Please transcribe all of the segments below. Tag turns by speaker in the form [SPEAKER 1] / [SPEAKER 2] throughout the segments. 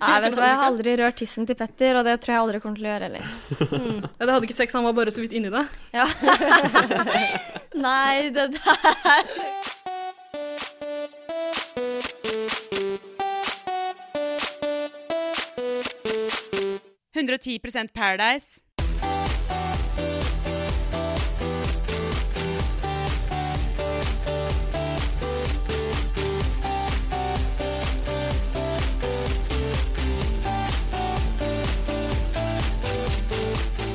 [SPEAKER 1] Nei, vet du hva, Jeg har aldri rørt tissen til Petter, og det tror jeg aldri kommer til å gjøre heller.
[SPEAKER 2] Ja, det hadde ikke sex, han var bare så vidt inni det.
[SPEAKER 1] Ja. Nei, det der
[SPEAKER 3] Paradise.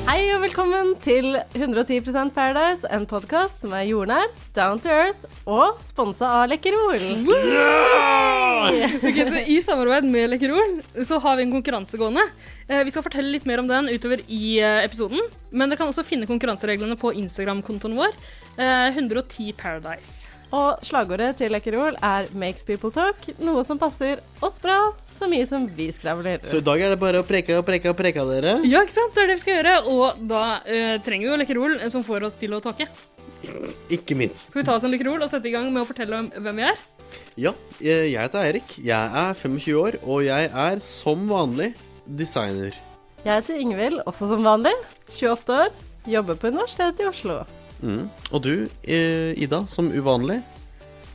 [SPEAKER 4] Hei og velkommen til 110 Paradise, en podkast som er jordnær, down to earth og sponsa av Lekkerol.
[SPEAKER 2] Ok, så I samarbeid med Lekkerol så har vi en konkurranse gående. Eh, Vi skal fortelle litt mer om den utover i eh, episoden. Men dere kan også finne konkurransereglene på Instagram-kontoen vår. eh, 110 Paradise.
[SPEAKER 4] Og slagordet til Lekkerol er 'Makes people talk', noe som passer oss bra så mye som vi skravler.
[SPEAKER 5] Så i dag er det bare å preke og preke og preke dere.
[SPEAKER 2] Ja, ikke sant? Det er det vi skal gjøre. Og da eh, trenger vi jo Lekkerol eh, som får oss til å talke.
[SPEAKER 5] Ikke minst.
[SPEAKER 2] Skal vi ta oss en Lekkerol og sette i gang med å fortelle om hvem vi er?
[SPEAKER 5] Ja, jeg jeg heter Eirik. Jeg er 25 år, og jeg er som vanlig designer.
[SPEAKER 4] Jeg heter Ingvild, også som vanlig. 28 år. Jobber på Universitetet i Oslo.
[SPEAKER 5] Mm. Og du, eh, Ida, som uvanlig.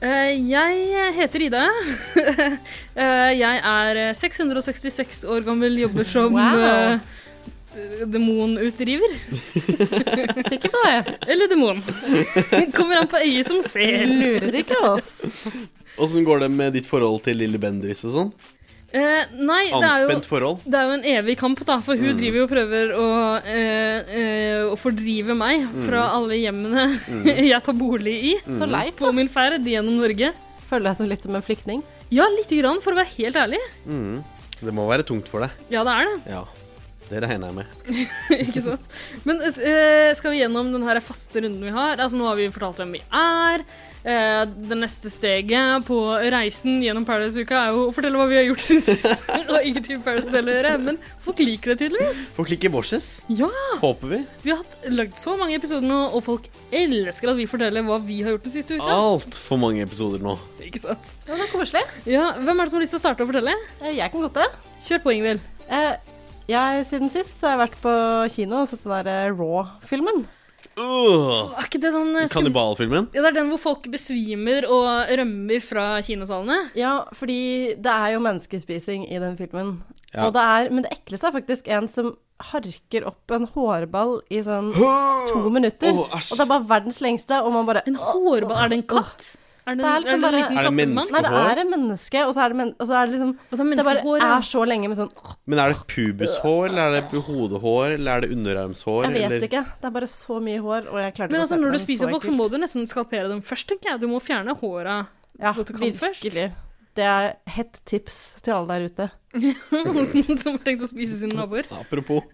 [SPEAKER 2] Eh, Jeg heter Ida. Eh, Jeg er 666 år gammel, jobber som
[SPEAKER 4] Wow.
[SPEAKER 2] eh, demonutdriver.
[SPEAKER 4] Sikker på det?
[SPEAKER 2] Eller demon. Kommer an på øyet som ser.
[SPEAKER 4] Lurer ikke oss.
[SPEAKER 5] Åssen går det med ditt forhold til Lille Bendriss og sånn?
[SPEAKER 2] Eh, nei, det er, jo,
[SPEAKER 5] Anspent forhold?
[SPEAKER 2] det er jo en evig kamp, da. For hun driver jo og prøver å, eh, eh, å fordrive meg fra alle hjemmene jeg tar bolig i.
[SPEAKER 4] Så leit.
[SPEAKER 2] På min ferd gjennom Norge.
[SPEAKER 4] Føler deg som litt som en flyktning.
[SPEAKER 2] Ja, lite grann, for å være helt ærlig.
[SPEAKER 5] Mm. Det må være tungt for deg.
[SPEAKER 2] Ja, det er det.
[SPEAKER 5] Ja. Det regner jeg med.
[SPEAKER 2] Ikke sant? Men eh, skal vi gjennom den her faste runden vi har? Altså, nå har vi fortalt hvem vi er. Eh, det neste steget på reisen gjennom Paradise-uka er jo å fortelle hå vi har gjort siden sist. Og ingenting med Paradise Hotel å gjøre, men folk liker det tydeligvis.
[SPEAKER 5] Folk liker Borses,
[SPEAKER 2] Ja!
[SPEAKER 5] håper vi.
[SPEAKER 2] Vi har hatt lagd så mange episoder nå, og folk elsker at vi forteller hva vi har gjort den siste uka.
[SPEAKER 5] Altfor mange episoder nå.
[SPEAKER 2] Ikke sant?
[SPEAKER 4] Ja, det er koselig.
[SPEAKER 2] Ja, Hvem er det som har lyst til å starte å fortelle?
[SPEAKER 4] Eh, Jeg kan godt det.
[SPEAKER 2] Kjør på, Ingvild.
[SPEAKER 4] Eh, Jeg, siden sist så har jeg vært på kino og sett den der eh, Raw-filmen.
[SPEAKER 5] Uh,
[SPEAKER 2] Er ikke det den eh, skum...
[SPEAKER 5] Kannibalfilmen.
[SPEAKER 2] Ja, Det er den hvor folk besvimer og rømmer fra kinosalene.
[SPEAKER 4] Ja, fordi det er jo menneskespising i den filmen.
[SPEAKER 5] Ja.
[SPEAKER 4] Og det er, men det ekleste er faktisk en som harker opp en hårball i sånn to minutter.
[SPEAKER 5] Åh, æsj.
[SPEAKER 4] og det er bare verdens lengste, og man bare
[SPEAKER 2] En hårball? Er det en katt? Er det en,
[SPEAKER 4] Det er
[SPEAKER 2] er det
[SPEAKER 4] liksom
[SPEAKER 2] en
[SPEAKER 4] bare-
[SPEAKER 2] liten
[SPEAKER 5] Er det
[SPEAKER 2] kattemann?
[SPEAKER 5] menneske?
[SPEAKER 4] Nei, det er et menneske, og så er det, men, og så er det liksom
[SPEAKER 2] Og så er det
[SPEAKER 4] Det bare
[SPEAKER 2] menneskehår, ja.
[SPEAKER 4] er så lenge med sånn
[SPEAKER 5] Men er det pubushår, eller er det hodehår, eller er det underarmshår?
[SPEAKER 4] Jeg vet
[SPEAKER 5] eller?
[SPEAKER 4] ikke. Det er bare så mye hår, og jeg klarte
[SPEAKER 2] Men
[SPEAKER 4] ikke å
[SPEAKER 2] altså,
[SPEAKER 4] se på
[SPEAKER 2] når du
[SPEAKER 4] den,
[SPEAKER 2] spiser folk, så
[SPEAKER 4] ekkelt.
[SPEAKER 2] må du nesten skalpere dem først, tenker jeg. Du må fjerne håra
[SPEAKER 4] Ja,
[SPEAKER 2] så godt du kan først.
[SPEAKER 4] virkelig. Det er hett tips til alle der ute.
[SPEAKER 2] Som har tenkt å spise sine naboer.
[SPEAKER 5] Apropos.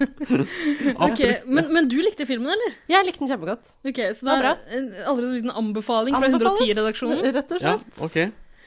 [SPEAKER 2] Ok, men, men du likte filmen, eller?
[SPEAKER 4] Jeg likte den kjempegodt.
[SPEAKER 2] Ok, Så det er
[SPEAKER 4] Ja,
[SPEAKER 2] en allerede en liten anbefaling fra
[SPEAKER 4] Anbefales,
[SPEAKER 2] 110-redaksjonen.
[SPEAKER 4] Rett og
[SPEAKER 5] Ja,
[SPEAKER 4] slett.
[SPEAKER 5] ok.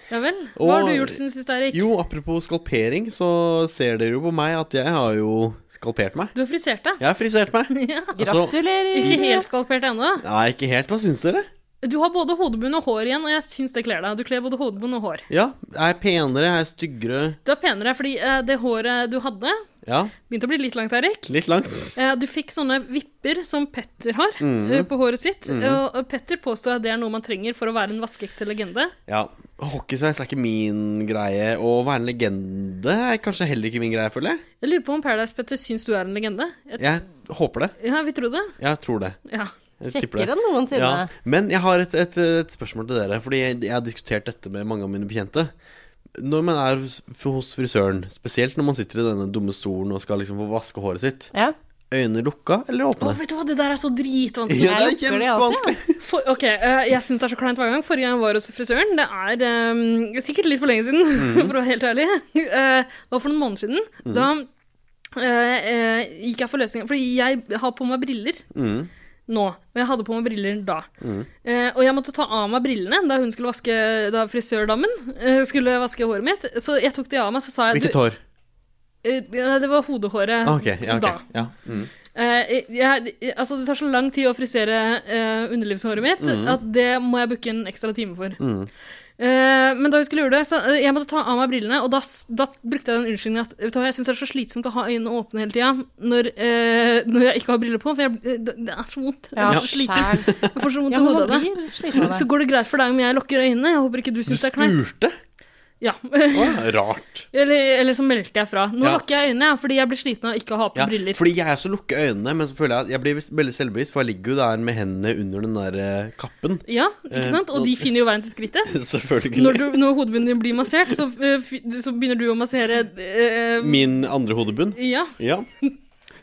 [SPEAKER 2] Ja vel. Hva har
[SPEAKER 5] Og-
[SPEAKER 2] du gjort siden sist, Eirik?
[SPEAKER 5] Jo, apropos skalpering, så ser dere jo på meg at jeg har jo skalpert meg.
[SPEAKER 2] Du har frisert deg.
[SPEAKER 5] Jeg har frisert meg. Altså,
[SPEAKER 2] Ikke
[SPEAKER 4] Gratulerer!
[SPEAKER 2] helt skalpert ennå.
[SPEAKER 5] nei, ikke helt. Hva syns dere?
[SPEAKER 2] Du har både hodebunn og hår igjen, og jeg syns det kler deg. Du kler både hodebunn og hår.
[SPEAKER 5] Ja, jeg er penere, jeg er styggere.
[SPEAKER 2] Du er penere fordi eh, det håret du hadde,
[SPEAKER 5] Ja,
[SPEAKER 2] begynte å bli litt langt, Eirik.
[SPEAKER 5] litt langt.
[SPEAKER 2] Eh, Du fikk sånne vipper som Petter har eh, på håret sitt. Og og Petter påstår at det er noe man trenger for å være en vaskeekte legende.
[SPEAKER 5] Ja, Hockeysveis er ikke min greie. Og å være en legende er kanskje heller ikke min greie, føler jeg.
[SPEAKER 2] Jeg lurer på om Paradise-Petter syns du er en legende? Jeg-
[SPEAKER 5] Jeg håper det.
[SPEAKER 2] Ja, vi tror det.
[SPEAKER 5] Jeg tror det.
[SPEAKER 2] Ja.
[SPEAKER 5] Jeg tipper det.
[SPEAKER 4] Kjekkere enn noensinne.
[SPEAKER 5] Ja, men jeg har et, et, et spørsmål til dere, fordi jeg har diskutert dette med mange av mine bekjente. Når man er hos- hos frisøren, spesielt når man sitter i denne dumme stolen og skal liksom få vaske håret sitt,
[SPEAKER 4] Ja.
[SPEAKER 5] øynene lukka eller
[SPEAKER 2] Å,
[SPEAKER 5] åpne?
[SPEAKER 2] vet du hva, det der er så dritvanskelig.
[SPEAKER 5] Ja, det er
[SPEAKER 4] Jeg lukker de alltid,
[SPEAKER 5] kjempevanskelig.
[SPEAKER 2] For, ok, eh, jeg syns det er så kleint hver gang. Forrige gang jeg var hos frisøren, det er eh, sikkert litt for lenge siden, for å være helt ærlig. Eh, det var for noen måneder siden. Da eh, eh, gikk jeg for løsningen Fordi jeg har på meg briller
[SPEAKER 5] Mm.
[SPEAKER 2] nå, og jeg hadde på meg briller da. Eh, og jeg måtte ta av meg brillene da hun skulle vaske Da frisørdammen eh, skulle vaske håret mitt. Så jeg tok de av meg, så sa jeg
[SPEAKER 5] Hvilket hår?
[SPEAKER 2] du, eh, nei, Det var hodehåret
[SPEAKER 5] Ah, ok, ja, ok.
[SPEAKER 2] da.
[SPEAKER 5] Ja. Mm.
[SPEAKER 2] Eh, jeg, altså, det tar så lang tid å frisere eh, underlivshåret mitt at det må jeg booke en ekstra time for.
[SPEAKER 5] Mm.
[SPEAKER 2] Eh, men da vi skulle gjøre det, så eh, jeg måtte ta av meg brillene, og da, s- da brukte jeg den unnskyldningen at vet du hva, jeg syns det er så slitsomt å ha øynene åpne hele tida når, eh, når jeg ikke har briller på, for jeg, eh, det, det er så vondt. Jeg, er så sliten.
[SPEAKER 4] skjæl.
[SPEAKER 2] jeg får så vondt i
[SPEAKER 4] Ja, men
[SPEAKER 2] hodet
[SPEAKER 4] man
[SPEAKER 2] av det.
[SPEAKER 4] blir sliten av
[SPEAKER 2] Så
[SPEAKER 4] det.
[SPEAKER 2] går det greit for deg om jeg lukker øynene? Jeg håper ikke du
[SPEAKER 5] Du
[SPEAKER 2] syns det er kleint.
[SPEAKER 5] spurte?
[SPEAKER 2] Ja.
[SPEAKER 5] Å, rart.
[SPEAKER 2] eller, eller så meldte jeg fra. Nå
[SPEAKER 5] Ja.
[SPEAKER 2] lukker jeg øynene jeg, fordi jeg blir sliten av ikke å ha på
[SPEAKER 5] Ja,
[SPEAKER 2] briller.
[SPEAKER 5] fordi jeg også lukker øynene, men så føler jeg at jeg blir veldig selvbevisst, for jeg ligger jo der med hendene under den der eh, kappen.
[SPEAKER 2] Ja, ikke
[SPEAKER 5] Eh,
[SPEAKER 2] sant? Og de finner jo veien til skrittet.
[SPEAKER 5] Selvfølgelig.
[SPEAKER 2] Når, du, når hodebunnen din blir massert, så, eh, fi- så begynner du å massere eh,
[SPEAKER 5] Min andre hodebunn.
[SPEAKER 2] Ja.
[SPEAKER 5] Ja.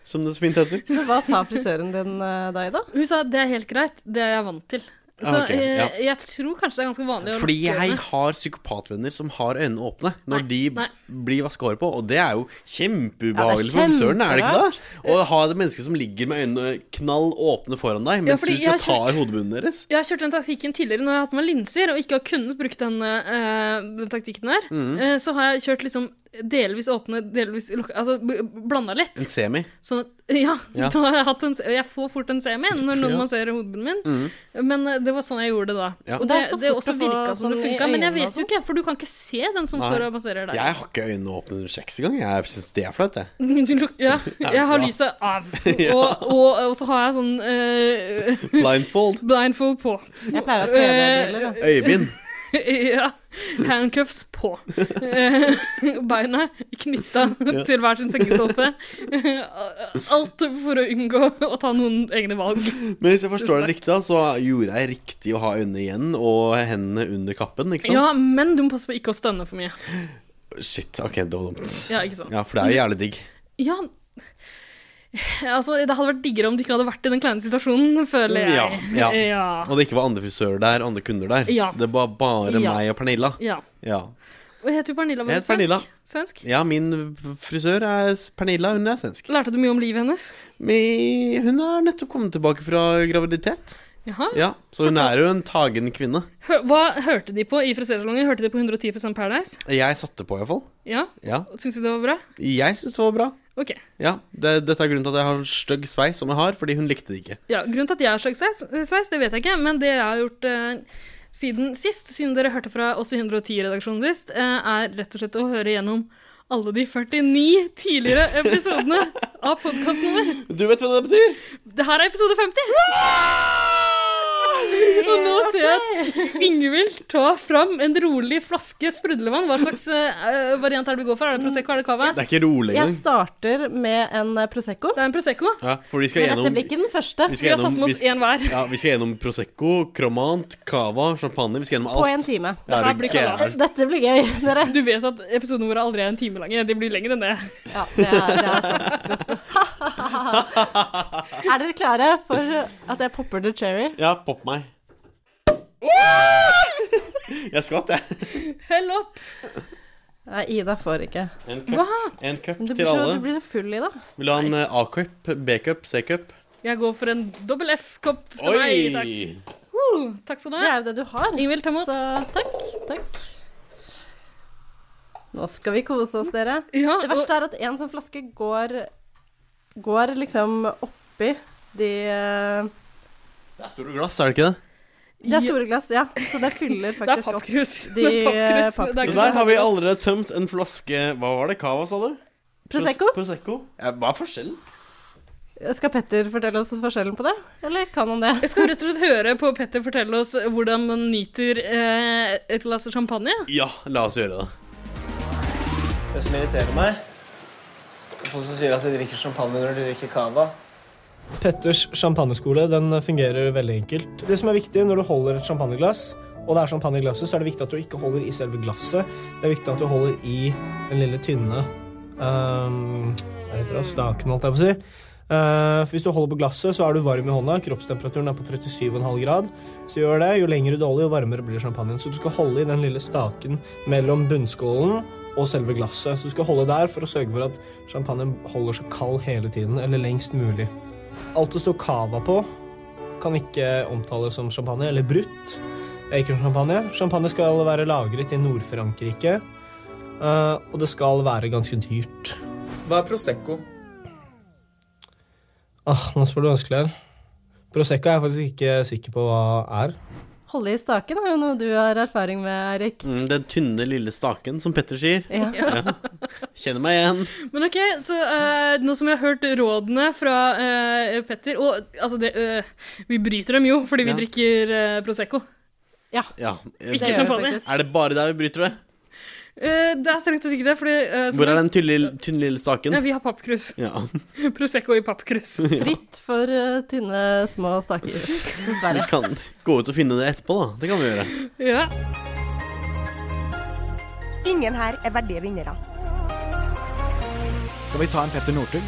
[SPEAKER 5] Som det så fint heter.
[SPEAKER 4] Men Hva sa frisøren din eh, deg, da?
[SPEAKER 2] Hun sa det er helt greit, det er jeg vant til.
[SPEAKER 5] Ah,
[SPEAKER 2] Så
[SPEAKER 5] ok,
[SPEAKER 2] eh,
[SPEAKER 5] ja.
[SPEAKER 2] jeg tror kanskje det er ganske vanlig å
[SPEAKER 5] Fordi
[SPEAKER 2] lukke
[SPEAKER 5] jeg
[SPEAKER 2] øynene.
[SPEAKER 5] har psykopatvenner som har øynene åpne når
[SPEAKER 2] Nei,
[SPEAKER 5] de
[SPEAKER 2] nei.
[SPEAKER 5] blir vaska håret på, og det er jo
[SPEAKER 4] Ja, det
[SPEAKER 5] kjempeubehagelig
[SPEAKER 4] er
[SPEAKER 5] for frisøren, er det ikke
[SPEAKER 4] kjemperart.
[SPEAKER 5] det? Å ha et menneske som ligger med øynene knall åpne foran deg mens
[SPEAKER 2] fordi
[SPEAKER 5] du skal
[SPEAKER 2] jeg
[SPEAKER 5] ta
[SPEAKER 2] har
[SPEAKER 5] i hodebunnen deres.
[SPEAKER 2] Jeg har kjørt den taktikken tidligere når jeg har hatt med linser og ikke har kunnet bruke den, eh, den taktikken der.
[SPEAKER 5] Mm.
[SPEAKER 2] eh, så har jeg kjørt liksom delvis åpne, delvis lukka Altså blanda litt.
[SPEAKER 5] En semi.
[SPEAKER 2] Sånn at Ja,
[SPEAKER 5] Ja.
[SPEAKER 2] da har jeg hatt en se- Jeg får fort en semi når noen
[SPEAKER 5] Ja. Mm.
[SPEAKER 2] masserer hodebunnen min. Men eh, det var sånn jeg gjorde det da.
[SPEAKER 5] Ja.
[SPEAKER 2] Og
[SPEAKER 4] Det
[SPEAKER 2] det,
[SPEAKER 4] er så
[SPEAKER 2] det
[SPEAKER 4] fort
[SPEAKER 2] også
[SPEAKER 4] å få
[SPEAKER 2] virka som det
[SPEAKER 4] sånn i
[SPEAKER 2] funka, men jeg
[SPEAKER 4] øynene og
[SPEAKER 2] vet jo
[SPEAKER 4] sånn.
[SPEAKER 2] ikke, for du kan ikke se den som
[SPEAKER 5] Nei.
[SPEAKER 2] står og masserer deg.
[SPEAKER 5] Jeg har ikke øynene åpne under sex engang. Jeg syns det er flaut, jeg.
[SPEAKER 2] Du luk- Ja, jeg har
[SPEAKER 5] Ja.
[SPEAKER 2] lyset av.
[SPEAKER 5] Ja.
[SPEAKER 2] Og, og, og så har jeg sånn eh,
[SPEAKER 5] Blindfold.
[SPEAKER 2] blindfold på.
[SPEAKER 4] Jeg pleier å ha 3D-briller. da.
[SPEAKER 5] Øyebind.
[SPEAKER 2] ja. Handcuffs på. Eh, Beina knytta
[SPEAKER 5] Ja.
[SPEAKER 2] til hver sin sengesåpe. Alt for å unngå å ta noen egne valg.
[SPEAKER 5] Men hvis jeg forstår det riktig, da, så gjorde jeg riktig å ha øynene igjen og hendene under kappen, ikke sant?
[SPEAKER 2] Ja, men du må passe på ikke å stønne for mye.
[SPEAKER 5] Shit, ok, det var dumt.
[SPEAKER 2] Ja, ikke sant.
[SPEAKER 5] Ja, for det er jo jævlig digg.
[SPEAKER 2] Ja, altså, det hadde vært diggere om du ikke hadde vært i den kleine situasjonen, føler jeg.
[SPEAKER 5] Ja, ja.
[SPEAKER 2] ja.
[SPEAKER 5] Og det ikke var andre frisører der, andre kunder der.
[SPEAKER 2] Ja.
[SPEAKER 5] Det var bare
[SPEAKER 2] Ja.
[SPEAKER 5] meg og Pernilla.
[SPEAKER 2] ja.
[SPEAKER 5] Ja.
[SPEAKER 2] Og heter du Pernilla? Var
[SPEAKER 5] Jeg
[SPEAKER 2] du
[SPEAKER 5] heter Pernilla.
[SPEAKER 2] svensk? svensk?
[SPEAKER 5] Ja, min frisør er s- Pernilla, hun er svensk.
[SPEAKER 2] Lærte du mye om livet hennes?
[SPEAKER 5] Mi- hun har nettopp kommet tilbake fra graviditet.
[SPEAKER 2] Jaha.
[SPEAKER 5] Ja, Så hun er jo en tagen kvinne.
[SPEAKER 2] Hø hva hørte de på i frisersalongen? Hørte de på 110 Paradise?
[SPEAKER 5] Jeg satte på, iallfall.
[SPEAKER 2] Ja?
[SPEAKER 5] Ja.
[SPEAKER 2] Syns de det var bra?
[SPEAKER 5] Jeg syns det var bra.
[SPEAKER 2] Ok.
[SPEAKER 5] Ja, det, Dette er grunnen til at jeg har en stygg sveis som jeg har, fordi hun likte det ikke.
[SPEAKER 2] Ja, grunnen til at jeg har slagsveis, det vet jeg ikke, men det jeg har gjort eh, siden sist, siden dere hørte fra oss i 110-redaksjonen sist, eh, er rett og slett å høre gjennom alle de 49 tidligere episodene av podkasten vår.
[SPEAKER 5] Du vet hva det betyr?
[SPEAKER 2] Det her er episode 50! Og nå ser jeg at Ingvild tar fram en rolig flaske sprudlevann. Hva slags eh, variant er det vi går for? Er det Prosecco? Er det Cava?
[SPEAKER 5] Det er ikke rolig
[SPEAKER 4] Jeg
[SPEAKER 5] engang.
[SPEAKER 4] starter med en eh, Prosecco.
[SPEAKER 2] Det er en Prosecco.
[SPEAKER 5] Ja, for vi skal
[SPEAKER 4] Men dette
[SPEAKER 5] gjennom
[SPEAKER 4] blir ikke den første.
[SPEAKER 5] vi
[SPEAKER 2] Vi
[SPEAKER 5] skal
[SPEAKER 2] har tatt
[SPEAKER 5] gjennom,
[SPEAKER 2] med
[SPEAKER 5] vi,
[SPEAKER 2] oss én hver.
[SPEAKER 5] ja, vi skal gjennom Prosecco, Cromant, Cava, champagne. Vi skal gjennom
[SPEAKER 4] På
[SPEAKER 5] alt.
[SPEAKER 4] en time.
[SPEAKER 5] Ja,
[SPEAKER 2] Det her
[SPEAKER 5] du
[SPEAKER 2] blir
[SPEAKER 5] gæren.
[SPEAKER 2] kalas.
[SPEAKER 4] Dette blir gøy, dere.
[SPEAKER 2] Du vet at episodene våre aldri er en time lange. De blir lengre enn det.
[SPEAKER 4] Ja, det er, det er sant. Godt. Er dere klare for at jeg popper the cherry?
[SPEAKER 5] Ja, popp meg. Jeg skvatt, jeg.
[SPEAKER 2] Hell opp!
[SPEAKER 4] Nei, Ida får ikke.
[SPEAKER 5] En
[SPEAKER 2] Hva?
[SPEAKER 5] cup, en cup
[SPEAKER 4] Men Du
[SPEAKER 5] til
[SPEAKER 4] blir så,
[SPEAKER 5] alle.
[SPEAKER 4] du blir så full, Ida.
[SPEAKER 5] Vil du ha en eh, A-cup, B-cup, C-cup?
[SPEAKER 2] Jeg går for en dobbel F-kopp til
[SPEAKER 5] Oi!
[SPEAKER 2] meg. Takk. Uh, takk skal du
[SPEAKER 4] Det
[SPEAKER 2] ha.
[SPEAKER 4] er jo det du har.
[SPEAKER 2] Ingvild, ta imot.
[SPEAKER 4] Så takk, takk. Nå skal vi kose oss, dere.
[SPEAKER 2] Ja,
[SPEAKER 4] Det
[SPEAKER 2] og,
[SPEAKER 4] verste er at en sånn flaske går Går liksom oppi de eh,
[SPEAKER 5] Det er store glass, er det ikke det?
[SPEAKER 4] Det er store glass, ja. Så det fyller
[SPEAKER 2] det er
[SPEAKER 4] faktisk opp.
[SPEAKER 2] pappkrus.
[SPEAKER 4] De,
[SPEAKER 2] Det er pappkrus.
[SPEAKER 4] eh,
[SPEAKER 2] Det er
[SPEAKER 5] Så
[SPEAKER 2] ikke
[SPEAKER 5] der
[SPEAKER 2] sånn
[SPEAKER 5] har vi
[SPEAKER 2] pappkrus.
[SPEAKER 5] allerede tømt en flaske Hva var det? Cava, sa du?
[SPEAKER 4] Prosecco?
[SPEAKER 5] Pros- Prosecco. Ja, hva er forskjellen?
[SPEAKER 4] Skal Petter fortelle oss forskjellen på det? Eller kan han det?
[SPEAKER 2] Jeg skal rett og slett høre på Petter fortelle oss hvordan man nyter eh, et glass champagne.
[SPEAKER 5] Ja, la oss gjøre det.
[SPEAKER 3] Det som irriterer meg, er folk som sier at de drikker champagne når de drikker cava. Petters champagneskole den fungerer veldig enkelt. Det som er viktig når du holder et champagneglass, og det er champagne i glasset, så er det viktig at du ikke holder i selve glasset. Det er viktig at du holder i den lille tynne ehm, Hva heter det? Staken, holdt jeg på å si. Eh, for hvis du holder på glasset, så er du varm i hånda. Kroppstemperaturen er på 37,5 grad. Så gjør det. Jo lenger du holder, jo varmere blir champagnen. Så du skal holde i den lille staken mellom bunnskålen og selve glasset. Så du skal holde der for å sørge for at champagnen holder seg kald hele tiden, eller lengst mulig. Alt det står cava på, kan ikke omtales som champagne, eller brutt. Acon-champagne. Champagne skal være lagret i Nord-Frankrike, eh, og det skal være ganske dyrt.
[SPEAKER 6] Hva er Prosecco?
[SPEAKER 3] Ah, nå spør du vanskelig her. Prosecco er jeg faktisk ikke sikker på hva er.
[SPEAKER 4] Holde i staken er jo noe du har erfaring med, Eirik.
[SPEAKER 5] Mm, den tynne, lille staken, som Petter sier.
[SPEAKER 4] Ja.
[SPEAKER 5] Kjenner meg igjen.
[SPEAKER 2] Men ok, så eh, nå som vi har hørt rådene fra eh, Petter Og altså, det, eh, vi bryter dem jo fordi vi
[SPEAKER 5] Ja.
[SPEAKER 2] drikker eh, Prosecco.
[SPEAKER 5] Ja. eh,
[SPEAKER 2] Ikke
[SPEAKER 4] Det gjør vi
[SPEAKER 2] champagne.
[SPEAKER 4] faktisk.
[SPEAKER 5] Er det bare der vi bryter det?
[SPEAKER 2] Eh, det er strengt tatt ikke det, fordi eh, som
[SPEAKER 5] Hvor er
[SPEAKER 2] jeg-
[SPEAKER 5] den tynne, tynne lille staken?
[SPEAKER 2] Nei, vi har pappkrus.
[SPEAKER 5] Ja.
[SPEAKER 2] Prosecco i pappkrus.
[SPEAKER 4] Fritt for eh, tynne, små staker,
[SPEAKER 5] Vi
[SPEAKER 4] dessverre.
[SPEAKER 5] kan gå ut og finne det etterpå, da. Det kan vi gjøre.
[SPEAKER 2] ja.
[SPEAKER 6] Ingen her er verdige vinnere.
[SPEAKER 7] Skal vi ta en Petter Northug?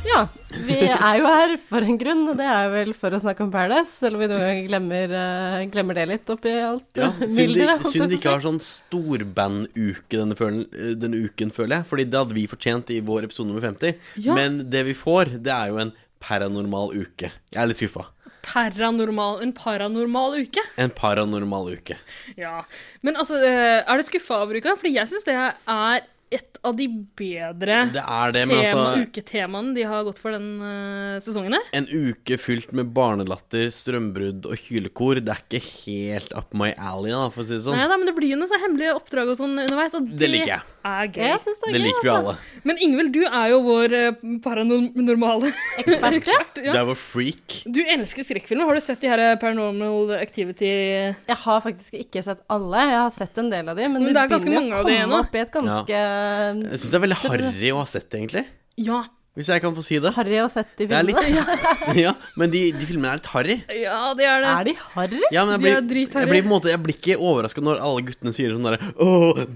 [SPEAKER 4] Ja, vi er jo her for en grunn, og det er vel for å snakke om Paradise, selv om vi noen ganger glemmer, eh, glemmer det litt oppi alt
[SPEAKER 5] Ja,
[SPEAKER 4] eh,
[SPEAKER 5] synd de,
[SPEAKER 4] mylderet, holdt jeg
[SPEAKER 5] synd de
[SPEAKER 4] på
[SPEAKER 5] ikke har sånn storbanduke denne, følen- denne uken, føler jeg. Fordi det hadde vi fortjent i vår episode nummer 50.
[SPEAKER 2] Ja.
[SPEAKER 5] Men det vi får, det er jo en paranormal uke. Jeg er litt skuffa.
[SPEAKER 2] Paranormal, en paranormal uke.
[SPEAKER 5] En paranormal uke.
[SPEAKER 2] Ja. Men altså, eh, er du skuffa over uka? Fordi jeg syns det er et av de bedre
[SPEAKER 5] Det er det, men
[SPEAKER 2] tema,
[SPEAKER 5] altså
[SPEAKER 2] uketemaene de har gått for den eh, sesongen her.
[SPEAKER 5] En uke fylt med barnelatter, strømbrudd og hylekor, det er ikke helt up my alley, da, for å si det sånn.
[SPEAKER 2] Nei da, men det blir jo noen sånne hemmelige oppdrag og sånn underveis, og
[SPEAKER 5] Det liker jeg.
[SPEAKER 2] er gøy.
[SPEAKER 4] Ja, jeg synes det er
[SPEAKER 5] Det
[SPEAKER 4] gøy, altså.
[SPEAKER 5] liker vi alle.
[SPEAKER 2] Men Ingvild, du er jo vår eh, paranormale ekspert.
[SPEAKER 5] Det
[SPEAKER 2] ja.
[SPEAKER 5] er vår freak.
[SPEAKER 2] Du elsker skrekkfilmer. Har du sett de her Paranormal Activity
[SPEAKER 4] Jeg har faktisk ikke sett alle. Jeg har sett en del av de, men,
[SPEAKER 2] Men
[SPEAKER 4] det,
[SPEAKER 2] det er ganske
[SPEAKER 4] begynner
[SPEAKER 2] mange
[SPEAKER 4] å
[SPEAKER 2] av de
[SPEAKER 4] komme
[SPEAKER 2] nå.
[SPEAKER 4] opp i et ganske eh,
[SPEAKER 5] Jeg syns det er veldig harry å ha sett, egentlig.
[SPEAKER 2] Ja.
[SPEAKER 5] Hvis jeg kan få si det.
[SPEAKER 4] harry å sette i
[SPEAKER 5] Det er litt
[SPEAKER 4] filmene.
[SPEAKER 5] Ja, men de, de filmene er litt harry.
[SPEAKER 2] Ja, det er det.
[SPEAKER 4] Er de harry?
[SPEAKER 5] Ja, men jeg
[SPEAKER 2] De
[SPEAKER 5] blir,
[SPEAKER 2] er dritharry.
[SPEAKER 5] jeg blir, på en måte, jeg blir ikke overraska når alle guttene sier sånn derre Å,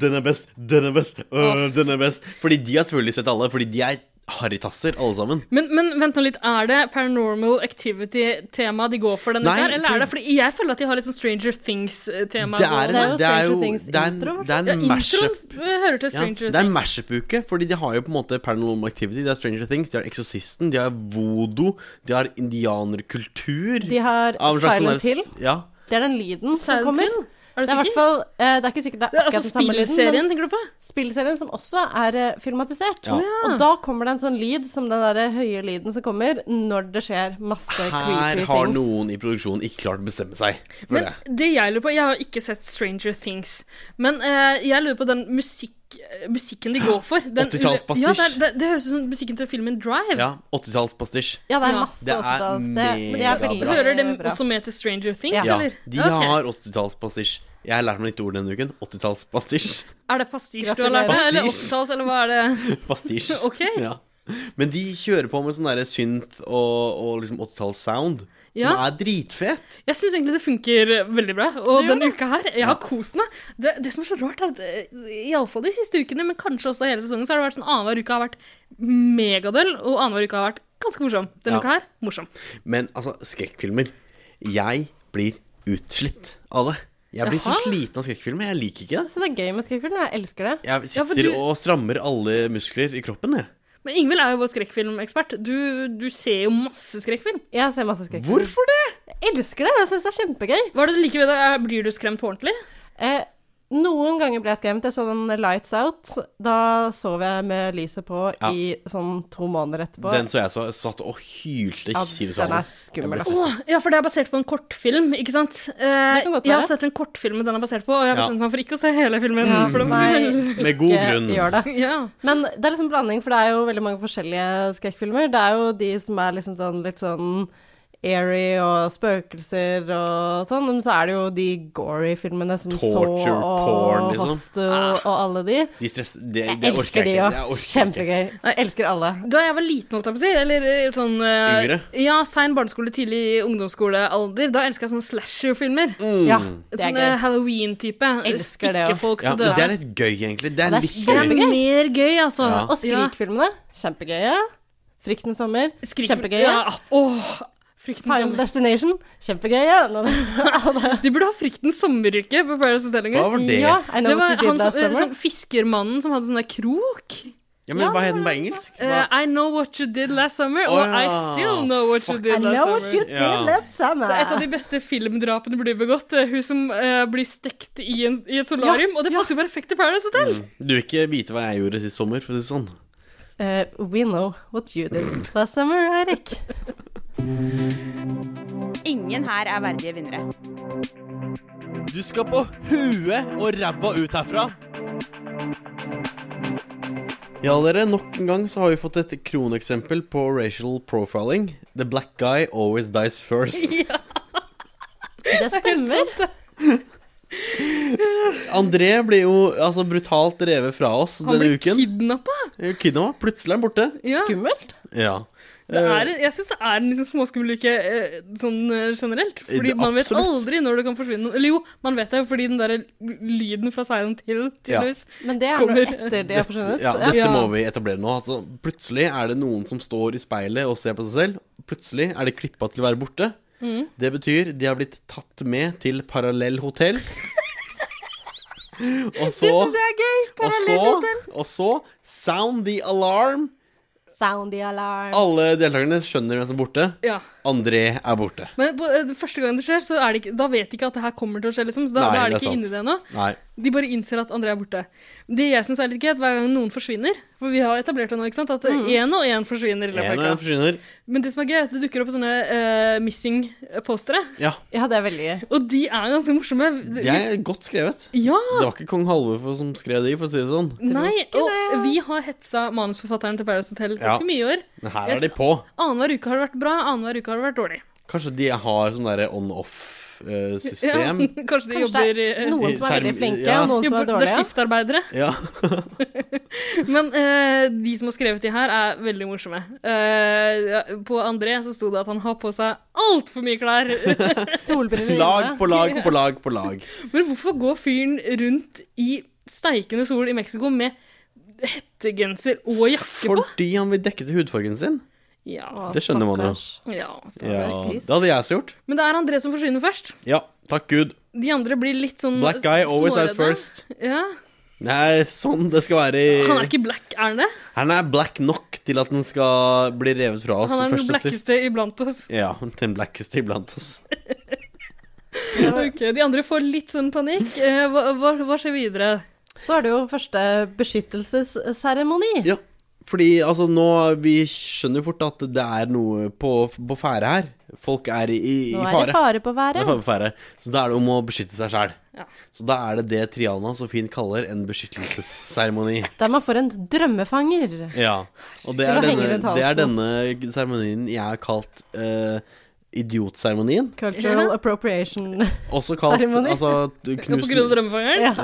[SPEAKER 5] den er best, den er best, å, den er best. Fordi de har selvfølgelig sett alle, fordi de er harrytasser, alle sammen.
[SPEAKER 2] Men, men vent nå litt, er det Paranormal Activity-tema de går for denne
[SPEAKER 5] Nei,
[SPEAKER 2] her, eller
[SPEAKER 5] fordi-
[SPEAKER 2] er det fordi jeg føler at de har litt sånn Stranger Things-tema?
[SPEAKER 5] Det er,
[SPEAKER 4] Det er
[SPEAKER 5] en,
[SPEAKER 4] jo
[SPEAKER 5] det er
[SPEAKER 4] Stranger
[SPEAKER 5] jo
[SPEAKER 4] Things
[SPEAKER 5] Det er en,
[SPEAKER 4] intro,
[SPEAKER 5] det er
[SPEAKER 2] ja,
[SPEAKER 5] en
[SPEAKER 2] Introen
[SPEAKER 5] mashup.
[SPEAKER 2] hører til
[SPEAKER 5] Ja,
[SPEAKER 2] Stranger
[SPEAKER 5] det er en
[SPEAKER 2] Things.
[SPEAKER 5] mashup-uke, fordi de har jo på en måte Paranormal Activity, de har Stranger Things, de har Exorcisten, de har voodoo, de har indianerkultur
[SPEAKER 4] De har
[SPEAKER 5] Av en slags sånn
[SPEAKER 4] Silent
[SPEAKER 5] der-
[SPEAKER 4] Hill.
[SPEAKER 5] Ja.
[SPEAKER 4] Det er den lyden som
[SPEAKER 2] Silent
[SPEAKER 4] kommer.
[SPEAKER 2] Hill? Er
[SPEAKER 4] Det
[SPEAKER 2] du
[SPEAKER 4] er, i hvert
[SPEAKER 2] sikker?
[SPEAKER 4] fall, eh, det er ikke sikkert det
[SPEAKER 2] Det
[SPEAKER 4] er
[SPEAKER 2] er altså
[SPEAKER 4] akkurat den samme lyden. men
[SPEAKER 2] spillserien, tenker du på?
[SPEAKER 4] Spillserien som også er eh, filmatisert.
[SPEAKER 5] Ja. Å,
[SPEAKER 4] Og da kommer det en sånn lyd som den derre høye lyden som kommer når det skjer masse
[SPEAKER 5] Her
[SPEAKER 4] creepy
[SPEAKER 5] har
[SPEAKER 4] things.
[SPEAKER 5] noen i produksjonen ikke klart å bestemme seg. føler
[SPEAKER 2] Men
[SPEAKER 5] jeg.
[SPEAKER 2] det jeg lurer på Jeg har ikke sett Stranger Things, men eh, jeg lurer på den musikk, musikken de går for. Den-
[SPEAKER 5] 80-tallspastisj.
[SPEAKER 2] Ja, det, er- det, det høres ut som musikken til filmen Drive.
[SPEAKER 5] Ja, 80-tallspastisj.
[SPEAKER 4] Ja, det er
[SPEAKER 2] Ja.
[SPEAKER 4] masse
[SPEAKER 5] Det er
[SPEAKER 4] 80-tall. men det er
[SPEAKER 5] megabra.
[SPEAKER 4] veldig
[SPEAKER 2] Hører det
[SPEAKER 4] bra.
[SPEAKER 2] også med til Stranger Things,
[SPEAKER 4] Ja.
[SPEAKER 5] Ja,
[SPEAKER 2] eller?
[SPEAKER 5] de
[SPEAKER 2] Ok.
[SPEAKER 5] har 80-tallspastisj. Jeg har lært meg nytt ord denne uken. 80-tallspastisj.
[SPEAKER 2] Er det pastisj du har lært deg?
[SPEAKER 5] Gratulerer.
[SPEAKER 2] Eller
[SPEAKER 5] Pastisj.
[SPEAKER 2] 80-talls, eller hva er det?
[SPEAKER 5] Pastisj.
[SPEAKER 2] Ok.
[SPEAKER 5] Ja. Men de kjører på med sånn derre synth og, og liksom 80-talls-sound, som
[SPEAKER 2] Ja.
[SPEAKER 5] er dritfet.
[SPEAKER 2] Jeg syns egentlig det funker veldig bra. Og denne uka her, jeg har kost meg. Det, det som er så rart, er at eh, iallfall de siste ukene, men kanskje også hele sesongen, så har det vært sånn annenhver uke har vært megadøll, og annenhver uke har vært ganske morsom. Denne
[SPEAKER 5] Ja.
[SPEAKER 2] uka her morsom.
[SPEAKER 5] Men altså, skrekkfilmer Jeg blir utslitt av det. Jeg blir så
[SPEAKER 2] Jaha.
[SPEAKER 5] sliten av skrekkfilmer. Jeg liker ikke det.
[SPEAKER 4] Så det er gøy med skrekkfilm. Jeg elsker det.
[SPEAKER 5] Jeg
[SPEAKER 2] Ja, for
[SPEAKER 5] sitter
[SPEAKER 2] du-
[SPEAKER 5] og strammer alle muskler i kroppen, jeg.
[SPEAKER 2] Men Ingvild er jo vår skrekkfilmekspert. Du, du ser jo masse skrekkfilm.
[SPEAKER 4] Jeg ser masse skrekkfilm.
[SPEAKER 5] Hvorfor det?
[SPEAKER 4] Jeg elsker det. Jeg syns det er kjempegøy.
[SPEAKER 2] Hva er det du liker ved det? Er- Blir du skremt på ordentlig?
[SPEAKER 4] Eh, noen ganger ble jeg skremt. Jeg så den Lights Out. Da sov jeg med lyset på
[SPEAKER 5] Ja.
[SPEAKER 4] i sånn to måneder etterpå.
[SPEAKER 5] Den så jeg så, jeg satt og hylte i
[SPEAKER 4] Ja,
[SPEAKER 5] kinosalen.
[SPEAKER 4] den er skummel,
[SPEAKER 5] Jeg ble
[SPEAKER 4] ass.
[SPEAKER 5] stresset.
[SPEAKER 2] Ja, for det er basert på en kortfilm, ikke sant? Eh,
[SPEAKER 4] kan godt
[SPEAKER 2] jeg har
[SPEAKER 4] være.
[SPEAKER 2] sett en kortfilm den er basert på, og jeg har
[SPEAKER 5] Ja.
[SPEAKER 2] bestemt meg for ikke å se hele filmen. for det var så-
[SPEAKER 4] Nei,
[SPEAKER 5] Med god
[SPEAKER 4] ikke
[SPEAKER 5] grunn.
[SPEAKER 4] Gjør det.
[SPEAKER 2] Ja.
[SPEAKER 4] Men det er liksom blanding, for det er jo veldig mange forskjellige skrekkfilmer. Det er jo de som er liksom sånn litt sånn airy og spøkelser og sånn, men så er det jo de gory filmene som
[SPEAKER 5] Torture,
[SPEAKER 4] så og
[SPEAKER 5] porn, liksom.
[SPEAKER 4] Hostel
[SPEAKER 2] Ah.
[SPEAKER 4] og alle de.
[SPEAKER 5] De stress... Det,
[SPEAKER 4] Jeg
[SPEAKER 5] det orker
[SPEAKER 4] elsker
[SPEAKER 5] jeg
[SPEAKER 4] de
[SPEAKER 5] ikke.
[SPEAKER 4] òg.
[SPEAKER 5] Det orker jeg ikke.
[SPEAKER 4] Kjempegøy. Jeg elsker alle.
[SPEAKER 2] Da jeg var liten, holdt jeg på å si, eller eh, sånn eh,
[SPEAKER 5] Yngre?
[SPEAKER 2] Ja, sein barneskole, tidlig ungdomsskolealder. Da elska jeg sånne slasher-filmer.
[SPEAKER 5] Mm.
[SPEAKER 4] Ja, det er
[SPEAKER 2] Sånn
[SPEAKER 4] gøy.
[SPEAKER 2] eh, Halloween-type.
[SPEAKER 4] Elsker
[SPEAKER 2] Stikke
[SPEAKER 4] det også.
[SPEAKER 2] folk til
[SPEAKER 5] Ja, men det er
[SPEAKER 2] døde.
[SPEAKER 5] litt gøy, egentlig. Det er,
[SPEAKER 4] Ja, det
[SPEAKER 5] en
[SPEAKER 4] er
[SPEAKER 5] litt
[SPEAKER 2] Det er
[SPEAKER 5] gøy.
[SPEAKER 4] kjempegøy.
[SPEAKER 2] mer gøy, altså.
[SPEAKER 5] Ja.
[SPEAKER 4] Og skrikfilmene, kjempegøye. 'Frykten sommer',
[SPEAKER 2] Skrik-
[SPEAKER 4] kjempegøye.
[SPEAKER 2] Ja, åh, frykten
[SPEAKER 4] Final
[SPEAKER 2] sommer.
[SPEAKER 4] Destination, kjempegøye. Nå-
[SPEAKER 2] De burde ha Frykten sommeruke på Paradise Hotel en
[SPEAKER 5] Hva
[SPEAKER 2] gang.
[SPEAKER 5] var det?
[SPEAKER 4] Ja, I know
[SPEAKER 2] Det
[SPEAKER 4] what
[SPEAKER 2] var
[SPEAKER 4] you did
[SPEAKER 2] han
[SPEAKER 4] last
[SPEAKER 2] som, eh,
[SPEAKER 4] summer.
[SPEAKER 2] sånn fiskermannen som hadde sånn der krok.
[SPEAKER 5] Ja, men hva het den på engelsk?
[SPEAKER 2] Eh,
[SPEAKER 5] Hva?
[SPEAKER 2] I know what you did last summer,
[SPEAKER 5] Å,
[SPEAKER 2] og I
[SPEAKER 5] ja.
[SPEAKER 2] still know what you
[SPEAKER 5] Fuck.
[SPEAKER 2] did
[SPEAKER 4] I
[SPEAKER 2] last
[SPEAKER 4] know what you
[SPEAKER 2] summer.
[SPEAKER 4] did
[SPEAKER 5] Ja.
[SPEAKER 4] last summer.
[SPEAKER 2] Det er et av de beste filmdrapene blir begått. eh, Hun som eh, blir stekt i, en, i et solarium. og det passer jo perfekt til Paradise Hotel!
[SPEAKER 5] Du vil ikke vite hva jeg gjorde sist sommer, for å si det sånn.
[SPEAKER 4] Eh, we know what you did last summer, Eirik.
[SPEAKER 7] Ingen her er verdige vinnere.
[SPEAKER 5] Du skal på huet og ræva ut herfra. Ja, dere, nok en gang så har vi fått et kroneksempel på racial profiling. The black guy always dies first.
[SPEAKER 4] Det stemmer.
[SPEAKER 5] André blir jo altså brutalt revet fra oss
[SPEAKER 2] Han
[SPEAKER 5] denne
[SPEAKER 2] blir
[SPEAKER 5] uken.
[SPEAKER 2] kidnappa!
[SPEAKER 5] Kidnappa. Plutselig er han borte.
[SPEAKER 2] Ja.
[SPEAKER 4] Skummelt.
[SPEAKER 5] Ja.
[SPEAKER 2] Det
[SPEAKER 5] Eh.
[SPEAKER 2] er, en- jeg syns det er en liksom småskummel uke eh, sånn eh, generelt. Fordi
[SPEAKER 5] Det-
[SPEAKER 2] man vet
[SPEAKER 5] absolutt.
[SPEAKER 2] aldri når det kan forsvinne noen. Eller jo, man vet det, fordi den derre lyden fra Silent Hill tydeligvis
[SPEAKER 4] Men det er
[SPEAKER 2] Kommer-
[SPEAKER 4] noe etter de har forsvunnet.
[SPEAKER 5] ja, dette
[SPEAKER 2] Ja.
[SPEAKER 5] må vi etablere nå. Altså, plutselig er det noen som står i speilet og ser på seg selv. Plutselig er de klippa til å være borte.
[SPEAKER 2] Mm.
[SPEAKER 5] Det betyr de har blitt tatt med til parallell hotell. og så,
[SPEAKER 2] Det syns jeg er gøy!
[SPEAKER 5] og
[SPEAKER 2] Parallell
[SPEAKER 5] så,
[SPEAKER 2] hotell.
[SPEAKER 5] og så Sound the alarm!
[SPEAKER 4] Sound the alarm.
[SPEAKER 5] Alle deltakerne skjønner hvem som er borte.
[SPEAKER 2] Ja.
[SPEAKER 5] André er borte.
[SPEAKER 2] Men på, eh, første gang det skjer, så er det ikke, da vet de ikke at det her kommer til å skje. Liksom, så da,
[SPEAKER 5] Nei,
[SPEAKER 2] da er
[SPEAKER 5] det
[SPEAKER 2] de ikke
[SPEAKER 5] er sant.
[SPEAKER 2] inni det ennå.
[SPEAKER 5] Nei.
[SPEAKER 2] De bare innser at André er borte. Det jeg syns er litt gøy, er at hver gang noen forsvinner For vi har etablert det nå, ikke sant? At én og én forsvinner. i løpet av
[SPEAKER 5] Mm. En og en
[SPEAKER 2] uka.
[SPEAKER 5] forsvinner.
[SPEAKER 2] Men det som er gøy, er at det dukker opp sånne eh, missing-postere.
[SPEAKER 5] Ja.
[SPEAKER 4] Ja, det er veldig gøy.
[SPEAKER 2] Og de er ganske morsomme.
[SPEAKER 5] Det er godt skrevet.
[SPEAKER 2] Ja!
[SPEAKER 5] Det var ikke kong Halvor for- som skrev de, for å si det sånn.
[SPEAKER 2] Nei, og vi har hetsa manusforfatteren til Paradise Hotel
[SPEAKER 5] Ja.
[SPEAKER 2] ganske mye i år.
[SPEAKER 5] Men her
[SPEAKER 2] Jeg
[SPEAKER 5] er de
[SPEAKER 2] s-
[SPEAKER 5] på.
[SPEAKER 2] Annenhver uke har det vært bra, annenhver uke har det vært dårlig.
[SPEAKER 5] Kanskje de har sånn derre eh,
[SPEAKER 2] Ja,
[SPEAKER 5] on-off-system?
[SPEAKER 2] kanskje de
[SPEAKER 4] Kanskje
[SPEAKER 2] jobber
[SPEAKER 4] det
[SPEAKER 2] eh,
[SPEAKER 4] er noen som er veldig
[SPEAKER 5] Skjerm-
[SPEAKER 4] flinke,
[SPEAKER 5] ja.
[SPEAKER 4] og noen som er
[SPEAKER 2] jobber- Det er
[SPEAKER 4] dårlige.
[SPEAKER 2] skiftarbeidere.
[SPEAKER 5] Ja.
[SPEAKER 2] Men eh, de som har skrevet de her, er veldig morsomme. Eh, ja, på André så sto det at han har på seg altfor mye klær.
[SPEAKER 4] Solbriller
[SPEAKER 5] Lag
[SPEAKER 4] inne.
[SPEAKER 5] på lag på lag på lag.
[SPEAKER 2] Men hvorfor går fyren rundt i steikende sol i Mexico med hettegenser og jakke på?
[SPEAKER 5] Fordi han vil dekke til hudfargen sin.
[SPEAKER 2] Ja,
[SPEAKER 5] Det skjønner man jo.
[SPEAKER 4] Stakkars.
[SPEAKER 2] ja. så-
[SPEAKER 5] Ja,
[SPEAKER 4] Chris.
[SPEAKER 5] det hadde jeg også gjort.
[SPEAKER 2] Men det er André som forsvinner først.
[SPEAKER 5] Ja, takk gud.
[SPEAKER 2] De andre blir litt sånn
[SPEAKER 5] Black guy always has
[SPEAKER 2] småredde.
[SPEAKER 5] first.
[SPEAKER 2] Ja.
[SPEAKER 5] Nei, sånn det skal være
[SPEAKER 2] Han er
[SPEAKER 5] i
[SPEAKER 2] ikke black, er han det?
[SPEAKER 5] Han er black nok til at den skal bli revet fra oss.
[SPEAKER 2] Han er den
[SPEAKER 5] Altså, først og sist.
[SPEAKER 2] blackeste iblant oss.
[SPEAKER 5] Ja, den blackeste iblant oss.
[SPEAKER 2] Ok, De andre får litt sånn panikk. Eh, hva, hva, hva skjer videre?
[SPEAKER 4] Så er det jo første beskyttelsesseremoni.
[SPEAKER 5] Ja, fordi altså nå Vi skjønner jo fort at det er noe på, på ferde her. Folk er i, i, i
[SPEAKER 4] Nå er
[SPEAKER 5] fare.
[SPEAKER 4] det fare på
[SPEAKER 5] Det
[SPEAKER 4] været.
[SPEAKER 5] er fare på ferde. Så da er det om å beskytte seg sjæl.
[SPEAKER 2] Ja.
[SPEAKER 5] Så da er det det Triana så fint kaller en beskyttelsesseremoni.
[SPEAKER 4] Der man får en drømmefanger.
[SPEAKER 5] Ja, og det
[SPEAKER 4] Til
[SPEAKER 5] er,
[SPEAKER 4] å henge
[SPEAKER 5] denne,
[SPEAKER 4] rundt halsen.
[SPEAKER 5] det er denne seremonien jeg har kalt eh, idiotseremonien.
[SPEAKER 4] Cultural appropriation.
[SPEAKER 5] Også kalt,
[SPEAKER 4] Seremoni.
[SPEAKER 5] altså,
[SPEAKER 2] På grunn av
[SPEAKER 5] knusen,
[SPEAKER 2] drømmefangeren? Ja.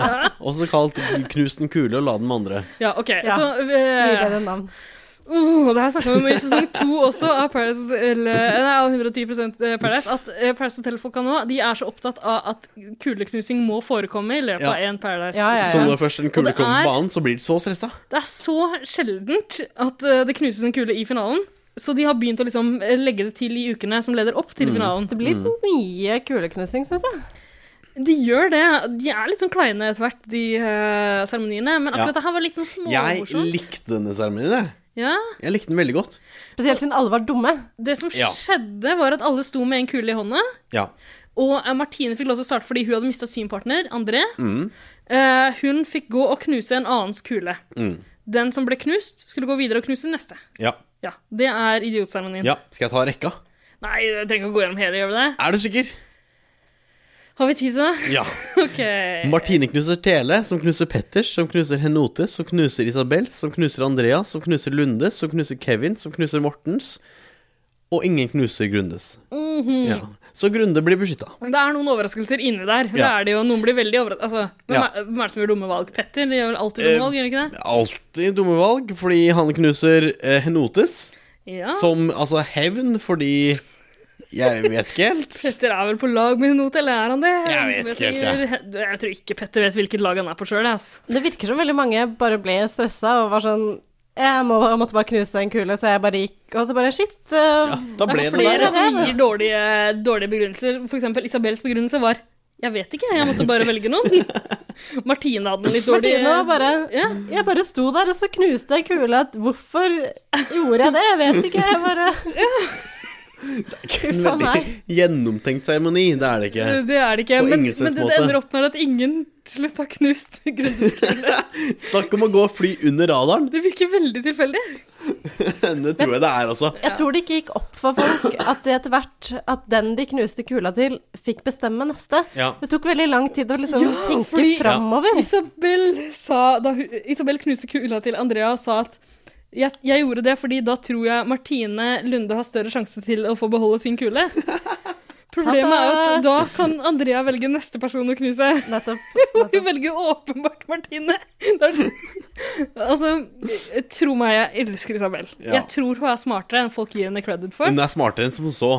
[SPEAKER 5] også kalt knus den kule og la den med andre.
[SPEAKER 2] Ja, ok.
[SPEAKER 4] Ja.
[SPEAKER 2] Så
[SPEAKER 4] Mye
[SPEAKER 2] eh,
[SPEAKER 4] bedre navn.
[SPEAKER 2] uh, Det her snakka vi om i sesong to også av Paris, eller, nei, av 110 Paradise. At eh, Paris Hotel-folka nå de er så opptatt av at kuleknusing må forekomme i løpet
[SPEAKER 5] Ja.
[SPEAKER 2] av en Paradise.
[SPEAKER 4] Ja, ja, ja.
[SPEAKER 5] Så når først den kule
[SPEAKER 2] Og det
[SPEAKER 5] kommer
[SPEAKER 2] er-
[SPEAKER 5] på banen, så blir de så stressa.
[SPEAKER 2] Det er så sjeldent at eh, det knuses en kule i finalen. Så de har begynt å liksom eh, legge det til i ukene som leder opp
[SPEAKER 5] Mm.
[SPEAKER 2] til finalen.
[SPEAKER 4] Det blir mye kuleknusing, syns jeg.
[SPEAKER 2] De gjør det. De er litt sånn kleine etter hvert, de eh, seremoniene. Men
[SPEAKER 5] Ja.
[SPEAKER 2] akkurat det her var litt sånn
[SPEAKER 5] Jeg
[SPEAKER 2] småmorsomt.
[SPEAKER 5] likte denne seremonien, jeg.
[SPEAKER 2] Ja.
[SPEAKER 5] Jeg likte den veldig godt.
[SPEAKER 4] Spesielt siden alle var dumme.
[SPEAKER 2] Det som
[SPEAKER 5] Ja.
[SPEAKER 2] skjedde, var at alle sto med en kule i hånda.
[SPEAKER 5] Ja.
[SPEAKER 2] Og eh, Martine fikk lov til å starte fordi hun hadde mista sin partner, André. Eh, hun fikk gå og knuse en annens kule.
[SPEAKER 5] Mm.
[SPEAKER 2] Den som ble knust, skulle gå videre og knuse den neste.
[SPEAKER 5] Ja.
[SPEAKER 2] Ja, Det er idiotseremonien.
[SPEAKER 5] ja. Skal jeg ta rekka?
[SPEAKER 2] Nei, jeg trenger ikke å gå gjennom hele, gjør vi det?
[SPEAKER 5] Er du sikker?
[SPEAKER 2] Har vi tid til det?
[SPEAKER 5] Ja.
[SPEAKER 2] Ok.
[SPEAKER 5] Martine knuser Tele, som knuser Petters, som knuser Henote, som knuser Isabel, som knuser Andreas, som knuser Lunde, som knuser Kevin, som knuser Mortens. Og ingen knuser Grundes.
[SPEAKER 2] Mhm.
[SPEAKER 5] ja. Så Grunde blir beskytta.
[SPEAKER 2] Det er noen overraskelser inni der. Det
[SPEAKER 5] Ja.
[SPEAKER 2] er det jo, Noen blir veldig overrasket. Altså, hvem,
[SPEAKER 5] Ja.
[SPEAKER 2] er, hvem er det som gjør dumme valg? Petter de gjør vel alltid dumme
[SPEAKER 5] Eh,
[SPEAKER 2] valg, gjør han ikke det?
[SPEAKER 5] Alltid dumme valg, fordi han knuser eh, Henotes.
[SPEAKER 2] Ja.
[SPEAKER 5] Som altså hevn fordi Jeg vet ikke helt.
[SPEAKER 2] Petter er vel på lag med Henote, eller er han det?
[SPEAKER 5] Jeg
[SPEAKER 2] Han
[SPEAKER 5] vet
[SPEAKER 2] som
[SPEAKER 5] ikke helt,
[SPEAKER 2] heter- Jeg tror ikke Petter vet hvilket lag han er på sjøl.
[SPEAKER 4] Det virker som veldig mange bare ble stressa og var sånn jeg, må, jeg måtte bare knuse en kule, så jeg bare gikk Og så bare shit. øh,
[SPEAKER 5] Da
[SPEAKER 2] Det
[SPEAKER 5] ble
[SPEAKER 2] er
[SPEAKER 5] det der.
[SPEAKER 2] flere
[SPEAKER 5] altså.
[SPEAKER 2] som gir dårlige, dårlige begrunnelser. For eksempel Isabels begrunnelse var jeg vet ikke, jeg måtte bare velge noen. Martine hadde en litt dårlig eh,
[SPEAKER 4] Martine bare
[SPEAKER 2] Ja.
[SPEAKER 4] Jeg bare sto der, og så knuste jeg kula. Hvorfor gjorde jeg det? Jeg vet ikke. Jeg bare
[SPEAKER 5] En
[SPEAKER 4] faen
[SPEAKER 5] veldig gjennomtenkt seremoni, det er det ikke.
[SPEAKER 2] Det er det ikke.
[SPEAKER 5] På
[SPEAKER 2] Men,
[SPEAKER 5] ingen slags
[SPEAKER 2] men det, det
[SPEAKER 5] måte.
[SPEAKER 2] ender opp med at ingen til slutt har knust grønnskule.
[SPEAKER 5] Snakk om å gå og fly under radaren!
[SPEAKER 2] Det virker veldig tilfeldig.
[SPEAKER 5] Det tror jeg det er, altså.
[SPEAKER 4] Jeg tror det ikke gikk opp for folk at det etter hvert at den de knuste kula til, fikk bestemme neste.
[SPEAKER 5] Ja.
[SPEAKER 4] Det tok veldig lang tid å liksom
[SPEAKER 2] Ja,
[SPEAKER 4] tenke
[SPEAKER 2] fordi-
[SPEAKER 4] framover.
[SPEAKER 2] Isabel, sa, da, hun- Isabel knuste kula til Andrea og sa at jeg, jeg gjorde det fordi da tror jeg Martine Lunde har større sjanse til å få beholde sin kule. Problemet er jo at da kan Andrea velge neste person å knuse.
[SPEAKER 4] Nettopp.
[SPEAKER 2] Hun velger åpenbart Martine. Det er- altså, tro meg, jeg elsker Isabel.
[SPEAKER 5] Ja.
[SPEAKER 2] Jeg tror hun er smartere enn folk gir henne credit for.
[SPEAKER 5] Hun er smartere enn som så,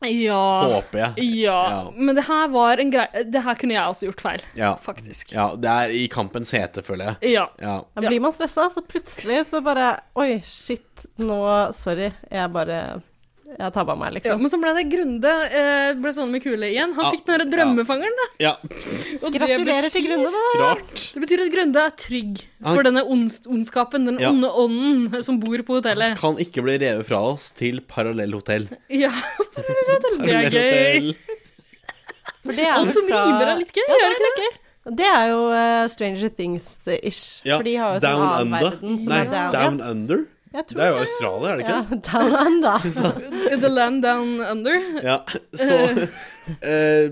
[SPEAKER 4] Ah.
[SPEAKER 2] Ja.
[SPEAKER 5] håper jeg.
[SPEAKER 2] Ja.
[SPEAKER 5] Ja.
[SPEAKER 2] Men det her var en greie Det her kunne jeg også gjort feil,
[SPEAKER 5] Ja.
[SPEAKER 2] faktisk.
[SPEAKER 5] ja. Det er i kampens hete, føler jeg.
[SPEAKER 2] Ja.
[SPEAKER 5] Ja.
[SPEAKER 4] Da
[SPEAKER 2] Ja.
[SPEAKER 4] blir man stressa, så plutselig så bare Oi, shit, nå Sorry. Jeg bare Jeg tabba
[SPEAKER 2] Ja,
[SPEAKER 4] meg, liksom.
[SPEAKER 2] men så ble det Grunde eh, ble sånn med kule igjen. Han
[SPEAKER 5] Ja.
[SPEAKER 2] fikk den derre drømmefangeren, da.
[SPEAKER 5] ja.
[SPEAKER 2] Og det
[SPEAKER 4] Gratulerer
[SPEAKER 2] betyr-
[SPEAKER 4] til Grunde, da.
[SPEAKER 5] Rart.
[SPEAKER 2] Det betyr at Grunde er trygg
[SPEAKER 5] Han-
[SPEAKER 2] for denne onds ondskapen, den
[SPEAKER 5] Ja.
[SPEAKER 2] onde ånden som bor på
[SPEAKER 4] Ah.
[SPEAKER 2] hotellet.
[SPEAKER 5] Kan ikke bli revet fra oss til parallellhotell.
[SPEAKER 2] Ja, parallellhotell. Det er gøy.
[SPEAKER 5] Parallellhotell.
[SPEAKER 4] For det er
[SPEAKER 2] Alt
[SPEAKER 4] jo
[SPEAKER 2] som
[SPEAKER 4] fra-
[SPEAKER 2] rimer er litt gøy,
[SPEAKER 4] Ja,
[SPEAKER 2] er det
[SPEAKER 4] det er gøy. Og Det er jo eh, Stranger Things-ish.
[SPEAKER 5] Ja.
[SPEAKER 4] For de har jo sånn
[SPEAKER 5] Down
[SPEAKER 4] annen
[SPEAKER 5] Under.
[SPEAKER 4] verden som
[SPEAKER 5] Nei,
[SPEAKER 4] er down.
[SPEAKER 5] Down Under?
[SPEAKER 4] Ja, jeg tror
[SPEAKER 5] Det er jo Australia, er det
[SPEAKER 4] ja,
[SPEAKER 5] ikke?
[SPEAKER 4] down Under.
[SPEAKER 2] The land down under.
[SPEAKER 5] Ja. Så eh, eh,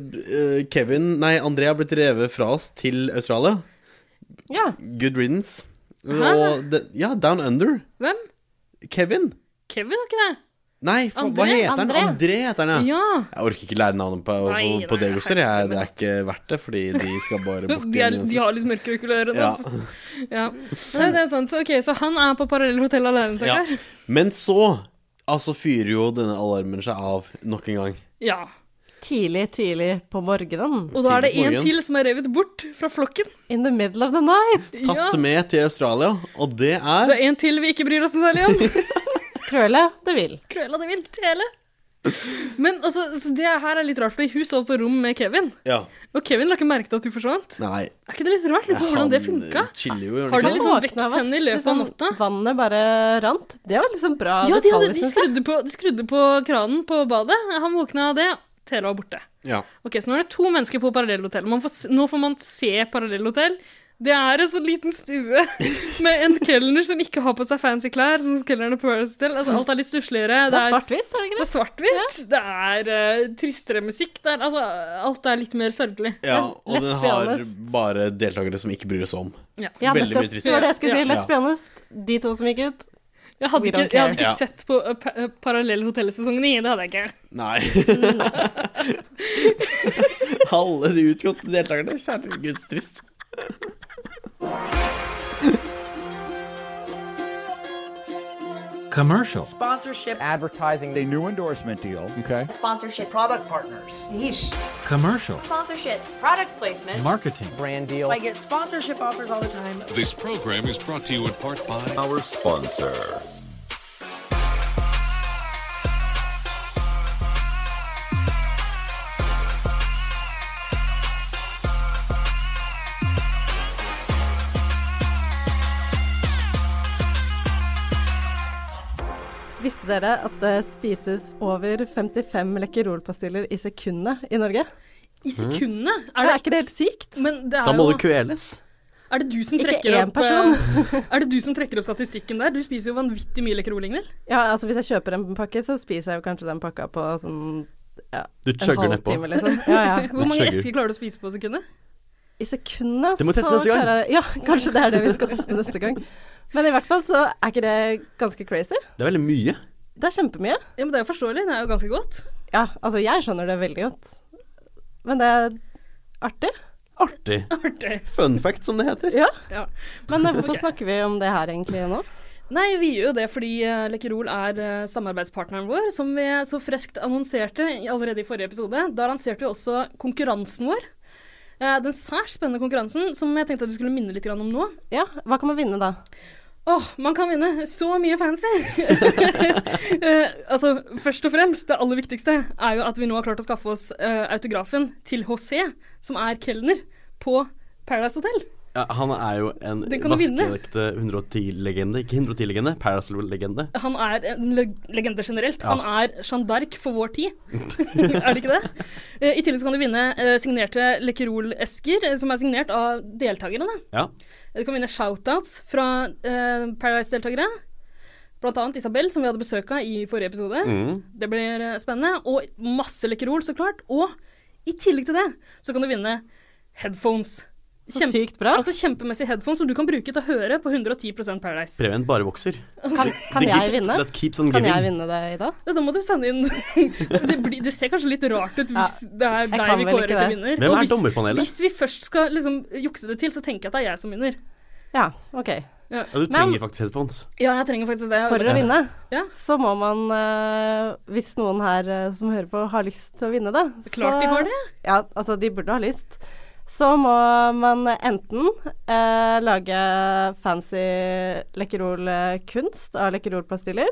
[SPEAKER 5] Kevin Nei, Andrea har blitt revet fra oss til Australia.
[SPEAKER 4] Ja.
[SPEAKER 5] Good riddance.
[SPEAKER 2] Hæ?
[SPEAKER 5] Og det, ja, Down Under.
[SPEAKER 2] Hvem?
[SPEAKER 5] Kevin.
[SPEAKER 2] Kevin, har ikke det?
[SPEAKER 5] Nei, faen, hva
[SPEAKER 2] André?
[SPEAKER 5] heter han?
[SPEAKER 4] André?
[SPEAKER 5] André heter han, ja.
[SPEAKER 2] Ja.
[SPEAKER 5] Jeg orker ikke lære navnet på, på,
[SPEAKER 2] Nei,
[SPEAKER 5] på
[SPEAKER 2] nei,
[SPEAKER 5] Degoser. Jeg, det er ikke verdt det, fordi de skal bare bort
[SPEAKER 2] De, er,
[SPEAKER 5] igjen,
[SPEAKER 2] de har litt mørkere kulør enn
[SPEAKER 5] Ja.
[SPEAKER 2] oss. Ja. Nei, det er sant. Så, ok, så han er på parallellhotell alene,
[SPEAKER 5] Ja.
[SPEAKER 2] stakkar.
[SPEAKER 5] Men så altså fyrer jo denne alarmen seg av nok en gang.
[SPEAKER 2] Ja.
[SPEAKER 4] Tidlig, tidlig på morgenen.
[SPEAKER 2] Og da er det
[SPEAKER 5] Tidlig på
[SPEAKER 2] en
[SPEAKER 5] morgenen.
[SPEAKER 2] til som er revet bort fra flokken.
[SPEAKER 4] In the middle of the night.
[SPEAKER 5] Tatt
[SPEAKER 2] Ja.
[SPEAKER 5] med til Australia, og det
[SPEAKER 2] Det
[SPEAKER 5] er
[SPEAKER 2] er en til vi ikke bryr oss noe særlig om.
[SPEAKER 4] Krølle det vil.
[SPEAKER 2] Cruella de Vil tele. Men altså, så det her er litt rart, fordi hun sov på rom med Kevin.
[SPEAKER 5] Ja.
[SPEAKER 2] Og Kevin la ikke merke til at hun forsvant.
[SPEAKER 5] Nei.
[SPEAKER 2] Er ikke det litt rart? Litt på hvordan det funka?
[SPEAKER 5] Han eh, chiller jo, gjør
[SPEAKER 2] Har det
[SPEAKER 5] han ikke?
[SPEAKER 2] liksom
[SPEAKER 4] Han våkna
[SPEAKER 2] vekt
[SPEAKER 4] av at
[SPEAKER 2] henne i løpet av
[SPEAKER 4] liksom
[SPEAKER 2] natta?
[SPEAKER 4] Vannet bare rant. Det var liksom bra
[SPEAKER 2] Ja, de, hadde,
[SPEAKER 4] detalj,
[SPEAKER 2] de,
[SPEAKER 4] synes jeg.
[SPEAKER 2] skrudde på, de skrudde på kranen på badet. Han våkna av det. Tele var borte.
[SPEAKER 5] Ja.
[SPEAKER 2] Ok, Så nå er det to mennesker på parallellhotell. Man får, s- nå får man se parallellhotell. Det er en sånn liten stue med en kelner som ikke har på seg fancy klær. Som kelnerne på Paradise Hotel. Altså, alt er litt stussligere.
[SPEAKER 4] Det er svart-hvitt, er det ikke
[SPEAKER 2] Det
[SPEAKER 4] det?
[SPEAKER 2] er svart-hvitt, det er eh, tristere musikk, det er, altså, alt er litt mer sørgelig.
[SPEAKER 5] ja. Og den
[SPEAKER 4] let's be
[SPEAKER 5] har
[SPEAKER 4] honest.
[SPEAKER 5] bare deltakere som ikke bryr oss om.
[SPEAKER 2] Ja.
[SPEAKER 4] Ja,
[SPEAKER 5] Veldig
[SPEAKER 4] nettopp.
[SPEAKER 5] mye trist.
[SPEAKER 4] Det var det jeg skulle si.
[SPEAKER 5] Ja.
[SPEAKER 4] Let's be honest. De to som gikk ut.
[SPEAKER 2] Jeg
[SPEAKER 4] We
[SPEAKER 2] hadde ikke,
[SPEAKER 4] don't
[SPEAKER 2] jeg hadde
[SPEAKER 5] care.
[SPEAKER 2] ikke sett på uh, pa uh, parallellhotellsesongen i, det hadde jeg ikke.
[SPEAKER 5] Nei.
[SPEAKER 2] Mm.
[SPEAKER 5] Alle de utgåtte deltakerne. Særlig gudstrist.
[SPEAKER 8] Commercial.
[SPEAKER 9] advertising a new endorsement deal. Okay.
[SPEAKER 10] Sponsorship.
[SPEAKER 3] Product partners.
[SPEAKER 8] Commercial.
[SPEAKER 10] Sponsorships. Product placement.
[SPEAKER 8] Marketing.
[SPEAKER 3] Brand deal.
[SPEAKER 10] I get sponsorship offers all the time.
[SPEAKER 11] This program is brought to you in part by
[SPEAKER 9] Our sponsor.
[SPEAKER 4] Visste dere at det spises over 55 Lekkerol-pastiller i sekundet i Norge?
[SPEAKER 2] I sekundene?
[SPEAKER 4] Er
[SPEAKER 2] Er det,
[SPEAKER 4] ikke det helt sykt?
[SPEAKER 2] men det
[SPEAKER 5] Mhm. Da
[SPEAKER 2] er,
[SPEAKER 5] må
[SPEAKER 2] jo,
[SPEAKER 5] du kveles.
[SPEAKER 2] er det du som
[SPEAKER 4] Ikke
[SPEAKER 2] trekker
[SPEAKER 4] én
[SPEAKER 2] opp uh, Er det du som trekker opp statistikken der? Du spiser jo vanvittig mye Lekker Olingvild.
[SPEAKER 4] Ja, altså hvis jeg kjøper en pakke, så spiser jeg jo kanskje den pakka på sånn ja,
[SPEAKER 5] Du
[SPEAKER 4] en
[SPEAKER 5] chugger nedpå.
[SPEAKER 4] halvtime, liksom. Ja, ja.
[SPEAKER 2] Hvor mange
[SPEAKER 5] skjønner.
[SPEAKER 2] esker klarer du å spise på sekundet?
[SPEAKER 4] I sekundene
[SPEAKER 5] Det må vi teste neste gang.
[SPEAKER 4] klarer jeg- Ja, kanskje det er det vi skal teste neste gang. Men i hvert fall så er ikke det ganske crazy.
[SPEAKER 5] Det er veldig mye.
[SPEAKER 4] Det er kjempemye.
[SPEAKER 2] Ja, men Det er jo forståelig, det er jo ganske godt.
[SPEAKER 4] Ja, altså jeg skjønner det veldig godt. Men det er artig.
[SPEAKER 5] Artig.
[SPEAKER 2] Artig.
[SPEAKER 5] Fun fact, som det heter.
[SPEAKER 4] Ja.
[SPEAKER 2] Ja.
[SPEAKER 4] Men eh, hvorfor snakker vi om det her egentlig nå?
[SPEAKER 2] Nei, vi gjør jo det fordi eh, Lekkerol er eh, samarbeidspartneren vår, som vi så freskt annonserte i- allerede i forrige episode. Da lanserte vi også konkurransen vår. Eh, Den særs spennende konkurransen som jeg tenkte at vi skulle minne litt grann om nå.
[SPEAKER 4] Ja, hva kan man vinne da?
[SPEAKER 2] Åh, man kan vinne så mye fancy! Eh, altså, først og fremst, det aller viktigste er jo at vi nå har klart å skaffe oss eh, autografen til HC, som er kelner, på Paradise Hotel.
[SPEAKER 5] Ja, han er jo en
[SPEAKER 2] Den kan du vinne.
[SPEAKER 5] vaskeekte 110-legende. Ikke 110-legende, Parasol-legende.
[SPEAKER 2] Han er en leg legende generelt.
[SPEAKER 5] Ja.
[SPEAKER 2] Han er Jeanne d'Arc for vår tid. er det ikke det? Eh, I tillegg så kan du vinne eh, signerte Lekkerol-esker, eh, som er signert av deltakerne. da.
[SPEAKER 5] Ja.
[SPEAKER 2] Du kan vinne shoutouts fra eh, Paradise-deltakere. Blant annet Isabel, som vi hadde besøk av i forrige episode.
[SPEAKER 5] Mm.
[SPEAKER 2] Det blir eh, spennende. Og masse Lekkerol, så klart. Og i tillegg til det så kan du vinne headphones.
[SPEAKER 4] Så
[SPEAKER 2] Kjempe-
[SPEAKER 4] sykt bra.
[SPEAKER 2] Altså Kjempemessige headphones som du kan bruke til å høre på 110 Paradise.
[SPEAKER 5] Preben bare vokser.
[SPEAKER 4] Kan, kan
[SPEAKER 5] The
[SPEAKER 4] jeg
[SPEAKER 5] gift
[SPEAKER 4] vinne?
[SPEAKER 5] That keeps on
[SPEAKER 4] Kan
[SPEAKER 5] giving.
[SPEAKER 4] jeg vinne det, Ida?
[SPEAKER 2] Ja, Da må du sende inn det, blir, det ser kanskje litt rart ut hvis det er deg
[SPEAKER 4] kan
[SPEAKER 2] vi
[SPEAKER 4] vel
[SPEAKER 2] kårer
[SPEAKER 4] ikke
[SPEAKER 2] til
[SPEAKER 4] det.
[SPEAKER 2] vinner.
[SPEAKER 5] Hvem
[SPEAKER 2] Og
[SPEAKER 5] er
[SPEAKER 2] hvis,
[SPEAKER 5] dommerpanelet?
[SPEAKER 2] Hvis vi først skal liksom jukse det til, så tenker jeg at det er jeg som vinner.
[SPEAKER 4] Ja, OK.
[SPEAKER 5] Ja, du trenger
[SPEAKER 4] Men-
[SPEAKER 5] faktisk headphones.
[SPEAKER 2] Ja, jeg trenger faktisk det.
[SPEAKER 4] For å vinne,
[SPEAKER 2] Ja.
[SPEAKER 4] så må man eh, Hvis noen her eh, som hører på, har lyst til å vinne det
[SPEAKER 2] er klart
[SPEAKER 4] så,
[SPEAKER 2] de har det.
[SPEAKER 4] Ja, altså, de burde ha lyst. Så må man enten eh, lage fancy Lekkerol-kunst av Lekkerol-pastiller.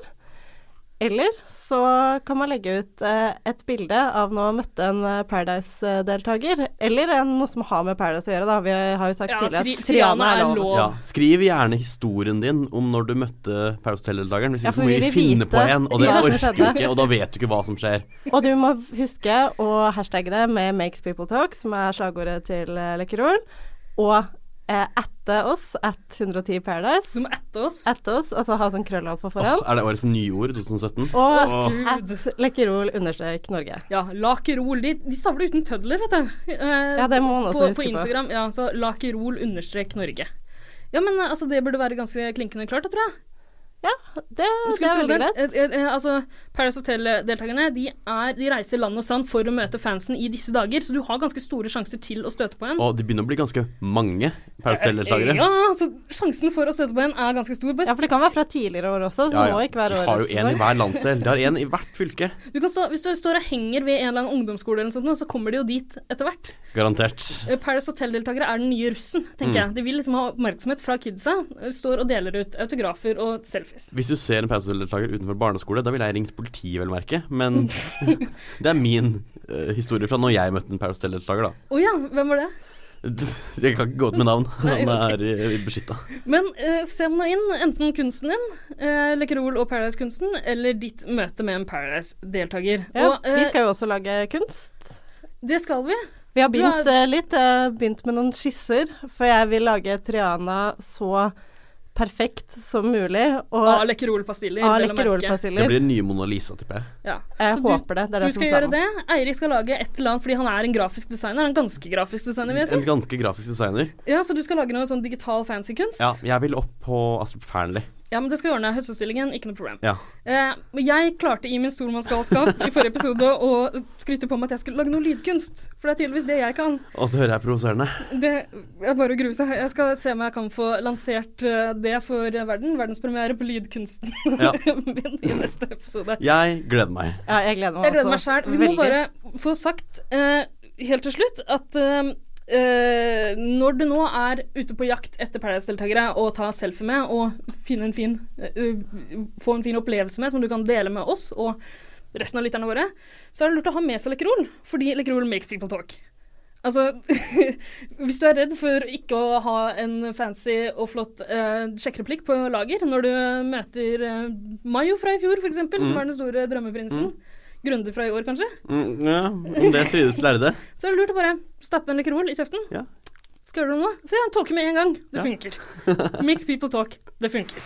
[SPEAKER 4] Eller så kan man legge ut eh, et bilde av når man møtte en eh, Paradise-deltaker. Eller en, noe som har med Paradise å gjøre, da. Vi har jo sagt
[SPEAKER 2] Ja,
[SPEAKER 4] tidligere
[SPEAKER 2] tri,
[SPEAKER 4] at
[SPEAKER 2] Triana er lov.
[SPEAKER 5] Ja. Skriv gjerne historien din om når du møtte Paris Hotel-deltakeren. Hvis
[SPEAKER 4] Ja,
[SPEAKER 5] ikke
[SPEAKER 4] for
[SPEAKER 5] så må
[SPEAKER 4] vi
[SPEAKER 5] vi
[SPEAKER 4] vil
[SPEAKER 5] finne
[SPEAKER 4] vite
[SPEAKER 5] på en, og det
[SPEAKER 4] hva som
[SPEAKER 5] orker vi
[SPEAKER 4] skjedde.
[SPEAKER 5] ikke. Og da vet du ikke hva som skjer.
[SPEAKER 4] Og du må huske å hashtagge det med 'Makes people talk', som er slagordet til eh, Lekkerol. Og eh, atte oss, at 110
[SPEAKER 2] Du
[SPEAKER 4] Paradise.
[SPEAKER 2] må ette oss.
[SPEAKER 4] Atte oss, altså ha sånn krøllalfa
[SPEAKER 5] Åh,
[SPEAKER 4] foran.
[SPEAKER 5] er det årets nyord 2017?
[SPEAKER 4] Og
[SPEAKER 5] Gud.
[SPEAKER 4] at Lekkerol understrek Norge.
[SPEAKER 2] Ja, Lakerol. De, de savler uten tødler, vet du. Eh,
[SPEAKER 4] Ja, det må man også
[SPEAKER 2] på, på
[SPEAKER 4] huske på.
[SPEAKER 2] Instagram. Ja, så Lakerol understrek Norge. Ja, men eh, altså, det burde være ganske klinkende klart, da, tror jeg.
[SPEAKER 4] Ja, det, det
[SPEAKER 2] Skulle
[SPEAKER 4] er
[SPEAKER 2] tro
[SPEAKER 4] veldig
[SPEAKER 2] det.
[SPEAKER 4] greit.
[SPEAKER 2] Eh, eh, eh, Altså, Paradise Hotel-deltakerne de, er- de reiser land og strand for å møte fansen i disse dager, så du har ganske store sjanser til å støte på en.
[SPEAKER 5] Og det begynner å bli ganske mange Paris Hotel-deltakere.
[SPEAKER 2] Ja, så sjansen for å støte på en er ganske stor. Bare
[SPEAKER 4] Ja, for det kan være fra tidligere år også, så det må ikke være
[SPEAKER 5] De har jo
[SPEAKER 4] årets
[SPEAKER 5] en i
[SPEAKER 4] sesong.
[SPEAKER 5] hver landsdel. De har en i hvert fylke.
[SPEAKER 2] du kan stå, hvis du står og henger ved en eller annen ungdomsskole, eller noe sånt, nå, så kommer de jo dit etter hvert.
[SPEAKER 5] Garantert.
[SPEAKER 2] Eh, Paradise Hotel-deltakere er den nye russen, tenker jeg. De vil liksom ha oppmerksomhet fra kidsa. eh, Står og deler ut autografer og selfies.
[SPEAKER 5] Hvis du ser en Paris Hotel-deltaker utenfor barneskole, da ville jeg ringt politiet, vel å merke. Men det er min eh, historie fra når jeg møtte en Paris Hotel-deltaker, da.
[SPEAKER 2] Å ja, hvem var det?
[SPEAKER 5] Jeg kan ikke gå ut med navn. Han er eh, beskytta.
[SPEAKER 2] Men eh, send nå inn enten kunsten din, eh, Lekkerol og Paradise-kunsten, eller ditt møte med en Paradise-deltaker.
[SPEAKER 4] Ja,
[SPEAKER 2] Og, eh,
[SPEAKER 4] vi skal jo også lage kunst.
[SPEAKER 2] Det skal vi.
[SPEAKER 4] Vi har
[SPEAKER 2] Du
[SPEAKER 4] begynt
[SPEAKER 2] er-
[SPEAKER 4] eh, litt, eh, begynt med noen skisser, for jeg vil lage Triana så perfekt som mulig. Og
[SPEAKER 2] Av Lekkerol-pastiller.
[SPEAKER 4] av
[SPEAKER 2] vel å merke.
[SPEAKER 5] Det
[SPEAKER 4] Lekkerol-pastiller.
[SPEAKER 5] blir den nye Mona Lisa, tipper jeg.
[SPEAKER 2] Ja.
[SPEAKER 4] Jeg
[SPEAKER 2] Så
[SPEAKER 4] håper det. Det
[SPEAKER 2] Du
[SPEAKER 4] er det
[SPEAKER 2] skal
[SPEAKER 4] som er
[SPEAKER 2] gjøre
[SPEAKER 4] planen.
[SPEAKER 2] det. Eirik skal lage et eller annet fordi han er en grafisk designer. Han er en ganske grafisk designer, vil jeg
[SPEAKER 4] Mm.
[SPEAKER 2] si.
[SPEAKER 5] En ganske grafisk designer.
[SPEAKER 2] Ja, Så du skal lage noe sånn digital fancy kunst?
[SPEAKER 5] Ja, jeg vil opp på Astrup Fearnley.
[SPEAKER 2] Ja, men det skal vi ordne. Høstutstillingen, ikke noe problem.
[SPEAKER 5] Ja.
[SPEAKER 2] Eh, men jeg klarte i min stormannsgalskap i forrige episode å skryte på meg at jeg skulle lage noe lydkunst. For det er tydeligvis det jeg kan.
[SPEAKER 5] Og det hører jeg er provoserende.
[SPEAKER 2] Det er bare å grue seg. Jeg skal se om jeg kan få lansert eh, det for verden. Verdenspremiere på lydkunsten
[SPEAKER 5] Ja.
[SPEAKER 2] min i neste episode.
[SPEAKER 5] Jeg gleder meg.
[SPEAKER 4] Ja, jeg gleder meg
[SPEAKER 2] Jeg gleder meg
[SPEAKER 4] også
[SPEAKER 2] sjæl. Vi
[SPEAKER 4] altså,
[SPEAKER 2] må
[SPEAKER 4] veldig.
[SPEAKER 2] bare få sagt eh, helt til slutt at eh, eh, når du nå er ute på jakt etter Paradise-deltakere å ta selfie med og finne en fin, eh, eh, få en fin opplevelse med, som du kan dele med oss og resten av lytterne våre, så er det lurt å ha med seg Lekkerol, fordi Lekkerol makes people talk. Altså, hvis du er redd for ikke å ha en fancy og flott eh, sjekkereplikk på lager når du møter eh, Mayo fra i fjor, f.eks., eksempel, som er den store drømmeprinsen, Grunde fra i år, kanskje,
[SPEAKER 5] Mm, ja, om det strides lærde.
[SPEAKER 2] så er det lurt å bare stappe en Lekkerol i kjeften.
[SPEAKER 5] Ja.
[SPEAKER 2] Skal gjøre noe nå? Så gjør han tåke med en gang. Det funker. Mix people talk. Det funker.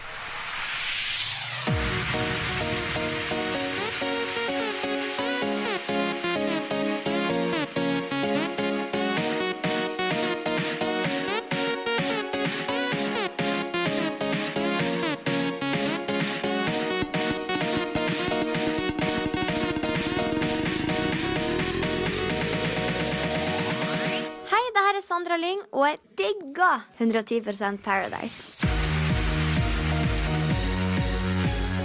[SPEAKER 8] Hei, det her er Sandra Lyng, og jeg digger 110 Paradise.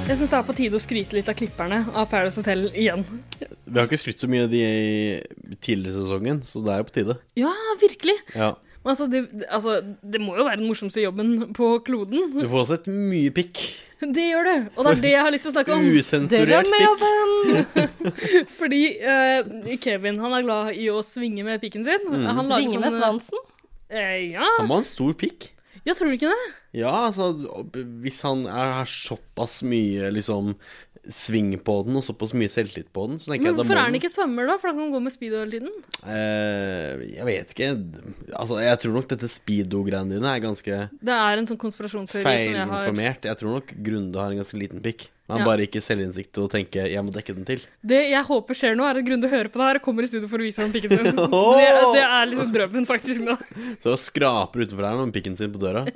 [SPEAKER 2] Jeg syns det er på tide å skryte litt av klipperne av Paradise Hotel igjen.
[SPEAKER 5] Vi har ikke skrytt så mye av de i tidligere sesongen, så det er jo på tide.
[SPEAKER 2] Ja, virkelig.
[SPEAKER 5] Ja.
[SPEAKER 2] Men Altså det, det- altså, det må jo være den morsomste jobben på kloden.
[SPEAKER 5] Du får også et mye pikk.
[SPEAKER 2] Det gjør det. Og det er det jeg har lyst til å snakke om.
[SPEAKER 5] Usensurert pikk.
[SPEAKER 4] Drømmejobben!
[SPEAKER 2] Fordi eh, Kevin han er glad i å svinge med pikken sin. Han lager
[SPEAKER 5] Mm.
[SPEAKER 4] Ringe med
[SPEAKER 2] sånne-
[SPEAKER 4] svansen.
[SPEAKER 2] Eh, Eh, ja.
[SPEAKER 5] Han må ha en stor pikk.
[SPEAKER 2] Jeg tror ikke det.
[SPEAKER 5] Ja, altså Hvis han er, har såpass mye liksom sving på den, og såpass mye selvtillit på den, så tenker
[SPEAKER 2] Men
[SPEAKER 5] jeg da
[SPEAKER 2] hvorfor
[SPEAKER 5] må
[SPEAKER 2] er han ikke svømmer, da? For han kan gå med speedo hele tiden.
[SPEAKER 5] Eh, jeg vet ikke. Altså, jeg tror nok dette speedo-greiene dine er ganske
[SPEAKER 2] Det er en sånn konspirasjonsteori som jeg har
[SPEAKER 5] feilinformert. Jeg tror nok Grunde har en ganske liten pikk. Men han
[SPEAKER 2] Ja.
[SPEAKER 5] bare ikke selvinnsikt til å tenke 'jeg må dekke den til'.
[SPEAKER 2] Det jeg håper skjer nå, er at Grunde hører på det her og kommer i studio for å vise ham pikken sin.
[SPEAKER 5] Åh!
[SPEAKER 2] det, det er liksom drømmen, faktisk. da.
[SPEAKER 5] Så han skraper utenfor her med pikken sin på døra.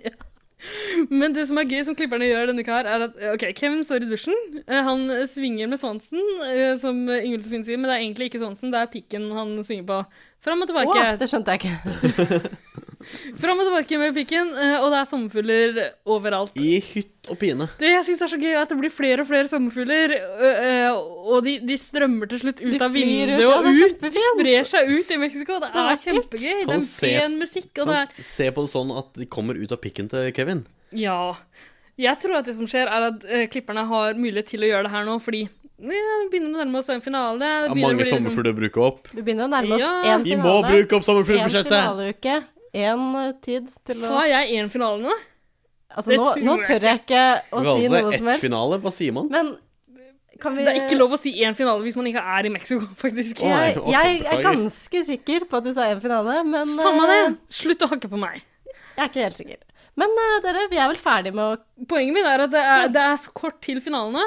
[SPEAKER 2] Men det som er gøy, som klipperne gjør denne uka, her, er at ok, Kevin står i dusjen. Eh, Han svinger med svansen, eh, som Ingvild Sofien sier, men det er egentlig ikke svansen, det er pikken han svinger på. Fram og tilbake.
[SPEAKER 4] Åh, det skjønte jeg ikke.
[SPEAKER 2] Fram og tilbake med pikken, eh, og det er sommerfugler overalt.
[SPEAKER 5] I hytt og pine.
[SPEAKER 2] Det jeg synes er så gøy, er at det blir flere og flere sommerfugler, ø, ø, og de, de strømmer til slutt ut
[SPEAKER 4] De
[SPEAKER 2] av
[SPEAKER 4] flyr ut,
[SPEAKER 2] vinduet
[SPEAKER 4] ja,
[SPEAKER 2] og
[SPEAKER 4] det er
[SPEAKER 2] ut.
[SPEAKER 4] kjempefint.
[SPEAKER 2] De sprer seg ut i Mexico. Det
[SPEAKER 4] er
[SPEAKER 2] er kjempegøy. Det er
[SPEAKER 5] Kan
[SPEAKER 2] en
[SPEAKER 5] se-
[SPEAKER 2] pen musikk, og det
[SPEAKER 5] Kan
[SPEAKER 2] er
[SPEAKER 5] Se på det sånn at de kommer ut av pikken til Kevin.
[SPEAKER 2] Ja. Jeg tror at det som skjer, er at ø, klipperne har mulighet til å gjøre det her nå, fordi ja, vi begynner å nærme oss en finale. Det
[SPEAKER 5] Det er
[SPEAKER 2] begynner å
[SPEAKER 5] mange
[SPEAKER 2] bli liksom-
[SPEAKER 5] sommerfugler å bruke opp.
[SPEAKER 4] Vi begynner å nærme oss
[SPEAKER 2] Ja.
[SPEAKER 4] én
[SPEAKER 5] Vi
[SPEAKER 4] finale.
[SPEAKER 5] må bruke opp
[SPEAKER 4] En
[SPEAKER 5] sommerfuglbudsjettet!
[SPEAKER 4] finaleuke. Én tid til å
[SPEAKER 2] Sa jeg én finale nå?
[SPEAKER 4] Altså,
[SPEAKER 2] det
[SPEAKER 4] nå,
[SPEAKER 2] tror
[SPEAKER 4] nå
[SPEAKER 2] jeg
[SPEAKER 4] tør jeg ikke å
[SPEAKER 5] Vi
[SPEAKER 4] si
[SPEAKER 5] kaller
[SPEAKER 4] noe
[SPEAKER 5] det
[SPEAKER 4] som
[SPEAKER 5] ett
[SPEAKER 4] helst.
[SPEAKER 5] finale. Hva sier man?
[SPEAKER 4] Men kan vi
[SPEAKER 2] Det er ikke lov å si én finale hvis man ikke er i Mexico, faktisk.
[SPEAKER 5] Å, nei,
[SPEAKER 4] Jeg, jeg er
[SPEAKER 5] beklager.
[SPEAKER 4] ganske sikker på at du sa én finale, men eh,
[SPEAKER 2] Samme det. Slutt å hakke på meg.
[SPEAKER 4] jeg er ikke helt sikker. Men eh, dere, vi er vel ferdig med å
[SPEAKER 2] Poenget mitt er at det er, det er så kort til finalene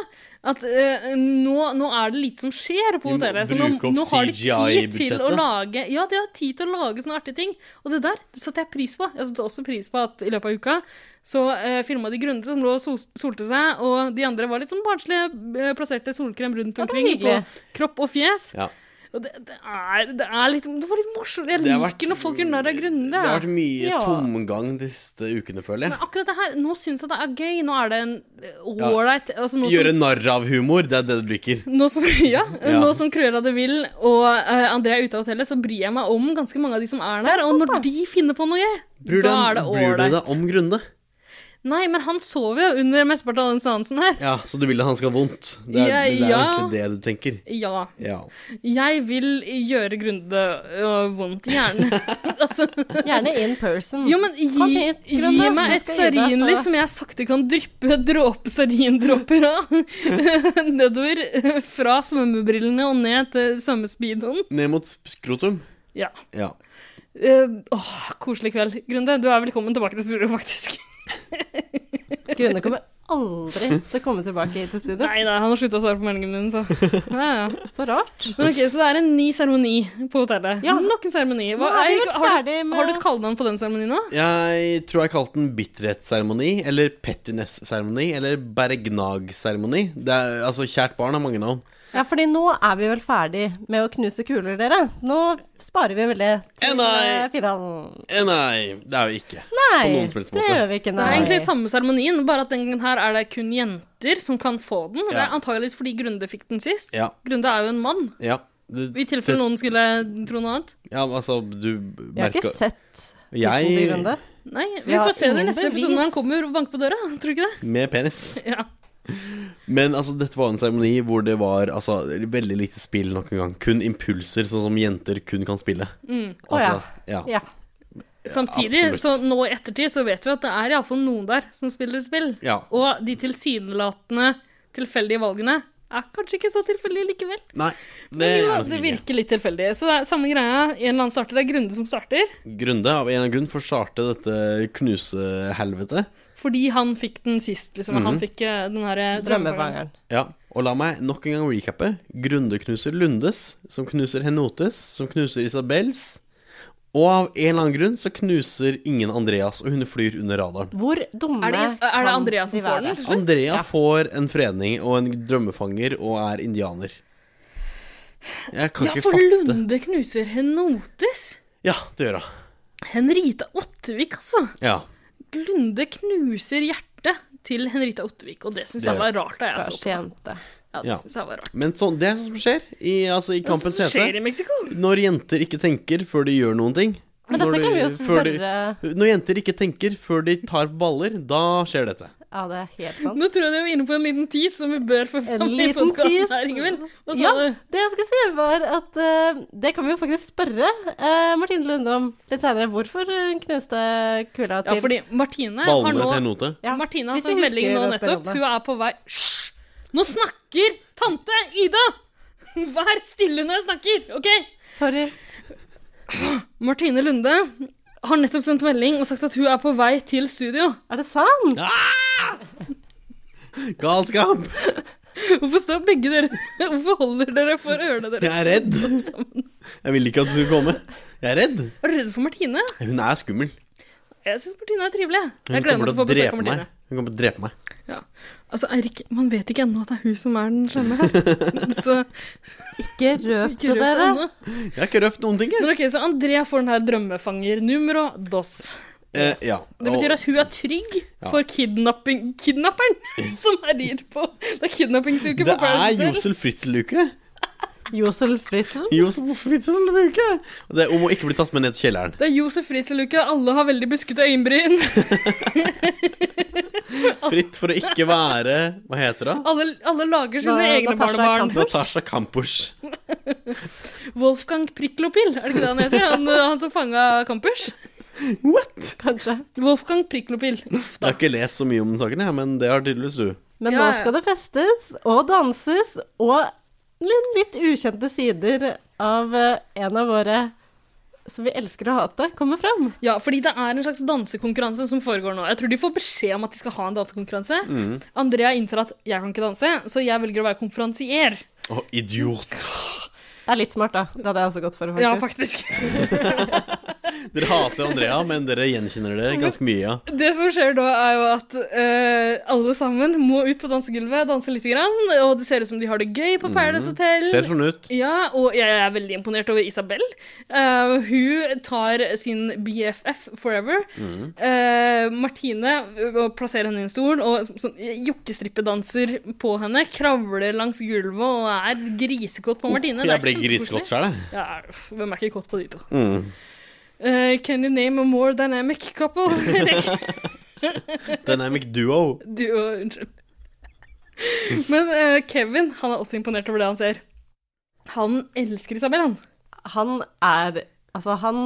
[SPEAKER 2] at eh, nå, nå er det lite som skjer på
[SPEAKER 5] Vi må
[SPEAKER 2] hotellet. Så nå,
[SPEAKER 5] bruke opp
[SPEAKER 2] nå har de tid til å
[SPEAKER 5] CGI-budsjettet.
[SPEAKER 2] lage Ja, de har tid til å lage sånne artige ting. Og det der det satte jeg pris på. Jeg satte også pris på at i løpet av uka så uh, filma de Grunde som lå og sol solte seg, og de andre var litt sånn barnslige, eh, plasserte solkrem rundt
[SPEAKER 4] det var
[SPEAKER 2] omkring på
[SPEAKER 4] hyggelig.
[SPEAKER 2] kropp og fjes.
[SPEAKER 5] Ja.
[SPEAKER 2] Og det, det, er, det er litt Det var litt morsomt. Jeg
[SPEAKER 5] Det har
[SPEAKER 2] liker
[SPEAKER 5] vært-
[SPEAKER 2] når folk gjør narr av
[SPEAKER 5] Det
[SPEAKER 2] Grunde.
[SPEAKER 5] har vært mye
[SPEAKER 4] Ja.
[SPEAKER 5] tomgang de siste ukene, føler
[SPEAKER 2] Men
[SPEAKER 5] jeg.
[SPEAKER 2] akkurat det her, nå syns jeg det er gøy. Nå er det en eh, ålreit altså, nå som-
[SPEAKER 5] Gjøre narr av humor, det er det du liker.
[SPEAKER 2] nå som, ja,
[SPEAKER 5] Ja.
[SPEAKER 2] nå som Cruella de Vil og eh, Andrea er ute av hotellet, så bryr jeg meg om ganske mange av de som er der. og når de finner på noe,
[SPEAKER 5] Bryr du
[SPEAKER 2] da er
[SPEAKER 5] deg
[SPEAKER 2] det
[SPEAKER 5] bryr du deg
[SPEAKER 2] ålreit.
[SPEAKER 5] om Grunde?
[SPEAKER 2] Nei, men han sover jo under mesteparten av den seansen her.
[SPEAKER 5] Ja, så du vil at han skal ha vondt? Det
[SPEAKER 2] Ja,
[SPEAKER 5] er, det er
[SPEAKER 2] ja.
[SPEAKER 5] egentlig det du tenker?
[SPEAKER 2] Ja.
[SPEAKER 5] Ja.
[SPEAKER 2] Jeg vil gjøre Grunde øh, vondt i hjernen. altså,
[SPEAKER 4] Gjerne in person.
[SPEAKER 2] jo, men
[SPEAKER 4] Kom
[SPEAKER 2] gi,
[SPEAKER 4] hit, Grunde,
[SPEAKER 2] gi meg
[SPEAKER 4] så
[SPEAKER 2] et
[SPEAKER 4] skal jeg gi deg noe.
[SPEAKER 2] stearinlys som jeg sakte kan dryppe dråpe stearindråper av nedover eh, fra svømmebrillene og ned til svømmespeedoen.
[SPEAKER 5] Ned mot skrotum?
[SPEAKER 2] Ja.
[SPEAKER 5] Ja.
[SPEAKER 2] Eh, åh, koselig kveld. Grunde, du er velkommen tilbake til studio, faktisk.
[SPEAKER 4] Grunde kommer aldri til å komme tilbake hit til studio.
[SPEAKER 2] Nei, nei, han har slutta å svare på meldingen din, så ja, ja.
[SPEAKER 4] Så rart.
[SPEAKER 2] Men ok, Så det er en ny seremoni på hotellet.
[SPEAKER 4] Ja.
[SPEAKER 2] Nok en seremoni. Hva-
[SPEAKER 4] Nå er vi
[SPEAKER 2] er-
[SPEAKER 4] vel
[SPEAKER 2] har, du,
[SPEAKER 4] ferdig med-
[SPEAKER 2] har du et kallenavn på den seremonien, da?
[SPEAKER 5] Jeg tror jeg kalte den bitterhetsseremoni, eller pettiness-seremoni, eller bergnag-seremoni. Det er- Altså, kjært barn har mange navn.
[SPEAKER 4] Ja, fordi nå er vi vel ferdig med å knuse kuler, dere. Nå sparer vi vel det til
[SPEAKER 5] Nei.
[SPEAKER 4] eh, finalen.
[SPEAKER 5] Eh, nei, det er jo ikke.
[SPEAKER 4] Nei,
[SPEAKER 5] noen som helst
[SPEAKER 4] det
[SPEAKER 5] måte.
[SPEAKER 4] gjør vi ikke.
[SPEAKER 2] Det
[SPEAKER 4] Nei.
[SPEAKER 2] er egentlig samme seremonien, bare at den gangen her er det kun jenter som kan få den. Det
[SPEAKER 5] Ja.
[SPEAKER 2] er antageligvis fordi Grunde fikk den sist.
[SPEAKER 5] Ja.
[SPEAKER 2] Grunde er jo en mann.
[SPEAKER 5] Ja. Du,
[SPEAKER 2] I tilfelle noen skulle tro noe annet.
[SPEAKER 5] ja, altså, du
[SPEAKER 4] Jeg har
[SPEAKER 5] merker
[SPEAKER 4] ikke sett tissen til
[SPEAKER 5] Jeg
[SPEAKER 4] Grunde.
[SPEAKER 2] Nei, vi
[SPEAKER 4] Vi har
[SPEAKER 2] får se det i
[SPEAKER 4] ingen
[SPEAKER 2] neste episode
[SPEAKER 4] bevis.
[SPEAKER 2] når han kommer og banker på døra. Tror du ikke det?
[SPEAKER 5] med penis.
[SPEAKER 2] Ja.
[SPEAKER 5] Men altså, dette var en seremoni hvor det var altså, veldig lite spill nok en gang. Kun impulser, sånn som jenter kun kan spille.
[SPEAKER 4] Å ja.
[SPEAKER 5] Altså, ja.
[SPEAKER 4] Ja.
[SPEAKER 2] Samtidig,
[SPEAKER 5] absolutt.
[SPEAKER 2] så nå i ettertid, så vet vi at det er iallfall noen der som spiller spill.
[SPEAKER 5] Ja.
[SPEAKER 2] Og de tilsynelatende tilfeldige valgene er kanskje ikke så tilfeldige likevel.
[SPEAKER 5] Nei, det
[SPEAKER 2] Men jo,
[SPEAKER 5] er det
[SPEAKER 2] det
[SPEAKER 5] ikke.
[SPEAKER 2] virker litt tilfeldig. Så det er samme greia. En eller annen starter, det er Grunde som starter.
[SPEAKER 5] Grunde av en eller annen grunn får starte dette knusehelvete.
[SPEAKER 2] Fordi han fikk den sist, liksom.
[SPEAKER 5] Mhm.
[SPEAKER 2] Han fikk eh, den herre drømmefangeren.
[SPEAKER 4] Drømmefangeren.
[SPEAKER 5] Ja. Og la meg nok en gang recappe. Grunde knuser Lundes, som knuser Henotes, som knuser Isabels. Og av en eller annen grunn så knuser ingen Andreas, og hun flyr under radaren.
[SPEAKER 4] Hvor dumme
[SPEAKER 2] Er det, er
[SPEAKER 4] kan
[SPEAKER 2] det Andrea som
[SPEAKER 4] de
[SPEAKER 2] får
[SPEAKER 4] være?
[SPEAKER 2] den? til slutt?
[SPEAKER 5] Andrea får en fredning og en drømmefanger og er indianer. Jeg kan
[SPEAKER 2] Ja,
[SPEAKER 5] ikke
[SPEAKER 2] for
[SPEAKER 5] fatte
[SPEAKER 2] Lunde knuser Henotes.
[SPEAKER 5] Ja, det gjør hun.
[SPEAKER 2] Henrita Ottevik, altså.
[SPEAKER 5] Ja.
[SPEAKER 2] Lunde knuser hjertet til Henrita Ottevik, og det syns jeg
[SPEAKER 5] Det-
[SPEAKER 2] var rart da jeg så
[SPEAKER 4] Stakkars
[SPEAKER 2] på.
[SPEAKER 4] jente.
[SPEAKER 2] Ja,
[SPEAKER 5] Ja.
[SPEAKER 2] det synes jeg var rart.
[SPEAKER 5] Men sånn, det er sånt som skjer i, altså, i
[SPEAKER 2] Hva
[SPEAKER 5] kampens
[SPEAKER 2] skjer
[SPEAKER 5] hete.
[SPEAKER 2] i Mexico?
[SPEAKER 5] Når jenter ikke tenker før de gjør noen ting.
[SPEAKER 4] Men dette
[SPEAKER 5] når de-
[SPEAKER 4] kan vi jo
[SPEAKER 5] før
[SPEAKER 4] spørre
[SPEAKER 5] de, Når jenter ikke tenker før de tar på baller, da skjer dette.
[SPEAKER 4] Ja, det er helt sant.
[SPEAKER 2] Nå tror jeg du var inne på en liten tease som vi bør få fram
[SPEAKER 4] En
[SPEAKER 2] i
[SPEAKER 4] liten
[SPEAKER 2] podkasten
[SPEAKER 4] tease.
[SPEAKER 2] her, Ingvild. Hva sa
[SPEAKER 4] ja,
[SPEAKER 2] du?
[SPEAKER 4] det jeg skulle si, var at eh, det kan vi jo faktisk spørre eh, Martine Lunde om litt seinere. Hvorfor hun knuste kula
[SPEAKER 2] Ja,
[SPEAKER 4] til
[SPEAKER 2] fordi Martine har
[SPEAKER 5] Ballene
[SPEAKER 2] nå
[SPEAKER 5] til en note.
[SPEAKER 4] Ja,
[SPEAKER 2] Martine har
[SPEAKER 4] hvis vi
[SPEAKER 2] sendt
[SPEAKER 4] husker
[SPEAKER 2] melding nå
[SPEAKER 4] det
[SPEAKER 2] nettopp.
[SPEAKER 4] spørsmålet.
[SPEAKER 2] Hun er på vei Hysj! Nå snakker tante Ida! Vær stille når jeg snakker, OK?
[SPEAKER 4] Sorry.
[SPEAKER 2] Martine Lunde har nettopp sendt melding og sagt at hun er på vei til studio.
[SPEAKER 4] Er det sant?
[SPEAKER 5] Galskap!
[SPEAKER 2] Hvorfor står begge dere Hvorfor holder dere for ørene deres?
[SPEAKER 5] Jeg er redd.
[SPEAKER 2] sammen?
[SPEAKER 5] Jeg vil ikke at du skal komme. Jeg er redd.
[SPEAKER 2] Er du redd for Martine?
[SPEAKER 5] Hun er skummel.
[SPEAKER 2] Jeg syns Martine er trivelig.
[SPEAKER 5] Hun
[SPEAKER 2] Jeg gleder
[SPEAKER 5] kommer
[SPEAKER 2] meg til å få besøk av
[SPEAKER 5] drepe meg.
[SPEAKER 2] Martine.
[SPEAKER 5] Hun kommer til å drepe meg.
[SPEAKER 2] Altså, Eirik, man vet ikke ennå at det er hun som er den slemme her. Så
[SPEAKER 4] Ikke røp
[SPEAKER 2] ikke røp det
[SPEAKER 4] det, dere.
[SPEAKER 2] ennå.
[SPEAKER 5] Jeg har ikke røpt noen ting, jeg.
[SPEAKER 2] Men ok, så André får den her drømmefanger numero dos.
[SPEAKER 5] Eh, ja.
[SPEAKER 2] Det betyr at hun er trygg
[SPEAKER 5] Ja.
[SPEAKER 2] for kidnapping, kidnapperen som herjer på Det er kidnappingsuke
[SPEAKER 5] det
[SPEAKER 2] på
[SPEAKER 5] er
[SPEAKER 2] Paradise Hotel.
[SPEAKER 5] Josel Fritzel-uke.
[SPEAKER 4] Josel Fritzel.
[SPEAKER 5] Josel Fritzel-uke. Og det er om å ikke bli tatt med ned til kjelleren.
[SPEAKER 2] Det er Josef Fritzel-uke. Alle har veldig buskete øyenbryn.
[SPEAKER 5] Fritt for å ikke være Hva heter det?
[SPEAKER 2] Alle, alle lager sine
[SPEAKER 4] Na-
[SPEAKER 2] egne
[SPEAKER 4] Natasha
[SPEAKER 2] barnebarn.
[SPEAKER 5] Natasha Kampusch.
[SPEAKER 2] Wolfgang Priklopil, er det ikke det han heter? Han, eh, han som fanga Kampers?
[SPEAKER 5] What?
[SPEAKER 4] Kanskje.
[SPEAKER 2] Wolfgang Priklopil. Uff
[SPEAKER 5] Jeg
[SPEAKER 2] da.
[SPEAKER 5] har ikke lest så mye om den saken, jeg, men det har tydeligvis du.
[SPEAKER 4] Men
[SPEAKER 2] Ja,
[SPEAKER 4] nå
[SPEAKER 2] ja.
[SPEAKER 4] skal det festes og danses og litt, litt ukjente sider av eh, en av våre som vi elsker å hate, kommer fram.
[SPEAKER 2] Ja, fordi det er en slags dansekonkurranse som foregår nå. Jeg tror de får beskjed om at de skal ha en dansekonkurranse.
[SPEAKER 5] Mm.
[SPEAKER 2] Andrea innser at 'jeg kan ikke danse', så jeg velger å være konferansier.
[SPEAKER 5] Å, idiot.
[SPEAKER 4] Det er litt smart, da. Det hadde jeg også gått for, faktisk.
[SPEAKER 2] Ja, faktisk.
[SPEAKER 5] Dere hater Andrea, men dere gjenkjenner det ganske mye. ja.
[SPEAKER 2] Det som skjer da, er jo at eh, alle sammen må ut på dansegulvet, danse lite grann, og det ser ut som de har det gøy på Paradise Hotel.
[SPEAKER 5] Ser sånn ut.
[SPEAKER 2] Ja, og jeg er veldig imponert over Isabel. Eh, hun tar sin BFF forever.
[SPEAKER 5] Mhm.
[SPEAKER 2] Eh, Martine ø, plasserer henne i en stol og sånn jokkestrippedanser på henne. Kravler langs gulvet og er grisekåt på Martine.
[SPEAKER 5] Oh, Jeg blir grisekåt sjøl, jeg.
[SPEAKER 2] Ja, hvem er ikke kåt på de to?
[SPEAKER 5] Mm.
[SPEAKER 2] Eh, can you name a more dynamic couple?
[SPEAKER 5] Dynamic duo.
[SPEAKER 2] du og Unnskyld. Men eh, Kevin han er også imponert over det han ser. Han elsker Isabel, han.
[SPEAKER 4] Han er Altså, han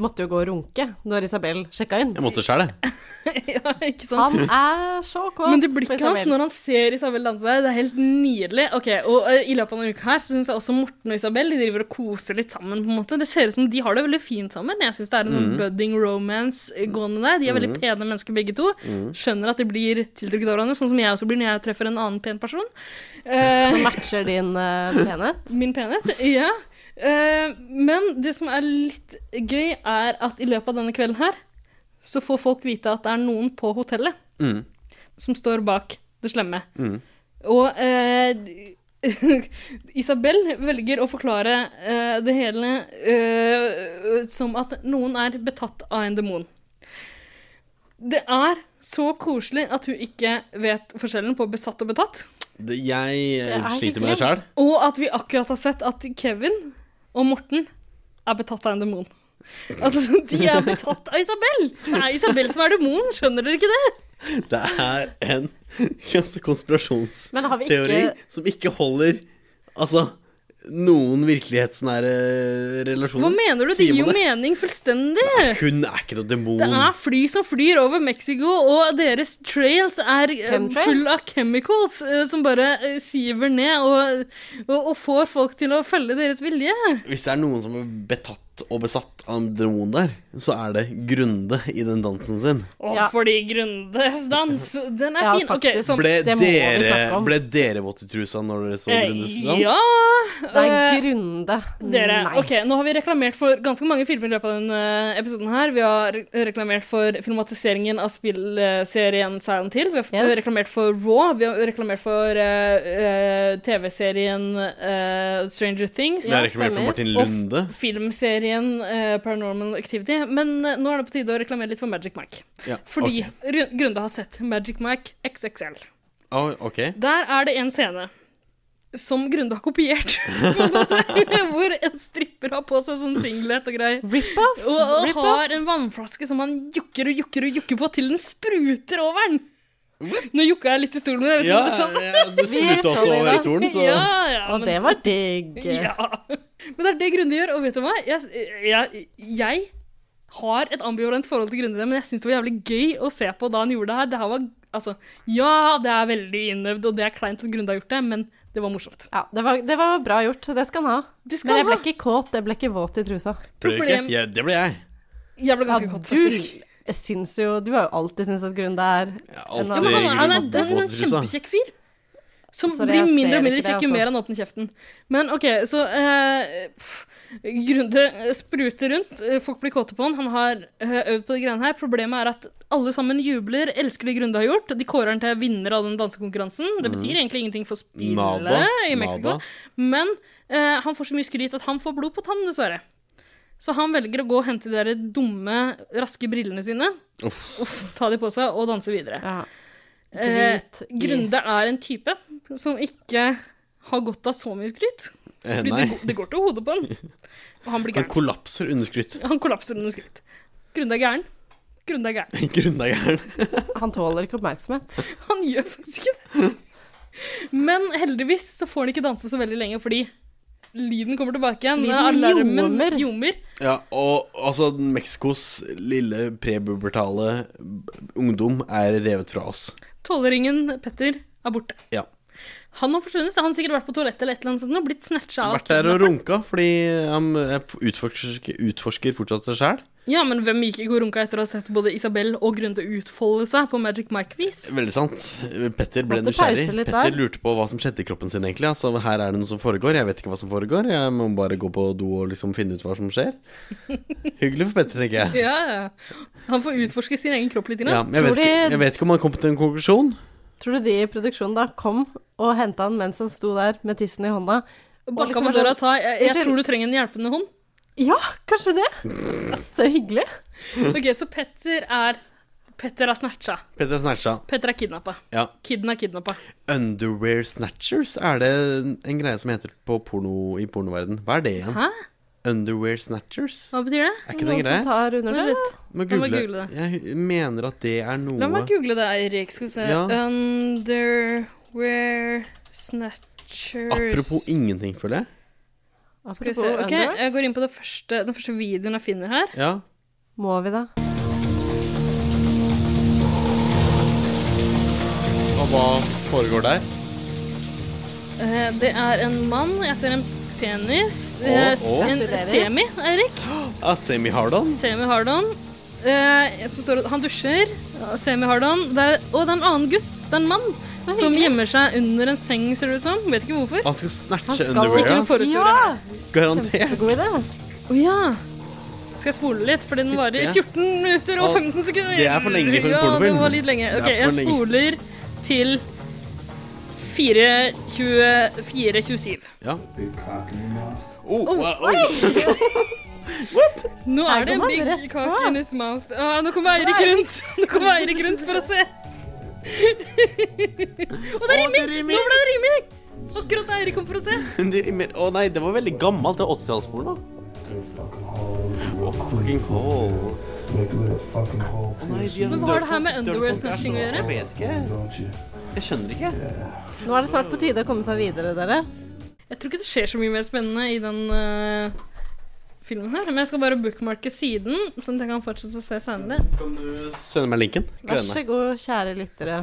[SPEAKER 4] måtte jo gå og runke når Isabel sjekka inn.
[SPEAKER 5] Jeg måtte sjøl, jeg.
[SPEAKER 2] ja, ikke sant?
[SPEAKER 4] Han er så kåt
[SPEAKER 2] Men det blikket
[SPEAKER 4] på Isabel.
[SPEAKER 2] hans når han ser Isabel danse, det er helt nydelig. Ok, Og eh, i løpet av denne uka her så syns jeg også Morten og Isabel de driver og koser litt sammen. på en måte. Det ser ut som de har det veldig fint sammen. Jeg syns det er en sånn budding romance eh, gående der. De er veldig pene mennesker begge to. Skjønner at de blir tiltrukket av hverandre, sånn som jeg også blir når jeg treffer en annen pen person. Eh,
[SPEAKER 4] Som matcher din eh, penhet.
[SPEAKER 2] min penhet. Ja. Eh, men det som er litt gøy, er at i løpet av denne kvelden her, så får folk vite at det er noen på hotellet
[SPEAKER 5] Mm.
[SPEAKER 2] som står bak det slemme.
[SPEAKER 5] Mm.
[SPEAKER 2] Og eh, Isabel velger å forklare eh, det hele eh, som at noen er betatt av en demon. Det er så koselig at hun ikke vet forskjellen på besatt og betatt.
[SPEAKER 5] Det- Jeg eh,
[SPEAKER 4] er
[SPEAKER 5] sliter med det sjøl.
[SPEAKER 2] Og at vi akkurat har sett at Kevin og Morten er betatt av en demon. Altså, de er betatt av Isabel! Det er Isabel som er demonen, skjønner dere ikke det?
[SPEAKER 5] Det er en ganske konspirasjonsteori
[SPEAKER 4] Men har vi ikke
[SPEAKER 5] som ikke holder Altså noen virkelighetsnære relasjoner.
[SPEAKER 2] Hva mener du? Det
[SPEAKER 5] Sier
[SPEAKER 2] gir jo
[SPEAKER 5] man
[SPEAKER 2] mening fullstendig.
[SPEAKER 5] Hun er ikke noe demon.
[SPEAKER 2] Det er fly som flyr over Mexico, og deres trails er eh,
[SPEAKER 4] Chemtrails?
[SPEAKER 2] full av chemicals eh, som bare eh, siver ned og, og, og får folk til å følge deres vilje.
[SPEAKER 5] Hvis det er noen som er betatt og besatt av en demon der, så er det Grunde i den dansen sin.
[SPEAKER 2] Å,
[SPEAKER 4] Ja.
[SPEAKER 2] fordi Grundes dans, den er
[SPEAKER 4] Ja,
[SPEAKER 2] fin. Ok,
[SPEAKER 4] faktisk.
[SPEAKER 2] sånn.
[SPEAKER 5] Ble
[SPEAKER 4] det må vi snakke
[SPEAKER 5] dere,
[SPEAKER 4] om.
[SPEAKER 5] ble dere våt i trusa når dere så
[SPEAKER 2] eh,
[SPEAKER 5] Grundes dans?
[SPEAKER 2] Ja
[SPEAKER 4] Det
[SPEAKER 2] eh,
[SPEAKER 4] er grunde.
[SPEAKER 2] Dere,
[SPEAKER 4] Mm, Nei.
[SPEAKER 2] ok, Nå har vi reklamert for ganske mange filmer i løpet av denne episoden. her. Vi har re- reklamert for filmatiseringen av spillserien Silent Hill. Vi har f-
[SPEAKER 4] Yes.
[SPEAKER 2] reklamert for Raw. Vi har reklamert for eh, eh, TV-serien eh, Stranger Things.
[SPEAKER 5] Det er ikke mer for
[SPEAKER 4] stemmer.
[SPEAKER 5] Martin
[SPEAKER 2] Og f-
[SPEAKER 5] Lunde.
[SPEAKER 2] Filmserien eh, Paranormal Activity. Men eh, nå er det på tide å reklamere litt for Magic Mike.
[SPEAKER 5] Ja,
[SPEAKER 2] Fordi
[SPEAKER 5] ok.
[SPEAKER 2] Ru- Grunde har sett Magic Mike XXL.
[SPEAKER 5] Å, ok.
[SPEAKER 2] Der er det en scene som Grunde har kopiert, på en måte, hvor en stripper har på seg sånn singlet og greier.
[SPEAKER 4] Rip-off!
[SPEAKER 2] Og, og
[SPEAKER 4] Rip-off!
[SPEAKER 2] har en vannflaske som han jukker og jukker og jukker på til den spruter over den. Nå jukka jeg litt i stolen min. jeg vet ikke om
[SPEAKER 5] Ja,
[SPEAKER 2] det sånn? er sant.
[SPEAKER 5] ja, du smulte
[SPEAKER 4] Vi
[SPEAKER 5] også
[SPEAKER 4] tåler
[SPEAKER 5] over i
[SPEAKER 4] det.
[SPEAKER 5] stolen, så
[SPEAKER 2] Ja, ja,
[SPEAKER 4] Og
[SPEAKER 2] men-
[SPEAKER 4] det var digg.
[SPEAKER 2] Ja. Men det er det Grunde gjør, og vet du hva? Jeg, jeg, jeg har et ambivalent forhold til Grunde, men jeg syns det var jævlig gøy å se på da han gjorde det her. Det her var, altså, ja, det er veldig innøvd, og det er kleint at Grunde har gjort det, men det var morsomt.
[SPEAKER 4] Ja, det var, det var bra gjort. Det skal han ha.
[SPEAKER 2] skal
[SPEAKER 4] Men
[SPEAKER 2] han
[SPEAKER 4] jeg ble ikke kåt, jeg ble ikke våt i trusa.
[SPEAKER 5] Ble det
[SPEAKER 2] Problem-
[SPEAKER 5] ikke? Ja, det ble jeg.
[SPEAKER 2] Jeg ble ganske
[SPEAKER 4] Ja,
[SPEAKER 2] kåt,
[SPEAKER 4] du
[SPEAKER 2] faktisk.
[SPEAKER 4] jeg syns jo Du har jo alltid syntes at Grunde er
[SPEAKER 5] alltid.
[SPEAKER 2] Ja, men han, er- han er
[SPEAKER 5] Grunde
[SPEAKER 2] den,
[SPEAKER 5] på
[SPEAKER 2] den
[SPEAKER 5] trusa.
[SPEAKER 2] kjempekjekk fyr. Som
[SPEAKER 4] Sorry,
[SPEAKER 2] blir
[SPEAKER 4] jeg
[SPEAKER 2] mindre
[SPEAKER 4] ser
[SPEAKER 2] og mindre
[SPEAKER 4] ikke det,
[SPEAKER 2] kjekk jo
[SPEAKER 4] altså.
[SPEAKER 2] mer han åpner kjeften. Men OK, så eh, pff, Grunde spruter rundt, eh, folk blir kåte på han. Han har eh, øvd på de greiene her. Problemet er at alle sammen jubler, elsker det Grunde har gjort. De kårer han til vinner av den dansekonkurransen. Det betyr egentlig ingenting for spillet
[SPEAKER 5] Nada.
[SPEAKER 2] i Mexico.
[SPEAKER 5] Nada.
[SPEAKER 2] Men eh, han får så mye skryt at han får blod på tann, dessverre. Så han velger å gå og hente de der dumme, raske brillene sine,
[SPEAKER 5] Uff.
[SPEAKER 2] Uff, ta de på seg og danse videre.
[SPEAKER 4] ja.
[SPEAKER 2] Eh,
[SPEAKER 4] Drit i.
[SPEAKER 2] Grunde er en type som ikke har godt av så mye skryt.
[SPEAKER 5] Eh,
[SPEAKER 2] Fordi det,
[SPEAKER 5] nei.
[SPEAKER 2] går- det går til hodet på han. Og han blir
[SPEAKER 5] Han
[SPEAKER 2] gæren.
[SPEAKER 5] kollapser under skryt.
[SPEAKER 2] Han kollapser under skryt. Grunde er gæren. Grunde er gæren.
[SPEAKER 5] Grunde er gæren.
[SPEAKER 4] Han tåler ikke oppmerksomhet.
[SPEAKER 2] Han gjør faktisk ikke det. Men heldigvis så får han ikke danse så veldig lenge fordi lyden kommer tilbake igjen.
[SPEAKER 4] Lyden
[SPEAKER 2] Alarmen
[SPEAKER 4] ljomer.
[SPEAKER 2] ljomer.
[SPEAKER 5] Ja, og altså Mexicos lille prebubertale ungdom er revet fra oss.
[SPEAKER 2] Tolvåringen Petter er borte.
[SPEAKER 5] Ja.
[SPEAKER 2] Han har forsvunnet. Han har sikkert vært på toalettet eller et eller annet sånt og blitt snatcha av.
[SPEAKER 5] Vært der og runka fordi han eh, utforsker, utforsker fortsatt seg sjæl.
[SPEAKER 2] Ja, men hvem gikk ikke og runka etter å ha sett både Isabel og Grunde utfolde seg på Magic Mike-vis?
[SPEAKER 5] Veldig sant. Petter ble
[SPEAKER 4] Måtte
[SPEAKER 5] nysgjerrig.
[SPEAKER 4] pause litt
[SPEAKER 5] Petter
[SPEAKER 4] der.
[SPEAKER 5] lurte på hva som skjedde i kroppen sin, egentlig. Altså, her er det noe som foregår. Jeg vet ikke hva som foregår. Jeg må bare gå på do og liksom finne ut hva som skjer. Hyggelig for Petter, tenker jeg.
[SPEAKER 2] Ja, ja. Han får utforske sin egen kropp litt.
[SPEAKER 5] Ja,
[SPEAKER 2] Grann.
[SPEAKER 5] men jeg,
[SPEAKER 4] Tror
[SPEAKER 5] vet ikke, jeg vet ikke om han kom til en konklusjon.
[SPEAKER 4] Tror du de i produksjonen da kom og henta han mens han sto der med tissen i hånda? Og
[SPEAKER 2] Banka
[SPEAKER 4] liksom
[SPEAKER 2] på
[SPEAKER 4] var
[SPEAKER 2] døra og
[SPEAKER 4] sånn,
[SPEAKER 2] sa jeg, jeg
[SPEAKER 4] Unnskyld.
[SPEAKER 2] tror du trenger en hjelpende hånd.
[SPEAKER 4] Ja, kanskje det. Så hyggelig.
[SPEAKER 2] Ok, Så Petter er Petter er snatcha.
[SPEAKER 5] Petter snatcha.
[SPEAKER 2] Petter er kidnappa.
[SPEAKER 5] Ja.
[SPEAKER 2] Kidden er kidnappa.
[SPEAKER 5] Underwear snatchers er det en greie som heter på porno, i pornoverden. Hva er det igjen?
[SPEAKER 2] Hæ?
[SPEAKER 5] Underwear snatchers?
[SPEAKER 2] Hva betyr det?
[SPEAKER 5] Er ikke det en
[SPEAKER 4] som
[SPEAKER 5] greie?
[SPEAKER 4] tar under
[SPEAKER 2] Vent
[SPEAKER 4] det.
[SPEAKER 2] litt.
[SPEAKER 5] Må
[SPEAKER 2] La meg
[SPEAKER 5] google.
[SPEAKER 2] google
[SPEAKER 5] Jeg mener at det er noe
[SPEAKER 2] La meg google det, Eirik. Skal vi se.
[SPEAKER 5] Ja.
[SPEAKER 2] Underwear snatchers
[SPEAKER 5] Apropos ingenting, føler jeg.
[SPEAKER 2] Skal vi
[SPEAKER 4] Apropos
[SPEAKER 2] se. Ok,
[SPEAKER 4] underwear,
[SPEAKER 2] jeg går inn på det første, den første videoen jeg finner her.
[SPEAKER 5] Ja.
[SPEAKER 4] Må vi da?
[SPEAKER 5] Og hva foregår der?
[SPEAKER 2] Eh, Det er en mann. Jeg ser en penis.
[SPEAKER 5] Å,
[SPEAKER 2] Eh, s-
[SPEAKER 5] å.
[SPEAKER 2] En
[SPEAKER 4] Gratulerer.
[SPEAKER 2] semi, Eirik.
[SPEAKER 5] Ah, Semi Hardon?
[SPEAKER 2] Semi Hardon. Eh, så står det, han dusjer. Ja, Semi Hardon. Det er, og det er en annen gutt. Det er en mann som gjemmer seg under en seng, ser det ut som. Vet ikke hvorfor.
[SPEAKER 5] Han skal snatche
[SPEAKER 4] skal
[SPEAKER 5] underwear,
[SPEAKER 2] ikke
[SPEAKER 5] ass.
[SPEAKER 2] forestille
[SPEAKER 4] Ja!
[SPEAKER 5] garantert.
[SPEAKER 4] God idé.
[SPEAKER 2] Å ja. Skal jeg spole litt, for den
[SPEAKER 5] Tipper
[SPEAKER 2] varer
[SPEAKER 5] jeg.
[SPEAKER 2] 14 minutter og
[SPEAKER 5] Å,
[SPEAKER 2] 15 sekunder.
[SPEAKER 5] det er for lenge for en
[SPEAKER 2] Ja, det
[SPEAKER 5] pornofilm.
[SPEAKER 2] var litt lenge.
[SPEAKER 5] Det er
[SPEAKER 2] Ok, jeg
[SPEAKER 5] for lenge.
[SPEAKER 2] spoler til 4.27.
[SPEAKER 5] Ja. Oh,
[SPEAKER 2] Oh,
[SPEAKER 5] wow, oi.
[SPEAKER 2] Nå
[SPEAKER 4] Her
[SPEAKER 2] er det
[SPEAKER 4] går
[SPEAKER 2] en
[SPEAKER 4] man rett
[SPEAKER 2] big cock
[SPEAKER 4] på.
[SPEAKER 2] in his mouth. Å, nå kommer Eirik rundt Nå kommer Eirik rundt for å se. Og det er
[SPEAKER 5] Å, det
[SPEAKER 2] rimming!
[SPEAKER 5] rimer.
[SPEAKER 2] Nå ble det rimming! Akkurat da Eirik kom for å se.
[SPEAKER 5] Det rimer. Å nei, det var veldig gammelt, det 80-tallsporno. Oh, fucking hole. Å, nei, de har
[SPEAKER 2] Men hva har det
[SPEAKER 5] dirty-
[SPEAKER 2] her med
[SPEAKER 5] dirty
[SPEAKER 2] underwear
[SPEAKER 5] contract
[SPEAKER 2] snatching å
[SPEAKER 5] nå.
[SPEAKER 2] gjøre?
[SPEAKER 5] Jeg vet ikke. Jeg skjønner ikke.
[SPEAKER 4] Nå er det snart på tide å komme seg videre, dere.
[SPEAKER 2] Jeg tror ikke det skjer så mye mer spennende i den eh, filmen her. Men jeg skal bare bookmarke siden, sånn at jeg kan fortsette å se senere.
[SPEAKER 5] Kan du sende meg linken?
[SPEAKER 4] Vær
[SPEAKER 5] Gleder
[SPEAKER 4] så
[SPEAKER 5] meg.
[SPEAKER 4] god, kjære lyttere.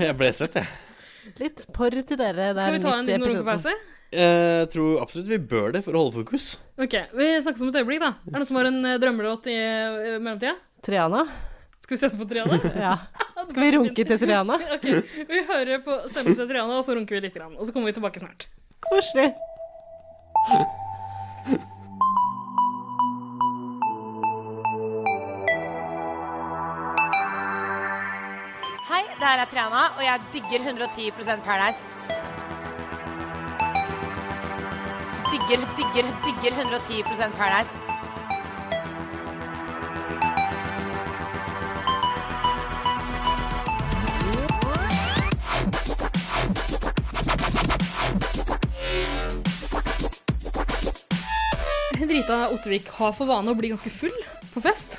[SPEAKER 5] Jeg ble svett, jeg.
[SPEAKER 4] Litt porr til dere der
[SPEAKER 2] Skal vi ta
[SPEAKER 4] midt
[SPEAKER 2] en
[SPEAKER 4] i
[SPEAKER 2] liten
[SPEAKER 4] episoden.
[SPEAKER 2] runkepause?
[SPEAKER 5] Jeg tror absolutt vi bør det for å holde fokus.
[SPEAKER 2] OK, vi snakkes om et øyeblikk, da. Er det noen som har en eh, drømmelåt i eh, mellomtida?
[SPEAKER 4] Triana?
[SPEAKER 2] Skal vi sette på Triana?
[SPEAKER 4] Ja. Skal vi runke til Triana?
[SPEAKER 2] Ok, Vi hører på stemmen til Triana, og så runker vi litt. grann, Og så kommer vi tilbake snart.
[SPEAKER 4] Koselig.
[SPEAKER 10] Hei, det her er Triana, og jeg digger 110 Paradise. Digger, digger, digger 110 Paradise.
[SPEAKER 2] Henrita Ottervik har for vane å bli ganske full på fest.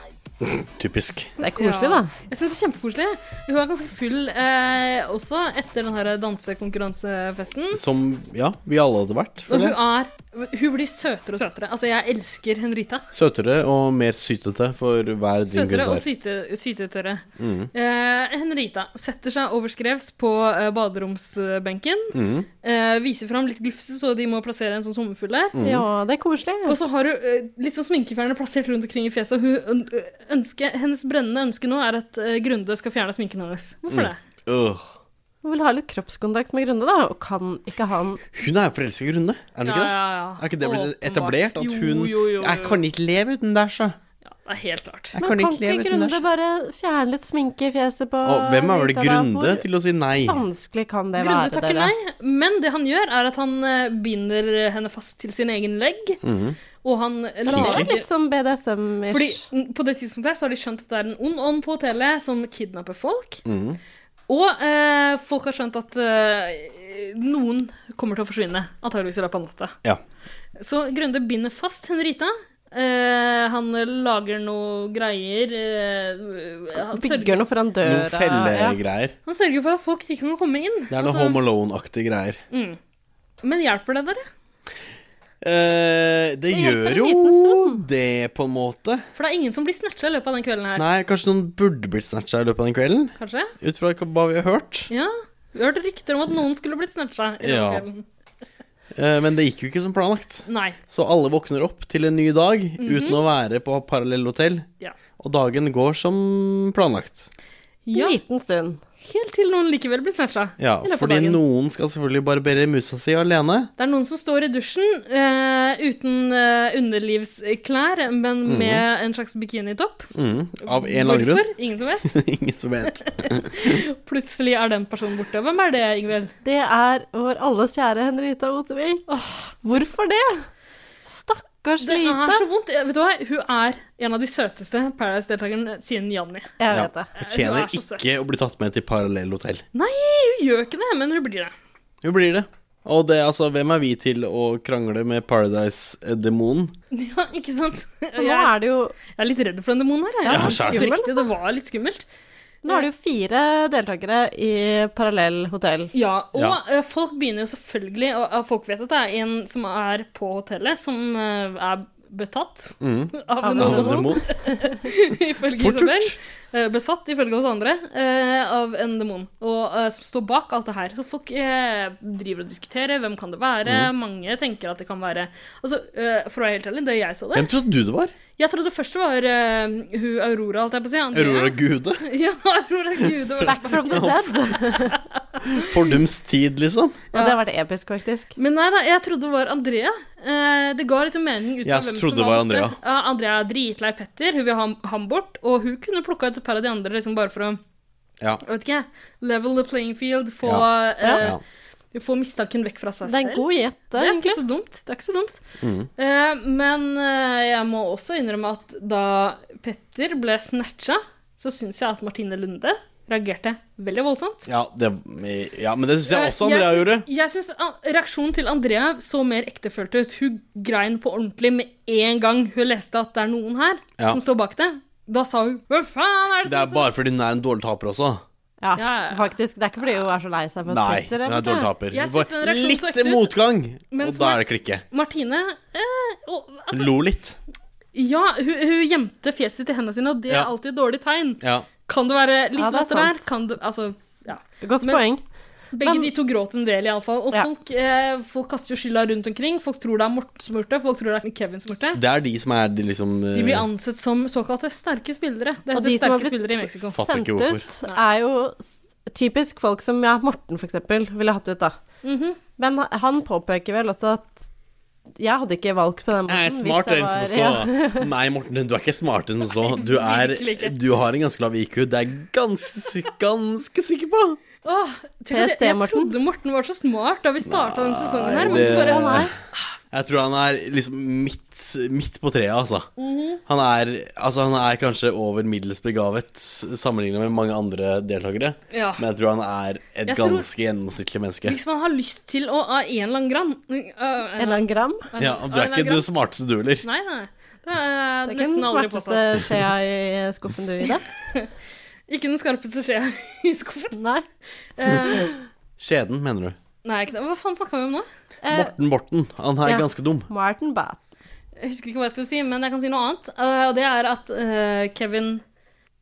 [SPEAKER 5] Typisk.
[SPEAKER 4] Det er koselig, da.
[SPEAKER 2] Jeg syns det er kjempekoselig. Hun er ganske full eh, også etter den her dansekonkurransefesten.
[SPEAKER 5] Som ja, vi alle hadde vært.
[SPEAKER 2] Og
[SPEAKER 5] føler
[SPEAKER 2] hun
[SPEAKER 5] jeg.
[SPEAKER 2] er Hun blir søtere og søtere. Altså, jeg elsker Henrita.
[SPEAKER 5] Søtere og mer sytete for hver din
[SPEAKER 2] Søtere og
[SPEAKER 5] gud der.
[SPEAKER 2] syte, sytetere.
[SPEAKER 5] Mm.
[SPEAKER 2] Eh, Henrita setter seg overskrevs på eh, baderomsbenken.
[SPEAKER 5] Mm.
[SPEAKER 2] Eh, viser fram litt glufse, så de må plassere en sånn sommerfugl der.
[SPEAKER 5] Mm. Ja,
[SPEAKER 4] det er koselig.
[SPEAKER 2] Og så har hun eh, litt sånn sminkefjerner plassert rundt omkring i fjeset. Og hun øn- ønsker, hennes brennende ønske nå er at eh, Grunde skal fjerne sminken hennes. Hvorfor det?
[SPEAKER 5] Mm. Øh.
[SPEAKER 4] Hun vil ha litt kroppskontakt med Grunde, da. Og kan ikke han
[SPEAKER 5] Hun er jo forelska i Grunde, er hun
[SPEAKER 2] Ja,
[SPEAKER 5] ikke det?
[SPEAKER 2] ja, ja.
[SPEAKER 5] Er ikke det blitt
[SPEAKER 2] Åpenbart.
[SPEAKER 5] etablert? At hun
[SPEAKER 2] Jo, jo, jo,
[SPEAKER 5] Jeg
[SPEAKER 2] jo.
[SPEAKER 5] kan ikke leve uten deg, sjø.
[SPEAKER 2] Det er helt klart.
[SPEAKER 5] Jeg
[SPEAKER 4] Men
[SPEAKER 5] kan
[SPEAKER 4] kan
[SPEAKER 5] ikke leve
[SPEAKER 4] ikke
[SPEAKER 5] uten
[SPEAKER 4] Grunde
[SPEAKER 5] deg.
[SPEAKER 4] bare fjerne litt sminke i fjeset på
[SPEAKER 5] Og hvem er vel
[SPEAKER 4] Rita, da?
[SPEAKER 5] Grunde
[SPEAKER 4] Hvor
[SPEAKER 5] til å si nei?
[SPEAKER 4] Vanskelig kan det
[SPEAKER 2] Grunde
[SPEAKER 4] være,
[SPEAKER 2] takker nei, men det han gjør, er at han eh, binder henne fast til sin egen legg.
[SPEAKER 5] Mhm.
[SPEAKER 2] Og han
[SPEAKER 4] Det
[SPEAKER 2] lager
[SPEAKER 4] er litt som BDSM-ish.
[SPEAKER 2] Fordi n- på det tidspunktet her så har de skjønt at det er en ond ånd på hotellet som kidnapper folk.
[SPEAKER 5] Mm.
[SPEAKER 2] Og eh, folk har skjønt at eh, noen kommer til å forsvinne, antageligvis i løpet av natta.
[SPEAKER 5] Ja.
[SPEAKER 2] Så Grunde binder fast Henrita. Eh, han lager noe greier eh, han,
[SPEAKER 4] Bygger
[SPEAKER 2] sørger,
[SPEAKER 4] noe foran
[SPEAKER 2] Eh,
[SPEAKER 5] Noen
[SPEAKER 4] døra.
[SPEAKER 5] fellegreier.
[SPEAKER 2] han sørger for at folk ikke kan komme inn.
[SPEAKER 5] Det er noe
[SPEAKER 2] Altså,
[SPEAKER 5] Home Alone-aktige greier.
[SPEAKER 2] mm. Men hjelper det dere?
[SPEAKER 5] Eh, det gjør jo det, på en måte.
[SPEAKER 2] For det er ingen som blir snatcha i løpet av den kvelden her.
[SPEAKER 5] Nei, kanskje noen burde blitt snatcha i løpet av den kvelden?
[SPEAKER 2] Kanskje?
[SPEAKER 5] Ut fra hva vi har hørt.
[SPEAKER 2] Ja. Vi hørte rykter om at noen skulle blitt snatcha. i den
[SPEAKER 5] Ja.
[SPEAKER 2] kvelden.
[SPEAKER 5] Eh, men det gikk jo ikke som planlagt.
[SPEAKER 2] Nei.
[SPEAKER 5] Så alle våkner opp til en ny dag uten å være på parallellhotell.
[SPEAKER 2] Mhm. Ja.
[SPEAKER 5] Og dagen går som planlagt.
[SPEAKER 2] Ja.
[SPEAKER 4] En liten stund.
[SPEAKER 2] Helt til noen likevel blir snatcha.
[SPEAKER 5] Ja,
[SPEAKER 2] i løpet av
[SPEAKER 5] fordi
[SPEAKER 2] dagen.
[SPEAKER 5] noen skal selvfølgelig barbere musa si alene.
[SPEAKER 2] Det er noen som står i dusjen eh, uten eh, underlivsklær, men
[SPEAKER 5] Mhm.
[SPEAKER 2] med en slags bikinitopp.
[SPEAKER 5] Mm, av en eller annen grunn.
[SPEAKER 2] Ingen som vet.
[SPEAKER 5] Ingen som vet.
[SPEAKER 2] Plutselig er den personen borte. Hvem er det, Ingvild?
[SPEAKER 4] Det er vår alles kjære Henrita Otevik. Hvorfor det? Stakkars
[SPEAKER 2] Det er
[SPEAKER 4] lite.
[SPEAKER 2] så vondt. Eh, Vet du hva? Hun er en av de søteste Paradise-deltakerne siden Janni.
[SPEAKER 4] Jeg
[SPEAKER 5] Ja,
[SPEAKER 4] vet det.
[SPEAKER 5] fortjener
[SPEAKER 2] Du er så søt.
[SPEAKER 5] ikke å bli tatt med til parallellhotell.
[SPEAKER 2] Nei, hun gjør ikke det, men hun blir det.
[SPEAKER 5] Hun blir det. Og det, altså, hvem er vi til å krangle med Paradise-demonen?
[SPEAKER 2] Ja, ikke sant?
[SPEAKER 4] For nå er det jo
[SPEAKER 2] Jeg er litt redd for den demonen her. Jeg.
[SPEAKER 5] Ja,
[SPEAKER 2] Det er
[SPEAKER 5] skjønner.
[SPEAKER 2] riktig, det var litt skummelt.
[SPEAKER 4] Nå er det jo fire deltakere i parallell hotell.
[SPEAKER 2] Ja, og
[SPEAKER 5] Ja.
[SPEAKER 2] eh, folk begynner jo selvfølgelig og, og folk vet at det er en som er på hotellet, som eh, er betatt
[SPEAKER 5] Mm.
[SPEAKER 2] av en
[SPEAKER 5] Av en
[SPEAKER 2] demon,
[SPEAKER 5] demon.
[SPEAKER 2] ifølge
[SPEAKER 5] Fort
[SPEAKER 2] Isabel.
[SPEAKER 5] gjort.
[SPEAKER 2] Eh, Besatt, ifølge oss andre, eh, av en demon. Og eh, som står bak alt det her. Så folk eh, driver og diskuterer. Hvem kan det være?
[SPEAKER 5] Mm.
[SPEAKER 2] Mange tenker at det kan være Altså, eh, for å være helt ærlig, det jeg så der
[SPEAKER 5] Hvem trodde du det var?
[SPEAKER 2] Jeg trodde først det var eh, hun Aurora, holdt jeg på å si. Andrea.
[SPEAKER 5] Aurora Gude?
[SPEAKER 2] Ja, Aurora Gude. var det.
[SPEAKER 4] Back from the dead.
[SPEAKER 5] Fordums tid, liksom?
[SPEAKER 4] Og det har vært episk, faktisk.
[SPEAKER 2] Men nei da, jeg trodde det var Andrea. Eh, det ga liksom mening ut fra
[SPEAKER 5] Jeg trodde det var
[SPEAKER 2] borte.
[SPEAKER 5] Andrea.
[SPEAKER 2] Ja, Andrea er dritlei Petter, hun vil ha ham- ham bort, og hun kunne plukka ut et par av de andre liksom bare for å
[SPEAKER 5] Ja.
[SPEAKER 2] jeg vet ikke, level the playing field, få,
[SPEAKER 5] Ja.
[SPEAKER 2] eh,
[SPEAKER 5] Ja.
[SPEAKER 2] få mistanken vekk fra seg
[SPEAKER 4] Det er en
[SPEAKER 2] selv.
[SPEAKER 4] god gjett,
[SPEAKER 2] Det
[SPEAKER 4] det,
[SPEAKER 2] er ikke
[SPEAKER 4] egentlig.
[SPEAKER 2] så dumt. Det er ikke så dumt.
[SPEAKER 5] Mm.
[SPEAKER 2] Eh, men eh, jeg må også innrømme at da Petter ble snatcha, så syns jeg at Martine Lunde reagerte veldig voldsomt.
[SPEAKER 5] Ja, det, ja, men det syns jeg også
[SPEAKER 2] Eh,
[SPEAKER 5] Andrea
[SPEAKER 2] syns-
[SPEAKER 5] gjorde.
[SPEAKER 2] Jeg syns ah, reaksjonen til Andrea så mer ektefølt ut. Hun grein på ordentlig med en gang hun leste at det er noen her
[SPEAKER 5] Ja.
[SPEAKER 2] som står bak det. Da sa hun 'Hva faen er det
[SPEAKER 5] Det er
[SPEAKER 2] som
[SPEAKER 5] bare fordi hun er en dårlig taper også.
[SPEAKER 4] Ja,
[SPEAKER 2] Ja, ja.
[SPEAKER 4] faktisk. Det er ikke fordi hun er så lei seg for at
[SPEAKER 5] Nei,
[SPEAKER 4] Petter
[SPEAKER 5] hun
[SPEAKER 4] er
[SPEAKER 5] er en dårlig
[SPEAKER 4] borte.
[SPEAKER 5] taper.
[SPEAKER 2] Jeg
[SPEAKER 5] Det var
[SPEAKER 2] synes den reaksjonen så
[SPEAKER 5] litt
[SPEAKER 2] ekte ut.
[SPEAKER 5] motgang,
[SPEAKER 2] Men
[SPEAKER 5] og
[SPEAKER 2] som
[SPEAKER 5] da
[SPEAKER 2] er-
[SPEAKER 5] er det klikke.
[SPEAKER 2] Martine eh, og, altså,
[SPEAKER 5] Lo litt.
[SPEAKER 2] Ja, hun, hun gjemte fjeset til hendene sine, og det
[SPEAKER 5] Ja.
[SPEAKER 2] er alltid et dårlig tegn.
[SPEAKER 5] Ja.
[SPEAKER 2] Kan det være litt
[SPEAKER 4] Ja, det
[SPEAKER 2] latter
[SPEAKER 4] er
[SPEAKER 2] der?
[SPEAKER 4] sant.
[SPEAKER 2] Kan det, altså, ja.
[SPEAKER 4] Godt
[SPEAKER 2] Men-
[SPEAKER 4] poeng.
[SPEAKER 2] Begge
[SPEAKER 4] Men-
[SPEAKER 2] de to gråt en del, iallfall. Og
[SPEAKER 4] Ja.
[SPEAKER 2] folk, eh, folk kaster jo skylda rundt omkring. Folk tror det er Morten som har gjort det, folk tror det er Kevin som har gjort det.
[SPEAKER 5] Det er de som er de liksom
[SPEAKER 2] De blir ansett som såkalte sterke spillere. Det heter
[SPEAKER 4] Og de som har
[SPEAKER 2] sterke
[SPEAKER 4] blitt-
[SPEAKER 2] spillere i Mexico.
[SPEAKER 5] Fatter
[SPEAKER 4] Sendt
[SPEAKER 5] ikke hvorfor.
[SPEAKER 4] ut er jo s- typisk folk som ja, Morten, for eksempel, ville hatt ut, da.
[SPEAKER 2] Mhm.
[SPEAKER 4] Men han påpeker vel også at jeg hadde ikke valgt på den måten.
[SPEAKER 5] Jeg er
[SPEAKER 4] hvis
[SPEAKER 5] smartere enn
[SPEAKER 4] var-
[SPEAKER 5] som
[SPEAKER 4] Ja.
[SPEAKER 5] så. Nei, Morten, du er ikke smartere enn som så. Du, er,
[SPEAKER 2] Virkelig ikke.
[SPEAKER 5] du har en ganske lav IQ. Det er jeg ganske, sik- ganske sikker på.
[SPEAKER 2] Åh, tror du det,
[SPEAKER 4] PST
[SPEAKER 2] jeg
[SPEAKER 4] Morten.
[SPEAKER 2] trodde Morten var så smart da vi starta denne sesongen her,
[SPEAKER 5] Nei,
[SPEAKER 2] men så
[SPEAKER 5] det-
[SPEAKER 2] bare
[SPEAKER 5] Jeg tror han er liksom midt, midt på treet, altså.
[SPEAKER 2] Mhm.
[SPEAKER 5] han, er, altså. Han er kanskje over middels begavet sammenlignet med mange andre deltakere.
[SPEAKER 2] Ja.
[SPEAKER 5] Men jeg tror han er et
[SPEAKER 2] Jeg tror-
[SPEAKER 5] ganske gjennomsnittlig menneske.
[SPEAKER 2] Hvis man har lyst til å av en eller annen grann øh, øh,
[SPEAKER 4] En eller annen gram.
[SPEAKER 2] øh,
[SPEAKER 5] Ja,
[SPEAKER 2] av
[SPEAKER 5] Du er
[SPEAKER 2] en eller annen
[SPEAKER 5] ikke den
[SPEAKER 2] grann-
[SPEAKER 5] smarteste du heller.
[SPEAKER 2] Nei, nei. Det er,
[SPEAKER 4] Det er ikke
[SPEAKER 2] nesten
[SPEAKER 4] den
[SPEAKER 2] aldri
[SPEAKER 4] smarteste
[SPEAKER 2] påstått.
[SPEAKER 4] skjea i skuffen du, Ida.
[SPEAKER 2] Ikke den skarpeste skjea i skuffen. Eh,
[SPEAKER 4] Nei.
[SPEAKER 5] Skjeden, mener du?
[SPEAKER 2] nei, ikke det. Hva faen snakka vi om nå?
[SPEAKER 5] Morten Borten. Han er
[SPEAKER 2] Eh, ja.
[SPEAKER 5] ganske dum.
[SPEAKER 4] Martin Bath.
[SPEAKER 2] Jeg husker ikke hva jeg skulle si, men jeg kan si noe annet. Eh, Og det er at eh, Kevin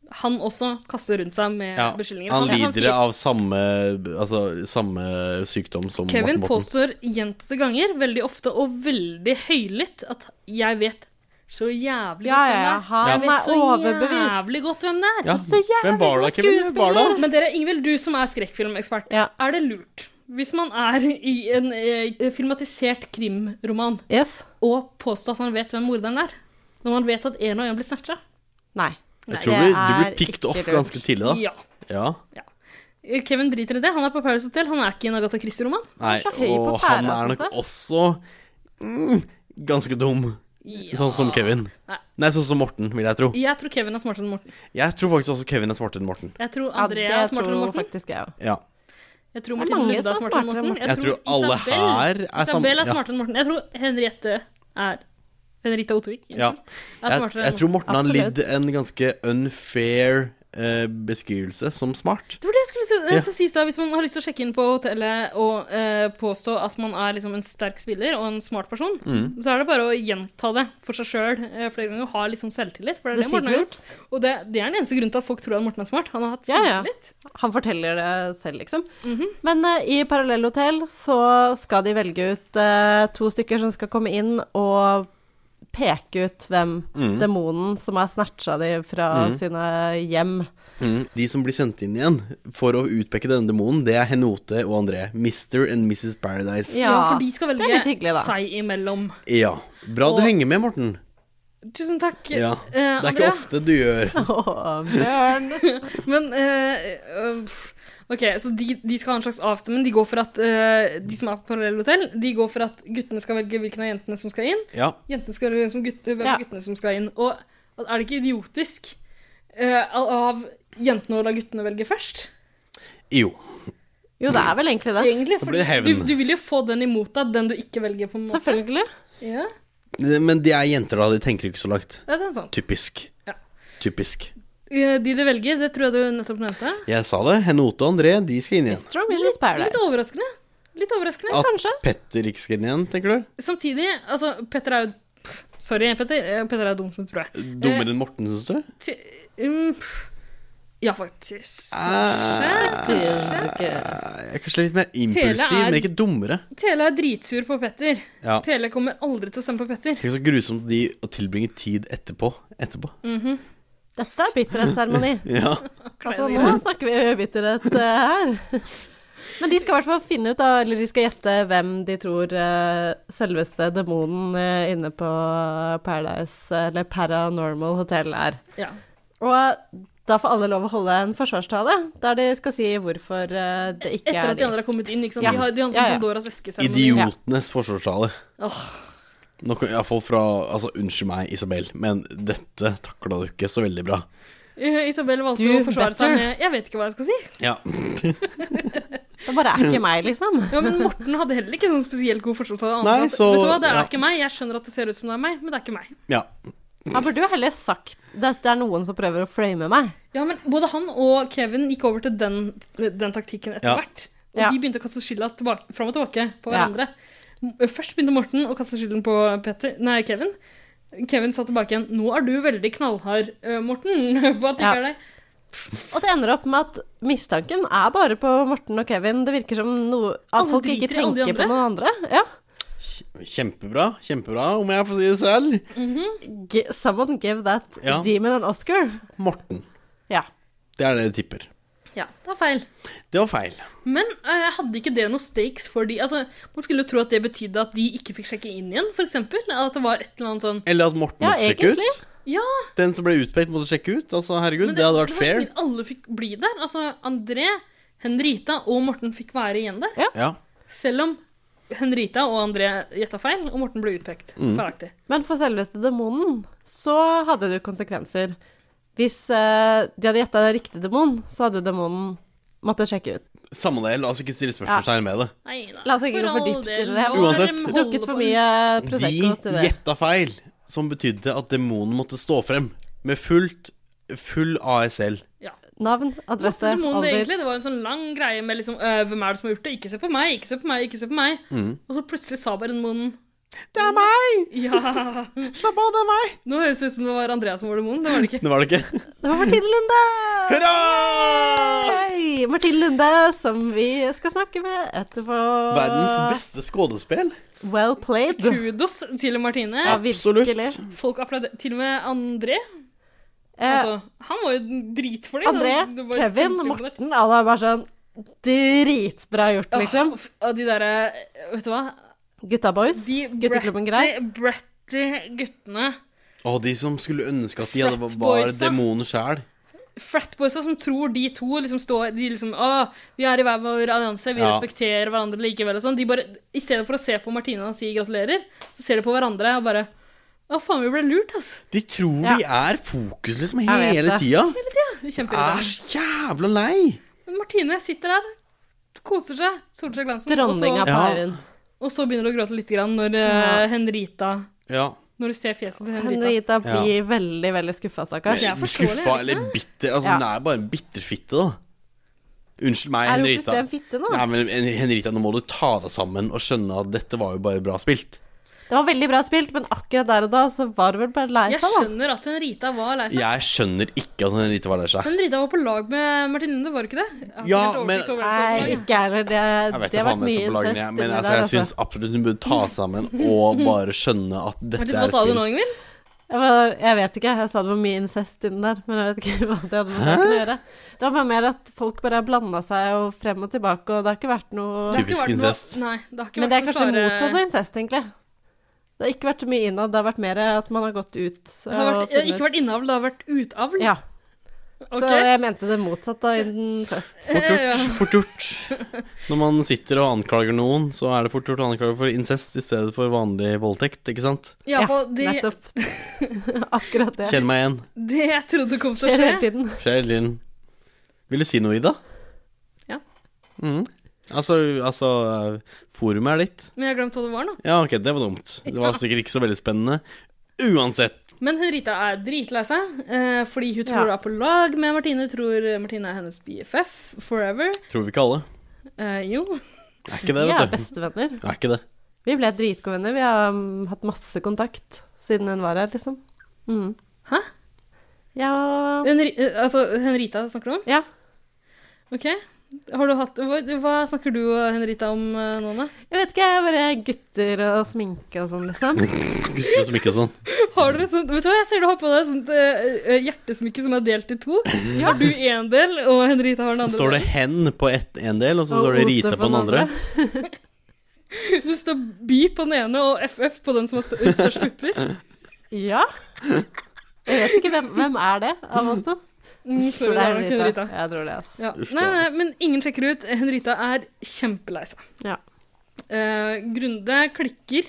[SPEAKER 2] han også kaster rundt seg med
[SPEAKER 5] Ja,
[SPEAKER 2] beskyldninger.
[SPEAKER 5] han
[SPEAKER 2] sier-
[SPEAKER 5] lider av samme, altså, samme sykdom som
[SPEAKER 2] Kevin
[SPEAKER 5] Morten Borten.
[SPEAKER 2] påstår gjentatte ganger, veldig ofte og veldig høylytt, at 'jeg vet så jævlig
[SPEAKER 4] Ja,
[SPEAKER 2] godt hvem det
[SPEAKER 4] ja,
[SPEAKER 2] er'.
[SPEAKER 4] han
[SPEAKER 2] jeg vet
[SPEAKER 4] er
[SPEAKER 2] så
[SPEAKER 4] overbevist.
[SPEAKER 2] jævlig godt hvem det er.
[SPEAKER 5] Ja, Så jævlig hvem var det da, god Kevin? Hvem var det da? skuespiller.
[SPEAKER 2] Men dere, Ingvild, du som er skrekkfilmekspert, er det lurt hvis man er i en eh, filmatisert krimroman og påstår at man vet hvem morderen er, når man vet at en og en blir snatcha?
[SPEAKER 4] Nei.
[SPEAKER 5] Jeg tror du, du blir picked off ganske tidlig da.
[SPEAKER 2] Ja.
[SPEAKER 5] Ja.
[SPEAKER 2] Kevin driter i det. Han er på Paris Hotel. Han er ikke i en Agatha Christie-roman.
[SPEAKER 5] Nei,
[SPEAKER 2] er så høy på
[SPEAKER 5] og han
[SPEAKER 2] pæra, altså.
[SPEAKER 5] er nok
[SPEAKER 2] synes jeg.
[SPEAKER 5] også mm, ganske dum. Sånn som Kevin.
[SPEAKER 2] Nei.
[SPEAKER 5] Nei, sånn som Morten, vil jeg tro.
[SPEAKER 2] Jeg tror Kevin er smartere enn Morten.
[SPEAKER 5] Jeg tror faktisk også Kevin er smartere enn Morten.
[SPEAKER 2] Jeg tror
[SPEAKER 4] Ja,
[SPEAKER 2] Andrea
[SPEAKER 4] det
[SPEAKER 2] er smartere enn
[SPEAKER 4] tror
[SPEAKER 2] Morten.
[SPEAKER 4] faktisk jeg òg.
[SPEAKER 5] Ja.
[SPEAKER 2] Jeg tror
[SPEAKER 4] Det er
[SPEAKER 2] Martin
[SPEAKER 4] mange
[SPEAKER 2] Lunde
[SPEAKER 4] som
[SPEAKER 2] er smartere enn Morten.
[SPEAKER 5] Jeg tror alle her er sam-
[SPEAKER 2] Isabel er
[SPEAKER 5] ja.
[SPEAKER 2] smartere enn Morten. Jeg tror Henriette er Henriette liksom. Otvik.
[SPEAKER 5] ja. Jeg, jeg tror Morten har lidd en ganske unfair eh, beskrivelse som smart.
[SPEAKER 2] Det var det jeg skulle si,
[SPEAKER 5] Ja.
[SPEAKER 2] til å si i stad. Hvis man har lyst til å sjekke inn på hotellet og eh, påstå at man er liksom en sterk spiller og en smart person,
[SPEAKER 5] Mm.
[SPEAKER 2] så er det bare å gjenta det for seg sjøl flere ganger og ha litt sånn selvtillit. For det er
[SPEAKER 4] The
[SPEAKER 2] det, Morten har gjort.
[SPEAKER 4] Secret.
[SPEAKER 2] Og det, det er den eneste grunnen til at folk tror at Morten er smart. Han har hatt
[SPEAKER 4] Ja, ja.
[SPEAKER 2] selvtillit.
[SPEAKER 4] Han forteller det selv, liksom.
[SPEAKER 2] Mhm.
[SPEAKER 4] Men eh, i Parallellhotell så skal de velge ut eh, to stykker som skal komme inn og peke ut hvem
[SPEAKER 5] Mm.
[SPEAKER 4] demonen som har snatcha de fra
[SPEAKER 5] Mm.
[SPEAKER 4] sine hjem.
[SPEAKER 5] Mm. De som blir sendt inn igjen for å utpeke denne demonen, det er Henote og André. Mr. and Mrs. Paradise.
[SPEAKER 2] Ja, for de skal
[SPEAKER 4] det er
[SPEAKER 2] velge
[SPEAKER 4] litt hyggelig, da.
[SPEAKER 2] seg imellom.
[SPEAKER 5] Ja. Bra du
[SPEAKER 2] Og-
[SPEAKER 5] henger med, Morten.
[SPEAKER 2] Tusen takk,
[SPEAKER 5] Ja.
[SPEAKER 2] eh,
[SPEAKER 5] Det er ikke
[SPEAKER 2] Andrea.
[SPEAKER 5] ofte du gjør.
[SPEAKER 2] Men eh, øh, pff, Ok, så de, de skal ha en slags avstemning. De går for at eh, De som er på parallellhotell, de går for at guttene skal velge hvilken av jentene som skal inn.
[SPEAKER 5] Ja.
[SPEAKER 2] Jentene skal velge hvem som gutt, eh, hvem av
[SPEAKER 4] Ja.
[SPEAKER 2] guttene som skal inn. Og er det ikke idiotisk eh, av jentene å la guttene velge først?
[SPEAKER 5] Jo.
[SPEAKER 4] Jo, det er vel egentlig det.
[SPEAKER 2] Egentlig,
[SPEAKER 5] Da
[SPEAKER 2] for
[SPEAKER 5] blir det hevn.
[SPEAKER 2] du, du vil jo få den imot deg, den du ikke velger, på en måte.
[SPEAKER 4] Selvfølgelig.
[SPEAKER 2] Ja,
[SPEAKER 5] Men de er jenter, da. De tenker ikke så langt.
[SPEAKER 2] ja, det er sant.
[SPEAKER 5] Typisk.
[SPEAKER 2] Ja.
[SPEAKER 5] Typisk.
[SPEAKER 2] Eh, De de velger, det tror jeg du nettopp nevnte.
[SPEAKER 5] Jeg sa det. Henote og André, de skal inn igjen.
[SPEAKER 4] Strong in his paradise.
[SPEAKER 2] Litt overraskende. Litt overraskende,
[SPEAKER 5] At
[SPEAKER 2] kanskje.
[SPEAKER 5] Petter ikke skal inn igjen, tenker du?
[SPEAKER 2] Samtidig, altså, Petter er jo pff, Sorry, Petter. eh, Petter er dum som et brød.
[SPEAKER 5] Dummere enn Morten, syns du?
[SPEAKER 2] Ti- mm, pff. ja, faktisk.
[SPEAKER 5] Ah. Jeg er kanskje litt mer impulsiv,
[SPEAKER 2] Tele er-
[SPEAKER 5] men ikke dummere.
[SPEAKER 2] Tele er dritsur på Petter.
[SPEAKER 5] Ja.
[SPEAKER 2] Tele kommer aldri til å stemme på Petter.
[SPEAKER 5] Tenk så grusomt de å tilbringe tid etterpå. Etterpå.
[SPEAKER 2] Mhm.
[SPEAKER 4] Dette er bitterhetsseremoni.
[SPEAKER 5] Ja.
[SPEAKER 4] Altså, nå snakker vi bitterhet eh, her. Men de skal i hvert fall finne ut, da, eller de skal gjette hvem de tror eh, selveste demonen eh, inne på Paradise, eller Paranormal Hotel, er.
[SPEAKER 2] Ja.
[SPEAKER 4] Og eh, da får alle lov å holde en forsvarstale, der de skal si hvorfor eh, det ikke
[SPEAKER 2] Etter
[SPEAKER 4] er
[SPEAKER 2] at de andre har kommet inn. ikke sant?
[SPEAKER 4] Ja.
[SPEAKER 2] De har, de har en
[SPEAKER 4] Ja,
[SPEAKER 2] sånn
[SPEAKER 4] ja.
[SPEAKER 2] Pandoras eske-seremoni.
[SPEAKER 5] Idiotenes forsvarstale.
[SPEAKER 2] Åh,
[SPEAKER 5] Noe iallfall fra Altså, unnskyld meg, Isabel, men dette takla du ikke så veldig bra.
[SPEAKER 2] eh, Isabel valgte
[SPEAKER 4] Du
[SPEAKER 2] å forsvare seg
[SPEAKER 4] better.
[SPEAKER 2] med Jeg vet ikke hva jeg skal si.
[SPEAKER 5] Ja.
[SPEAKER 4] Det bare er ikke meg, liksom.
[SPEAKER 2] Ja, Men Morten hadde heller ikke noen spesielt god forsvarstale.
[SPEAKER 5] Nei,
[SPEAKER 2] Vet
[SPEAKER 5] så-
[SPEAKER 2] du hva, det er
[SPEAKER 5] ja.
[SPEAKER 2] ikke meg. Jeg skjønner at det ser ut som det er meg, men det er ikke meg.
[SPEAKER 5] ja.
[SPEAKER 4] Han burde jo heller sagt at det er noen som prøver å frame meg.
[SPEAKER 2] Ja, men både han og Kevin gikk over til den, den taktikken etter
[SPEAKER 5] Ja.
[SPEAKER 2] hvert. Og
[SPEAKER 4] Ja.
[SPEAKER 2] de begynte å kaste skylda tilbake, fram og tilbake på
[SPEAKER 4] Ja.
[SPEAKER 2] hverandre. M- Først begynte Morten å kaste skylden på Petter, nei, Kevin. Kevin sa tilbake igjen 'Nå er du veldig knallhard, eh, Morten.' på at det
[SPEAKER 4] Ja.
[SPEAKER 2] ikke er deg.
[SPEAKER 4] Og det ender opp med at mistanken er bare på Morten og Kevin. Det virker som noe, at
[SPEAKER 2] Alle
[SPEAKER 4] folk ikke
[SPEAKER 2] driter i alle de
[SPEAKER 4] tenker på
[SPEAKER 2] andre.
[SPEAKER 4] noen andre. Ja.
[SPEAKER 5] Kjempebra. Kjempebra, om jeg får si det selv.
[SPEAKER 4] Gi- Someone give that
[SPEAKER 5] Ja.
[SPEAKER 4] demon an Oscar.
[SPEAKER 5] Morten.
[SPEAKER 4] Ja.
[SPEAKER 5] Det er det jeg tipper.
[SPEAKER 2] Ja, det var feil.
[SPEAKER 5] Det var feil.
[SPEAKER 2] Men eh, hadde ikke det noe stakes for de Altså, Man skulle jo tro at det betydde at de ikke fikk sjekke inn igjen, f.eks. At det var et eller annet sånn
[SPEAKER 5] Eller at Morten
[SPEAKER 4] Ja,
[SPEAKER 5] måtte sjekke
[SPEAKER 4] egentlig.
[SPEAKER 5] ut.
[SPEAKER 2] Ja,
[SPEAKER 5] Den som ble utpekt, måtte sjekke ut. Altså, herregud,
[SPEAKER 2] Men
[SPEAKER 5] det, hadde vært
[SPEAKER 2] var
[SPEAKER 5] fair.
[SPEAKER 2] ingen- Alle fikk bli der. Altså, André, Henrita og Morten fikk være igjen der.
[SPEAKER 5] Ja.
[SPEAKER 2] Selv om Henrita og André gjetta feil, og Morten ble utpekt.
[SPEAKER 5] Mm.
[SPEAKER 2] Feilaktig.
[SPEAKER 4] Men for selveste demonen så hadde det jo konsekvenser. Hvis eh, de hadde gjetta riktig demon, så hadde jo demonen måttet sjekke ut.
[SPEAKER 5] Samme det, la oss ikke stille spørsmålstegn ved det.
[SPEAKER 2] Nei da.
[SPEAKER 4] La oss ikke
[SPEAKER 2] for
[SPEAKER 4] gå for
[SPEAKER 2] all
[SPEAKER 4] dypt
[SPEAKER 2] del,
[SPEAKER 4] inn i det.
[SPEAKER 2] hva er
[SPEAKER 5] Uansett.
[SPEAKER 2] det de holder
[SPEAKER 4] Drukket
[SPEAKER 2] på
[SPEAKER 4] for
[SPEAKER 2] med?
[SPEAKER 4] mye
[SPEAKER 5] De
[SPEAKER 4] Prosecco til det.
[SPEAKER 5] gjetta feil. som betydde at demonen måtte stå frem med fullt, full ASL.
[SPEAKER 2] Ja.
[SPEAKER 4] Navn, adresse,
[SPEAKER 2] Masse demoner,
[SPEAKER 4] alder.
[SPEAKER 2] egentlig. Det var en sånn lang greie med liksom øh, Hvem er det som har gjort det? Ikke se på meg, ikke se på meg, ikke se på meg.
[SPEAKER 5] Mm.
[SPEAKER 2] Og så plutselig sa bare demonen
[SPEAKER 5] Det er meg!
[SPEAKER 2] Ja.
[SPEAKER 5] Slapp av, det er meg!
[SPEAKER 2] Nå høres det ut som det var Andreas som var demon. Det var det ikke.
[SPEAKER 5] Det var det ikke?
[SPEAKER 4] Det var Martine Lunde!
[SPEAKER 5] Hurra!
[SPEAKER 4] Hei, Martine Lunde, som vi skal snakke med etterpå.
[SPEAKER 5] Verdens beste skådespill.
[SPEAKER 4] Well played.
[SPEAKER 2] Kudos til Martine.
[SPEAKER 4] Ja, Absolutt. virkelig.
[SPEAKER 2] Folk applauderer. Til og med André. altså, han var jo dritfornøyd.
[SPEAKER 4] Eh, André,
[SPEAKER 2] Han- det var jo
[SPEAKER 4] Kevin,
[SPEAKER 2] kjempeimponert.
[SPEAKER 4] Morten, alle er bare sånn dritbra gjort, liksom.
[SPEAKER 2] Åh, Ah, f- Og de derre Vet du hva?
[SPEAKER 4] Gutta boys.
[SPEAKER 2] De
[SPEAKER 4] Gutteklubben Grei.
[SPEAKER 2] bratty- bratty guttene.
[SPEAKER 5] Og de som skulle ønske at de hadde var
[SPEAKER 2] Flatboysa.
[SPEAKER 5] demonen sjæl.
[SPEAKER 2] Fratboysa som tror de to liksom står De liksom Å, vi er i hver vår allianse, vi
[SPEAKER 5] Ja.
[SPEAKER 2] respekterer hverandre likevel og sånn. De bare I stedet for å se på Martine og si gratulerer, så ser de på hverandre og bare Å, faen, vi ble lurt, ass.
[SPEAKER 5] De tror de er fokus liksom
[SPEAKER 2] Jeg vet
[SPEAKER 5] hele
[SPEAKER 2] det.
[SPEAKER 5] tida.
[SPEAKER 2] Hele tida. Det er
[SPEAKER 5] Er
[SPEAKER 2] Kjempeirriterende.
[SPEAKER 5] så jævla lei.
[SPEAKER 2] Men Martine sitter der, koser seg, soler seg i glansen,
[SPEAKER 4] Dronninga
[SPEAKER 2] og,
[SPEAKER 4] på
[SPEAKER 2] så,
[SPEAKER 4] haugen.
[SPEAKER 2] og så begynner du å gråte litt grann når eh,
[SPEAKER 4] Ja.
[SPEAKER 2] Henrita
[SPEAKER 5] Ja.
[SPEAKER 2] Når du ser fjeset til Henrita.
[SPEAKER 4] Henrita blir
[SPEAKER 5] Ja.
[SPEAKER 4] veldig, veldig skuffa, stakkars.
[SPEAKER 2] Det er forståelig, er
[SPEAKER 5] Skuffa
[SPEAKER 2] det ikke
[SPEAKER 5] eller bitter. Altså,
[SPEAKER 4] Ja.
[SPEAKER 5] Hun er bare en bitterfitte, da. Unnskyld meg,
[SPEAKER 4] Er hun
[SPEAKER 5] Henrita.
[SPEAKER 4] plutselig en fitte nå?
[SPEAKER 5] Nei, men en- Henrita, nå må du ta deg sammen og skjønne at dette var jo bare bra spilt.
[SPEAKER 4] Det var veldig bra spilt, men akkurat der og da så var det vel bare lei
[SPEAKER 2] Jeg
[SPEAKER 4] seg, da.
[SPEAKER 2] skjønner at Henrita var lei seg.
[SPEAKER 5] Jeg skjønner ikke at Henrita var lei seg.
[SPEAKER 2] Henrita var på lag med Martine Lunde, var det ikke det? Jeg har ikke
[SPEAKER 5] Ja,
[SPEAKER 2] helt
[SPEAKER 5] men-
[SPEAKER 2] oversikt over hvem som var på
[SPEAKER 4] Nei,
[SPEAKER 2] laget.
[SPEAKER 4] ikke jeg heller.
[SPEAKER 5] Jeg
[SPEAKER 4] Det,
[SPEAKER 5] vet
[SPEAKER 4] det har
[SPEAKER 5] ikke faen
[SPEAKER 4] vært
[SPEAKER 5] hvem
[SPEAKER 4] mye
[SPEAKER 5] som på
[SPEAKER 4] incest
[SPEAKER 5] lagene, jeg,
[SPEAKER 4] inni
[SPEAKER 5] men
[SPEAKER 4] der,
[SPEAKER 5] altså, jeg
[SPEAKER 4] altså.
[SPEAKER 5] syns absolutt hun burde ta sammen og bare skjønne at dette
[SPEAKER 2] Martine,
[SPEAKER 5] er
[SPEAKER 2] hva sa du
[SPEAKER 5] spill.
[SPEAKER 2] nå, Ingvild?
[SPEAKER 4] Jeg, var, jeg vet ikke, jeg sa det var mye incest inni der, men jeg vet ikke hva det hadde med saken å gjøre. Det var bare mer at folk bare har blanda seg og frem og tilbake, og det har ikke vært noe
[SPEAKER 2] Det har ikke
[SPEAKER 5] Typisk
[SPEAKER 2] vært noe-
[SPEAKER 5] incest.
[SPEAKER 2] Nei, det har ikke
[SPEAKER 4] Men det er
[SPEAKER 2] vært
[SPEAKER 4] kanskje
[SPEAKER 2] så
[SPEAKER 4] det
[SPEAKER 2] klare-
[SPEAKER 4] motsatte av incest, egentlig. Det har ikke vært så mye innad, det har vært mer at man har gått ut
[SPEAKER 2] Det har
[SPEAKER 4] og
[SPEAKER 2] vært, eh, ikke vært innavl, det har vært utavl.
[SPEAKER 4] Ja.
[SPEAKER 2] Ok.
[SPEAKER 4] Så jeg mente det motsatte av incest.
[SPEAKER 5] Fort
[SPEAKER 2] Ja,
[SPEAKER 5] gjort.
[SPEAKER 2] ja.
[SPEAKER 5] Fort gjort. Når man sitter og anklager noen, så er det fort gjort å anklage for incest i stedet for vanlig voldtekt, ikke sant?
[SPEAKER 2] I alle fall, de-
[SPEAKER 4] nettopp. Akkurat det.
[SPEAKER 5] Kjenn meg igjen.
[SPEAKER 2] Det jeg trodde kom til å
[SPEAKER 4] Skjer hele
[SPEAKER 2] skje.
[SPEAKER 4] tiden.
[SPEAKER 5] Skjer hele tiden. Vil du si noe, Ida?
[SPEAKER 2] Ja.
[SPEAKER 5] Mhm. Altså, altså Forumet er ditt.
[SPEAKER 2] Men jeg har glemt hva det var nå.
[SPEAKER 5] Ja, ok, det var dumt. Det var sikkert ikke så veldig spennende. Uansett.
[SPEAKER 2] Men Henrita er dritlei seg, eh, fordi hun tror
[SPEAKER 4] Ja.
[SPEAKER 2] hun er på lag med Martine. Hun tror Martine er hennes BFF forever.
[SPEAKER 5] Tror vi ikke alle.
[SPEAKER 2] Eh, jo.
[SPEAKER 5] Er ikke det,
[SPEAKER 4] Vi er
[SPEAKER 5] vet du.
[SPEAKER 4] bestevenner.
[SPEAKER 5] Er ikke det.
[SPEAKER 4] Vi ble dritgode venner. Vi har um, hatt masse kontakt siden hun var her, liksom. Mm.
[SPEAKER 2] Hæ?
[SPEAKER 4] Ja
[SPEAKER 2] Henri eh, altså, Henrita snakker du om?
[SPEAKER 4] Ja.
[SPEAKER 2] Ok. Har du hatt, hva, hva snakker du og Henrita om eh, nå, da?
[SPEAKER 4] Jeg vet ikke, jeg er bare gutter og sminke og sånn, liksom.
[SPEAKER 5] Gutter som ikke og sånn.
[SPEAKER 2] Har dere et sånt, vet du hva, Jeg ser du har på deg et sånt eh, eh, hjertesmykke som er delt i to. Har du én del, og Henrita har den andre.
[SPEAKER 5] Så står det 'hen' på ett, en del, og så
[SPEAKER 4] Og
[SPEAKER 5] står det
[SPEAKER 4] Ote
[SPEAKER 5] 'Rita' på den andre.
[SPEAKER 2] Det står by på den ene og FF på den som har stør- størst pupper.
[SPEAKER 4] Ja. Jeg vet ikke hvem, hvem er det av oss to.
[SPEAKER 2] Mm, sorry, det er nok Henrita.
[SPEAKER 4] Jeg tror det, ass.
[SPEAKER 2] Ja.
[SPEAKER 5] Uff,
[SPEAKER 2] Nei,
[SPEAKER 5] da.
[SPEAKER 2] nei, men ingen sjekker ut. Henrita er kjempelei seg.
[SPEAKER 4] Ja.
[SPEAKER 2] Eh, Grunde klikker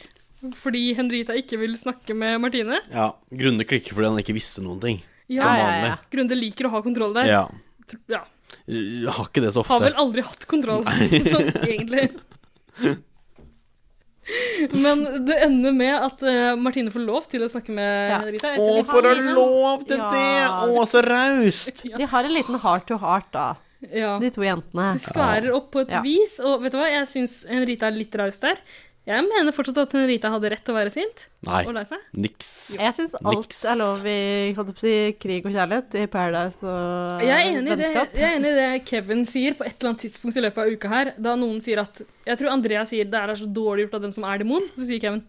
[SPEAKER 2] fordi Henrita ikke vil snakke med Martine.
[SPEAKER 5] Ja. Grunde klikker fordi han ikke visste noen ting.
[SPEAKER 2] Ja,
[SPEAKER 5] som
[SPEAKER 4] ja, ja.
[SPEAKER 5] vanlig.
[SPEAKER 2] Grunde liker å ha kontroll der.
[SPEAKER 5] Ja.
[SPEAKER 2] Tr- ja.
[SPEAKER 5] Jeg Har ikke det så ofte.
[SPEAKER 2] Har vel aldri hatt kontroll, sånn egentlig. Men det ender med at eh, Martine får lov til å snakke med
[SPEAKER 4] Ja.
[SPEAKER 2] Henrita.
[SPEAKER 5] Å,
[SPEAKER 2] etter
[SPEAKER 5] for å
[SPEAKER 2] litt-
[SPEAKER 5] lov til
[SPEAKER 4] Ja.
[SPEAKER 5] det! Å, så raust!
[SPEAKER 4] De har en liten heart to heart, da,
[SPEAKER 2] Ja.
[SPEAKER 4] de to jentene.
[SPEAKER 2] Det skværer opp på et
[SPEAKER 4] Ja.
[SPEAKER 2] vis, og vet du hva, jeg syns Henrita er litt raus der. Jeg mener fortsatt at Henrita hadde rett til å være sint
[SPEAKER 5] Nei,
[SPEAKER 2] og lei seg.
[SPEAKER 5] niks.
[SPEAKER 4] Jeg syns alt
[SPEAKER 5] Niks.
[SPEAKER 4] er lov i holdt jeg på å si, krig og kjærlighet, i Paradise og
[SPEAKER 2] Jeg er, enig i det,
[SPEAKER 4] Eh, vennskap.
[SPEAKER 2] jeg er enig i det Kevin sier på et eller annet tidspunkt i løpet av uka her, da noen sier at Jeg tror Andrea sier det er så dårlig gjort av den som er demon. Så sier Kevin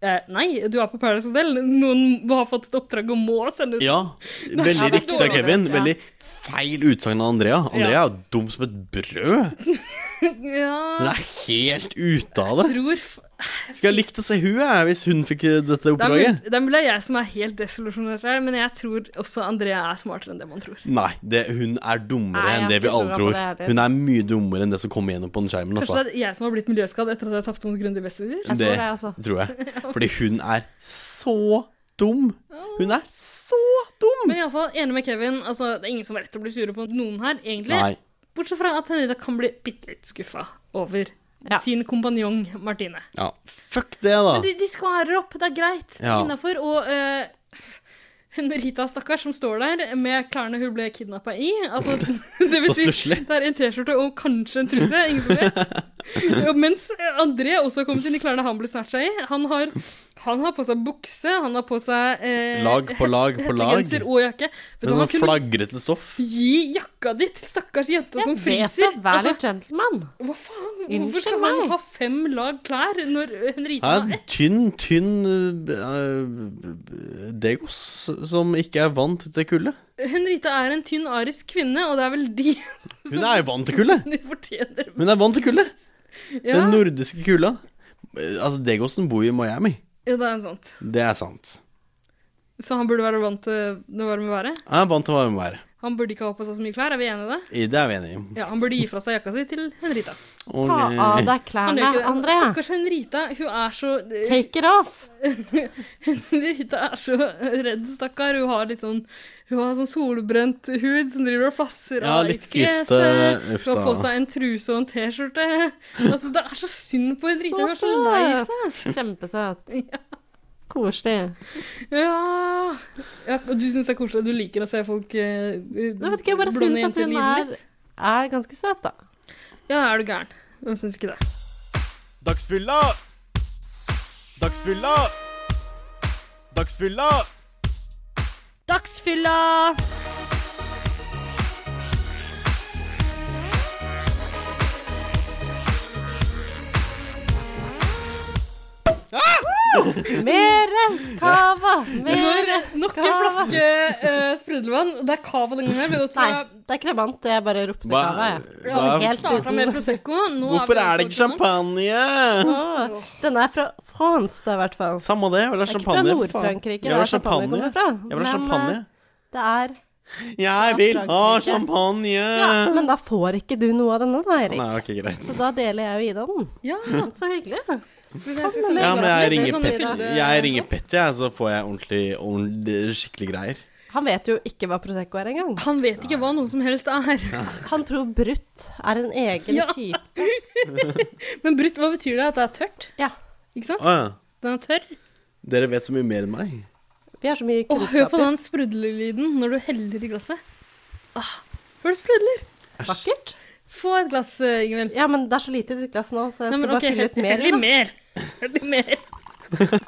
[SPEAKER 2] eh, nei, du er på Paradise Hotel. Noen har fått et oppdrag og må sende ut
[SPEAKER 5] Ja, veldig
[SPEAKER 4] det er
[SPEAKER 5] riktig av
[SPEAKER 2] dårlig.
[SPEAKER 5] Kevin.
[SPEAKER 4] Ja.
[SPEAKER 5] Veldig feil utsagn av Andrea. Andrea er dum som et brød. Hun er helt ute av det.
[SPEAKER 2] Tror f
[SPEAKER 5] Skulle jeg likt å se hun jeg, hvis hun fikk dette
[SPEAKER 2] Det er mul-
[SPEAKER 5] oppdraget.
[SPEAKER 2] det er mulig det er jeg som er helt desillusjonert her, men jeg tror også Andrea er smartere enn det man tror.
[SPEAKER 5] Nei, det, hun er dummere
[SPEAKER 4] Nei, jeg
[SPEAKER 5] enn det vi
[SPEAKER 4] tror
[SPEAKER 5] alle
[SPEAKER 4] ikke
[SPEAKER 5] tror.
[SPEAKER 4] på det heller.
[SPEAKER 5] Hun er mye dummere enn det som kommer gjennom på den skjermen.
[SPEAKER 2] Kanskje
[SPEAKER 5] Altså.
[SPEAKER 2] det er jeg som har blitt miljøskadd etter at jeg tapte mot Grundig Bestviser?
[SPEAKER 4] Jeg tror det,
[SPEAKER 5] Det
[SPEAKER 4] altså.
[SPEAKER 5] tror jeg. Fordi hun er så dum. Hun er så dum!
[SPEAKER 2] Men iallfall, enig med Kevin. Altså, det er ingen som har rett til å bli sure på noen her, egentlig.
[SPEAKER 5] Nei.
[SPEAKER 2] Bortsett fra at Henrietta kan bli bitte litt skuffa over sin kompanjong Martine.
[SPEAKER 5] Ja, fuck det, da!
[SPEAKER 2] Men de, de skværer opp, det er greit.
[SPEAKER 5] Ja.
[SPEAKER 2] Innafor. Og eh, Rita, stakkars, som står der med klærne hun ble kidnappa i. Altså, det vil
[SPEAKER 5] Så
[SPEAKER 2] si,
[SPEAKER 5] stusslig.
[SPEAKER 2] Det er en T-skjorte og kanskje en truse, ingen som vet. Og mens André også har kommet inn i klærne han ble snatcha i. Han har, han har på seg bukse, han har på seg eh,
[SPEAKER 5] Lag på lag på lag.
[SPEAKER 2] hettegenser og jakke. Vet
[SPEAKER 5] Med
[SPEAKER 2] du,
[SPEAKER 5] sånn
[SPEAKER 2] han kunne
[SPEAKER 5] flagrete stoff.
[SPEAKER 2] gi jakka di til stakkars jenta som fryser. altså.
[SPEAKER 4] Vet da, vær litt gentleman.
[SPEAKER 2] hva faen? Hvorfor
[SPEAKER 4] Unnskyld
[SPEAKER 2] skal han
[SPEAKER 4] meg.
[SPEAKER 2] ha fem lag klær når Henrita
[SPEAKER 5] Ja,
[SPEAKER 2] har ett?
[SPEAKER 5] tynn, tynn eh, Degos som ikke er vant til kulde.
[SPEAKER 2] Henrita er en tynn arisk kvinne, og det er vel de
[SPEAKER 5] Hun er jo vant til kulde!
[SPEAKER 2] de fortjener
[SPEAKER 5] Hun er vant til kulde!
[SPEAKER 2] Ja.
[SPEAKER 5] Den nordiske kulda. Eh, Altså, Degosen bor i Miami.
[SPEAKER 2] Ja, det er sant.
[SPEAKER 5] Det er sant.
[SPEAKER 2] Så han burde være vant til det varme været.
[SPEAKER 5] Han er vant til varme vær.
[SPEAKER 2] Han burde ikke ha på seg så mye klær, er vi enige i det?
[SPEAKER 5] I Det er vi enige om.
[SPEAKER 2] Ja, Han burde gi fra seg jakka si til Henrita.
[SPEAKER 5] Ok.
[SPEAKER 4] Ta av deg
[SPEAKER 2] Han
[SPEAKER 4] klærne,
[SPEAKER 2] gjør ikke det.
[SPEAKER 4] André.
[SPEAKER 2] Stakkars Henrita, hun er så
[SPEAKER 4] Take it off.
[SPEAKER 2] Henrita er så redd, stakkar. Hun har litt sånn hun har sånn solbrent hud som driver og flasser
[SPEAKER 5] Ja,
[SPEAKER 2] av
[SPEAKER 5] litt
[SPEAKER 2] i
[SPEAKER 5] kviste,
[SPEAKER 2] fjeset.
[SPEAKER 5] uff
[SPEAKER 2] Hun har på
[SPEAKER 5] da.
[SPEAKER 2] seg en truse og en T-skjorte. Altså, Det er så synd på Henrita. Hun er så lei seg.
[SPEAKER 4] Kjempesøt. Koselig.
[SPEAKER 2] Ja. ja og Du syns det er koselig? Du liker å se folk eh,
[SPEAKER 4] Nei, vet ikke, jeg bare
[SPEAKER 2] blonde
[SPEAKER 4] syns at
[SPEAKER 2] jenter
[SPEAKER 4] hun
[SPEAKER 2] lide
[SPEAKER 4] er,
[SPEAKER 2] litt?
[SPEAKER 4] er ganske søt, da.
[SPEAKER 2] Ja, er du gæren? Hvem syns ikke det?
[SPEAKER 12] Dagsfylla! Dagsfylla! Dagsfylla!
[SPEAKER 13] Dagsfylla!
[SPEAKER 4] Mere cava! Mere
[SPEAKER 2] Nok en
[SPEAKER 4] cava.
[SPEAKER 2] flaske eh, sprudlevann. Det er cava denne gangen. Vi har gått
[SPEAKER 4] Nei,
[SPEAKER 2] fra
[SPEAKER 4] det er kremant. Jeg bare ropte
[SPEAKER 5] Hva-
[SPEAKER 4] cava, jeg.
[SPEAKER 5] hva-
[SPEAKER 4] Sånn helt
[SPEAKER 2] starta med
[SPEAKER 4] uten-
[SPEAKER 2] Prosecco. Nå
[SPEAKER 5] Hvorfor
[SPEAKER 2] er
[SPEAKER 5] er
[SPEAKER 2] vi
[SPEAKER 5] det ikke champagne?
[SPEAKER 4] Åh, Denne er fra France, da, i hvert fall.
[SPEAKER 5] Samme det, jeg vil ha
[SPEAKER 4] Det er
[SPEAKER 5] champagne.
[SPEAKER 4] Ikke fra Nord-Frankrike,
[SPEAKER 5] Jeg
[SPEAKER 4] der
[SPEAKER 5] vil ha
[SPEAKER 4] champagne kommer
[SPEAKER 5] champagne.
[SPEAKER 4] fra.
[SPEAKER 5] Jeg vil ha
[SPEAKER 4] Men,
[SPEAKER 5] champagne.
[SPEAKER 4] eh, det er
[SPEAKER 5] Jeg vil ha
[SPEAKER 4] Frankrike.
[SPEAKER 5] champagne!
[SPEAKER 4] Ja, men da får ikke du noe av denne, da, Erik.
[SPEAKER 5] Nei, ok, greit.
[SPEAKER 4] Så da deler jeg jo Ida den.
[SPEAKER 2] Ja.
[SPEAKER 4] Så hyggelig.
[SPEAKER 2] Skal vi se, jeg skal
[SPEAKER 4] Kom med.
[SPEAKER 5] Ja, men jeg
[SPEAKER 2] Glass litt,
[SPEAKER 5] ringer
[SPEAKER 4] sånn
[SPEAKER 2] så kan
[SPEAKER 5] Petter,
[SPEAKER 2] dere-
[SPEAKER 5] jeg, ringer Petter, jeg så får jeg ordentlig, ordentlig skikkelig greier.
[SPEAKER 4] Han vet jo ikke hva Prosecco er engang.
[SPEAKER 2] Han vet ikke hva noe som helst er.
[SPEAKER 4] Han tror brutt er en egen
[SPEAKER 2] Ja.
[SPEAKER 4] type.
[SPEAKER 2] Men brutt, hva betyr det? At det er tørt?
[SPEAKER 4] Ja.
[SPEAKER 2] Ikke sant?
[SPEAKER 5] Å ja.
[SPEAKER 2] Den er tørr.
[SPEAKER 5] Dere vet så mye mer enn meg.
[SPEAKER 4] Vi har så mye
[SPEAKER 2] Å, hør på
[SPEAKER 4] kunnskaper.
[SPEAKER 2] den sprudlelyden når du heller i glasset. Ah, Hør det sprudler.
[SPEAKER 4] Vakkert.
[SPEAKER 2] Få et glass, eh, Ingvild.
[SPEAKER 4] Ja, men det er så lite i ditt glass nå, så
[SPEAKER 2] Nei,
[SPEAKER 4] jeg skal
[SPEAKER 2] men
[SPEAKER 4] bare
[SPEAKER 2] ok,
[SPEAKER 4] fylle ut
[SPEAKER 2] hell-
[SPEAKER 4] mer. i
[SPEAKER 2] Hell i
[SPEAKER 4] det.
[SPEAKER 2] mer. Hell i mer.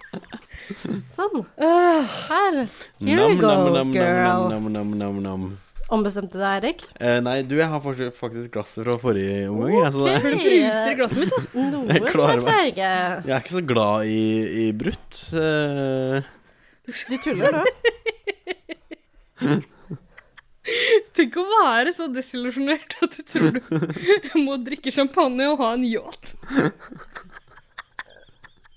[SPEAKER 4] Sånn.
[SPEAKER 2] Åh,
[SPEAKER 4] Her. Here we go, girl.
[SPEAKER 5] nam, nam, nam, nam.
[SPEAKER 4] Ombestemte deg, Erik?
[SPEAKER 5] Eh, nei, du, jeg har faktisk- faktisk glasset fra forrige omgang. jeg, så
[SPEAKER 4] Ok.
[SPEAKER 5] det-
[SPEAKER 2] bruser i glasset mitt, da.
[SPEAKER 4] Noe
[SPEAKER 5] Jeg klarer
[SPEAKER 4] mer
[SPEAKER 5] meg.
[SPEAKER 4] treige.
[SPEAKER 5] jeg er ikke så glad i, i brutt. Eh,
[SPEAKER 4] Du tuller, du.
[SPEAKER 2] Tenk å være så desillusjonert at du tror du må drikke champagne og ha en yacht.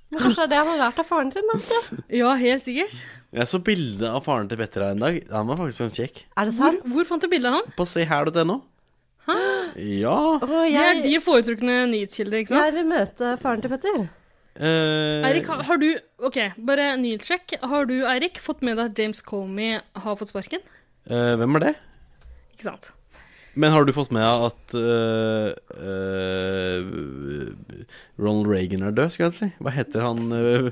[SPEAKER 4] Men kanskje det er det han har lært av faren sin, da. vet du.
[SPEAKER 2] Ja, helt sikkert.
[SPEAKER 5] jeg så bilde av faren til Petter her en dag. Han var faktisk ganske kjekk.
[SPEAKER 4] Er det
[SPEAKER 2] Hvor,
[SPEAKER 4] sant?
[SPEAKER 2] hvor fant du bildet av han?
[SPEAKER 5] På seher.no. Ja.
[SPEAKER 4] Å,
[SPEAKER 2] Det er
[SPEAKER 4] jeg,
[SPEAKER 2] de foretrukne nyhetskilder, ikke sant?
[SPEAKER 4] jeg vil møte faren til Petter.
[SPEAKER 5] Eh,
[SPEAKER 2] Eirik, har- har du Ok, bare nyhetssjekk. Har du, Eirik, fått med deg at James Comey har fått sparken?
[SPEAKER 5] eh, hvem er det?
[SPEAKER 2] Ikke sant?
[SPEAKER 5] Men har du fått med deg at eh, eh, Ronald Reagan er død, skal jeg si? Hva heter han eh,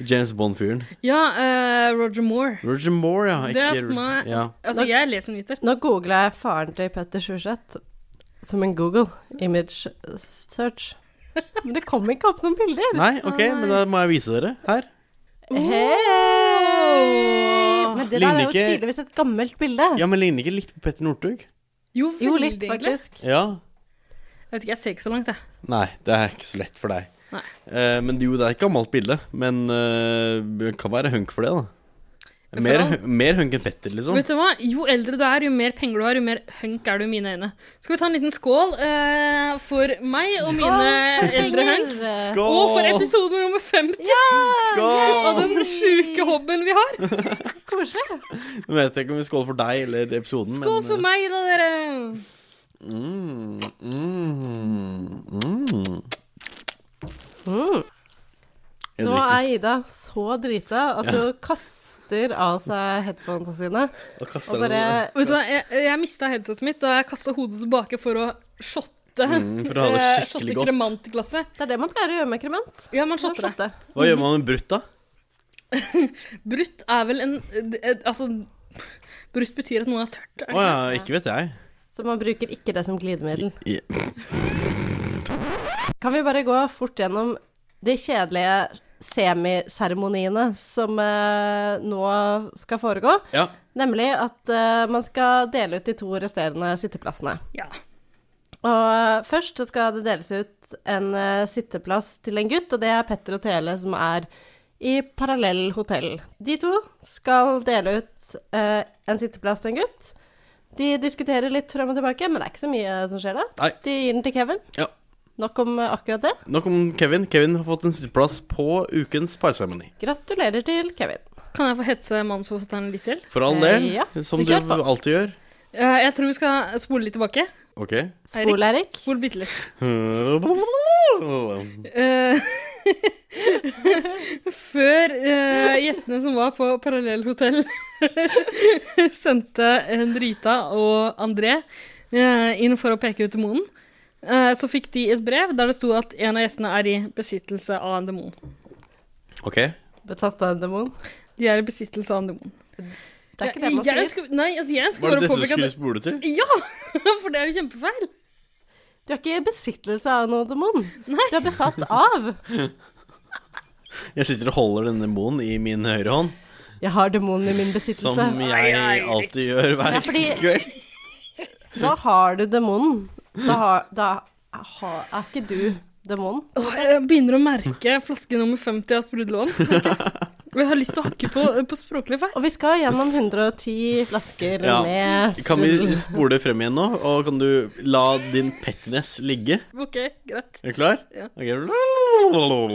[SPEAKER 5] James Bond-fyren?
[SPEAKER 2] Ja, eh, Roger Moore.
[SPEAKER 5] Roger Moore, ja.
[SPEAKER 2] Det har fått meg
[SPEAKER 5] ja.
[SPEAKER 2] Altså, jeg leser nyheter.
[SPEAKER 4] Nå googla jeg faren til Petter Sjurseth som en Google image search. Men det kom ikke opp noen bilder.
[SPEAKER 5] Nei, ok, men da må jeg vise dere her.
[SPEAKER 4] Hei! Men det der er
[SPEAKER 5] Ligner
[SPEAKER 4] jo
[SPEAKER 5] ikke-
[SPEAKER 4] tydeligvis et gammelt bilde.
[SPEAKER 5] Ja, men Ligner ikke litt på Petter Northug?
[SPEAKER 2] Jo,
[SPEAKER 4] Jo,
[SPEAKER 2] veldig,
[SPEAKER 4] litt,
[SPEAKER 2] egentlig.
[SPEAKER 4] faktisk.
[SPEAKER 5] Ja.
[SPEAKER 2] Jeg vet ikke, jeg ser ikke så langt, jeg.
[SPEAKER 5] Nei, det er ikke så lett for deg.
[SPEAKER 2] Nei.
[SPEAKER 5] Eh, men jo, det er et gammelt bilde. Men eh, det kan være hunk for det, da.
[SPEAKER 2] Men for
[SPEAKER 5] Mer,
[SPEAKER 2] han-
[SPEAKER 5] mer hunk enn Petter,
[SPEAKER 4] Sånn.
[SPEAKER 5] liksom.
[SPEAKER 2] Vet du hva? Jo eldre du er, jo mer penger du har, jo mer hunk er du i mine øyne. Skal vi ta en liten skål eh, for meg og mine eldre hunks?
[SPEAKER 5] Skål!
[SPEAKER 2] Og for episode nummer 50 av den sjuke hobbyen vi har.
[SPEAKER 4] Koselig.
[SPEAKER 5] Nå vet jeg ikke om vi skåler for deg eller episoden,
[SPEAKER 2] Skål for meg, da, dere.
[SPEAKER 5] men eh, mm, mm, mm.
[SPEAKER 4] Mm.
[SPEAKER 5] Jeg
[SPEAKER 4] Nå
[SPEAKER 5] drikker.
[SPEAKER 4] er Ida så drita at hun kaster av seg headphonene sine.
[SPEAKER 5] Da kaster
[SPEAKER 4] Og
[SPEAKER 5] jeg den.
[SPEAKER 4] bare
[SPEAKER 2] Vet du hva, jeg, jeg mista headsetet mitt, og jeg kasta hodet tilbake for å shotte shotte.
[SPEAKER 5] Mm, for å ha det
[SPEAKER 2] eh,
[SPEAKER 5] skikkelig
[SPEAKER 2] shotte
[SPEAKER 5] godt.
[SPEAKER 2] kremant i glasset.
[SPEAKER 4] Det er det man pleier å gjøre med kremant.
[SPEAKER 2] Ja, man shotter det.
[SPEAKER 5] Hva gjør man med brutt, da?
[SPEAKER 2] Brutt er vel en eh, eh, Altså, brutt betyr at noe er tørt. er
[SPEAKER 5] Å
[SPEAKER 2] det
[SPEAKER 5] ja,
[SPEAKER 2] ikke?
[SPEAKER 5] ikke vet jeg.
[SPEAKER 4] Så man bruker ikke det som glidemiddel.
[SPEAKER 5] I-
[SPEAKER 4] Kan vi bare gå fort gjennom de kjedelige semiseremoniene som eh, nå skal foregå?
[SPEAKER 5] Ja.
[SPEAKER 4] Nemlig at eh, man skal dele ut de to resterende sitteplassene.
[SPEAKER 2] Ja.
[SPEAKER 4] Og eh, først så skal det deles ut en eh, sitteplass til en gutt, og det er Petter og Tele som er i parallell hotell. De to skal dele ut eh, en sitteplass til en gutt. De diskuterer litt frem og tilbake, men det er ikke så mye som skjer da.
[SPEAKER 5] Nei.
[SPEAKER 4] De gir den til Kevin.
[SPEAKER 5] Ja.
[SPEAKER 4] Nok om eh, akkurat det.
[SPEAKER 5] Nok om Kevin. Kevin har fått en sitteplass på ukens parseremoni.
[SPEAKER 4] Gratulerer til Kevin.
[SPEAKER 2] Kan jeg få hetse manusforfatteren litt til?
[SPEAKER 5] For all del,
[SPEAKER 2] Eh, ja.
[SPEAKER 5] som
[SPEAKER 2] Vi
[SPEAKER 5] du
[SPEAKER 2] kjører på.
[SPEAKER 5] alltid gjør.
[SPEAKER 2] Eh, Jeg tror vi skal spole litt tilbake.
[SPEAKER 5] OK.
[SPEAKER 4] Spol, Eirik.
[SPEAKER 2] Spol bitte litt.
[SPEAKER 5] Nei,
[SPEAKER 2] Eh, Før eh, gjestene som var på parallellhotell, sendte Henrita og André eh, inn for å peke ut demonen, eh, så fikk de et brev der det sto at en av gjestene er i besittelse av en demon.
[SPEAKER 5] OK.
[SPEAKER 4] Betatt av en demon.
[SPEAKER 2] De er i besittelse av en demon.
[SPEAKER 4] Det er ikke det man
[SPEAKER 2] jeg,
[SPEAKER 4] sier.
[SPEAKER 2] jeg ønsker, nei, altså, jeg ønsker
[SPEAKER 5] Var
[SPEAKER 2] bare
[SPEAKER 5] det
[SPEAKER 2] å
[SPEAKER 5] dette du
[SPEAKER 2] påpeke
[SPEAKER 5] skulle
[SPEAKER 2] at
[SPEAKER 5] spole til?
[SPEAKER 2] Ja! For det er jo kjempefeil.
[SPEAKER 4] Du er ikke i besittelse av noen demon.
[SPEAKER 2] Nei.
[SPEAKER 4] Du er besatt av.
[SPEAKER 5] Jeg sitter og holder denne demonen i min høyre hånd,
[SPEAKER 4] Jeg har demonen i min besittelse.
[SPEAKER 5] som jeg alltid gjør hver
[SPEAKER 4] Ja, fordi-
[SPEAKER 5] kveld.
[SPEAKER 4] Da har du demonen. Da, har, da har, er ikke du demonen.
[SPEAKER 2] Åh, Jeg begynner å merke flaske nummer 50 av sprudlån. Og jeg har lyst til å hakke på, eh, på språklige feil.
[SPEAKER 4] Og vi skal gjennom 110 flasker
[SPEAKER 5] Ja.
[SPEAKER 4] med
[SPEAKER 5] Kan vi
[SPEAKER 4] strudel.
[SPEAKER 5] spole frem igjen nå, og kan du la din pettiness ligge?
[SPEAKER 2] Ok, greit.
[SPEAKER 5] Er du klar?
[SPEAKER 2] Ja.
[SPEAKER 5] Ok.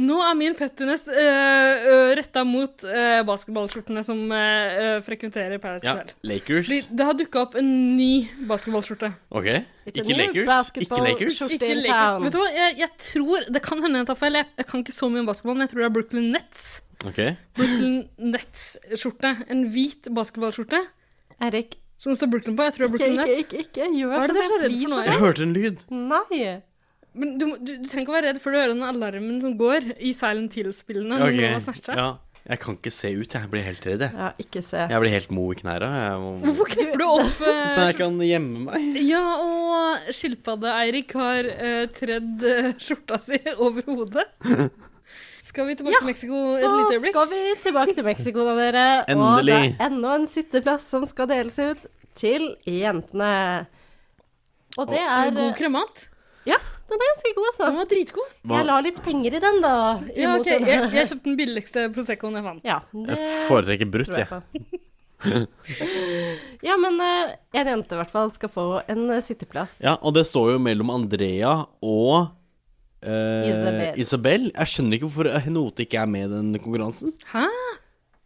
[SPEAKER 2] Nå er min pettiness uh, retta mot eh, basketballskjortene som eh, eh, frekventerer Paris
[SPEAKER 5] Ja,
[SPEAKER 2] Hotel.
[SPEAKER 5] Lakers.
[SPEAKER 2] Fordi Det har dukka opp en ny basketballskjorte.
[SPEAKER 5] Ok.
[SPEAKER 4] It's a
[SPEAKER 5] Ikke
[SPEAKER 4] new
[SPEAKER 5] Lakers. Ikke
[SPEAKER 4] basketball
[SPEAKER 5] Lakers.
[SPEAKER 4] short
[SPEAKER 2] Ikke
[SPEAKER 4] in
[SPEAKER 2] Lakers.
[SPEAKER 4] town.
[SPEAKER 2] Vet du hva, jeg, jeg tror Det kan hende jeg tar feil. Jeg, jeg kan ikke så mye om basketball, men jeg tror det er Brooklyn Nets.
[SPEAKER 5] Ok.
[SPEAKER 2] Brooklyn Nets-skjorte. En hvit basketballskjorte
[SPEAKER 4] Eirik,
[SPEAKER 2] som det står Brooklyn på. Jeg tror det er
[SPEAKER 4] ikke,
[SPEAKER 2] Brooklyn
[SPEAKER 4] ikke,
[SPEAKER 2] Nets.
[SPEAKER 4] ikke, ikke gjør
[SPEAKER 2] Hva er det du er
[SPEAKER 4] som
[SPEAKER 2] så
[SPEAKER 4] jeg
[SPEAKER 2] redd
[SPEAKER 4] blir
[SPEAKER 2] for nå,
[SPEAKER 4] så-
[SPEAKER 5] Jeg hørte en lyd.
[SPEAKER 4] Nei.
[SPEAKER 2] Men du, må- du, du trenger ikke å være redd før du hører den alarmen som går i Silent Hill-spillene. når
[SPEAKER 5] Ok.
[SPEAKER 2] noen har snatcha.
[SPEAKER 5] Ja. Jeg kan ikke se ut. Jeg blir helt redd. jeg.
[SPEAKER 4] Ja, ikke se.
[SPEAKER 5] Jeg blir helt mo i knæra. jeg må-
[SPEAKER 2] Hvorfor knepper du opp eh,
[SPEAKER 5] Så jeg kan gjemme meg.
[SPEAKER 2] Ja, og skilpadde-Eirik har eh, tredd eh, skjorta si over hodet. Skal vi tilbake til Mexico et
[SPEAKER 4] Da
[SPEAKER 2] lite øyeblikk?
[SPEAKER 4] skal vi tilbake til Mexico, da, dere. Og det
[SPEAKER 5] Endelig.
[SPEAKER 4] er enda en sitteplass som skal deles ut til jentene. Og det er
[SPEAKER 2] God kremant.
[SPEAKER 4] Ja, den er ganske god,
[SPEAKER 2] Den
[SPEAKER 4] altså.
[SPEAKER 2] var dritgod.
[SPEAKER 4] Jeg la litt penger i den, da. Imot
[SPEAKER 2] Ja, ok, jeg,
[SPEAKER 4] den.
[SPEAKER 2] jeg kjøpte den billigste Proseccoen jeg fant.
[SPEAKER 4] Ja, det
[SPEAKER 5] Jeg foretrekker brutt,
[SPEAKER 4] tror jeg
[SPEAKER 5] jeg.
[SPEAKER 4] på. Ja, men eh, en jente i hvert fall skal få en eh, sitteplass.
[SPEAKER 5] Ja, og det står jo mellom Andrea og eh,
[SPEAKER 4] Isabel.
[SPEAKER 5] Isabel. Jeg skjønner ikke hvorfor Henote ikke er med i den konkurransen.
[SPEAKER 2] Hæ?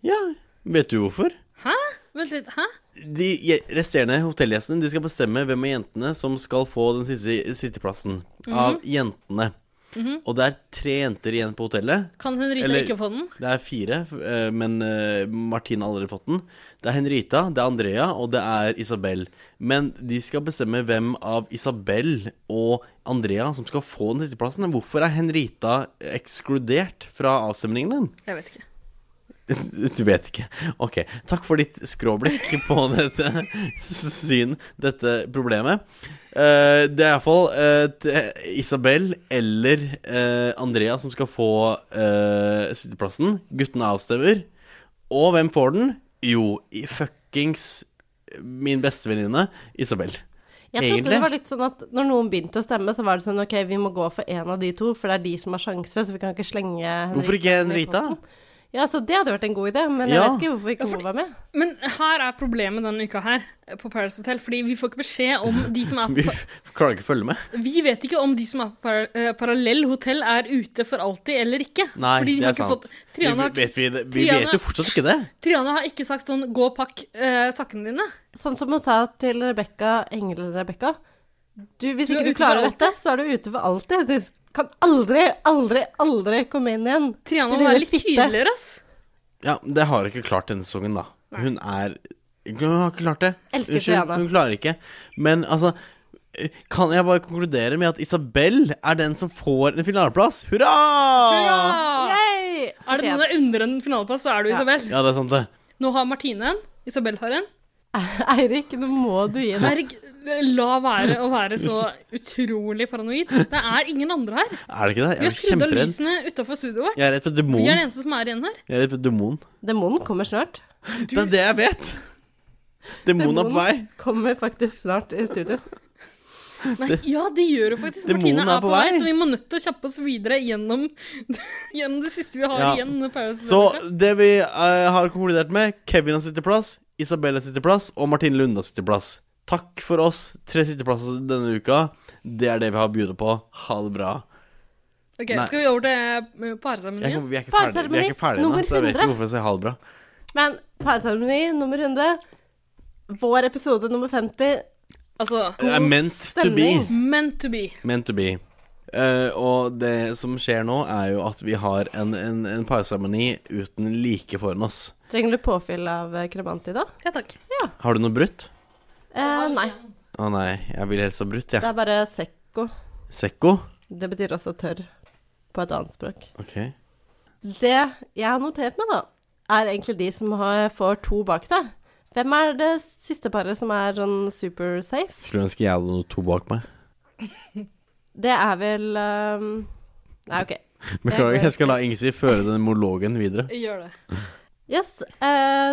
[SPEAKER 5] Ja, Vet du hvorfor?
[SPEAKER 2] Hæ? Vent litt, hæ?
[SPEAKER 5] De je- resterende hotellgjestene de skal bestemme hvem av jentene som skal få den siste sitteplassen. Av jentene. Og det er tre jenter igjen på hotellet.
[SPEAKER 2] Kan Henrita
[SPEAKER 5] Eller-
[SPEAKER 2] ikke få den?
[SPEAKER 5] Det er fire, f- eh, men eh, Martine har allerede fått den. Det er Henrita, det er Andrea, og det er Isabel. Men de skal bestemme hvem av Isabel og Andrea som skal få den sitteplassen. Hvorfor er Henrita ekskludert fra avstemningen?
[SPEAKER 2] Jeg vet ikke.
[SPEAKER 5] Du vet ikke. Ok. Takk for ditt skråblikk på dette syn, dette problemet. Eh, det er iallfall uh, Isabel eller eh, Andrea som skal få eh, sitteplassen. Guttene avstemmer. Og hvem får den? Jo, i fuckings min bestevenninne Isabel.
[SPEAKER 4] Jeg trodde
[SPEAKER 5] Egentlig.
[SPEAKER 4] det var litt sånn at når noen begynte å stemme, så var det sånn OK, vi må gå for en av de to, for det er de som har sjanse, så vi kan ikke slenge Henrita
[SPEAKER 5] Hvorfor ikke
[SPEAKER 4] inn i
[SPEAKER 5] Henrita?
[SPEAKER 4] potten. Ja, så det hadde vært en god idé, men jeg
[SPEAKER 5] Ja.
[SPEAKER 4] vet ikke hvorfor ikke hun var med.
[SPEAKER 2] Men her er problemet denne uka her eh, på Paris Hotel, fordi vi får ikke beskjed om de som er
[SPEAKER 5] Vi
[SPEAKER 2] på
[SPEAKER 5] f- klarer ikke å følge med.
[SPEAKER 2] Vi vet ikke om de som er på par eh, parallell hotell, er ute for alltid eller ikke.
[SPEAKER 5] Nei,
[SPEAKER 2] Fordi vi
[SPEAKER 5] det
[SPEAKER 2] har
[SPEAKER 5] er
[SPEAKER 2] ikke fått-
[SPEAKER 5] sant. Vi,
[SPEAKER 2] Triana, har,
[SPEAKER 5] vet vi, det- vi
[SPEAKER 2] Triana-
[SPEAKER 5] vet jo fortsatt ikke det.
[SPEAKER 2] Triana har ikke sagt sånn 'gå og pakk eh, sakkene dine'.
[SPEAKER 4] Sånn som hun sa til Rebekka, Engel-Rebekka. Du, hvis
[SPEAKER 2] Du er ute
[SPEAKER 4] ikke du
[SPEAKER 2] for
[SPEAKER 4] klarer
[SPEAKER 2] alltid.
[SPEAKER 4] dette, så er du ute for alltid. Du kan aldri, aldri, aldri komme inn igjen.
[SPEAKER 2] Triana
[SPEAKER 4] Det
[SPEAKER 2] må
[SPEAKER 4] lille
[SPEAKER 2] være litt
[SPEAKER 4] fitte.
[SPEAKER 2] tydeligere, ass.
[SPEAKER 5] Ja, det har hun ikke klart denne sesongen, da. Hun er Hun har ikke klart det.
[SPEAKER 4] Elsker
[SPEAKER 5] Unnskyld,
[SPEAKER 4] Triana.
[SPEAKER 5] hun klarer ikke. Men altså kan jeg bare konkludere med at Isabel er den som får en finaleplass? Hurra!
[SPEAKER 2] Ja! Er det noen der under en finaleplass, så er du Isabel.
[SPEAKER 5] Ja, det er sant, det.
[SPEAKER 2] Nå har Martine en. Isabel har en.
[SPEAKER 4] Eirik, nå må du gi deg.
[SPEAKER 2] Berg, la være å være så utrolig paranoid. Det er ingen andre her.
[SPEAKER 5] Er det ikke det?
[SPEAKER 2] Vi
[SPEAKER 5] Jeg
[SPEAKER 2] har
[SPEAKER 5] er
[SPEAKER 2] skrudd av
[SPEAKER 5] kjemperedd.
[SPEAKER 2] lysene utafor studioet vårt.
[SPEAKER 5] Jeg er redd for
[SPEAKER 2] Vi er det
[SPEAKER 5] demonen.
[SPEAKER 2] eneste som er igjen her.
[SPEAKER 5] Jeg er redd for demonen.
[SPEAKER 4] Demonen kommer snart.
[SPEAKER 5] Det er det jeg vet! Demonen er på vei.
[SPEAKER 4] kommer faktisk snart i studio.
[SPEAKER 2] Nei, ja, det gjør jo faktisk.
[SPEAKER 5] Demonen
[SPEAKER 2] Martine er på vei,
[SPEAKER 5] vei.
[SPEAKER 2] så vi må nødt til å kjappe oss videre gjennom, gjennom det siste vi har
[SPEAKER 5] Ja.
[SPEAKER 2] igjen. under Paradise
[SPEAKER 5] Så
[SPEAKER 2] Hotel.
[SPEAKER 5] det vi eh, har konkludert med, Kevin har sitteplass, Isabel har sitteplass, og Martine Lunde har sitteplass. Takk for oss. Tre sitteplasser denne uka. Det er det vi har å bjude på. Ha det bra.
[SPEAKER 2] Ok,
[SPEAKER 5] Nei.
[SPEAKER 2] Skal vi over til eh,
[SPEAKER 5] Jeg, kan-
[SPEAKER 2] parseremonien?
[SPEAKER 5] vi er ikke ferdige, vi er ikke ferdige
[SPEAKER 4] Nummer
[SPEAKER 5] ennå, så jeg vet ikke
[SPEAKER 4] 100.
[SPEAKER 5] hvorfor jeg sier ha det bra.
[SPEAKER 4] Men parseremoni nummer 100, vår episode nummer 50
[SPEAKER 2] Altså,
[SPEAKER 5] Det er meant to be.
[SPEAKER 4] stemning.
[SPEAKER 2] meant to be.
[SPEAKER 5] Meant to be. Eh, og det som skjer nå, er jo at vi har en, en, en parseremoni uten like foran oss.
[SPEAKER 4] Trenger du påfyll av eh, kremanti, da?
[SPEAKER 2] Ja takk.
[SPEAKER 5] Har du noe brutt?
[SPEAKER 4] Eh, nei.
[SPEAKER 5] Å nei, jeg vil helst ha brutt,
[SPEAKER 4] Det
[SPEAKER 5] jeg.
[SPEAKER 4] er bare sekko.
[SPEAKER 5] Sekko?
[SPEAKER 4] Det betyr også tørr på et annet språk.
[SPEAKER 5] Ok.
[SPEAKER 4] Det jeg har notert meg, da, er egentlig de som har, får to bak seg. Hvem er det siste paret som er sånn super safe?
[SPEAKER 5] Skulle ønske jeg hadde noe to bak meg.
[SPEAKER 4] Det er vel eh, Nei, OK.
[SPEAKER 5] Beklager,
[SPEAKER 4] Det-
[SPEAKER 5] jeg skal la Ingsi føre den monologen videre.
[SPEAKER 2] Gjør det.
[SPEAKER 4] Yes. Eh,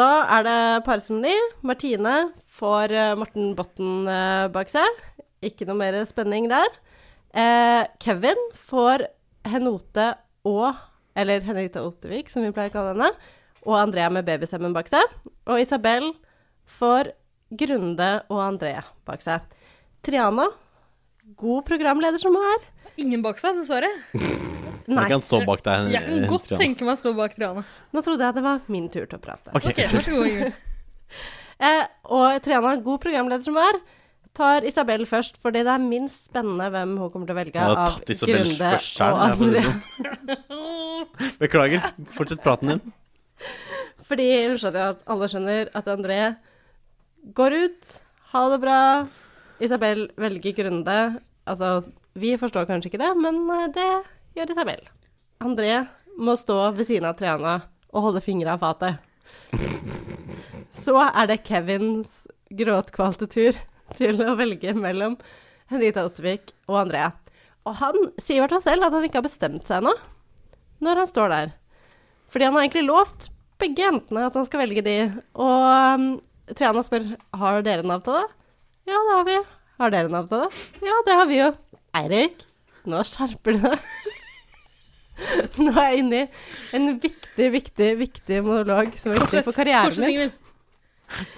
[SPEAKER 4] da er det parseremoni. Martine får eh, Morten Botten eh, bak seg. Ikke noe mer spenning der. Eh, Kevin får Henote og Eller Henrikte Ottervik, som vi pleier å kalle henne. Og Andrea med babystemmen bak seg. Og Isabel får Grunde og Andrea bak seg. Triana, god programleder som hun er.
[SPEAKER 2] Ingen bak seg, dessverre.
[SPEAKER 5] Jeg
[SPEAKER 4] Nei,
[SPEAKER 5] kan stå bak deg.
[SPEAKER 2] Jeg kan
[SPEAKER 5] eh,
[SPEAKER 2] godt
[SPEAKER 5] Triana.
[SPEAKER 2] tenke meg å stå bak Triana.
[SPEAKER 4] nå trodde jeg det var min tur til å prate.
[SPEAKER 5] Ok,
[SPEAKER 2] Ok, Vær
[SPEAKER 5] unnskyld.
[SPEAKER 2] så god, Ingrid.
[SPEAKER 4] Eh, og Triana, god programleder som er, tar Isabel først, fordi det er minst spennende hvem hun kommer til å velge
[SPEAKER 5] Jeg hadde
[SPEAKER 4] av
[SPEAKER 5] tatt Isabel
[SPEAKER 4] Grunde
[SPEAKER 5] først
[SPEAKER 4] og
[SPEAKER 5] selv, jeg, for å si
[SPEAKER 4] andre.
[SPEAKER 5] det sånn. Beklager. Fortsett praten din.
[SPEAKER 4] Fordi hun skjønner jo at alle skjønner at André går ut, ha det bra. Isabel velger Grunde. Altså, vi forstår kanskje ikke det, men eh, det gjør Isabel. André må stå ved siden av Triana og holde fingra av fatet. Så er det Kevins gråtkvalte tur til å velge mellom Henrita Ottervik og Andrea. Og han sier i hvert fall selv at han ikke har bestemt seg ennå, når han står der. Fordi han har egentlig lovt begge jentene at han skal velge de. Og um, Triana spør har dere en avtale. Ja, det har vi. Har dere en avtale? Ja, det har vi jo. Eirik, nå skjerper du deg. Nå er jeg inne i en viktig, viktig, viktig monolog som er viktig for karrieren
[SPEAKER 2] Fortsett,
[SPEAKER 4] min.
[SPEAKER 2] Ingrid.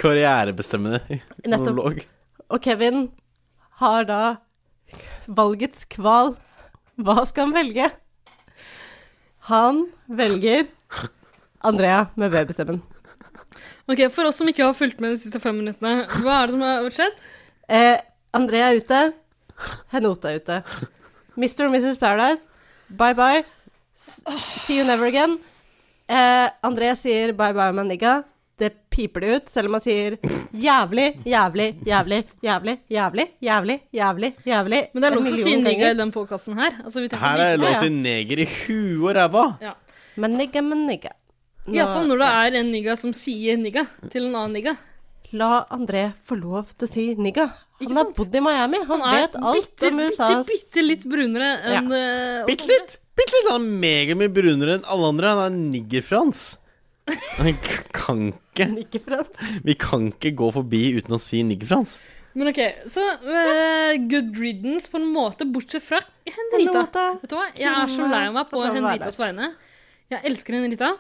[SPEAKER 5] Karrierebestemmende
[SPEAKER 4] Nettopp.
[SPEAKER 5] monolog.
[SPEAKER 4] Og Kevin har da valgets kval. Hva skal han velge? Han velger Andrea med babystemmen.
[SPEAKER 2] Ok, For oss som ikke har fulgt med de siste fem minuttene, hva er det som har skjedd?
[SPEAKER 4] Eh, Andrea er ute. Henota er ute. Mr. og Mrs. Paradise, bye bye. S- See you never again. Eh, Andrea sier bye bye, my nigga. Det piper det ut, selv om han sier jævlig, jævlig, jævlig, jævlig, jævlig, jævlig, jævlig, jævlig
[SPEAKER 2] Men det er
[SPEAKER 4] en
[SPEAKER 2] lov til å si
[SPEAKER 4] million
[SPEAKER 2] nigga
[SPEAKER 4] ganger.
[SPEAKER 2] i den podkasten her. Altså, vi tenker
[SPEAKER 5] Her er det lov å si
[SPEAKER 4] Ja,
[SPEAKER 5] neger i huet og ræva.
[SPEAKER 2] ja.
[SPEAKER 4] Men nigga, men nigga. Nå-
[SPEAKER 2] Iallfall når det er en nigga som sier nigga til en annen nigga.
[SPEAKER 4] La André få lov til å si nigga.
[SPEAKER 2] Ikke
[SPEAKER 4] Han har
[SPEAKER 2] sant?
[SPEAKER 4] bodd i Miami, han,
[SPEAKER 2] Han er
[SPEAKER 4] vet alt
[SPEAKER 2] bitte,
[SPEAKER 4] om
[SPEAKER 2] bitte,
[SPEAKER 4] USAs
[SPEAKER 2] bitte litt brunere enn eh, oss
[SPEAKER 5] Bitte
[SPEAKER 2] andre.
[SPEAKER 5] litt. Bitte litt. Han er megamye brunere enn alle andre. Han er nigger-Frans. Han k- kan ikke
[SPEAKER 4] Ikke frans.
[SPEAKER 5] Vi kan ikke gå forbi uten å si nigger-Frans.
[SPEAKER 2] Men ok, så eh, good riddance på en måte, bortsett fra Henrita.
[SPEAKER 4] Henrita,
[SPEAKER 2] Vet du hva? Jeg er så
[SPEAKER 4] Kjempe-
[SPEAKER 2] lei meg på
[SPEAKER 4] at du er
[SPEAKER 2] Henritas vegne. Jeg elsker Henrita.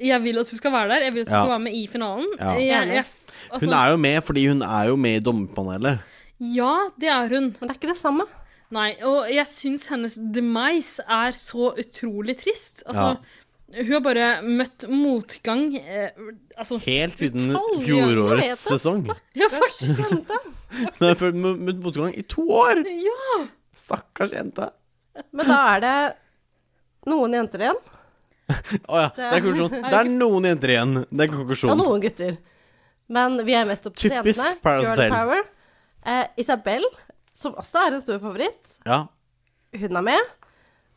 [SPEAKER 2] Jeg vil at hun skal være der. Jeg vil at hun
[SPEAKER 5] Ja.
[SPEAKER 2] skal være med i finalen.
[SPEAKER 5] Ja.
[SPEAKER 2] Jeg, jeg,
[SPEAKER 5] Hun
[SPEAKER 2] altså,
[SPEAKER 5] er jo med fordi hun er jo med i dommerpanelet.
[SPEAKER 2] ja, det er hun.
[SPEAKER 4] Men det er ikke det samme.
[SPEAKER 2] Nei, og jeg syns hennes demise er så utrolig trist. Altså, hun har bare møtt motgang eh, Altså,
[SPEAKER 5] Helt siden
[SPEAKER 2] Utallige
[SPEAKER 5] fjorårets
[SPEAKER 4] nyheter.
[SPEAKER 5] sesong.
[SPEAKER 2] ja, faktisk!
[SPEAKER 4] Jenta.
[SPEAKER 5] Hun har følt mot mot motgang i to år! Stakkars jente.
[SPEAKER 4] Men da er det noen jenter igjen,
[SPEAKER 5] Å ja, det er konklusjon. Det er noen jenter igjen. Det er
[SPEAKER 4] og
[SPEAKER 5] konklusjon.
[SPEAKER 4] noen gutter. Men vi er mest opp til
[SPEAKER 5] Typisk
[SPEAKER 4] jentene.
[SPEAKER 5] Paradise
[SPEAKER 4] Girl
[SPEAKER 5] Hotel.
[SPEAKER 4] power. Eh, Isabel, som også er en stor favoritt,
[SPEAKER 5] Ja.
[SPEAKER 4] hun er med.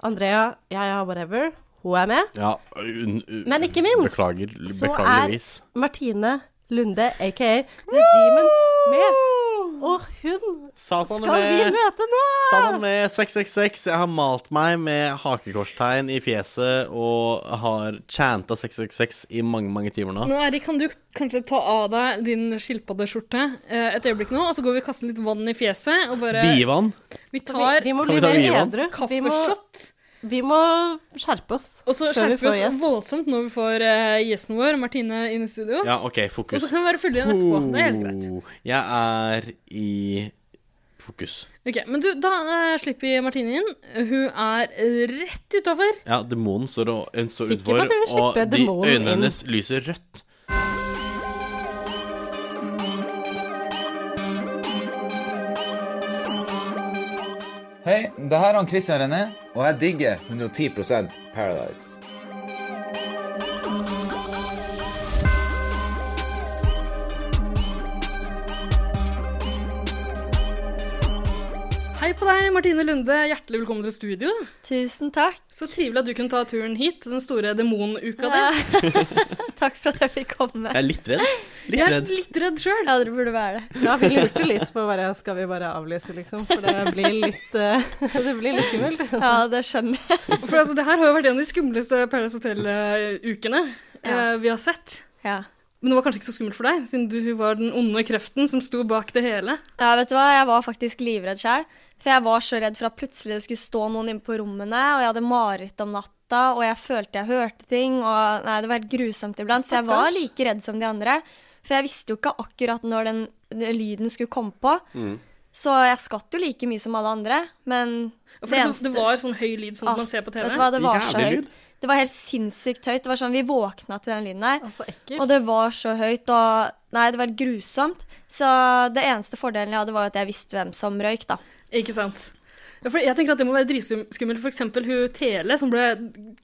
[SPEAKER 4] Andrea, ja ja, whatever, hun er med.
[SPEAKER 5] ja un- un-
[SPEAKER 4] Men ikke minst
[SPEAKER 5] Beklager,
[SPEAKER 4] så
[SPEAKER 5] beklageligvis.
[SPEAKER 4] er Martine Lunde, aka The Demon, med. Og hun
[SPEAKER 5] Satan
[SPEAKER 4] skal vi
[SPEAKER 5] med.
[SPEAKER 4] møte nå!
[SPEAKER 5] Sammen med 666. Jeg har malt meg med hakekorstegn i fjeset og har chanta 666 i mange, mange timer nå.
[SPEAKER 2] Men Erik, kan du kanskje ta av deg din skilpaddeskjorte eh, et øyeblikk nå, og så går vi og kaster litt vann i fjeset, og bare
[SPEAKER 5] Bivan.
[SPEAKER 2] Vi tar
[SPEAKER 4] Vi må
[SPEAKER 5] Kan
[SPEAKER 4] bli
[SPEAKER 5] vi
[SPEAKER 4] mer
[SPEAKER 5] ta Vivan?
[SPEAKER 4] edru. Vi må,
[SPEAKER 2] kaffeshot.
[SPEAKER 4] vi må skjerpe oss.
[SPEAKER 2] Og så
[SPEAKER 4] før vi
[SPEAKER 2] skjerper vi
[SPEAKER 4] får
[SPEAKER 2] oss
[SPEAKER 4] gjest.
[SPEAKER 2] voldsomt når vi får eh, gjesten vår, Martine, inn i studio.
[SPEAKER 5] Ja, OK,
[SPEAKER 2] Og
[SPEAKER 5] fokus.
[SPEAKER 2] så kan vi være fulle igjen etterpå. Det er helt greit.
[SPEAKER 5] Oh, Jeg er i fokus.
[SPEAKER 2] Ok, Men du, da eh, slipper vi Martine inn. Hun er rett utafor.
[SPEAKER 5] Ja, demonen står og hun står
[SPEAKER 2] Sikker på
[SPEAKER 5] utfor,
[SPEAKER 2] at du vil
[SPEAKER 5] og
[SPEAKER 2] slippe
[SPEAKER 5] de
[SPEAKER 2] demonen inn?
[SPEAKER 5] øynene hennes lyser rødt.
[SPEAKER 12] Hei, det her er han Christian René, og jeg digger 110 Paradise.
[SPEAKER 2] Hei på deg, Martine Lunde. Hjertelig velkommen til studio. Tusen takk. Så trivelig at du kunne ta turen hit, den store demonuka di.
[SPEAKER 1] Takk for at jeg fikk komme.
[SPEAKER 5] Jeg er litt redd. Litt
[SPEAKER 2] Jeg er
[SPEAKER 5] redd.
[SPEAKER 2] litt redd sjøl.
[SPEAKER 1] Ja, dere burde være det.
[SPEAKER 4] Ja, vi lurte litt på bare Skal vi bare avlyse, liksom? For det blir litt eh, Det blir litt skummelt.
[SPEAKER 1] Ja, det skjønner jeg.
[SPEAKER 2] For altså, det her har jo vært en av de skumleste Paradise Hotel-ukene eh, vi har sett. Men det var kanskje ikke så skummelt for deg, siden du var den onde kreften som sto bak det hele.
[SPEAKER 1] Ja, vet du hva? Jeg var faktisk livredd sjøl. For jeg var så redd for at plutselig det skulle stå noen inne på rommene, og jeg hadde mareritt om natta, og jeg følte jeg hørte ting, og nei, det var helt grusomt iblant. Så jeg var
[SPEAKER 13] Stakkars.
[SPEAKER 1] like redd som de andre. For jeg visste jo ikke akkurat når den den lyden skulle komme på. Så jeg skvatt jo like mye som alle andre, men
[SPEAKER 2] For det, det var sånn høy lyd, sånn
[SPEAKER 1] Ah,
[SPEAKER 2] som man ser på TV.
[SPEAKER 1] Vet du hva, det var så høyt. Det var helt sinnssykt høyt. Det var sånn, Vi våkna til den lyden her. og det var så høyt, og Nei, det var grusomt. Så det eneste fordelen jeg hadde, var at jeg visste hvem som røyk, da.
[SPEAKER 2] Ikke sant. Ja, for jeg tenker at det må være dritskummelt. For eksempel hun Tele, som ble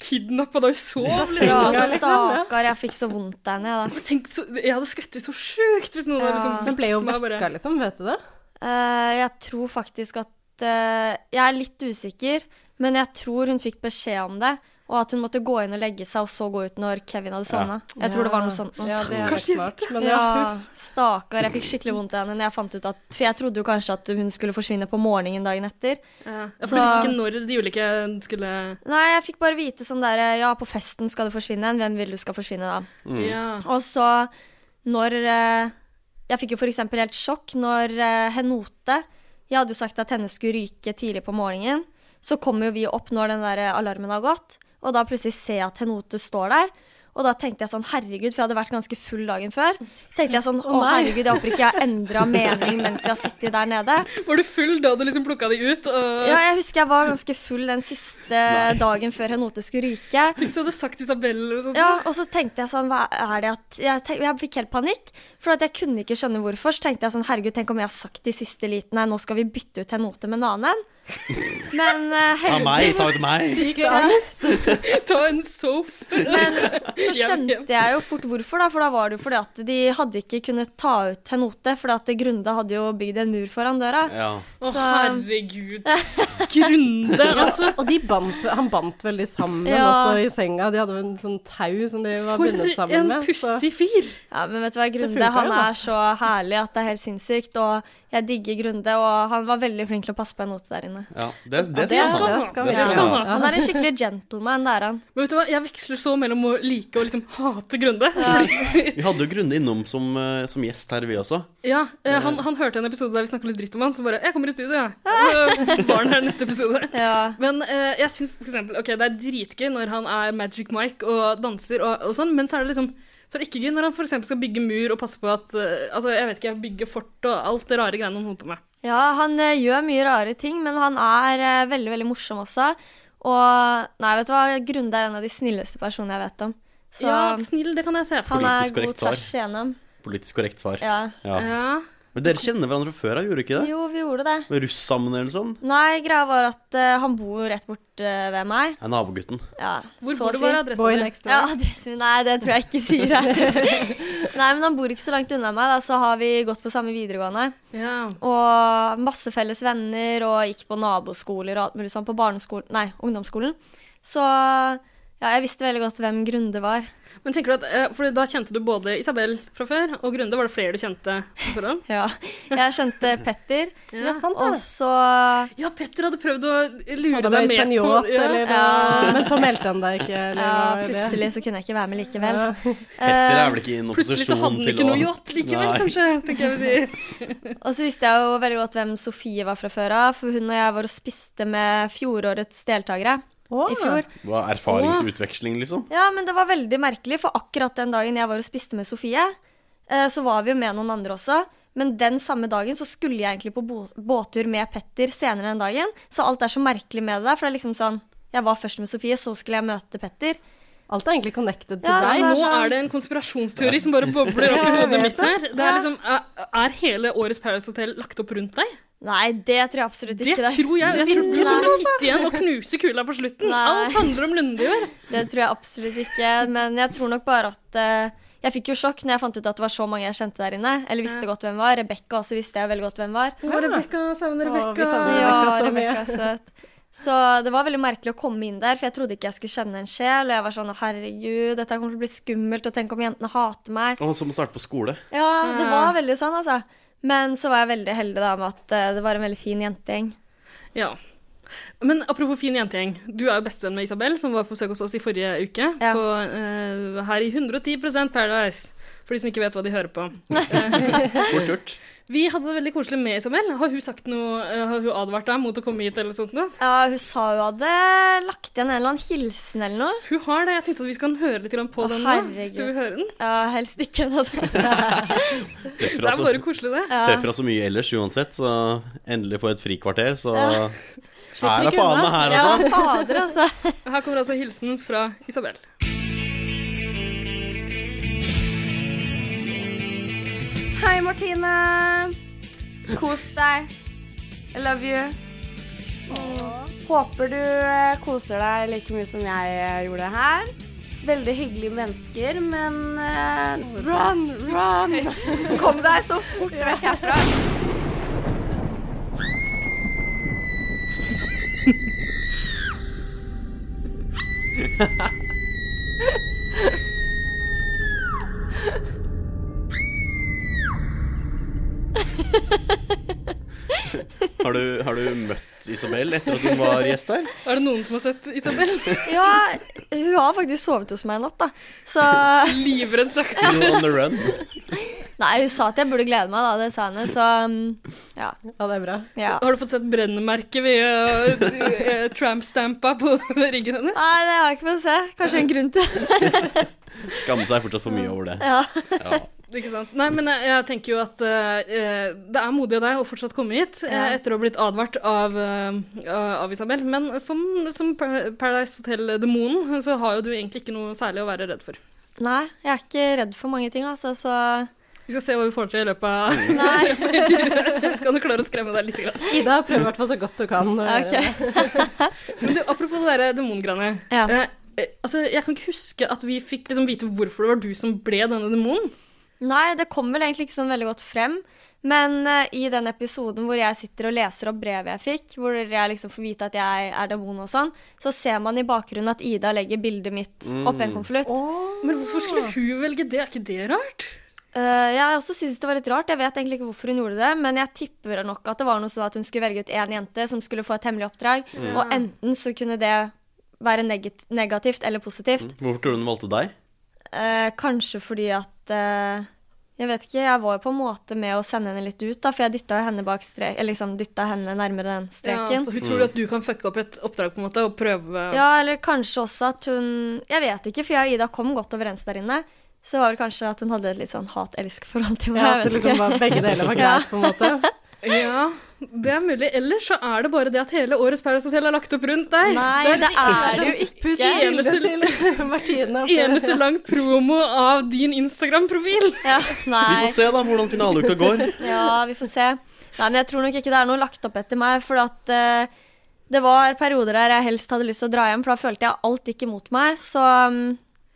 [SPEAKER 2] kidnappa da hun sov.
[SPEAKER 1] Ja,
[SPEAKER 2] liksom.
[SPEAKER 1] Stakkar, jeg fikk så vondt der nede, da.
[SPEAKER 2] Tenk, så, jeg hadde skvettet så sjukt hvis noen hadde liksom
[SPEAKER 1] Den
[SPEAKER 2] vekt
[SPEAKER 1] ble jo
[SPEAKER 2] meg og bare-
[SPEAKER 1] vekka,
[SPEAKER 4] liksom, vet du det?
[SPEAKER 1] Eh, jeg tror faktisk at eh, Jeg er litt usikker, men jeg tror hun fikk beskjed om det. Og at hun måtte gå inn og legge seg, og så gå ut når Kevin hadde sovna. Jeg tror det var noe sånt. nå.
[SPEAKER 4] Ja, det er
[SPEAKER 1] Stakkars
[SPEAKER 4] helt smart. Men ja,
[SPEAKER 1] ja,
[SPEAKER 4] huff.
[SPEAKER 1] stakkar. Jeg fikk skikkelig vondt i henne når jeg fant ut at For jeg trodde jo kanskje at hun skulle forsvinne på morgenen dagen etter.
[SPEAKER 2] Ja, for du visste ikke når de ulike skulle
[SPEAKER 1] Nei, jeg fikk bare vite sånn derre Ja, på festen skal du forsvinne en. Hvem vil du skal forsvinne da?
[SPEAKER 2] Mm. Ja.
[SPEAKER 1] Og så når eh, Jeg fikk jo for eksempel helt sjokk når eh, Henote Jeg hadde jo sagt at henne skulle ryke tidlig på morgenen. Så kommer jo vi opp når den der eh, alarmen har gått, og da plutselig ser jeg at Henote står der. Og da tenkte jeg sånn, herregud, for jeg hadde vært ganske full dagen før. Tenkte jeg sånn, å
[SPEAKER 2] nei.
[SPEAKER 1] herregud, jeg håper ikke jeg har endra mening mens jeg har sittet der nede.
[SPEAKER 2] Var du full da du liksom plukka de ut? Og...
[SPEAKER 1] Ja, jeg husker jeg var ganske full den siste dagen før Henote skulle ryke.
[SPEAKER 2] Tenk så du hadde sagt Isabel eller sånt.
[SPEAKER 1] Ja, og så tenkte jeg sånn, hva er det at Jeg, tenk, jeg fikk helt panikk, for at jeg kunne ikke skjønne hvorfor. Så tenkte jeg sånn, herregud, tenk om jeg har sagt i siste liten Nei, nå skal vi bytte ut Henote med en annen en. Men eh,
[SPEAKER 5] Ta meg, ta ut meg.
[SPEAKER 1] Sykt
[SPEAKER 2] Ja.
[SPEAKER 1] angst.
[SPEAKER 2] Ta en sof.
[SPEAKER 1] Men så skjønte jeg jo fort hvorfor, da. For da var det jo fordi at de hadde ikke kunnet ta ut Henote, fordi at Grunde hadde jo bygd en mur foran døra.
[SPEAKER 5] Ja.
[SPEAKER 2] Å,
[SPEAKER 1] Så-
[SPEAKER 2] herregud. Grunde, altså.
[SPEAKER 4] Og de bandt, han bandt vel de sammen
[SPEAKER 1] Ja.
[SPEAKER 4] også i senga. De hadde vel en sånn tau som de var bundet sammen med. så-
[SPEAKER 2] fyr!
[SPEAKER 1] Ja, men vet du hva, Grunde
[SPEAKER 4] funker
[SPEAKER 1] han
[SPEAKER 4] jo, da.
[SPEAKER 1] er så herlig at det er helt sinnssykt. Og jeg digger Grunde, og han var veldig flink til å passe på en note der inne.
[SPEAKER 5] Ja, det, det,
[SPEAKER 1] Ja,
[SPEAKER 5] skal
[SPEAKER 1] skal
[SPEAKER 5] man
[SPEAKER 1] han
[SPEAKER 5] ha.
[SPEAKER 1] ha. Han er en skikkelig gentleman, det er han.
[SPEAKER 2] Men vet du hva, jeg veksler så mellom å like og liksom hate Grunde. Fordi,
[SPEAKER 5] Vi hadde jo Grunde innom som, eh, som gjest her, vi også.
[SPEAKER 2] ja, eh, han, han hørte en episode der vi snakka litt dritt om han, så bare 'Jeg kommer i studio, jeg'. Ja. Barn her neste episode. Men eh, jeg syns for eksempel Ok, det er dritgøy når han er Magic Mike og danser og, og sånn, men så er det liksom så er det ikke gøy når han for eksempel skal bygge mur og passe på at eh, Altså, jeg vet ikke, bygge fort og alt det rare greiene han holder på med.
[SPEAKER 1] Ja, han eh, gjør mye rare ting, men han er eh, veldig, veldig morsom også. Og nei, vet du hva, Grunde er en av de snilleste personene jeg vet om. Så
[SPEAKER 2] Ja, snill, det kan jeg se for
[SPEAKER 1] han
[SPEAKER 5] meg.
[SPEAKER 1] er
[SPEAKER 5] Politisk
[SPEAKER 1] god
[SPEAKER 5] korrekt svar.
[SPEAKER 1] tvers igjennom.
[SPEAKER 5] Politisk korrekt svar.
[SPEAKER 1] Ja.
[SPEAKER 5] Ja. Men dere kjenner hverandre fra før av, gjorde dere ikke det?
[SPEAKER 1] Jo, vi gjorde det.
[SPEAKER 5] Med russ sammen eller sånn?
[SPEAKER 1] Nei, greia var at eh, han bor rett bort eh, ved meg.
[SPEAKER 5] Ja, nabogutten.
[SPEAKER 1] Ja,
[SPEAKER 2] Hvor
[SPEAKER 1] så
[SPEAKER 2] bor
[SPEAKER 1] å
[SPEAKER 2] du?
[SPEAKER 1] si.
[SPEAKER 2] Hva er adressen Boy din? next door.
[SPEAKER 1] Ja, adressen min, Nei, det tror jeg ikke sier her. nei, men han bor ikke så langt unna meg, da, så har vi gått på samme videregående. Og masse felles venner, og gikk på naboskoler og alt mulig sånn på barneskolen, nei, ungdomsskolen. Så ja, jeg visste veldig godt hvem Grunde var.
[SPEAKER 2] Men tenker du at, eh, for Da kjente du både Isabel fra før, og Grunde. Var det flere du kjente? fra før?
[SPEAKER 1] ja. Jeg kjente Petter,
[SPEAKER 2] Ja, sant det.
[SPEAKER 1] og så
[SPEAKER 2] Ja, Petter hadde prøvd å lure
[SPEAKER 4] Hadde
[SPEAKER 2] deg
[SPEAKER 4] vært
[SPEAKER 2] med
[SPEAKER 4] på en yacht,
[SPEAKER 2] ja.
[SPEAKER 4] eller noe.
[SPEAKER 1] Ja.
[SPEAKER 4] Men så meldte han deg ikke. Eller
[SPEAKER 1] Ja,
[SPEAKER 4] hva var det?
[SPEAKER 1] plutselig så kunne jeg ikke være med likevel.
[SPEAKER 5] Petter er vel ikke i en
[SPEAKER 2] Eh, Plutselig så
[SPEAKER 5] opposisjon
[SPEAKER 2] hadde han
[SPEAKER 5] til
[SPEAKER 2] ikke
[SPEAKER 5] å-
[SPEAKER 2] noe yacht likevel,
[SPEAKER 5] Nei.
[SPEAKER 2] kanskje. tenker jeg vi sier.
[SPEAKER 1] Og så visste jeg jo veldig godt hvem Sofie var fra før av, for hun og jeg var og spiste med fjorårets deltakere i fjor.
[SPEAKER 5] Hva, erfaringsutveksling, liksom?
[SPEAKER 1] Ja, men det var veldig merkelig, for akkurat den dagen jeg var og spiste med Sofie, eh, så var vi jo med noen andre også. Men den samme dagen så skulle jeg egentlig på bo- båttur med Petter senere den dagen. Så alt er så merkelig med det der, for det er liksom sånn Jeg var først med Sofie, så skulle jeg møte Petter.
[SPEAKER 4] Alt er egentlig connected
[SPEAKER 1] Ja, så
[SPEAKER 2] Nei,
[SPEAKER 1] det er
[SPEAKER 2] Altså, nå
[SPEAKER 1] sånn-
[SPEAKER 2] er det en konspirasjonsteori som bare bobler opp i hodet mitt her. Det er, liksom, er- er hele årets Paradise Hotel lagt opp rundt deg?
[SPEAKER 1] Nei, det tror jeg absolutt
[SPEAKER 2] Det
[SPEAKER 1] ikke.
[SPEAKER 2] tror jeg. Jeg tror du
[SPEAKER 1] Nei.
[SPEAKER 2] kommer til å sitte igjen og knuse kula på slutten.
[SPEAKER 1] Nei.
[SPEAKER 2] Alt handler om Lunde i år.
[SPEAKER 1] Det tror jeg absolutt ikke, men jeg tror nok bare at eh, Jeg fikk jo sjokk når jeg fant ut at det var så mange jeg kjente der inne. Eller visste godt hvem var. Rebekka også visste jeg veldig godt hvem var.
[SPEAKER 2] Å, Rebecca, savner Rebecca.
[SPEAKER 1] Ja, Rebekka er søt. Så det var veldig merkelig å komme inn der, for jeg trodde ikke jeg skulle kjenne en sjel. Og jeg var sånn «Å, herregud, dette kommer til å bli skummelt, og tenk om jentene hater meg.
[SPEAKER 5] Og han som må starte på skole.
[SPEAKER 1] Ja, det var veldig sånn, altså. Men så var jeg veldig heldig da med at eh, det var en veldig fin jentegjeng.
[SPEAKER 2] Ja. Men apropos fin jentegjeng. Du er jo bestevenn med Isabel, som var på besøk hos oss i forrige uke. På, eh, her i 110 Paradise, for de som ikke vet hva de hører på.
[SPEAKER 5] Fort gjort.
[SPEAKER 2] Vi hadde det veldig koselig med Isabel. Har hun sagt noe, eh, har hun advart deg mot å komme hit? eller sånt noe?
[SPEAKER 1] Ja, hun sa hun hadde lagt igjen en eller annen hilsen eller noe.
[SPEAKER 2] Hun har det. Jeg tenkte at vi skal høre litt grann
[SPEAKER 1] Å,
[SPEAKER 2] på den nå. Hvis du vil høre den.
[SPEAKER 1] Ja, helst ikke.
[SPEAKER 5] Treffer
[SPEAKER 2] Det er
[SPEAKER 5] altså-
[SPEAKER 2] bare koselig, det.
[SPEAKER 5] Treffer oss så mye ellers uansett, så endelig få et frikvarter, så
[SPEAKER 2] Ja.
[SPEAKER 5] Her er faen meg her, altså.
[SPEAKER 1] fader, altså.
[SPEAKER 2] Her kommer altså hilsen fra Isabel.
[SPEAKER 13] Hei, Martine. Kos deg. I love you. Håper du eh, koser deg like mye som jeg eh, gjorde her. Veldig hyggelige mennesker, men eh, Run, run! Kom deg så fort vekk herfra.
[SPEAKER 5] Har du, har du møtt Isabel etter at hun var gjest her?
[SPEAKER 2] Er det noen som har sett Isabel?
[SPEAKER 1] Ja, hun har faktisk sovet hos meg i natt, da. Så
[SPEAKER 2] Livredd
[SPEAKER 5] Still on the run.
[SPEAKER 1] Nei, hun sa at jeg burde glede meg, da. Det sa henne, så um, ja.
[SPEAKER 4] Ja, det er bra.
[SPEAKER 1] Ja.
[SPEAKER 2] Har du fått sett brennemerket ved eh, eh, tramp-stampa på ryggen hennes?
[SPEAKER 1] Nei, det har jeg ikke fått se. Kanskje en grunn til det.
[SPEAKER 5] Skammer seg fortsatt for mye over det.
[SPEAKER 1] Ja.
[SPEAKER 5] Ja.
[SPEAKER 2] Ikke sant? Nei, men jeg, jeg tenker jo at eh, eh, det er modig av deg å fortsatt komme hit eh,
[SPEAKER 1] Ja.
[SPEAKER 2] etter å ha blitt advart av, eh, av Isabel. Men som, som Pa- Paradise Hotel-demonen så har jo du egentlig ikke noe særlig å være redd for.
[SPEAKER 1] Nei, jeg er ikke redd for mange ting, altså, så
[SPEAKER 2] Vi skal se hva vi får til i løpet av
[SPEAKER 1] Nei.
[SPEAKER 2] intervjuet. Skal du klare å skremme deg litt? Grann.
[SPEAKER 4] Ida prøver i hvert fall så godt hun kan. å gjøre det.
[SPEAKER 2] Men du, apropos det derre demongreiene. Eh, eh, altså, jeg kan ikke huske at vi fikk liksom vite hvorfor det var du som ble denne demonen.
[SPEAKER 1] Nei, det kom vel egentlig ikke sånn veldig godt frem. Men eh, i den episoden hvor jeg sitter og leser opp brevet jeg fikk, hvor jeg liksom får vite at jeg er demon og sånn, så ser man i bakgrunnen at Ida legger bildet mitt oppi en
[SPEAKER 2] Mm.
[SPEAKER 1] konvolutt.
[SPEAKER 2] Men hvorfor skulle
[SPEAKER 1] Ah.
[SPEAKER 2] hun velge det? Er ikke det rart?
[SPEAKER 1] Eh, jeg også synes det var litt rart. Jeg vet egentlig ikke hvorfor hun gjorde det, men jeg tipper nok at det var noe sånn at hun skulle velge ut én jente som skulle få et hemmelig oppdrag,
[SPEAKER 5] Mm.
[SPEAKER 1] og enten så kunne det være negat negativt eller positivt.
[SPEAKER 5] Hvorfor tror du hun valgte deg?
[SPEAKER 1] Eh, kanskje fordi at eh, Jeg vet ikke, jeg var jo på en måte med å sende henne litt ut, da, for jeg dytta henne bak strek, eller liksom dytta henne nærmere den streken.
[SPEAKER 2] Ja, så hun tror at du kan fucke opp et oppdrag på en måte og prøve
[SPEAKER 1] Ja, eller kanskje også at hun Jeg vet ikke, for jeg og Ida kom godt overens der inne. Så var det kanskje at hun hadde et litt sånn hat-elsk-forhold til meg.
[SPEAKER 4] Ja,
[SPEAKER 1] jeg
[SPEAKER 4] at det
[SPEAKER 1] vet
[SPEAKER 4] liksom
[SPEAKER 1] ikke.
[SPEAKER 4] var, begge deler var greit, på en måte.
[SPEAKER 2] Ja, Det er mulig. Ellers så er det bare det at hele årets Paradise Hotel er lagt opp rundt deg.
[SPEAKER 4] Nei, det er det jo ikke. Putt
[SPEAKER 2] Eneste,
[SPEAKER 4] bildet til Martine.
[SPEAKER 2] eneste lang promo av din Instagram-profil.
[SPEAKER 1] Ja,
[SPEAKER 5] Vi
[SPEAKER 1] nei.
[SPEAKER 5] får se da hvordan finaleuka går.
[SPEAKER 1] Ja, vi får se. Nei, men jeg tror nok ikke det er noe lagt opp etter meg, for at eh, det var perioder der jeg helst hadde lyst til å dra hjem, for da følte jeg alt gikk imot meg, så mm,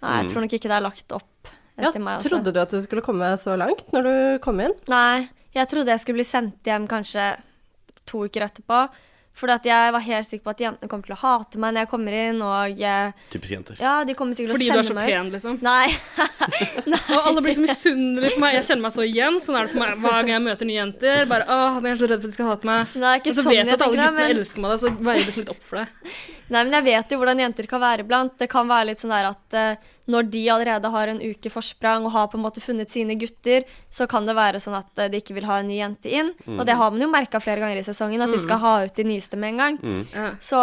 [SPEAKER 1] nei, jeg
[SPEAKER 4] Mm.
[SPEAKER 1] tror nok ikke det er lagt opp
[SPEAKER 4] Ja,
[SPEAKER 1] etter meg. altså.
[SPEAKER 4] trodde du at du skulle komme så langt når du kom inn?
[SPEAKER 1] Nei, jeg trodde jeg skulle bli sendt hjem kanskje to uker etterpå, for at jeg var helt sikker på at jentene kommer til å hate meg når jeg kommer inn, og eh,
[SPEAKER 5] Typisk jenter.
[SPEAKER 1] ja, de kommer sikkert
[SPEAKER 2] Fordi
[SPEAKER 1] til å
[SPEAKER 2] du er så
[SPEAKER 1] sende meg ut.
[SPEAKER 2] pen, liksom.
[SPEAKER 1] Nei.
[SPEAKER 2] Og alle blir så misunnelige på meg. Jeg kjenner meg så igjen. Sånn er det for meg hver gang jeg møter nye jenter. Bare, åh, jeg er så redd for at de skal hate meg.
[SPEAKER 1] Nei, ikke
[SPEAKER 2] Og så
[SPEAKER 1] sånn
[SPEAKER 2] vet
[SPEAKER 1] jeg
[SPEAKER 2] at alle
[SPEAKER 1] tenker det,
[SPEAKER 2] guttene
[SPEAKER 1] men-
[SPEAKER 2] elsker meg, da, så veier det som litt opp for deg.
[SPEAKER 1] Nei, men jeg vet jo hvordan jenter kan være iblant. Det kan være litt sånn der at eh, når de allerede har en uke forsprang og har på en måte funnet sine gutter, så kan det være sånn at eh, de ikke vil ha en ny jente inn.
[SPEAKER 5] Mm.
[SPEAKER 1] Og det har man jo merka flere ganger i sesongen, at de skal ha ut de nyeste med en gang.
[SPEAKER 5] Mm.
[SPEAKER 1] Så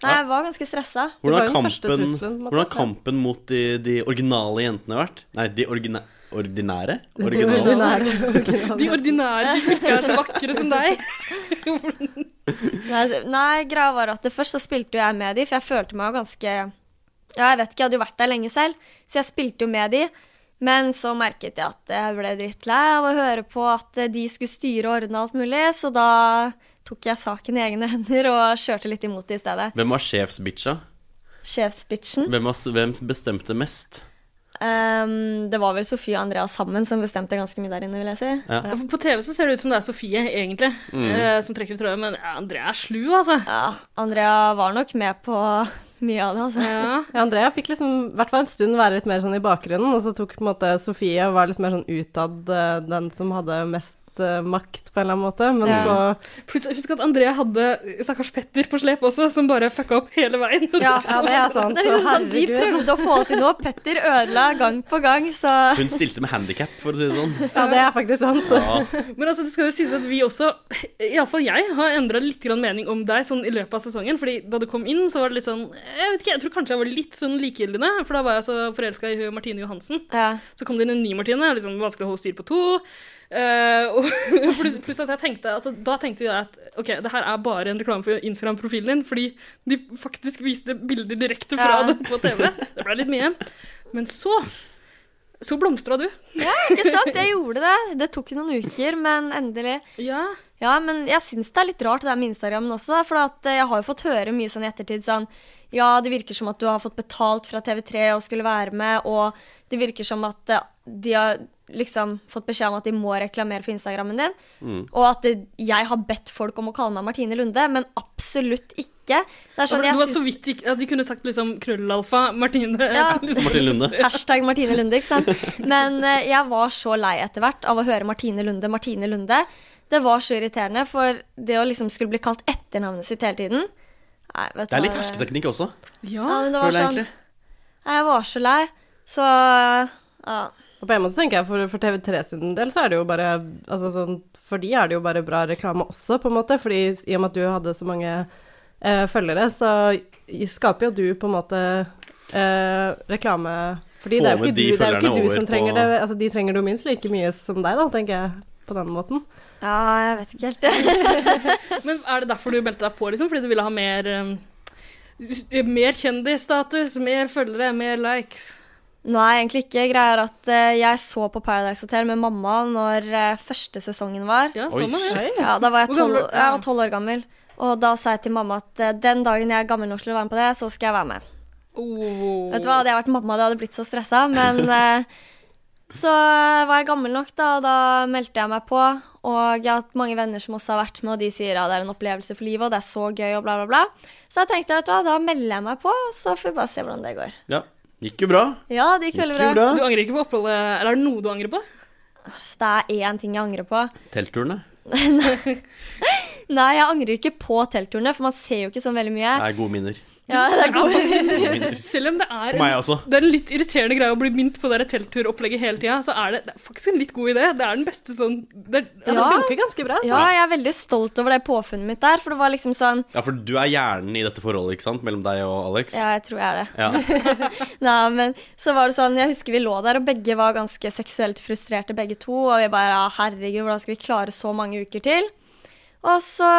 [SPEAKER 1] Nei, jeg var ganske stressa.
[SPEAKER 5] Hvordan har kampen, hvordan har kampen mot de, de originale jentene vært? Nei, de origina ordinære?
[SPEAKER 4] ordinære.
[SPEAKER 2] De ordinære, de som ikke er så vakre som deg.
[SPEAKER 1] Nei, det- nei, greia var at det først så spilte jo jeg med de, for jeg følte meg jo ganske Ja, jeg vet ikke, jeg hadde jo vært der lenge selv, så jeg spilte jo med de. Men så merket jeg at jeg ble drittlei av å høre på at eh, de skulle styre og ordne alt mulig, så da tok jeg saken i egne hender og kjørte litt imot det i stedet.
[SPEAKER 5] Hvem var sjefsbitcha?
[SPEAKER 1] Sjefsbitchen.
[SPEAKER 5] Hvem, var- hvem bestemte mest?
[SPEAKER 1] ehm, det var vel Sofie og Andrea sammen som bestemte ganske mye der inne, vil jeg si.
[SPEAKER 5] Ja.
[SPEAKER 2] Ja, for På TV så ser det ut som det er Sofie, egentlig,
[SPEAKER 5] Mm.
[SPEAKER 2] eh, som trekker i trøya, men ja, Andrea er slu, altså.
[SPEAKER 1] Ja, Andrea var nok med på mye av det, altså.
[SPEAKER 2] Ja.
[SPEAKER 4] Ja, Andrea fikk liksom, i hvert fall en stund være litt mer sånn i bakgrunnen, og så tok på en måte Sofie og var litt mer sånn utad eh, den som hadde mest eh, makt, på en eller annen måte, men
[SPEAKER 2] Ja.
[SPEAKER 4] så
[SPEAKER 2] Plutselig, Husk at Andrea hadde stakkars Petter på slep også, som bare fucka opp hele veien.
[SPEAKER 1] Ja,
[SPEAKER 4] Ja, det er sant.
[SPEAKER 1] Det er liksom sånn De
[SPEAKER 4] Herregud.
[SPEAKER 1] prøvde å få til noe. Petter ødela gang på gang, så
[SPEAKER 5] Hun stilte med handikap, for å si det sånn.
[SPEAKER 4] Ja, det er faktisk sant.
[SPEAKER 5] Ja.
[SPEAKER 2] Men altså, det skal jo sies at vi også, iallfall jeg, har endra litt grann mening om deg sånn i løpet av sesongen. Fordi da du kom inn, så var det litt sånn Jeg vet ikke, jeg tror kanskje jeg var litt sånn likegyldig, da, for da var jeg så forelska i hun Martine Johansen. Så kom det inn en ny Martine, liksom vanskelig å holde styr på to. Eh, og pluss, pluss at jeg tenkte altså, Da tenkte jeg at ok, det her er bare en reklame for Instagram-profilen din, fordi de faktisk viste bilder direkte fra
[SPEAKER 1] Ja.
[SPEAKER 2] den på TV. Det ble litt mye. Men så så blomstra du.
[SPEAKER 1] Ja, ikke sant? Jeg gjorde det. Det tok noen uker, men endelig.
[SPEAKER 2] Ja.
[SPEAKER 1] men jeg syns det er litt rart det der med Instagramen også, for at eh, jeg har jo fått høre mye sånn i ettertid sånn Ja, det virker som at du har fått betalt fra TV3 og skulle være med, og det virker som at eh, de har liksom fått beskjed om at de må reklamere for Instagrammen din. Og at det, jeg har bedt folk om å kalle meg Martine Lunde, men absolutt ikke. Det er sånn,
[SPEAKER 2] det
[SPEAKER 1] jeg
[SPEAKER 2] var
[SPEAKER 1] syns-
[SPEAKER 2] så vidt ikke, at De kunne sagt liksom krøllalfa, Martine
[SPEAKER 1] Ja.
[SPEAKER 2] liksom.
[SPEAKER 5] Martine Lunde.
[SPEAKER 1] Hashtag Martine Lunde, ikke sant? Men eh, jeg var så lei etter hvert av å høre Martine Lunde, Martine Lunde. Det var så irriterende, for det å liksom skulle bli kalt etternavnet sitt hele tiden Nei, vet du
[SPEAKER 5] Det
[SPEAKER 1] hva,
[SPEAKER 5] er litt hersketeknikk også.
[SPEAKER 1] Ja, men det var
[SPEAKER 5] føler jeg
[SPEAKER 1] sånn
[SPEAKER 5] egentlig.
[SPEAKER 1] Nei, jeg var så lei, så ja.
[SPEAKER 4] Og på en måte tenker jeg for, for TV3 sin del så er det jo bare altså sånn, For de er det jo bare bra reklame også, på en måte. Fordi i og med at du hadde så mange eh, følgere, så i- skaper jo du på en måte eh, reklame Fordi
[SPEAKER 5] Få
[SPEAKER 4] det er jo
[SPEAKER 5] med
[SPEAKER 4] ikke
[SPEAKER 5] de
[SPEAKER 4] du, det er jo
[SPEAKER 5] følgerne
[SPEAKER 4] ikke du
[SPEAKER 5] over
[SPEAKER 4] som
[SPEAKER 5] på-
[SPEAKER 4] trenger det. Altså, de trenger det jo minst like mye som deg, da, tenker jeg, på den måten.
[SPEAKER 1] ja, jeg vet ikke helt.
[SPEAKER 2] Men er det derfor du meldte deg på, liksom? Fordi du ville ha mer um, s- Mer kjendisstatus, mer følgere, mer likes?
[SPEAKER 1] Nei, egentlig ikke. Greia er at eh, jeg så på Paradise Hotel med mamma når eh, første sesongen var.
[SPEAKER 2] Ja, så Oi, man det. shit.
[SPEAKER 1] Ja, da var jeg
[SPEAKER 2] Hvor gammel-
[SPEAKER 1] tolv jeg var tolv år gammel. Og da sa jeg til mamma at eh, den dagen jeg er gammel nok til å være med på det, så skal jeg være med.
[SPEAKER 2] Oh.
[SPEAKER 1] Vet du hva, Hadde jeg vært mamma, det hadde blitt så stressa. Men eh, så eh, var jeg gammel nok, da, og da meldte jeg meg på. Og jeg har hatt mange venner som også har vært med, og de sier ja, det er en opplevelse for livet, og det er så gøy, og bla, bla, bla. Så jeg tenkte, vet du hva, da melder jeg meg på, og så får vi bare se hvordan det går.
[SPEAKER 5] Ja. Gikk jo bra.
[SPEAKER 1] Ja, det gikk
[SPEAKER 5] Gikk
[SPEAKER 1] veldig
[SPEAKER 5] jo
[SPEAKER 1] bra.
[SPEAKER 5] bra.
[SPEAKER 2] Du angrer ikke på oppholdet? Eller er det noe du angrer på?
[SPEAKER 1] Det er én ting jeg angrer på.
[SPEAKER 5] Teltturene.
[SPEAKER 1] Nei, jeg angrer ikke på teltturene, for man ser jo ikke sånn veldig mye.
[SPEAKER 5] Det er gode minner.
[SPEAKER 1] Ja, det er god-
[SPEAKER 5] faktisk-
[SPEAKER 2] Selv om det er,
[SPEAKER 5] For meg
[SPEAKER 2] en,
[SPEAKER 5] også.
[SPEAKER 2] det er en litt irriterende greie å bli minnet på det der teltturopplegget hele tida, så er det, det er faktisk en litt god idé. Det er den beste sånn det, er-
[SPEAKER 4] Ja,
[SPEAKER 2] altså,
[SPEAKER 4] det funker ganske bra.
[SPEAKER 1] Ja, jeg er veldig stolt over det påfunnet mitt der, for det var liksom sånn
[SPEAKER 5] Ja, for du er hjernen i dette forholdet, ikke sant? Mellom deg og Alex.
[SPEAKER 1] Ja, jeg tror jeg er det.
[SPEAKER 5] Ja.
[SPEAKER 1] Nei, men så var det sånn, jeg husker vi lå der, og begge var «Ah, ganske seksuelt frustrerte begge to, og vi bare, ja, herregud, hvordan skal vi klare så mange uker til? Og så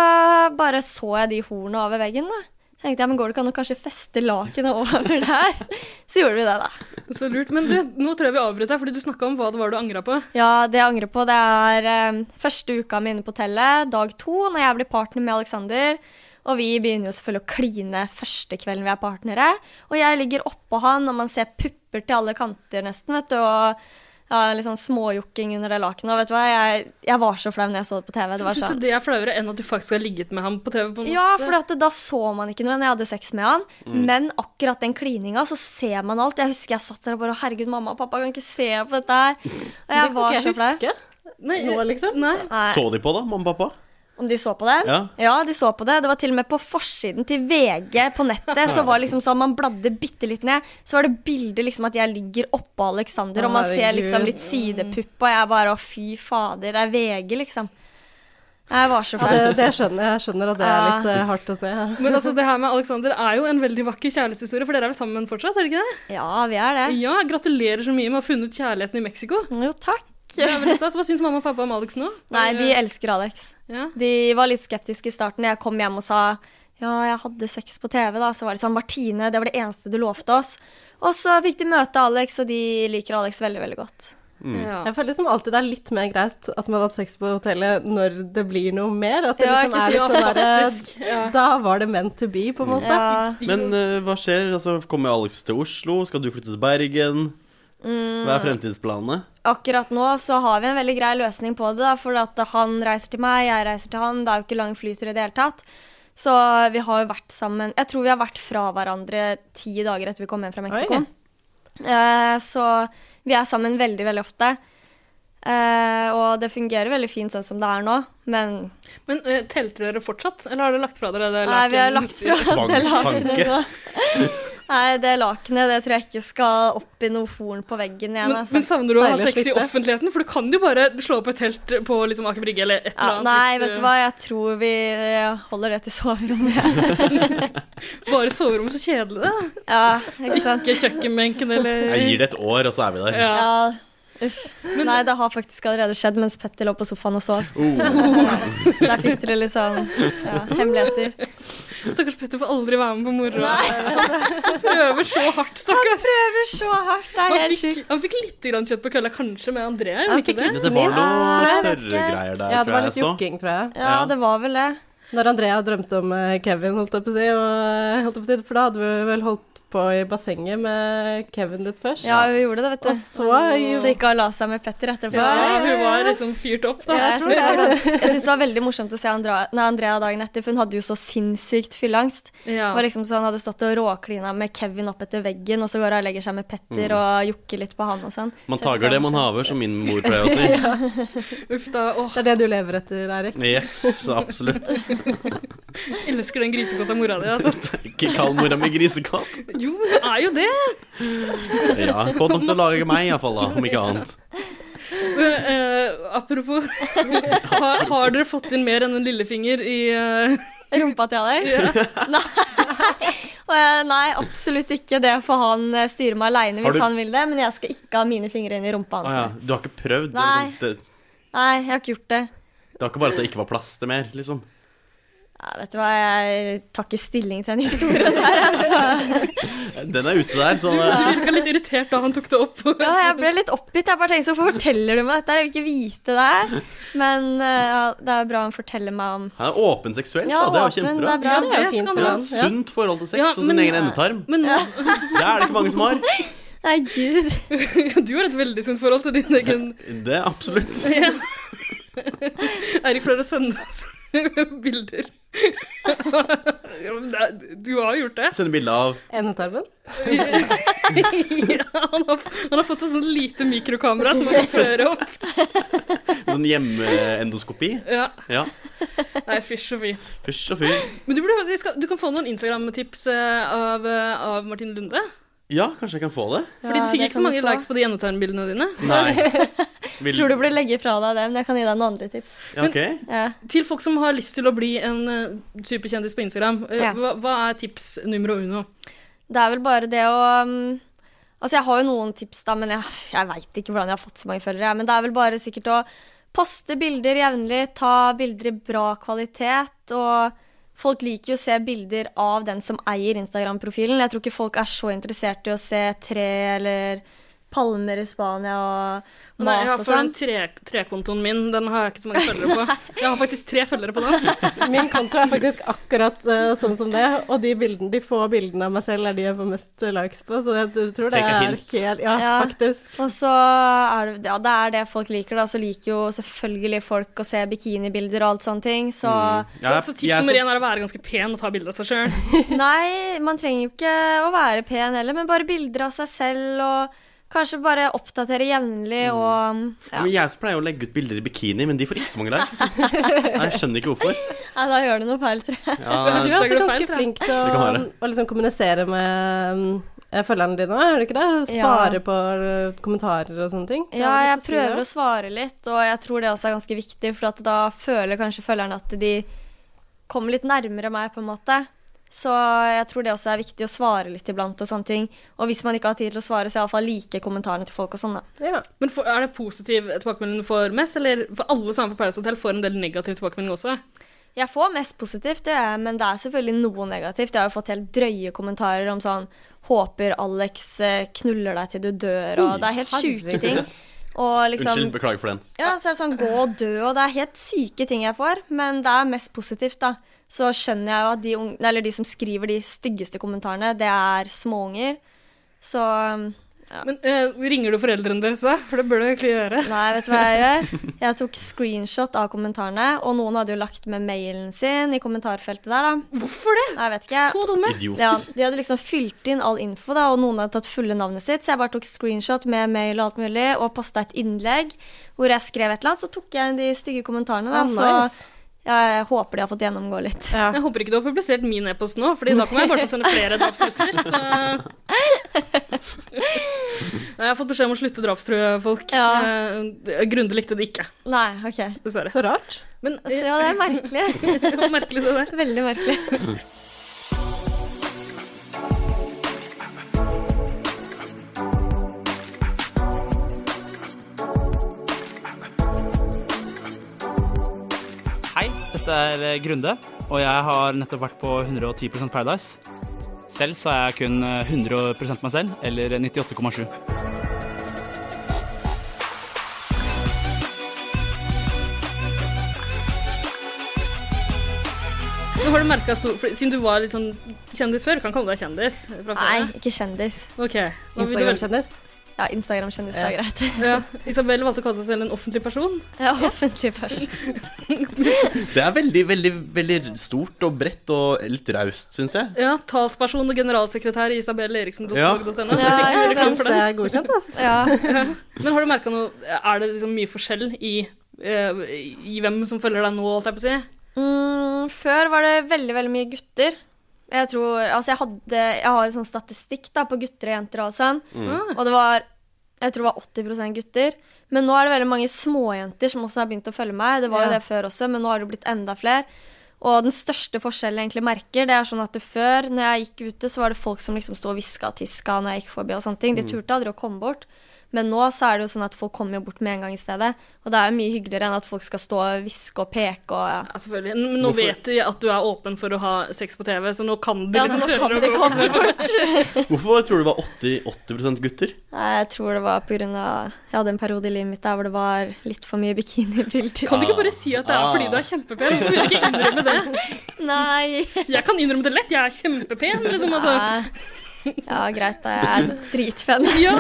[SPEAKER 1] bare så jeg de hornene over veggen, da. Så tenkte jeg, men går det ikke an å kanskje feste lakenet over der? Så gjorde vi det, da.
[SPEAKER 2] Så lurt. Men du, nå tror jeg vi avbrøt deg, fordi du snakka om hva det var du angra på.
[SPEAKER 1] Ja, det jeg angrer på, det er eh, første uka mi inne på hotellet, dag to, når jeg blir partner med Alexander. Og vi begynner jo selvfølgelig å kline første kvelden vi er partnere. Og jeg ligger oppå han, og man ser pupper til alle kanter nesten, vet du. Og ja, litt sånn småjokking under det lakenet. Og vet du hva, jeg, jeg var så flau når jeg så det på TV. Det
[SPEAKER 2] Så
[SPEAKER 1] var
[SPEAKER 2] syns
[SPEAKER 1] sånn.
[SPEAKER 2] du det er flauere enn at du faktisk har ligget med ham på TV? på en
[SPEAKER 1] Ja,
[SPEAKER 2] måte?
[SPEAKER 1] for at da så man ikke noe når jeg hadde sex med han.
[SPEAKER 2] Mm.
[SPEAKER 1] Men akkurat den klininga, så ser man alt. Jeg husker jeg satt der og bare Herregud, mamma og pappa kan ikke se på dette her. Og jeg
[SPEAKER 4] Det kan
[SPEAKER 1] var
[SPEAKER 4] ikke jeg
[SPEAKER 1] så flau.
[SPEAKER 2] Nå, liksom? Nei.
[SPEAKER 5] Så de på, da, mamma og pappa?
[SPEAKER 1] Om de så på det?
[SPEAKER 5] Ja.
[SPEAKER 1] de så på det. Det var til og med på forsiden til VG på nettet. Så var liksom sånn, Man bladde bitte litt ned, så var det bilde liksom at jeg ligger oppå Alexander, og man ser
[SPEAKER 13] Herregud.
[SPEAKER 1] liksom litt sidepupp, og jeg bare Å, fy fader, det er VG, liksom. Jeg var så
[SPEAKER 4] Ja,
[SPEAKER 1] flau.
[SPEAKER 4] Eh, det, det skjønner jeg. Jeg skjønner at det er litt
[SPEAKER 1] Ja.
[SPEAKER 4] eh, hardt å se.
[SPEAKER 2] Men altså, det her med Alexander er jo en veldig vakker kjærlighetshistorie, for dere er vel sammen fortsatt, er det ikke det?
[SPEAKER 1] Ja, vi er det.
[SPEAKER 2] Ja, Gratulerer så mye med å ha funnet kjærligheten i Mexico.
[SPEAKER 1] Jo, takk.
[SPEAKER 2] Det er vel stas. Hva syns mamma og pappa om Alex nå?
[SPEAKER 1] Nei, de elsker Alex. De var litt skeptiske i starten. Jeg kom hjem og sa ja, jeg hadde sex på TV, da. Så var de sånn Martine, det var det eneste du lovte oss. Og så fikk de møte Alex, og de liker Alex veldig, veldig godt.
[SPEAKER 5] Mm.
[SPEAKER 1] Ja.
[SPEAKER 4] Jeg føler liksom alltid det er litt mer greit at man har hatt sex på hotellet når det blir noe mer. At det
[SPEAKER 1] Ja,
[SPEAKER 4] liksom
[SPEAKER 1] ikke
[SPEAKER 4] er
[SPEAKER 1] si-
[SPEAKER 4] litt sånn
[SPEAKER 1] ja,
[SPEAKER 4] derre
[SPEAKER 1] faktisk, ja.
[SPEAKER 4] Da var det meant to be, på en måte.
[SPEAKER 1] Ja.
[SPEAKER 5] Men eh, hva skjer? Altså, Kommer Alex til Oslo? Skal du flytte til Bergen?
[SPEAKER 1] Mm.
[SPEAKER 5] Hva er fremtidsplanene?
[SPEAKER 1] Akkurat nå så har vi en veldig grei løsning på det, da, for at han reiser til meg, jeg reiser til han. Det er jo ikke lang flytur i det hele tatt. Så vi har jo vært sammen Jeg tror vi har vært fra hverandre ti dager etter vi kom hjem fra Mexico.
[SPEAKER 4] Oi.
[SPEAKER 1] Eh, så vi er sammen veldig, veldig ofte. Eh, og det fungerer veldig fint sånn som det er nå, men
[SPEAKER 2] Men eh, telter dere fortsatt, eller har dere lagt fra dere det
[SPEAKER 1] Nei, vi har lagt fra oss det lakenet.
[SPEAKER 2] Tvangstanke.
[SPEAKER 1] nå. Nei, det lakenet det tror jeg ikke skal opp i noe horn på veggen igjen.
[SPEAKER 2] Men,
[SPEAKER 1] altså.
[SPEAKER 2] men savner du å ha
[SPEAKER 1] Deilig
[SPEAKER 2] sex i
[SPEAKER 1] slippe.
[SPEAKER 2] offentligheten? For du kan jo bare slå opp et telt på liksom Aker Brygge eller et eller
[SPEAKER 1] Ja,
[SPEAKER 2] annet.
[SPEAKER 1] nei,
[SPEAKER 2] hvis
[SPEAKER 1] vet du hva, jeg tror vi holder det til soverommet.
[SPEAKER 2] Bare soverommet, så kjedelig det.
[SPEAKER 1] Ja, ikke sant?
[SPEAKER 2] Ikke kjøkkenbenken eller
[SPEAKER 5] Jeg gir det et år, og så er vi der.
[SPEAKER 1] Ja. Uff. Nei, det har faktisk allerede skjedd mens Petter lå på sofaen og sov.
[SPEAKER 5] Oh.
[SPEAKER 1] Der fikk dere litt sånn ja, hemmeligheter.
[SPEAKER 2] Stakkars Petter får aldri være med på moroa. Han prøver så hardt, stakkar.
[SPEAKER 1] Han prøver så hardt, det er
[SPEAKER 2] Han
[SPEAKER 1] helt
[SPEAKER 2] fikk- Han fikk litt grann kjøtt på kølla, kanskje, med Andrea.
[SPEAKER 4] Han
[SPEAKER 2] gjorde ikke
[SPEAKER 4] fikk litt
[SPEAKER 2] det?
[SPEAKER 5] Det var noe
[SPEAKER 4] Nei, jeg vet
[SPEAKER 5] større greier der,
[SPEAKER 4] ja, det var
[SPEAKER 5] tror
[SPEAKER 4] litt
[SPEAKER 5] jeg.
[SPEAKER 4] jukking, tror jeg.
[SPEAKER 1] Ja, det var vel det.
[SPEAKER 4] Når Andrea drømte om eh, Kevin, holdt jeg på å si, og, eh, holdt jeg på å si, for da hadde vi vel holdt på i bassenget med Kevin litt først.
[SPEAKER 1] Ja, Mm. hun gjorde det, vet du.
[SPEAKER 4] Og så-
[SPEAKER 1] gikk hun og la seg med Petter etterpå.
[SPEAKER 2] Ja, hun var liksom fyrt opp, da.
[SPEAKER 1] Ja, jeg syns det, var gans- jeg synes det var veldig morsomt å se Andra, nei, Andrea dagen etter, for hun hadde jo så sinnssykt fylleangst.
[SPEAKER 2] Ja.
[SPEAKER 1] Det var liksom sånn, hadde stått og råklina med Kevin opp etter veggen, og så går hun og legger seg med Petter
[SPEAKER 5] Mm.
[SPEAKER 1] og jokker litt på han og sånn.
[SPEAKER 5] Man tager det man haver, som min mor pleier å si.
[SPEAKER 2] Uff da. Åh,
[SPEAKER 4] Det er det du lever etter, Eirik.
[SPEAKER 5] Yes, absolutt.
[SPEAKER 2] elsker den grisekotta mora di, altså.
[SPEAKER 5] Ikke kall mora mi grisekatt.
[SPEAKER 2] Jo, hun er jo det.
[SPEAKER 5] Ja, Godt nok til å lage meg, iallfall, da, om ikke annet.
[SPEAKER 2] Men, eh, apropos, har, har dere fått inn mer enn en lillefinger i eh,
[SPEAKER 1] Rumpa til Alex? Og jeg, nei, absolutt ikke. Det får han eh, styre meg aleine
[SPEAKER 5] Har
[SPEAKER 1] hvis
[SPEAKER 5] du-
[SPEAKER 1] han vil det, men jeg skal ikke ha mine fingre inn i rumpa
[SPEAKER 5] Å
[SPEAKER 1] hans.
[SPEAKER 5] ja. Du har ikke prøvd?
[SPEAKER 1] Nei.
[SPEAKER 5] liksom. Det,
[SPEAKER 1] Nei, jeg har ikke gjort det.
[SPEAKER 5] det var ikke bare at det ikke var plass til mer, liksom.
[SPEAKER 1] Ja, vet du hva, jeg tar ikke stilling til en historie der, altså.
[SPEAKER 5] Den er ute der, så
[SPEAKER 2] Du, du virka litt irritert da han tok det opp.
[SPEAKER 1] Ja, jeg ble litt oppgitt. Jeg bare tenkte, hvorfor forteller du meg dette? her? Jeg vil ikke vite det her. Men eh, ja, det er bra han forteller meg om
[SPEAKER 5] Han er åpen seksuelt,
[SPEAKER 1] Ja,
[SPEAKER 5] da. Det er jo
[SPEAKER 1] åpen,
[SPEAKER 5] kjempebra.
[SPEAKER 1] det er bra. Ja, det er jo fint
[SPEAKER 5] skal
[SPEAKER 1] for
[SPEAKER 5] man ha.
[SPEAKER 1] han,
[SPEAKER 5] Et
[SPEAKER 1] ja.
[SPEAKER 5] Sunt forhold til sex
[SPEAKER 2] Ja,
[SPEAKER 5] og sin
[SPEAKER 2] men-
[SPEAKER 5] egen endetarm.
[SPEAKER 2] Men nå,
[SPEAKER 5] Det er det ikke mange som har.
[SPEAKER 1] Nei, gud.
[SPEAKER 2] Du har et veldig sunt forhold til din egen
[SPEAKER 5] Det er absolutt.
[SPEAKER 2] Ja. Eirik pleier å sende oss bilder. Ja, men det- Du har gjort det.
[SPEAKER 5] Sende bilde av
[SPEAKER 4] Endetarmen?
[SPEAKER 2] Ja, han, har, han har fått seg sånn lite mikrokamera som han kan føre opp.
[SPEAKER 5] sånn hjemmeendoskopi.
[SPEAKER 2] Ja.
[SPEAKER 5] Ja.
[SPEAKER 2] Nei, fysj og fy.
[SPEAKER 5] Fysj og fy.
[SPEAKER 2] Men du, burde, vi skal, du kan få noen Instagram-tips eh, av, eh, av Martin Lunde.
[SPEAKER 5] Ja, kanskje jeg kan få det?
[SPEAKER 2] Fordi
[SPEAKER 1] Ja,
[SPEAKER 2] du fikk
[SPEAKER 1] det
[SPEAKER 2] ikke
[SPEAKER 1] kan
[SPEAKER 2] så
[SPEAKER 1] du
[SPEAKER 2] mange
[SPEAKER 1] få.
[SPEAKER 2] likes på de endetarmbildene dine.
[SPEAKER 5] Nei. Vil-
[SPEAKER 1] Tror du burde legge fra deg det, men jeg kan gi deg noen andre tips.
[SPEAKER 5] Ja, ok.
[SPEAKER 1] Ja.
[SPEAKER 2] Til folk som har lyst til å bli en eh, superkjendis på Instagram, eh,
[SPEAKER 1] Ja.
[SPEAKER 2] hva, hva er tips numero uno?
[SPEAKER 1] Det er vel bare det å um, Altså, jeg har jo noen tips, da, men jeg, jeg veit ikke hvordan jeg har fått så mange følgere. jeg. Men det er vel bare sikkert å Poste bilder jevnlig, ta bilder i bra kvalitet. Og folk liker jo å se bilder av den som eier Instagram-profilen. Jeg tror ikke folk er så interessert i å se tre eller palmer i Spania og
[SPEAKER 2] Nei,
[SPEAKER 1] mat
[SPEAKER 2] ja,
[SPEAKER 1] og
[SPEAKER 2] for
[SPEAKER 1] sånn.
[SPEAKER 2] den tre, trekontoen min, den har jeg ikke så mange følgere på. Jeg har faktisk tre følgere på den.
[SPEAKER 4] Min konto er faktisk akkurat eh, sånn som det, og de, bildene, de få bildene av meg selv er de jeg får mest likes på, så jeg tror det
[SPEAKER 1] Take a
[SPEAKER 4] er
[SPEAKER 1] hint.
[SPEAKER 4] helt Ja,
[SPEAKER 1] Ja.
[SPEAKER 4] faktisk.
[SPEAKER 1] Og så er det, ja, det er det folk liker, da. Så liker jo selvfølgelig folk å se bikinibilder og alt sånne ting, så
[SPEAKER 5] Mm.
[SPEAKER 2] Så, så tips nummer én er å være ganske pen og ta bilde av seg sjøl.
[SPEAKER 1] Nei, man trenger jo ikke å være pen heller, men bare bilder av seg selv og kanskje bare oppdatere jevnlig og ja.
[SPEAKER 5] Men jeg som pleier å legge ut bilder i bikini, men de får ikke så mange likes. Nei, Jeg skjønner ikke hvorfor.
[SPEAKER 1] Nei, da gjør du noe feil, tror jeg.
[SPEAKER 5] Ja,
[SPEAKER 4] Men du er også
[SPEAKER 5] Instagram
[SPEAKER 4] ganske
[SPEAKER 5] feil, tror jeg.
[SPEAKER 4] flink til
[SPEAKER 5] Det kan
[SPEAKER 4] å,
[SPEAKER 5] være.
[SPEAKER 4] å liksom kommunisere med mm, eh, følgerne dine òg, er du ikke det?
[SPEAKER 1] Ja.
[SPEAKER 4] Svare på eh, kommentarer og sånne ting. Det
[SPEAKER 1] Ja,
[SPEAKER 4] har du
[SPEAKER 1] jeg
[SPEAKER 4] litt si
[SPEAKER 1] prøver
[SPEAKER 4] der.
[SPEAKER 1] å svare litt, og jeg tror det også er ganske viktig, for at da føler kanskje følgerne at de kommer litt nærmere meg, på en måte. Så jeg tror det også er viktig å svare litt iblant og sånne ting. Og hvis man ikke har tid til å svare, så iallfall like kommentarene til folk og sånn, da.
[SPEAKER 2] Men for, er det positiv tilbakemelding du får mest, eller for alle som er på Paradise Hotel, får en del negativ tilbakemelding også?
[SPEAKER 1] Jeg får mest positivt, det gjør jeg, men det er selvfølgelig noe negativt. Jeg har jo fått helt drøye kommentarer om sånn Håper Alex eh, knuller deg til du dør, og
[SPEAKER 5] Oi,
[SPEAKER 1] det er helt sjuke
[SPEAKER 5] herregud.
[SPEAKER 1] ting. Og liksom
[SPEAKER 5] Unnskyld, beklager for den.
[SPEAKER 1] Ja, så er det sånn gå og dø, og det er helt syke ting jeg får, men det er mest positivt, da. Så skjønner jeg jo at de, ung- eller de som skriver de styggeste kommentarene, det er småunger. Så um,
[SPEAKER 2] Men eh, ringer du foreldrene deres da? For det bør du egentlig gjøre.
[SPEAKER 1] Nei, vet du hva jeg gjør? Jeg tok screenshot av kommentarene, og noen hadde jo lagt med mailen sin i kommentarfeltet der, da.
[SPEAKER 2] Hvorfor det?
[SPEAKER 1] Nei, jeg vet ikke.
[SPEAKER 2] Så dumme.
[SPEAKER 5] Idioter.
[SPEAKER 1] Ja, de hadde liksom fylt inn all info, da, og noen hadde tatt fulle navnet sitt, så jeg bare tok screenshot med mail og alt mulig, og posta et innlegg hvor jeg skrev et eller annet, så tok jeg de stygge kommentarene, da,
[SPEAKER 2] Ah, nice.
[SPEAKER 1] så jeg håper de har fått gjennomgå litt.
[SPEAKER 2] Jeg håper ikke du har publisert min e-post nå, Fordi da kommer jeg bare til å sende flere drapstrusler. Så Nei, jeg har fått beskjed om å slutte å drapstrue folk. Eh, Grunde likte det ikke,
[SPEAKER 1] Nei, ok.
[SPEAKER 2] dessverre.
[SPEAKER 4] Så rart.
[SPEAKER 2] Men,
[SPEAKER 1] Så ja, det er merkelig.
[SPEAKER 2] merkelig det der.
[SPEAKER 1] Veldig merkelig.
[SPEAKER 14] Hei, dette er eh, Grunde, og jeg har nettopp vært på 110 Paradise. Selv så er jeg kun eh, 100 meg selv, eller 98,7.
[SPEAKER 2] Men har du merket så, for, Siden du var litt sånn kjendis før, kan kalle deg kjendis? Fra før,
[SPEAKER 1] Nei,
[SPEAKER 2] ja.
[SPEAKER 1] ikke kjendis.
[SPEAKER 2] Ok. hva vil du velge?
[SPEAKER 4] Instagram-kjendis?
[SPEAKER 1] Ja, Instagram-kjendis, det er greit.
[SPEAKER 2] Ja. Isabel valgte å kalle seg selv en offentlig person.
[SPEAKER 1] Ja, offentlig person.
[SPEAKER 5] Det er veldig, veldig, veldig stort og bredt og litt raust, syns jeg.
[SPEAKER 2] Ja, talsperson og generalsekretær i Isabel Eriksen.no.
[SPEAKER 5] Ja.
[SPEAKER 4] Ja, jeg synes det er godkjent, altså.
[SPEAKER 2] Ja. Men har du merka noe Er det liksom mye forskjell i, eh, i hvem som følger deg nå, holdt jeg på å si?
[SPEAKER 1] Mm, før var det veldig, veldig mye gutter. Jeg tror, altså jeg, hadde, jeg har en sånn statistikk da, på gutter og jenter og alt sånn.
[SPEAKER 2] Mm.
[SPEAKER 1] Og det var, jeg tror det var 80 gutter. Men nå er det veldig mange småjenter som også har begynt å følge meg. Det var jo
[SPEAKER 13] Ja.
[SPEAKER 1] det før også, men nå har det jo blitt enda flere. Og den største forskjellen jeg egentlig merker, det er sånn at det før, når jeg gikk ute, så var det folk som liksom sto og hviska og tiska når jeg gikk forbi og sånne ting. De
[SPEAKER 13] Mm.
[SPEAKER 1] turte aldri å komme bort. Men nå så er det jo sånn at folk kommer jo bort med en gang i stedet. Og det er jo mye hyggeligere enn at folk skal stå og hviske og peke og ja.
[SPEAKER 2] selvfølgelig. Men nå vet du at du er åpen for å ha sex på TV, så nå kan du liksom
[SPEAKER 1] Ja, så nå kan de komme bort.
[SPEAKER 5] Hvorfor tror du det var 80, 80 gutter?
[SPEAKER 1] Nei, Jeg tror det var pga. Jeg hadde en periode i livet mitt der hvor det var litt for mye bikinibilder.
[SPEAKER 2] Kan du ikke bare si at det er
[SPEAKER 5] Ah.
[SPEAKER 2] fordi du er kjempepen? Hvorfor vil du ikke innrømme det?
[SPEAKER 1] Nei.
[SPEAKER 2] Jeg kan innrømme det lett. Jeg er kjempepen, liksom. Altså.
[SPEAKER 1] Ja, greit, da. Jeg er dritfen.
[SPEAKER 2] Ja!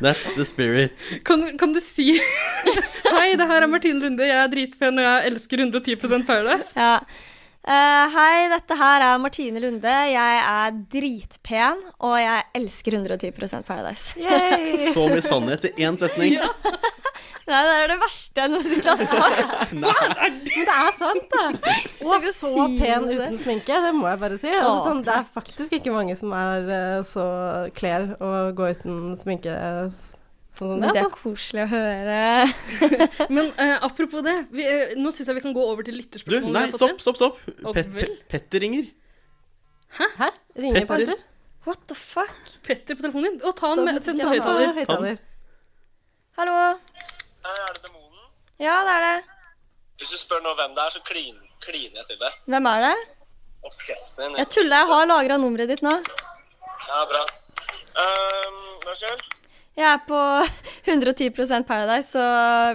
[SPEAKER 5] That's the spirit.
[SPEAKER 2] Kan, kan du si Hei, det her er Martine Lunde. Jeg er dritpen, og jeg elsker 110 Paradise.
[SPEAKER 1] Ja. Eh, hei, dette her er Martine Lunde. Jeg er dritpen, og jeg elsker 110 Paradise.
[SPEAKER 5] Så mye sannhet i én setning.
[SPEAKER 1] Nei, det er det verste jeg noensinne har sagt.
[SPEAKER 4] Men det er sant, da. Og
[SPEAKER 1] kan
[SPEAKER 4] så
[SPEAKER 1] si
[SPEAKER 4] pen
[SPEAKER 1] det.
[SPEAKER 4] uten sminke, det må jeg bare si. Altså,
[SPEAKER 1] Å,
[SPEAKER 4] sånn, det er faktisk ikke mange som er eh, så kler å gå uten sminke eh, s- sånn som
[SPEAKER 1] Men det
[SPEAKER 4] det.
[SPEAKER 1] er koselig å høre.
[SPEAKER 2] Men eh, apropos det, vi, eh, nå syns jeg vi kan gå over til
[SPEAKER 5] Du,
[SPEAKER 2] lytterspørsmål.
[SPEAKER 5] nei, stopp, stopp, stopp.
[SPEAKER 2] Å,
[SPEAKER 5] Pet,
[SPEAKER 2] vel.
[SPEAKER 5] Pe- Petter ringer.
[SPEAKER 2] Hæ?
[SPEAKER 4] altså.
[SPEAKER 5] Ringer Petter? Petter?
[SPEAKER 1] What the fuck?
[SPEAKER 2] Petter på telefonen din. Og ta den med, send
[SPEAKER 1] Ta
[SPEAKER 2] den på
[SPEAKER 1] den på
[SPEAKER 2] høyttaler.
[SPEAKER 1] høyttaler. Hallo. Ja, det er det.
[SPEAKER 15] Hvis du spør nå hvem det er, så klin, kliner jeg til deg.
[SPEAKER 1] Hvem er det?
[SPEAKER 15] Og kjeften din.
[SPEAKER 1] Jeg tuller. Jeg har lagra nummeret ditt nå.
[SPEAKER 15] Ja, bra. Um, hva skjer?
[SPEAKER 1] Jeg er på 110 Paradise, så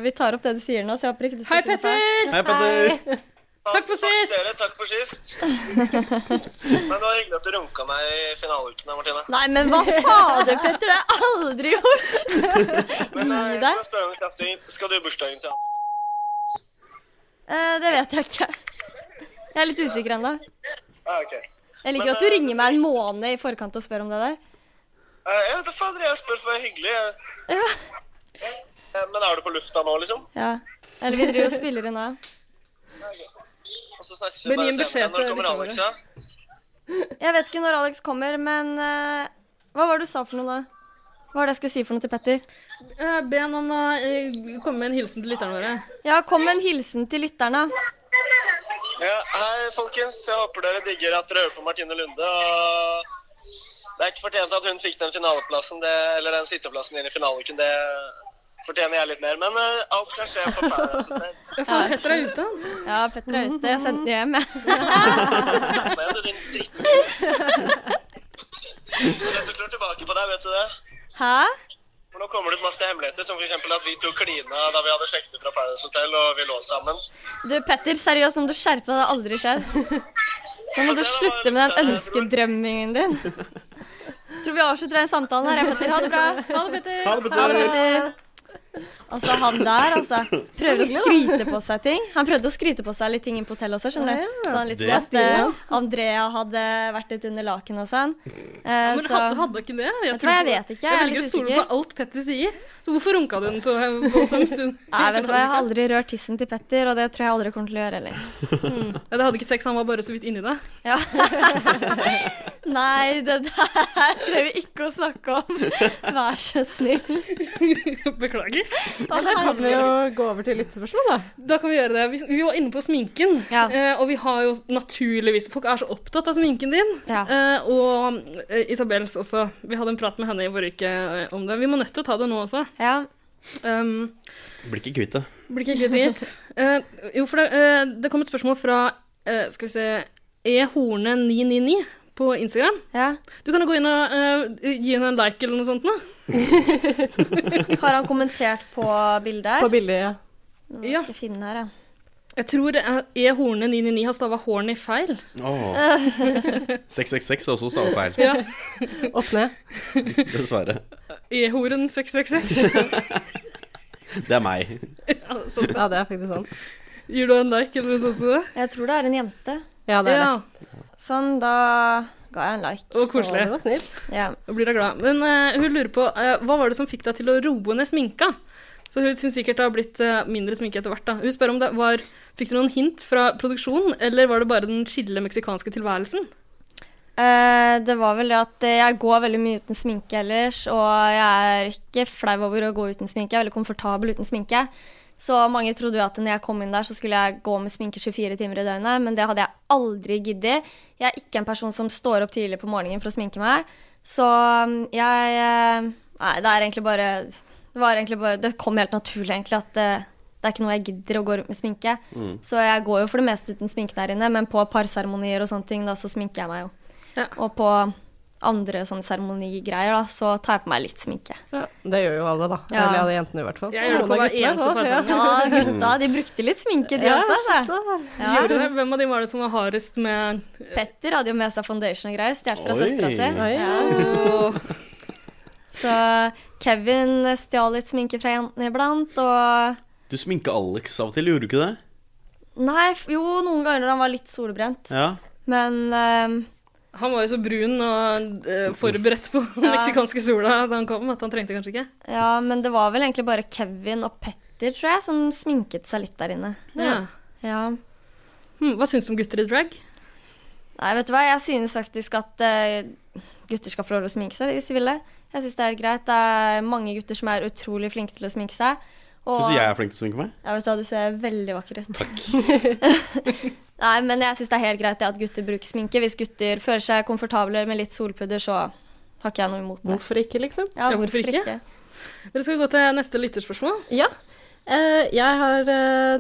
[SPEAKER 1] vi tar opp det du sier nå. Så jeg håper ikke du skal
[SPEAKER 2] Hei, Petter!
[SPEAKER 5] Hei, Petter!
[SPEAKER 2] Takk for sist!
[SPEAKER 15] Dere, takk for sist. Men det var hyggelig at du runka meg i finaleuken, da, Martine.
[SPEAKER 1] Nei, men hva fader, Petter? Det har jeg aldri gjort!
[SPEAKER 15] eh,
[SPEAKER 1] Gi deg.
[SPEAKER 15] Spør om Katrin, skal du i bursdagen til Anne?
[SPEAKER 1] Eh, Det vet jeg ikke. Jeg er litt usikker ennå.
[SPEAKER 15] Ja, Ah, ok.
[SPEAKER 1] Jeg liker at du ringer meg en måned i forkant og spør om det der.
[SPEAKER 15] Eh, jeg vet da fader, jeg spør for det er hyggelig. jeg. Eh, Men er du på lufta nå, liksom?
[SPEAKER 1] Ja. Eller vi driver og spiller inn nå.
[SPEAKER 15] Og så snakkes vi
[SPEAKER 1] Men gi en
[SPEAKER 15] bare senere.
[SPEAKER 1] beskjed
[SPEAKER 15] Når
[SPEAKER 1] til
[SPEAKER 15] kommer
[SPEAKER 1] lytterne.
[SPEAKER 15] Alex, ja?
[SPEAKER 1] Jeg vet ikke når Alex kommer, men eh, hva var det du sa for noe da? Hva var det jeg skulle si for noe til Petter?
[SPEAKER 2] Eh, Be han om å eh, komme med en hilsen til lytterne våre.
[SPEAKER 1] Ja, kom med en hilsen til lytterne.
[SPEAKER 15] Ja, hei, folkens. Jeg håper dere digger at dere hører på Martine Lunde. og Det er ikke fortjent at hun fikk den finaleplassen, det, eller den sitteplassen inn i finaleuken. Det fortjener jeg litt mer. Men eh, alt kan skje altså. på Paradise Hotel.
[SPEAKER 2] Ja, faen, Petter er ute.
[SPEAKER 1] Ja, Petter er ute. Jeg sendte den hjem,
[SPEAKER 15] Kom igjen, du, din dritt. Dette klør tilbake på deg, vet du det?
[SPEAKER 1] Hæ?
[SPEAKER 15] For nå kommer det ut masse hemmeligheter, som f.eks. at vi to klina da vi hadde sjekket ut fra Paradise Hotel, og vi lå sammen.
[SPEAKER 1] Du, Petter, seriøst, om du skjerper deg, det har aldri skjedd. Nå må du slutte med den ønskedrømmingen din. Tror vi avslutter den samtalen her, jeg, Petter. Ha det bra.
[SPEAKER 2] Ha det, Petter.
[SPEAKER 1] Ha det, Petter. Altså, han der, altså. Prøver å
[SPEAKER 2] Hyggelig, da.
[SPEAKER 1] skryte på seg ting. Han prøvde å skryte på seg litt ting inne på hotellet også, skjønner du. Så han litt
[SPEAKER 2] Det
[SPEAKER 1] som
[SPEAKER 2] er
[SPEAKER 1] at eh,
[SPEAKER 2] stilig,
[SPEAKER 1] Andrea hadde vært litt under laken og sånn. Eh,
[SPEAKER 2] Men
[SPEAKER 1] så
[SPEAKER 2] hadde, hadde ikke det? Jeg,
[SPEAKER 1] Vet du hva, jeg vet ikke, jeg
[SPEAKER 2] Jeg
[SPEAKER 1] er
[SPEAKER 2] velger å
[SPEAKER 1] litt
[SPEAKER 2] stole
[SPEAKER 1] usikker.
[SPEAKER 2] på alt Petter sier. Så hvorfor runka du den så voldsomt?
[SPEAKER 1] Nei, vet du hva, jeg har aldri rørt tissen til Petter, og det tror jeg aldri kommer til å gjøre heller.
[SPEAKER 2] Mm. Ja, det hadde ikke sex, han var bare så vidt inni det.
[SPEAKER 1] Ja. Nei, det der trenger vi ikke å snakke om. Vær så snill.
[SPEAKER 2] Beklager.
[SPEAKER 1] Ja, der kan vi jo
[SPEAKER 2] gå over til lyttespørsmål, da. Da kan vi gjøre det. Vi, vi var inne på sminken, eh, og vi har jo naturligvis Folk er så opptatt av sminken din, eh, og eh, Isabels også. Vi hadde en prat med henne i forrige uke eh, om det. Vi må nødt til å ta det nå også.
[SPEAKER 1] Ja.
[SPEAKER 2] Um,
[SPEAKER 5] Blir ikke kvitt det.
[SPEAKER 2] Blir ikke kvitt det, gitt. Eh, jo, for det, eh, det kom et spørsmål fra eh, skal vi se, ehorne999 på Instagram. Du kan jo gå inn og eh, gi henne en like eller noe sånt. Nå.
[SPEAKER 1] Har han kommentert på bildet her?
[SPEAKER 2] På
[SPEAKER 1] bildet, ja. Nå skal jeg finne her, ja.
[SPEAKER 2] Jeg tror eh, ehorne999 har stava horny feil.
[SPEAKER 5] Åh. 666 er også stavefeil.
[SPEAKER 2] Ja.
[SPEAKER 4] Opp ned.
[SPEAKER 5] Dessverre.
[SPEAKER 2] Ehoren 666.
[SPEAKER 5] Det er meg.
[SPEAKER 2] ja, sånn.
[SPEAKER 4] Ja, det er faktisk sånn.
[SPEAKER 2] Gir du en like eller noe sånt til det?
[SPEAKER 1] Jeg tror det er en jente.
[SPEAKER 4] Ja, det er
[SPEAKER 2] Ja.
[SPEAKER 1] Sånn, da ga jeg en like.
[SPEAKER 2] Og koselig.
[SPEAKER 1] Å, Ja.
[SPEAKER 2] Da blir hun glad. Men eh, hun lurer på eh, hva var det som fikk deg til å roe ned sminka? Så hun syns sikkert det har blitt eh, mindre sminke etter hvert. da. Hun spør om det var Fikk du noen hint fra produksjonen, eller var det bare den chille meksikanske tilværelsen?
[SPEAKER 1] Eh, det var vel det at eh, jeg går veldig mye uten sminke ellers, og jeg er ikke flau over å gå uten sminke. Jeg er veldig komfortabel uten sminke. Så mange trodde jo at når jeg kom inn der, så skulle jeg gå med sminke 24 timer i døgnet, men det hadde jeg aldri giddet. Jeg er ikke en person som står opp tidlig på morgenen for å sminke meg. Så mm, jeg eh, Nei, det er egentlig bare Det var egentlig bare Det kom helt naturlig, egentlig, at eh, det er ikke noe jeg gidder å gå rundt med sminke.
[SPEAKER 16] Mm.
[SPEAKER 1] Så jeg går jo for det meste uten sminke der inne, men på parseremonier og sånne ting, da, så sminker jeg meg jo. Og på andre sånne seremonigreier, da, så tar jeg på meg litt sminke.
[SPEAKER 4] Det gjør jo alle, da.
[SPEAKER 1] Ja.
[SPEAKER 4] Eller alle jentene, i hvert fall.
[SPEAKER 2] Jeg gjør det på
[SPEAKER 4] Noen
[SPEAKER 2] hver
[SPEAKER 4] av guttene
[SPEAKER 2] eneste
[SPEAKER 4] også,
[SPEAKER 2] person.
[SPEAKER 1] Ja, gutta, de brukte litt sminke, de
[SPEAKER 2] Ja,
[SPEAKER 1] også.
[SPEAKER 2] shit,
[SPEAKER 1] Altså.
[SPEAKER 2] Gjorde det? Hvem av de var det som var hardest med
[SPEAKER 1] Petter hadde jo med seg foundation og greier, stjålet fra
[SPEAKER 2] Oi.
[SPEAKER 1] søstera si.
[SPEAKER 2] Oi.
[SPEAKER 1] Ja. Så Kevin stjal litt sminke fra jentene iblant, og
[SPEAKER 5] Du sminka Alex av og til, gjorde du ikke det?
[SPEAKER 1] Nei, f- jo, noen ganger når han var litt solbrent.
[SPEAKER 5] Ja.
[SPEAKER 1] Men ehm,
[SPEAKER 2] Han var jo så brun og eh, forberedt på den
[SPEAKER 1] Ja.
[SPEAKER 2] meksikanske sola da han kom, at han trengte kanskje ikke.
[SPEAKER 1] ja, men det var vel egentlig bare Kevin og Petter, tror jeg, som sminket seg litt der inne.
[SPEAKER 2] Ja.
[SPEAKER 1] ja.
[SPEAKER 2] Hm, hva syns du om gutter i drag?
[SPEAKER 1] Nei, vet du hva, jeg synes faktisk at eh, gutter skal få lov til å sminke seg hvis de vil det. Jeg synes det er greit. Det er mange gutter som er utrolig flinke til å sminke seg. og-
[SPEAKER 5] Syns du jeg er flink til å sminke meg?
[SPEAKER 1] Ja, vet du hva, du ser veldig vakker ut. Nei, men jeg synes det er helt greit det at gutter bruker sminke. Hvis gutter føler seg komfortable med litt solpudder, så har ikke jeg noe imot det.
[SPEAKER 4] Hvorfor ikke, liksom?
[SPEAKER 1] Ja, hvorfor ikke?
[SPEAKER 2] Dere skal gå til neste lytterspørsmål.
[SPEAKER 4] Ja. Eh, jeg har eh,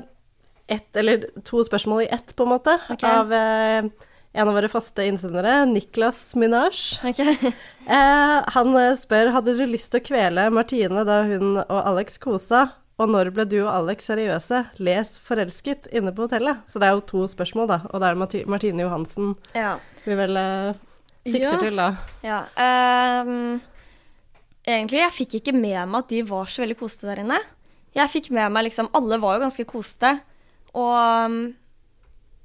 [SPEAKER 4] ett, eller to spørsmål i ett, på en måte, av eh, en av våre faste innsendere, Niklas Minaj. eh, han eh, spør hadde du lyst til å kvele Martine da hun og Alex kosa, og når ble du og Alex seriøse? Les 'Forelsket' inne på hotellet. Så det er jo to spørsmål, da, og det er Marti Martine Johansen
[SPEAKER 1] Ja.
[SPEAKER 4] vi vel eh,
[SPEAKER 1] Ja.
[SPEAKER 4] sikter til, da.
[SPEAKER 1] Ja. ehm, egentlig, jeg fikk ikke med meg at de var så veldig kosete der inne. Jeg fikk med meg liksom Alle var jo ganske kosete. Og um,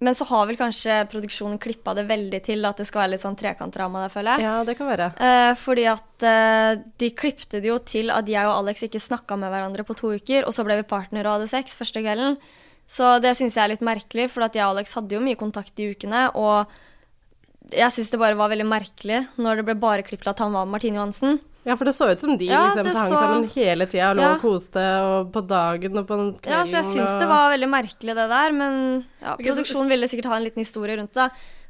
[SPEAKER 1] Men så har vel kanskje produksjonen klippa det veldig til at det skal være litt sånn trekantdrama der, føler jeg.
[SPEAKER 4] Ja, det kan være.
[SPEAKER 1] Eh, fordi at eh, de klippte det jo til at jeg og Alex ikke snakka med hverandre på to uker, og så ble vi partnere og hadde sex første kvelden. Så det syns jeg er litt merkelig, for at jeg og Alex hadde jo mye kontakt de ukene. Og jeg syns det bare var veldig merkelig når det ble bare klippet at han var med Martine Johansen.
[SPEAKER 4] Ja, for det så ut som de
[SPEAKER 1] Ja,
[SPEAKER 4] liksom,
[SPEAKER 1] det
[SPEAKER 4] hang
[SPEAKER 1] så-
[SPEAKER 4] sammen hele tida og lå
[SPEAKER 1] Ja.
[SPEAKER 4] og koste og på dagen og på kvelden.
[SPEAKER 1] Ja, så jeg syns
[SPEAKER 4] og...
[SPEAKER 1] det var veldig merkelig det der, men ja,
[SPEAKER 2] Ok, så-
[SPEAKER 1] produksjonen ville sikkert ha en liten historie rundt det.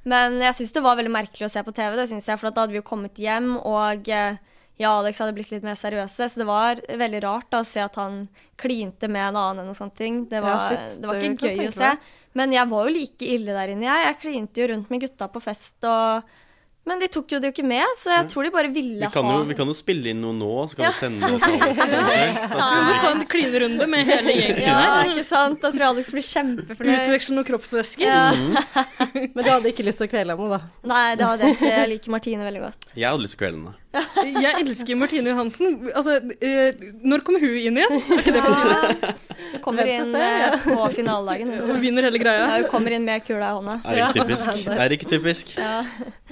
[SPEAKER 1] Men jeg syns det var veldig merkelig å se på TV, det synes jeg, for at da hadde vi jo kommet hjem, og eh, jeg og Alex hadde blitt litt mer seriøse, så det var veldig rart da, å se at han klinte med en annen og sånne ting. Det var,
[SPEAKER 4] Ja, shit,
[SPEAKER 1] det var
[SPEAKER 4] det kan
[SPEAKER 1] ikke
[SPEAKER 4] jeg
[SPEAKER 1] gøy
[SPEAKER 4] tenke
[SPEAKER 1] å se.
[SPEAKER 4] meg.
[SPEAKER 1] Men jeg var jo like ille der inne, jeg. Jeg klinte jo rundt med gutta på fest og Men de tok jo det jo ikke med, så jeg tror de bare ville
[SPEAKER 5] Vi kan, jo,
[SPEAKER 1] ha
[SPEAKER 5] vi kan jo spille inn noe nå, så
[SPEAKER 1] Ja.
[SPEAKER 5] kan vi sende det til Alex.
[SPEAKER 2] Vi må ta en klinerunde med hele gjengen
[SPEAKER 1] Ja,
[SPEAKER 2] her.
[SPEAKER 1] ikke sant? Da tror jeg Alex blir kjempefornøyd.
[SPEAKER 2] Utveksle noen kroppsvæsker.
[SPEAKER 1] Ja.
[SPEAKER 4] Men du hadde ikke lyst til å kvele henne, da?
[SPEAKER 1] Nei, det hadde jeg ikke. Jeg liker Martine veldig godt.
[SPEAKER 5] Jeg hadde lyst til å kvele henne.
[SPEAKER 2] Jeg elsker Martine Johansen. Altså, eh, når kommer hun inn igjen? Er ikke det på tide?
[SPEAKER 1] Kommer
[SPEAKER 2] Vent og
[SPEAKER 1] inn
[SPEAKER 2] se.
[SPEAKER 1] eh, på finaledagen.
[SPEAKER 2] Hun vinner hele greia.
[SPEAKER 1] Ja, hun kommer inn med kula i hånda.
[SPEAKER 5] Er ikke typisk. Er ikke typisk.
[SPEAKER 1] Ja.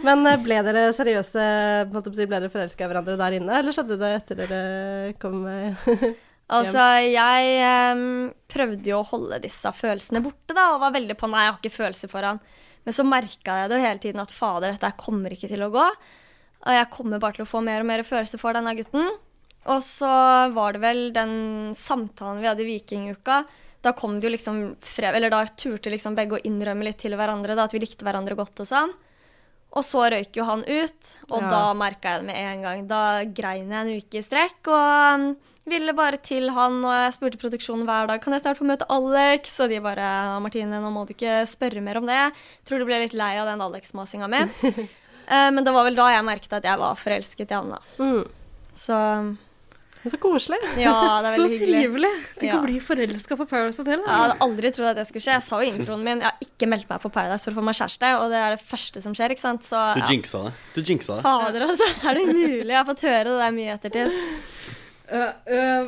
[SPEAKER 4] Men eh, ble dere seriøse, holdt jeg på å si, ble dere forelska i hverandre der inne, eller skjedde det etter dere kom eh, hjem?
[SPEAKER 1] Altså, jeg em, prøvde jo å holde disse følelsene borte, da, og var veldig på nei, jeg har ikke følelser for han. Men så merka jeg det jo hele tiden at fader, dette her kommer ikke til å gå. Og jeg kommer bare til å få mer og mer følelser for denne gutten. Og så var det vel den samtalen vi hadde i Vikinguka. Da kom det jo liksom frem, eller da turte liksom begge å innrømme litt til hverandre da, at vi likte hverandre godt og sånn. Og så røyk jo han ut, og
[SPEAKER 13] Ja.
[SPEAKER 1] da merka jeg det med en gang. Da grein jeg en uke i strekk og um, ville bare til han. Og jeg spurte produksjonen hver dag kan jeg snart få møte Alex. Og de bare Martine, nå må du ikke spørre mer om det. Tror du ble litt lei av den Alex-masinga mi. Eh, Men det var vel da jeg merket at jeg var forelsket i han, da. Så
[SPEAKER 4] Så koselig.
[SPEAKER 1] Ja, det er
[SPEAKER 2] Så
[SPEAKER 1] veldig hyggelig.
[SPEAKER 2] trivelig. Tenk
[SPEAKER 1] Ja.
[SPEAKER 2] å bli forelska på Paradise Hotel.
[SPEAKER 1] Jeg hadde aldri trodd at det skulle skje. Jeg sa jo i introen min jeg har ikke meldt meg på Paradise for å få meg kjæreste, og det er det første som skjer, ikke sant. Så
[SPEAKER 5] Du
[SPEAKER 1] ja.
[SPEAKER 5] jinxa det. Du jinxa det.
[SPEAKER 1] Fader, altså. Er det mulig? Jeg har fått høre det der mye i ettertid.
[SPEAKER 2] Eh, eh,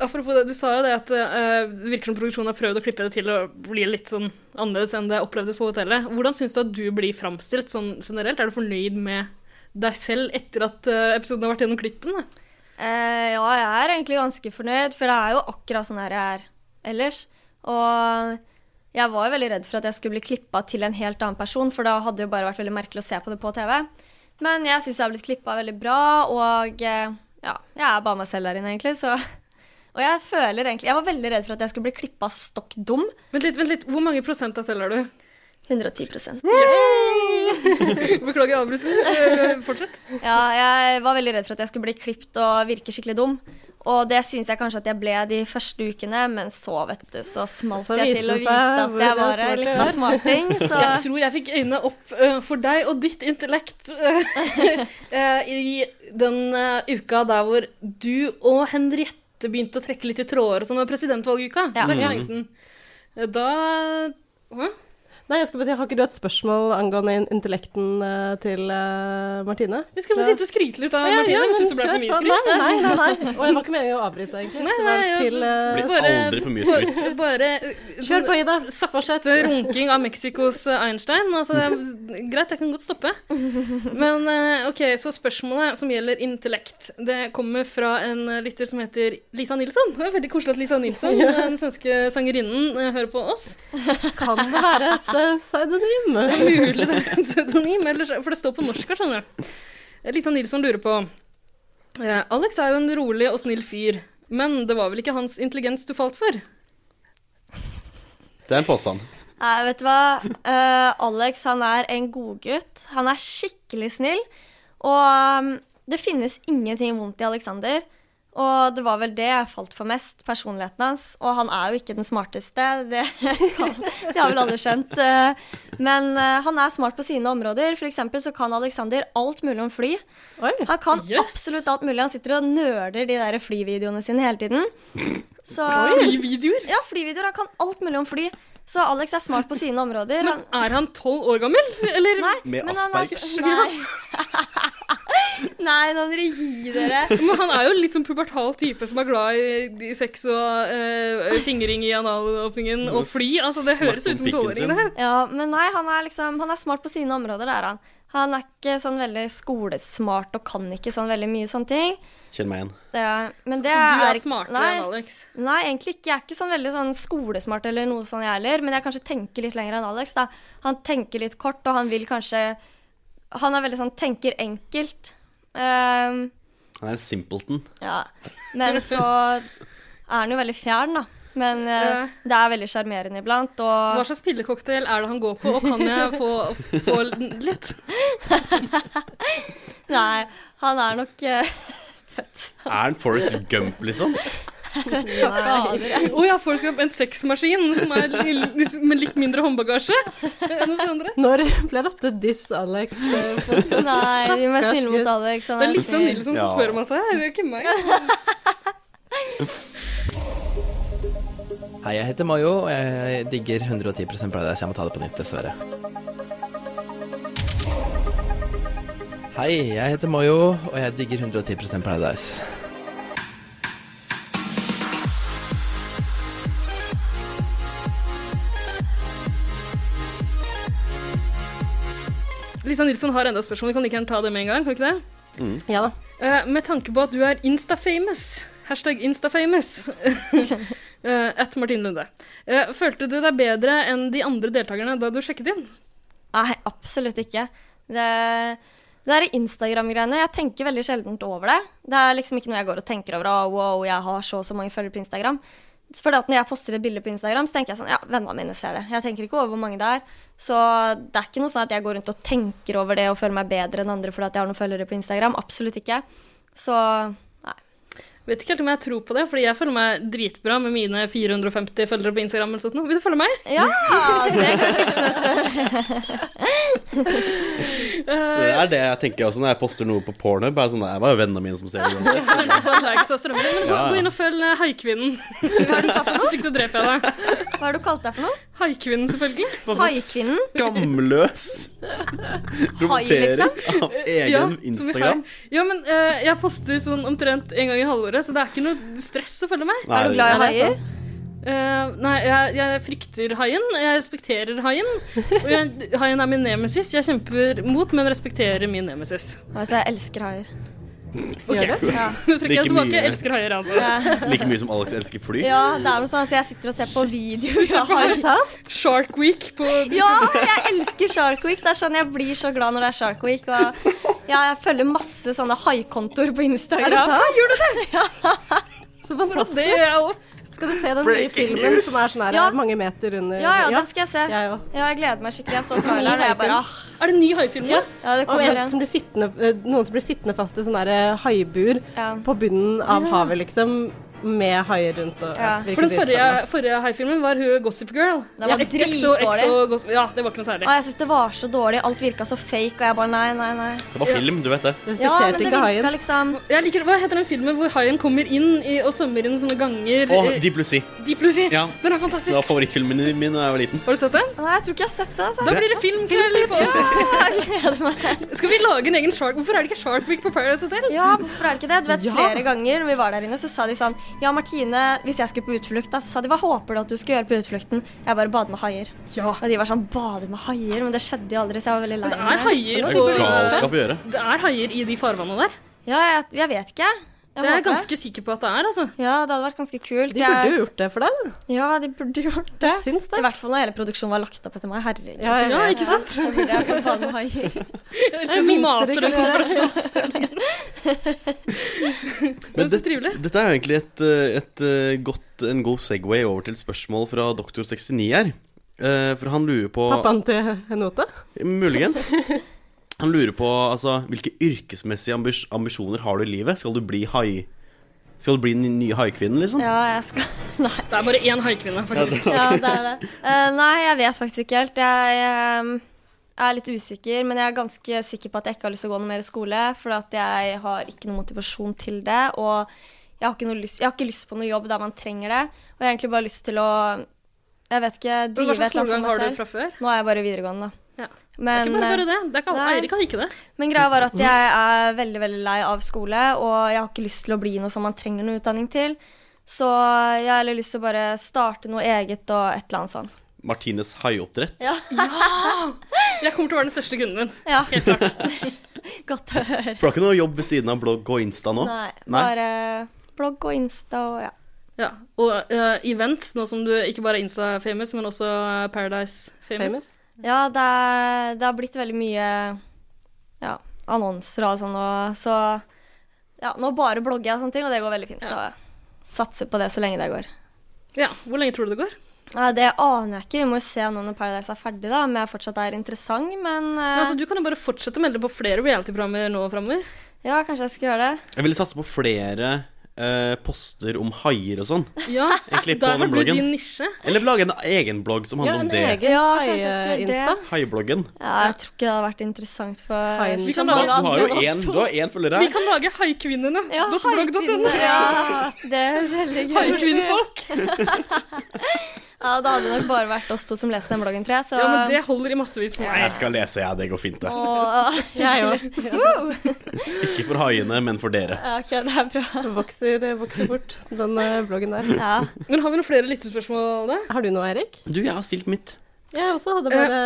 [SPEAKER 2] apropos det, du sa jo det at eh, det virker som produksjonen har prøvd å klippe det til å bli litt sånn annerledes enn det opplevdes på hotellet. Hvordan syns du at du blir framstilt sånn generelt? Er du fornøyd med deg selv etter at eh, episoden har vært gjennom klippen? da?
[SPEAKER 1] Eh, ja, jeg er egentlig ganske fornøyd, for det er jo akkurat sånn her jeg er ellers. Og jeg var jo veldig redd for at jeg skulle bli klippa til en helt annen person, for da hadde det jo bare vært veldig merkelig å se på det på TV. Men jeg syns jeg har blitt klippa veldig bra, og eh, ja, jeg er bare meg selv der inne, egentlig, så Og jeg føler egentlig Jeg var veldig redd for at jeg skulle bli klippa stokk dum.
[SPEAKER 2] Vent litt, vent litt. Hvor mange prosent av selv er du?
[SPEAKER 1] 110
[SPEAKER 2] Beklager avbrytelsen. Eh, fortsett.
[SPEAKER 1] Ja, jeg var veldig redd for at jeg skulle bli klippet og virke skikkelig dum. Og det syns jeg kanskje at jeg ble de første ukene, men så, vet du, så smalt
[SPEAKER 2] Så
[SPEAKER 1] jeg
[SPEAKER 2] viste
[SPEAKER 1] til og
[SPEAKER 2] det seg
[SPEAKER 1] viste at
[SPEAKER 2] hvor
[SPEAKER 1] jeg var en
[SPEAKER 2] smart du
[SPEAKER 1] liten
[SPEAKER 2] er.
[SPEAKER 1] smarting. Så
[SPEAKER 2] Jeg tror jeg fikk øynene opp eh, for deg og ditt intellekt eh, i den eh, uka der hvor du og Henriette begynte å trekke litt i tråder og sånn, og presidentvalguka. Det
[SPEAKER 5] Mm.
[SPEAKER 2] er ikke så lenge siden. Eh, Da Hæ?
[SPEAKER 4] Nei, jeg skal bare si, Har ikke du et spørsmål angående in- intellekten eh, til eh, Martine?
[SPEAKER 2] Vi skal bare sitte og skryte litt av
[SPEAKER 4] Ja, ja,
[SPEAKER 2] Martine
[SPEAKER 4] men
[SPEAKER 2] hvis du synes det ble for mye
[SPEAKER 4] kjør på.
[SPEAKER 2] skryt.
[SPEAKER 4] Nei, nei, nei, nei. Og jeg var ikke meningen å avbryte, egentlig.
[SPEAKER 2] Nei,
[SPEAKER 4] Det
[SPEAKER 2] nei,
[SPEAKER 4] var
[SPEAKER 2] ja,
[SPEAKER 4] til, eh,
[SPEAKER 5] Blir aldri for mye skryt.
[SPEAKER 2] Bare, bare Liksom, sånn,
[SPEAKER 4] Kjør på, Ida.
[SPEAKER 2] Sakte runking av Mexicos eh, Einstein. Altså, det er, greit, jeg kan godt stoppe. Men eh, ok, så spørsmålet som gjelder intellekt, det kommer fra en eh, lytter som heter Lisa Nilsson. Det er veldig koselig at Lisa Nilsson,
[SPEAKER 4] Ja.
[SPEAKER 2] eh, den svenske sangerinnen, eh, hører på oss.
[SPEAKER 4] Kan det være et eh, pseudonym?
[SPEAKER 2] Det er mulig det er en pseudonym, ellers, eh, for det står på norsk her, skjønner du. Eh, Lisa Nilsson lurer på eh, Alex er jo en rolig og snill fyr, men det var vel ikke hans intelligens du falt for?
[SPEAKER 5] Det er en påstand.
[SPEAKER 1] Nei, vet du hva? Eh, Alex han er en godgutt. Han er skikkelig snill. Og um, det finnes ingenting vondt i Alexander. Og det var vel det jeg falt for mest, personligheten hans. Og han er jo ikke den smarteste, det, det har vel alle skjønt. Eh, Men eh, han er smart på sine områder. For eksempel så kan Alexander alt mulig om fly. han kan absolutt alt mulig. Han sitter og nøler de der flyvideoene sine hele tiden. Så,
[SPEAKER 2] Flyvideoer?
[SPEAKER 1] Ja, flyvideoer. Han kan alt mulig om fly. Så Alex er smart på sine områder.
[SPEAKER 2] Men er han tolv år gammel? Eller?
[SPEAKER 1] Nei,
[SPEAKER 2] Med
[SPEAKER 1] men han er-
[SPEAKER 2] Aspergers?
[SPEAKER 1] Nei. Nei, nå må dere gi dere.
[SPEAKER 2] Men han er jo litt sånn pubertal type som er glad i, i sex og eh, fingring i analåpningen og fly. Altså, det høres ut som en tolvåring, det her.
[SPEAKER 1] Ja, men nei, han er, liksom, han er smart på sine områder, det er han. Han er ikke sånn veldig skolesmart og kan ikke sånn veldig mye sånne ting.
[SPEAKER 5] Kjenn meg igjen.
[SPEAKER 1] Det, er- men det
[SPEAKER 2] så du er
[SPEAKER 1] ikke-
[SPEAKER 2] smartere enn Alex?
[SPEAKER 1] Nei, egentlig ikke. Jeg er ikke sånn veldig sånn skolesmart eller noe sånn jeg heller, men jeg kanskje tenker litt lenger enn Alex, da. Han tenker litt kort, og han vil kanskje Han er veldig sånn tenker enkelt. Ehm,
[SPEAKER 5] Han er en simpleton.
[SPEAKER 1] ja. Men så er han jo veldig fjern, da. Men eh,
[SPEAKER 2] Ja.
[SPEAKER 1] det er veldig sjarmerende iblant. Og...
[SPEAKER 2] Hva slags spillecocktail er det han går på, og kan jeg få, få litt?
[SPEAKER 1] Nei, han er nok eh, født
[SPEAKER 5] Er han Forrest Gump, liksom?
[SPEAKER 1] Nei.
[SPEAKER 2] Å ja, folk skal ha en sexmaskin som er li- liksom med litt mindre håndbagasje enn hos andre.
[SPEAKER 4] Når ble dette diss, Alex? Eh,
[SPEAKER 1] Nei, vi må være snille mot Alex. Han
[SPEAKER 2] Det er
[SPEAKER 1] er
[SPEAKER 2] liksom
[SPEAKER 1] snill.
[SPEAKER 2] Nilsson
[SPEAKER 5] Ja.
[SPEAKER 2] som spør om dette her, det er ikke meg.
[SPEAKER 16] Hei, jeg heter Mayo, og jeg digger 110 Paradise. Jeg må ta det på nytt, dessverre. Hei, jeg heter Mayo, og jeg digger 110 Paradise.
[SPEAKER 2] Lisa Nilsson har enda spørsmål, vi kan like gjerne ta det med en gang, kan vi ikke det?
[SPEAKER 5] Mm.
[SPEAKER 4] Ja da.
[SPEAKER 2] Eh, med tanke på at du er instafamous, hashtag instafamous, eh, at Martin Lunde, eh, følte du deg bedre enn de andre deltakerne da du sjekket inn?
[SPEAKER 1] Nei, absolutt ikke. Det, det er Instagram-greiene. Jeg tenker veldig sjelden over det. Det er liksom ikke noe jeg går og tenker over. Å, wow, jeg har så og så mange følgere på Instagram. Fordi at Når jeg poster et bilde på Instagram, så tenker jeg sånn Ja, vennene mine ser det. Jeg tenker ikke over hvor mange det er. Så det er ikke noe sånn at jeg går rundt og tenker over det og føler meg bedre enn andre fordi at jeg har noen følgere på Instagram. Absolutt ikke. Så
[SPEAKER 2] Vet ikke helt om jeg tror på det, fordi jeg føler meg dritbra med mine 450 følgere på Instagram. eller sånt nå. Vil du følge meg?
[SPEAKER 1] Ja, det kan jeg
[SPEAKER 5] Det er det jeg tenker også når jeg poster noe på porno. Bare sånn, Det var jo vennene mine som ser det. uansett».
[SPEAKER 2] Likes og strømmer. Men gå,
[SPEAKER 5] Ja, ja.
[SPEAKER 2] gå inn og følg eh, Haikvinnen. Hva er det du sa for noe? Hvis ikke så dreper jeg deg.
[SPEAKER 1] Hva har du kalt deg for noe?
[SPEAKER 2] Haikvinnen, selvfølgelig.
[SPEAKER 1] Haikvinnen?
[SPEAKER 5] Skamløs promotering
[SPEAKER 2] liksom?
[SPEAKER 5] av egen
[SPEAKER 2] Ja, som vi
[SPEAKER 5] Instagram.
[SPEAKER 2] har. Ja, men eh, jeg poster sånn omtrent en gang i halvåret, så det er ikke noe stress å følge meg.
[SPEAKER 5] Nei, Er du glad i det er haier?
[SPEAKER 2] Eh, nei, jeg, jeg frykter haien. Jeg respekterer haien. Og jeg, haien er min nemesis. Jeg kjemper mot, men respekterer min nemesis.
[SPEAKER 1] Vet du, jeg elsker haier.
[SPEAKER 2] Ok,
[SPEAKER 1] Gjør du? Ja.
[SPEAKER 2] Nå trekker jeg
[SPEAKER 5] Like
[SPEAKER 2] tilbake.
[SPEAKER 5] mye.
[SPEAKER 2] Jeg elsker haier, altså.
[SPEAKER 1] Ja.
[SPEAKER 5] Like mye som Alex elsker fly.
[SPEAKER 1] Ja, det er noe sånn, altså, jeg sitter og ser på videoer av haier.
[SPEAKER 2] Shark Week på
[SPEAKER 1] Ja, jeg elsker Shark Week. Det er sånn jeg blir så glad når det er Shark Week. Og ja, jeg følger masse sånne haikontoer på Instagram.
[SPEAKER 4] Er det sant?
[SPEAKER 1] Hæ, Gjør du det?
[SPEAKER 4] Så
[SPEAKER 1] Så det er jeg
[SPEAKER 4] fantastisk. Skal du se den nye
[SPEAKER 1] Breaking
[SPEAKER 4] filmen
[SPEAKER 1] news.
[SPEAKER 4] som er sånn her
[SPEAKER 1] Ja.
[SPEAKER 4] mange meter under
[SPEAKER 1] Ja, ja, den skal jeg se.
[SPEAKER 4] Jeg òg.
[SPEAKER 1] Ja, jeg gleder meg skikkelig. Jeg så traileren, og jeg bare ah.
[SPEAKER 2] Er det ny haifilm?
[SPEAKER 1] Ja, ja det
[SPEAKER 4] Om
[SPEAKER 1] kommer
[SPEAKER 4] en
[SPEAKER 1] en.
[SPEAKER 4] som blir sittende, eh, noen som blir sittende fast i sånn der eh, haibur på bunnen av
[SPEAKER 2] Ja.
[SPEAKER 4] havet, liksom. Med haier rundt og
[SPEAKER 2] Ja.
[SPEAKER 4] virker
[SPEAKER 2] For den forrige,
[SPEAKER 4] dritspennende.
[SPEAKER 2] forrige haifilmen var hun Gossip Girl.
[SPEAKER 1] Den var
[SPEAKER 2] Ja, Exo, Exo,
[SPEAKER 1] dritdårlig.
[SPEAKER 2] Gossip- Ja, det var ikke noe
[SPEAKER 1] Og
[SPEAKER 2] særlig.
[SPEAKER 1] jeg syns det var så dårlig. Alt virka så fake, og jeg bare nei, nei, nei.
[SPEAKER 5] Det var film, du vet det.
[SPEAKER 1] Ja, men det virka liksom
[SPEAKER 2] Jeg liker, Hva heter den filmen hvor haien kommer inn i, og svømmer inn sånne ganger?
[SPEAKER 5] Og
[SPEAKER 2] eh,
[SPEAKER 5] Deep Blue Sea.
[SPEAKER 2] Deep Blue Sea.
[SPEAKER 5] Ja.
[SPEAKER 2] Den er
[SPEAKER 5] Det
[SPEAKER 2] fantastisk.
[SPEAKER 5] var favorittfilmen min da jeg var liten.
[SPEAKER 2] Har du sett den?
[SPEAKER 1] Nei, jeg tror ikke jeg har sett det. Altså.
[SPEAKER 2] Da blir det filmkveld på
[SPEAKER 1] Ja, jeg gleder meg.
[SPEAKER 2] Skal vi lage en egen Shark Hvorfor er det ikke Shark Week på Paradise Hotel?
[SPEAKER 1] Ja, hvorfor er det ikke det? Du vet,
[SPEAKER 2] Ja.
[SPEAKER 1] Flere ganger når vi var der inne, så sa de sånn Ja, Martine, hvis jeg skulle på utflukt, da, så sa de hva håper du at du skal gjøre på utflukten? Jeg bare bade med haier. Og de var sånn bade med haier, men det skjedde jo aldri, så jeg var veldig lei
[SPEAKER 2] Det er haier
[SPEAKER 5] Det
[SPEAKER 2] på
[SPEAKER 5] er jo galskap å gjøre.
[SPEAKER 2] Det er haier i de farvannene der.
[SPEAKER 1] Ja, jeg, jeg vet ikke. Jeg
[SPEAKER 2] det er jeg
[SPEAKER 1] håper
[SPEAKER 2] ganske sikker på at det er, altså.
[SPEAKER 1] Ja, det hadde vært ganske kult.
[SPEAKER 4] De burde jo
[SPEAKER 1] Jeg-
[SPEAKER 4] gjort det for deg. da.
[SPEAKER 1] Ja, de burde gjort det. I hvert fall når hele produksjonen var lagt opp etter meg. Herregud.
[SPEAKER 4] Ja, jeg vet
[SPEAKER 2] det.
[SPEAKER 1] Da burde jeg fått bade med haier.
[SPEAKER 2] Eller
[SPEAKER 1] Det er det minste de
[SPEAKER 2] tomater
[SPEAKER 1] kan
[SPEAKER 2] og
[SPEAKER 1] gjøre.
[SPEAKER 5] Men det, dette er jo egentlig et, eh, et, eh, godt, en god Segway over til spørsmål fra Doktor 69 her. Eh, for han lurer på
[SPEAKER 4] Pappaen til Henote.
[SPEAKER 5] Muligens. Han lurer på altså, hvilke yrkesmessige ambis ambisjoner har du i livet. Skal du bli hai Skal du bli den nye haikvinnen, liksom?
[SPEAKER 1] Ja, jeg skal Nei.
[SPEAKER 2] Det er bare én haikvinne, faktisk.
[SPEAKER 1] Ja, det er det. Eh, nei, jeg vet faktisk ikke helt. Jeg, ehm, er litt usikker, men jeg er ganske sikker på at jeg ikke har lyst til å gå noe mer i skole, for at jeg har ikke noe motivasjon til det, og jeg har ikke, noe lyst, jeg har ikke lyst på noe jobb der man trenger det, og jeg har egentlig bare lyst til å, jeg vet ikke,
[SPEAKER 2] Men hva
[SPEAKER 1] drive
[SPEAKER 2] slags
[SPEAKER 1] et eller annet for
[SPEAKER 2] skolegang har
[SPEAKER 1] meg
[SPEAKER 2] du
[SPEAKER 1] selv.
[SPEAKER 2] fra før?
[SPEAKER 1] Nå er jeg bare videregående, da.
[SPEAKER 2] Ja.
[SPEAKER 1] Men, eh,
[SPEAKER 2] det er ikke bare bare det. det er ikke alle,
[SPEAKER 1] nei.
[SPEAKER 2] Eirik har ikke det.
[SPEAKER 1] Men greia var at jeg er veldig veldig lei av skole, og jeg har ikke lyst til å bli noe som man trenger noe utdanning til. Så jeg har heller lyst til å bare starte noe eget og et eller annet sånn.
[SPEAKER 5] Martines haioppdrett.
[SPEAKER 1] Ja.
[SPEAKER 2] Jeg kommer til å være den største kunden din.
[SPEAKER 1] Ja.
[SPEAKER 2] Helt klart.
[SPEAKER 1] Godt å høre.
[SPEAKER 5] For du har ikke noe jobb ved siden av blogg og Insta nå?
[SPEAKER 1] Nei, bare blogg og Insta og ja.
[SPEAKER 2] Ja, Og eh, events, nå som du ikke bare er Insta-famous, men også eh, Paradise-famous.
[SPEAKER 1] Ja, det, er, det har blitt veldig mye ja, annonser og sånn, og så ja, Nå bare blogger jeg og sånne ting, og det går veldig fint. Så satser på det så lenge det går.
[SPEAKER 2] Ja, Hvor lenge tror du det går?
[SPEAKER 1] Nei, det aner jeg ikke. Vi må jo se nå når Paradise er ferdig, da, om jeg fortsatt er interessant, men eh,
[SPEAKER 2] Men altså, Du kan jo bare fortsette å melde på flere reality-programmer nå framover.
[SPEAKER 1] Ja, kanskje jeg skal gjøre det.
[SPEAKER 5] Jeg ville satse på flere eh, poster om haier og sånn.
[SPEAKER 2] Ja,
[SPEAKER 5] Egentlig på
[SPEAKER 2] Der
[SPEAKER 5] den
[SPEAKER 2] har du
[SPEAKER 5] bloggen.
[SPEAKER 2] din nisje.
[SPEAKER 5] Eller lage en egen blogg som handler om det.
[SPEAKER 1] ja,
[SPEAKER 4] hai-
[SPEAKER 1] kanskje jeg skal gjøre det.
[SPEAKER 5] Haibloggen.
[SPEAKER 1] Ja, jeg tror ikke det hadde vært interessant for
[SPEAKER 2] Vi kan
[SPEAKER 5] Du
[SPEAKER 2] lage-
[SPEAKER 5] har du har jo én, du har én følger
[SPEAKER 2] Vi
[SPEAKER 5] her.
[SPEAKER 2] kan lage haikvinnene.
[SPEAKER 1] Ja,
[SPEAKER 2] .blogg.no.
[SPEAKER 1] haikvinner, ja. Det er veldig gøy.
[SPEAKER 2] Haikvinnfolk.
[SPEAKER 1] Ja, det hadde nok bare vært oss to som leste den bloggen, tror jeg. Så...
[SPEAKER 2] Ja, men det holder i massevis for meg.
[SPEAKER 5] Jeg skal lese, jeg. Det går fint, det.
[SPEAKER 1] Åh,
[SPEAKER 4] Jeg
[SPEAKER 5] Ikke for haiene, men for dere.
[SPEAKER 1] Ja, ok, det er bra.
[SPEAKER 4] Vokser, vokser bort, den eh, bloggen der.
[SPEAKER 2] Men har vi noen flere lyttespørsmål da?
[SPEAKER 4] Har du noe, Eirik?
[SPEAKER 5] Du, jeg har stilt mitt.
[SPEAKER 4] Jeg også
[SPEAKER 1] Eh,
[SPEAKER 4] hadde bare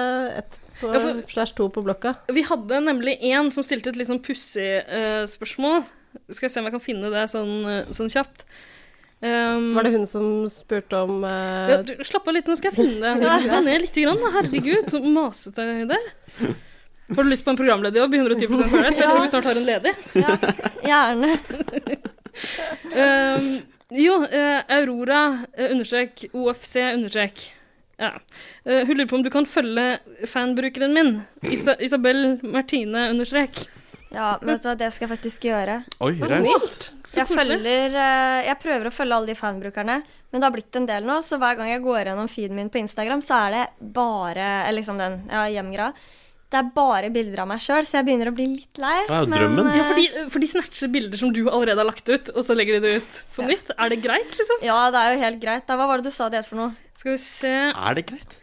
[SPEAKER 4] ett på
[SPEAKER 2] ja, for-
[SPEAKER 4] slash to på blokka.
[SPEAKER 2] Vi hadde nemlig en som stilte et litt sånn pussig eh, spørsmål. Skal jeg se om jeg kan finne det sånn, eh, sånn kjapt.
[SPEAKER 1] Mm.
[SPEAKER 2] Um,
[SPEAKER 4] Var det hun som spurte om eh,
[SPEAKER 2] ja, du, Slapp av litt, nå skal jeg finne det. Roe deg ned litt, grann, da. herregud. Så masete hun der. Har du lyst på en programlederjobb i 110 Paradise? For jeg tror vi snart har en ledig.
[SPEAKER 1] Gjerne.
[SPEAKER 2] Ehm, jo, eh, Aurora eh, understrek OFC understrek ja. Eh, Hun lurer på om du kan følge fanbrukeren min, Isa Isabel Martine understrek.
[SPEAKER 1] Ja, men vet du hva, det skal jeg faktisk gjøre.
[SPEAKER 5] Oi,
[SPEAKER 2] Så
[SPEAKER 5] raust.
[SPEAKER 2] snilt. Så
[SPEAKER 1] Jeg,
[SPEAKER 2] koselig.
[SPEAKER 1] følger, eh, jeg prøver å følge alle de fanbrukerne, men det har blitt en del nå, så hver gang jeg går gjennom feeden min på Instagram, så er det bare eller liksom den ja, hjemgreia. Det er bare bilder av meg sjøl, så jeg begynner å bli litt lei.
[SPEAKER 5] Det er jo drømmen.
[SPEAKER 2] Ja, for de, for de snatcher bilder som du allerede har lagt ut, og så legger de det ut på nytt. Er det greit, liksom?
[SPEAKER 1] eh, Ja, det er jo helt greit. Da, hva var det du sa det het for noe?
[SPEAKER 2] Skal vi se
[SPEAKER 5] Er det greit?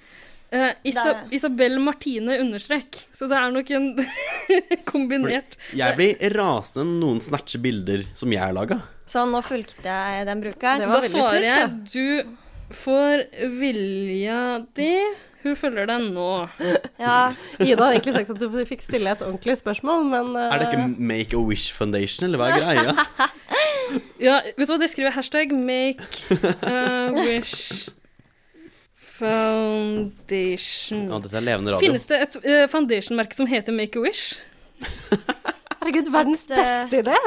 [SPEAKER 2] Eh, Isa
[SPEAKER 1] Det
[SPEAKER 2] Isabel Martine understrek. Så det er nok en kombinert
[SPEAKER 5] Jeg blir rasende når noen snatcher bilder som jeg har laga.
[SPEAKER 1] Sånn, nå fulgte jeg den brukeren.
[SPEAKER 2] Da svarer jeg du får vilja di. Hun følger deg nå.
[SPEAKER 1] Ja.
[SPEAKER 4] Ida hadde egentlig sagt at du fikk stille et ordentlig spørsmål, men eh,
[SPEAKER 5] Er det ikke Make a Wish Foundation, eller hva er greia?
[SPEAKER 2] Ja, vet du hva, det skriver jeg hashtag make a wish foundation.
[SPEAKER 5] Ja, dette er levende radio.
[SPEAKER 2] Finnes det et eh, foundation-merke som heter make a wish?
[SPEAKER 4] Herregud, verdens
[SPEAKER 1] Det-
[SPEAKER 4] beste idé!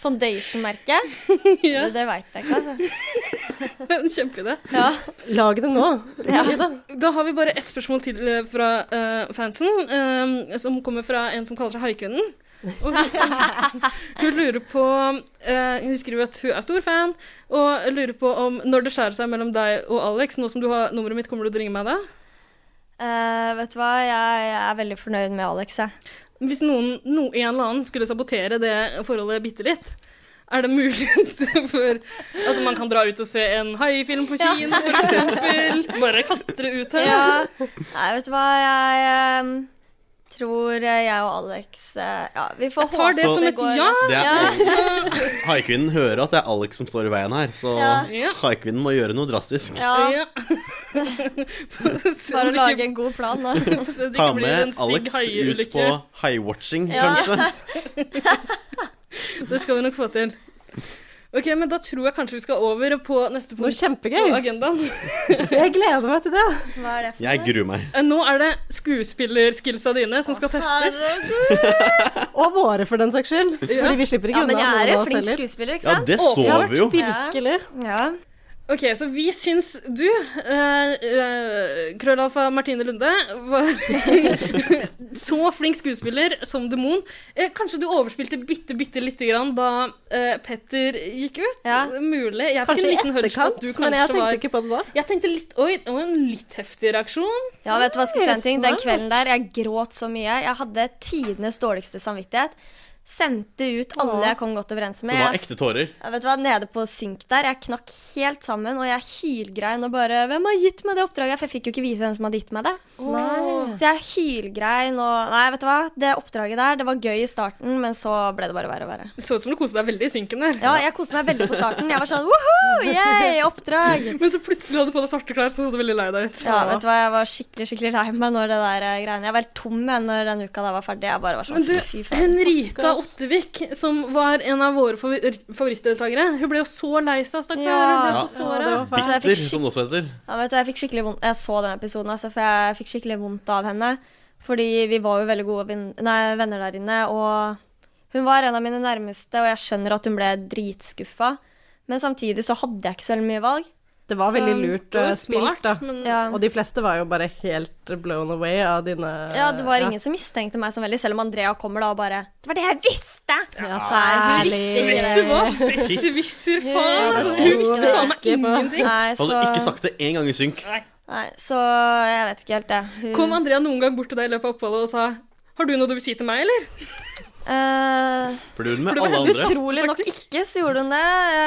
[SPEAKER 1] Foundation-merket?
[SPEAKER 2] Ja.
[SPEAKER 1] Det, det veit jeg ikke, altså.
[SPEAKER 2] En kjempeidé.
[SPEAKER 4] Lag det nå. Ida.
[SPEAKER 2] Da har vi bare ett spørsmål til eh, fra eh, fansen, eh, som kommer fra en som kaller seg Haikvinnen. Og hun, hun lurer på eh, Hun skriver at hun er stor fan, og lurer på om når det skjærer seg mellom deg og Alex, nå som du har nummeret mitt, kommer du til å ringe meg da?
[SPEAKER 1] Eh, vet du hva, jeg, jeg er veldig fornøyd med Alex, jeg.
[SPEAKER 2] Hvis noen, no, en eller annen skulle sabotere det forholdet bitte litt, er det mulighet for Altså, man kan dra ut og se en haifilm på
[SPEAKER 1] Ja.
[SPEAKER 2] kino, for eksempel. Bare kaste det ut her.
[SPEAKER 1] Ja. Nei, vet du hva, jeg eh, tror jeg og Alex eh, Ja, vi får
[SPEAKER 2] Jeg tar det
[SPEAKER 1] håpe
[SPEAKER 2] som et
[SPEAKER 1] går-
[SPEAKER 2] ja.
[SPEAKER 5] Det er-
[SPEAKER 1] Ja.
[SPEAKER 5] Haikvinnen hører at det er Alex som står i veien her, så
[SPEAKER 1] Ja.
[SPEAKER 5] haikvinnen må gjøre noe drastisk.
[SPEAKER 1] Ja. Bare å lage en god plan, da.
[SPEAKER 5] Ta med Alex ut på haiwatching,
[SPEAKER 1] Ja.
[SPEAKER 5] kanskje.
[SPEAKER 2] Det skal vi nok få til. Ok, men Da tror jeg kanskje vi skal over på neste punkt
[SPEAKER 4] kjempegøy.
[SPEAKER 2] på agendaen.
[SPEAKER 4] Jeg gleder meg til det.
[SPEAKER 1] Hva er det for
[SPEAKER 5] Jeg gruer meg.
[SPEAKER 2] Eh, Nå er det skuespillerskillsa dine som skal testes.
[SPEAKER 4] Og våre, for den saks skyld.
[SPEAKER 2] Ja.
[SPEAKER 4] Fordi vi slipper ikke
[SPEAKER 1] Ja,
[SPEAKER 4] unna
[SPEAKER 1] men jeg er
[SPEAKER 4] noen
[SPEAKER 1] en
[SPEAKER 4] av oss
[SPEAKER 1] flink
[SPEAKER 4] heller.
[SPEAKER 1] skuespiller, ikke
[SPEAKER 5] Ja,
[SPEAKER 1] sant?
[SPEAKER 5] det så vi jo.
[SPEAKER 4] Virkelig.
[SPEAKER 1] Ja.
[SPEAKER 2] Ok, så vi syns du, eh, eh, krøllalfa Martine Lunde, var så flink skuespiller som demon. Eh, kanskje du overspilte bitte, bitte lite grann da eh, Petter gikk ut? Mulig. Jeg fikk
[SPEAKER 4] Kanskje
[SPEAKER 2] en
[SPEAKER 4] i
[SPEAKER 2] liten hunch på at
[SPEAKER 4] etterkant,
[SPEAKER 2] du
[SPEAKER 4] men jeg
[SPEAKER 2] kanskje
[SPEAKER 4] tenkte
[SPEAKER 2] var-
[SPEAKER 4] ikke på det da.
[SPEAKER 2] Jeg tenkte litt Oi, det var en litt heftig reaksjon.
[SPEAKER 1] Ja, vet du hva jeg skal si en ting? Den
[SPEAKER 2] Smart.
[SPEAKER 1] kvelden der, jeg gråt så mye. Jeg hadde tidenes dårligste samvittighet. Sendte ut alle jeg kom godt overens
[SPEAKER 5] Som
[SPEAKER 1] med.
[SPEAKER 5] var
[SPEAKER 1] Jeg-
[SPEAKER 5] ekte tårer.
[SPEAKER 1] Jeg vet du hva, Nede på synk der. Jeg knakk helt sammen, og jeg hylgrein og bare 'Hvem har gitt meg det oppdraget?' For jeg fikk jo ikke vite hvem som hadde gitt meg det.
[SPEAKER 4] Nei.
[SPEAKER 1] Så jeg hylgrein og Nei, vet du hva. Det oppdraget der, det var gøy i starten, men så ble det bare verre og verre.
[SPEAKER 2] Så ut som du koste deg veldig i synken der.
[SPEAKER 1] Ja, jeg koste meg veldig på starten. Jeg var sånn woho, yeah, oppdrag.
[SPEAKER 2] Men så plutselig hadde du på deg svarte klær, så så du veldig lei deg ut.
[SPEAKER 1] Ja, vet du hva, jeg var skikkelig skikkelig lei meg når det der eh, greiene Jeg var helt tom jeg, når den uka der var ferdig. Jeg bare var sånn,
[SPEAKER 2] Men du,
[SPEAKER 1] fy faen.
[SPEAKER 2] Henrita Ottervik, som var en av våre favor favorittdeltakere, hun ble jo så lei seg, stakkar. Hun ble
[SPEAKER 1] Ja.
[SPEAKER 2] så såra.
[SPEAKER 1] Jeg
[SPEAKER 5] Bitter,
[SPEAKER 1] fikk skik-
[SPEAKER 5] som det også heter.
[SPEAKER 1] Ja, vet du, jeg fikk skikkelig vondt Jeg så den episoden, altså, for jeg fikk skikkelig vondt av henne. Fordi vi var jo veldig gode vin- nei, venner der inne, og hun var en av mine nærmeste, og jeg skjønner at hun ble dritskuffa. Men samtidig så hadde jeg ikke så veldig mye valg.
[SPEAKER 4] Det var veldig lurt eh, spilt, da.
[SPEAKER 2] Mm.
[SPEAKER 1] ja.
[SPEAKER 4] Og de fleste var jo bare helt blown away av dine
[SPEAKER 1] ja, det var ingen som mistenkte meg så veldig, selv om Andrea kommer da og bare Det var det jeg visste!
[SPEAKER 4] Ja,
[SPEAKER 1] Så er hun visste ikke
[SPEAKER 2] Vet
[SPEAKER 1] det.
[SPEAKER 2] du hva? Besserwisser, faen! Altså, hun visste faen meg ingenting.
[SPEAKER 1] Nei,
[SPEAKER 5] Hadde
[SPEAKER 1] så-
[SPEAKER 5] ikke sagt det én gang i synk.
[SPEAKER 1] Nei, så jeg vet ikke helt det. Hun-
[SPEAKER 2] Kom Andrea noen gang bort til deg i løpet av oppholdet og sa har du noe du vil si til meg, eller?
[SPEAKER 1] Eh,
[SPEAKER 5] For det gjorde hun
[SPEAKER 2] For
[SPEAKER 5] med
[SPEAKER 2] det var
[SPEAKER 5] alle
[SPEAKER 2] hennes
[SPEAKER 5] andre.
[SPEAKER 1] Utrolig nok ikke så gjorde hun det. Jeg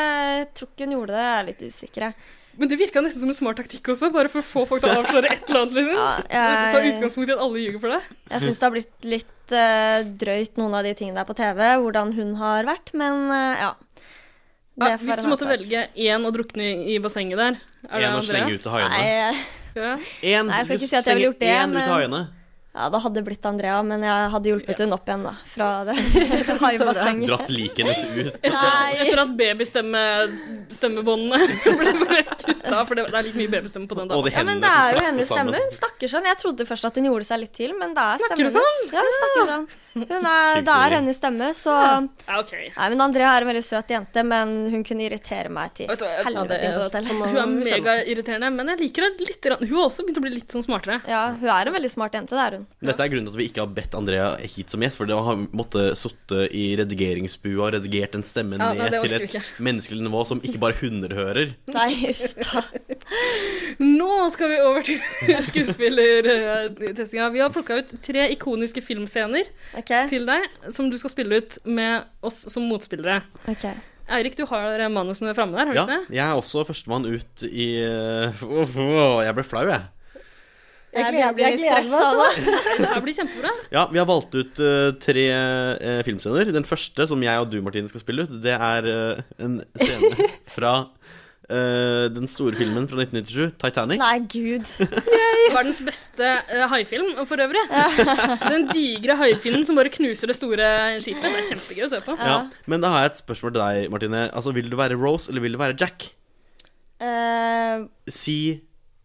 [SPEAKER 1] tror ikke hun gjorde det, jeg er litt usikker. jeg.
[SPEAKER 2] Men det virka nesten som en smart taktikk også, bare for å få folk til å avsløre et eller annet. liksom.
[SPEAKER 1] jeg-
[SPEAKER 2] Ta utgangspunkt i at alle ljuger for deg.
[SPEAKER 1] Jeg syns det har blitt litt eh, drøyt, noen av de tingene der på TV, hvordan hun har vært, men eh, ja. Det
[SPEAKER 2] Ja,
[SPEAKER 1] får
[SPEAKER 2] hvis
[SPEAKER 1] være
[SPEAKER 2] du måtte
[SPEAKER 1] en annen sak.
[SPEAKER 2] velge én å drukne i bassenget der er det
[SPEAKER 5] Én å
[SPEAKER 2] Andrea?
[SPEAKER 5] slenge ut til haiene.
[SPEAKER 1] eh,
[SPEAKER 2] Ja.
[SPEAKER 5] En,
[SPEAKER 1] Nei, jeg skal
[SPEAKER 5] du
[SPEAKER 1] ikke si at jeg ville gjort det,
[SPEAKER 5] slenger en ut av
[SPEAKER 1] men
[SPEAKER 5] haiene.
[SPEAKER 1] ja, det hadde blitt Andrea, men jeg hadde hjulpet hun opp igjen da, fra det haibassenget.
[SPEAKER 5] Dratt liket hennes ut.
[SPEAKER 1] Nei.
[SPEAKER 2] Etter at babystemmebåndene ble bare kutta, for det det er litt mye babystemme på den
[SPEAKER 5] Og
[SPEAKER 2] dama.
[SPEAKER 5] de
[SPEAKER 1] Ja, men
[SPEAKER 5] hendene
[SPEAKER 1] det er
[SPEAKER 5] som
[SPEAKER 1] jo hennes
[SPEAKER 5] flakker sammen.
[SPEAKER 1] stemme. Hun snakker sånn. Jeg trodde først at hun gjorde seg litt til, men det er
[SPEAKER 2] Snakker
[SPEAKER 1] stemmen
[SPEAKER 2] hun sånn?
[SPEAKER 1] Ja, hun snakker sånn. Hun er, det er hennes stemme, så
[SPEAKER 2] Ja, ok.
[SPEAKER 1] Nei, men Andrea er en veldig søt jente, men hun kunne irritere meg til
[SPEAKER 2] Vet du hva, jeg-
[SPEAKER 1] helvete inn på hotellet.
[SPEAKER 2] Hun er megairriterende, men jeg liker henne litt. grann. Hun har også begynt å bli litt sånn smartere.
[SPEAKER 1] Ja, hun er en veldig smart jente, det er hun.
[SPEAKER 5] Men Dette er grunnen til at vi ikke har bedt Andrea hit som gjest, for da har hun måttet sitte i redigeringsbua og redigert den stemmen
[SPEAKER 2] Ja, nei,
[SPEAKER 5] ned
[SPEAKER 2] det
[SPEAKER 5] til
[SPEAKER 2] orker vi
[SPEAKER 5] et
[SPEAKER 2] ikke.
[SPEAKER 5] menneskelig nivå som ikke bare hunder hører.
[SPEAKER 1] Nei, uff da.
[SPEAKER 2] Nå skal vi over til skuespillertestinga. Vi har plukka ut tre ikoniske filmscener til deg, som du skal spille ut med oss som motspillere.
[SPEAKER 1] Ok.
[SPEAKER 2] Eirik, du har manusene framme der, har du
[SPEAKER 5] Ja,
[SPEAKER 2] ikke det?
[SPEAKER 5] jeg er også førstemann ut i Åh, åh, Jeg ble flau, jeg.
[SPEAKER 1] Jeg gleder- blir jeg litt gleder meg, sånn. stresset
[SPEAKER 2] Det her blir kjempebra.
[SPEAKER 5] Ja, vi har valgt ut eh, tre eh, filmscener. Den første, som jeg og du, Martine, skal spille ut, det er eh, en scene fra eh, den store filmen fra 1997, Titanic.
[SPEAKER 1] Nei, gud.
[SPEAKER 2] Verdens beste eh, haifilm for øvrig. Den digre haifinnen som bare knuser det store skipet. Det er kjempegøy å se på.
[SPEAKER 5] Ja. Men da har jeg et spørsmål til deg, Martine. Altså, Vil du være Rose, eller vil du være Jack?
[SPEAKER 1] Eh,
[SPEAKER 5] Si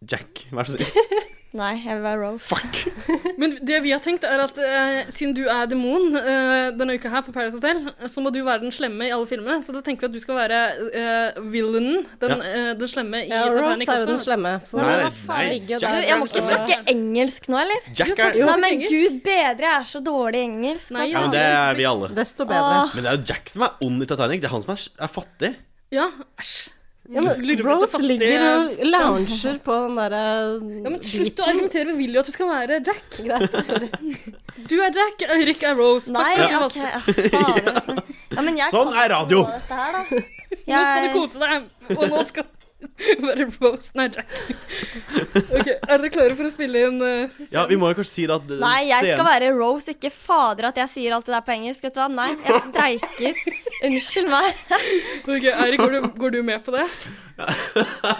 [SPEAKER 5] Jack, vær så snill.
[SPEAKER 1] nei, jeg vil være Rose.
[SPEAKER 2] Men det vi har tenkt, er at eh, siden du er demon eh, denne uka her på Paradise Hotel, eh, så må du være den slemme i alle filmene. Så da tenker vi at du skal være eh, villainen, den,
[SPEAKER 4] Ja.
[SPEAKER 2] eh, den slemme i
[SPEAKER 4] Ja, Rose
[SPEAKER 2] Titanic
[SPEAKER 4] er jo
[SPEAKER 2] også.
[SPEAKER 4] den slemme. For
[SPEAKER 5] Nei,
[SPEAKER 4] hva faen
[SPEAKER 5] nei,
[SPEAKER 4] ligger
[SPEAKER 5] Jack-
[SPEAKER 4] der?
[SPEAKER 1] Du, jeg må ikke snakke engelsk nå, eller?
[SPEAKER 5] Jack er-
[SPEAKER 1] Nei, men gud bedre, jeg er så dårlig i engelsk. Hva
[SPEAKER 5] Ja, men
[SPEAKER 1] faen?
[SPEAKER 5] det er vi alle.
[SPEAKER 4] Desto
[SPEAKER 1] bedre.
[SPEAKER 5] Men det er jo Jack som er ond i Titanic. Det er han som er, er fattig.
[SPEAKER 2] Ja, æsj.
[SPEAKER 4] Ja, men
[SPEAKER 2] Lurer på at det
[SPEAKER 4] Rose
[SPEAKER 2] fattige-
[SPEAKER 4] ligger og lounger på den derre
[SPEAKER 2] Ja, men Slutt å argumentere med Willy at du skal være Jack.
[SPEAKER 4] Greit,
[SPEAKER 2] Du er Jack, Eirik er Rose. Takk
[SPEAKER 1] Nei,
[SPEAKER 2] for at du
[SPEAKER 1] ok.
[SPEAKER 2] valgte.
[SPEAKER 1] ah, Fader, altså. Ja, men jeg
[SPEAKER 5] Sånn
[SPEAKER 1] kan
[SPEAKER 5] er
[SPEAKER 1] ikke
[SPEAKER 5] radio.
[SPEAKER 1] noe av dette her, da.
[SPEAKER 2] Nå skal
[SPEAKER 1] Jeg-
[SPEAKER 2] du kose deg, og nå skal du være Rose. Nei, Jack. Ok, Er dere klare for å spille inn eh,
[SPEAKER 5] Ja, Vi må jo kanskje si det at eh,
[SPEAKER 1] Nei, jeg skal
[SPEAKER 5] scenen-
[SPEAKER 1] være Rose, ikke fader at jeg sier alt det der på engelsk. Vet du hva? Nei, jeg streiker. Unnskyld meg.
[SPEAKER 2] Ok, Eirik, går, du- går du med på det?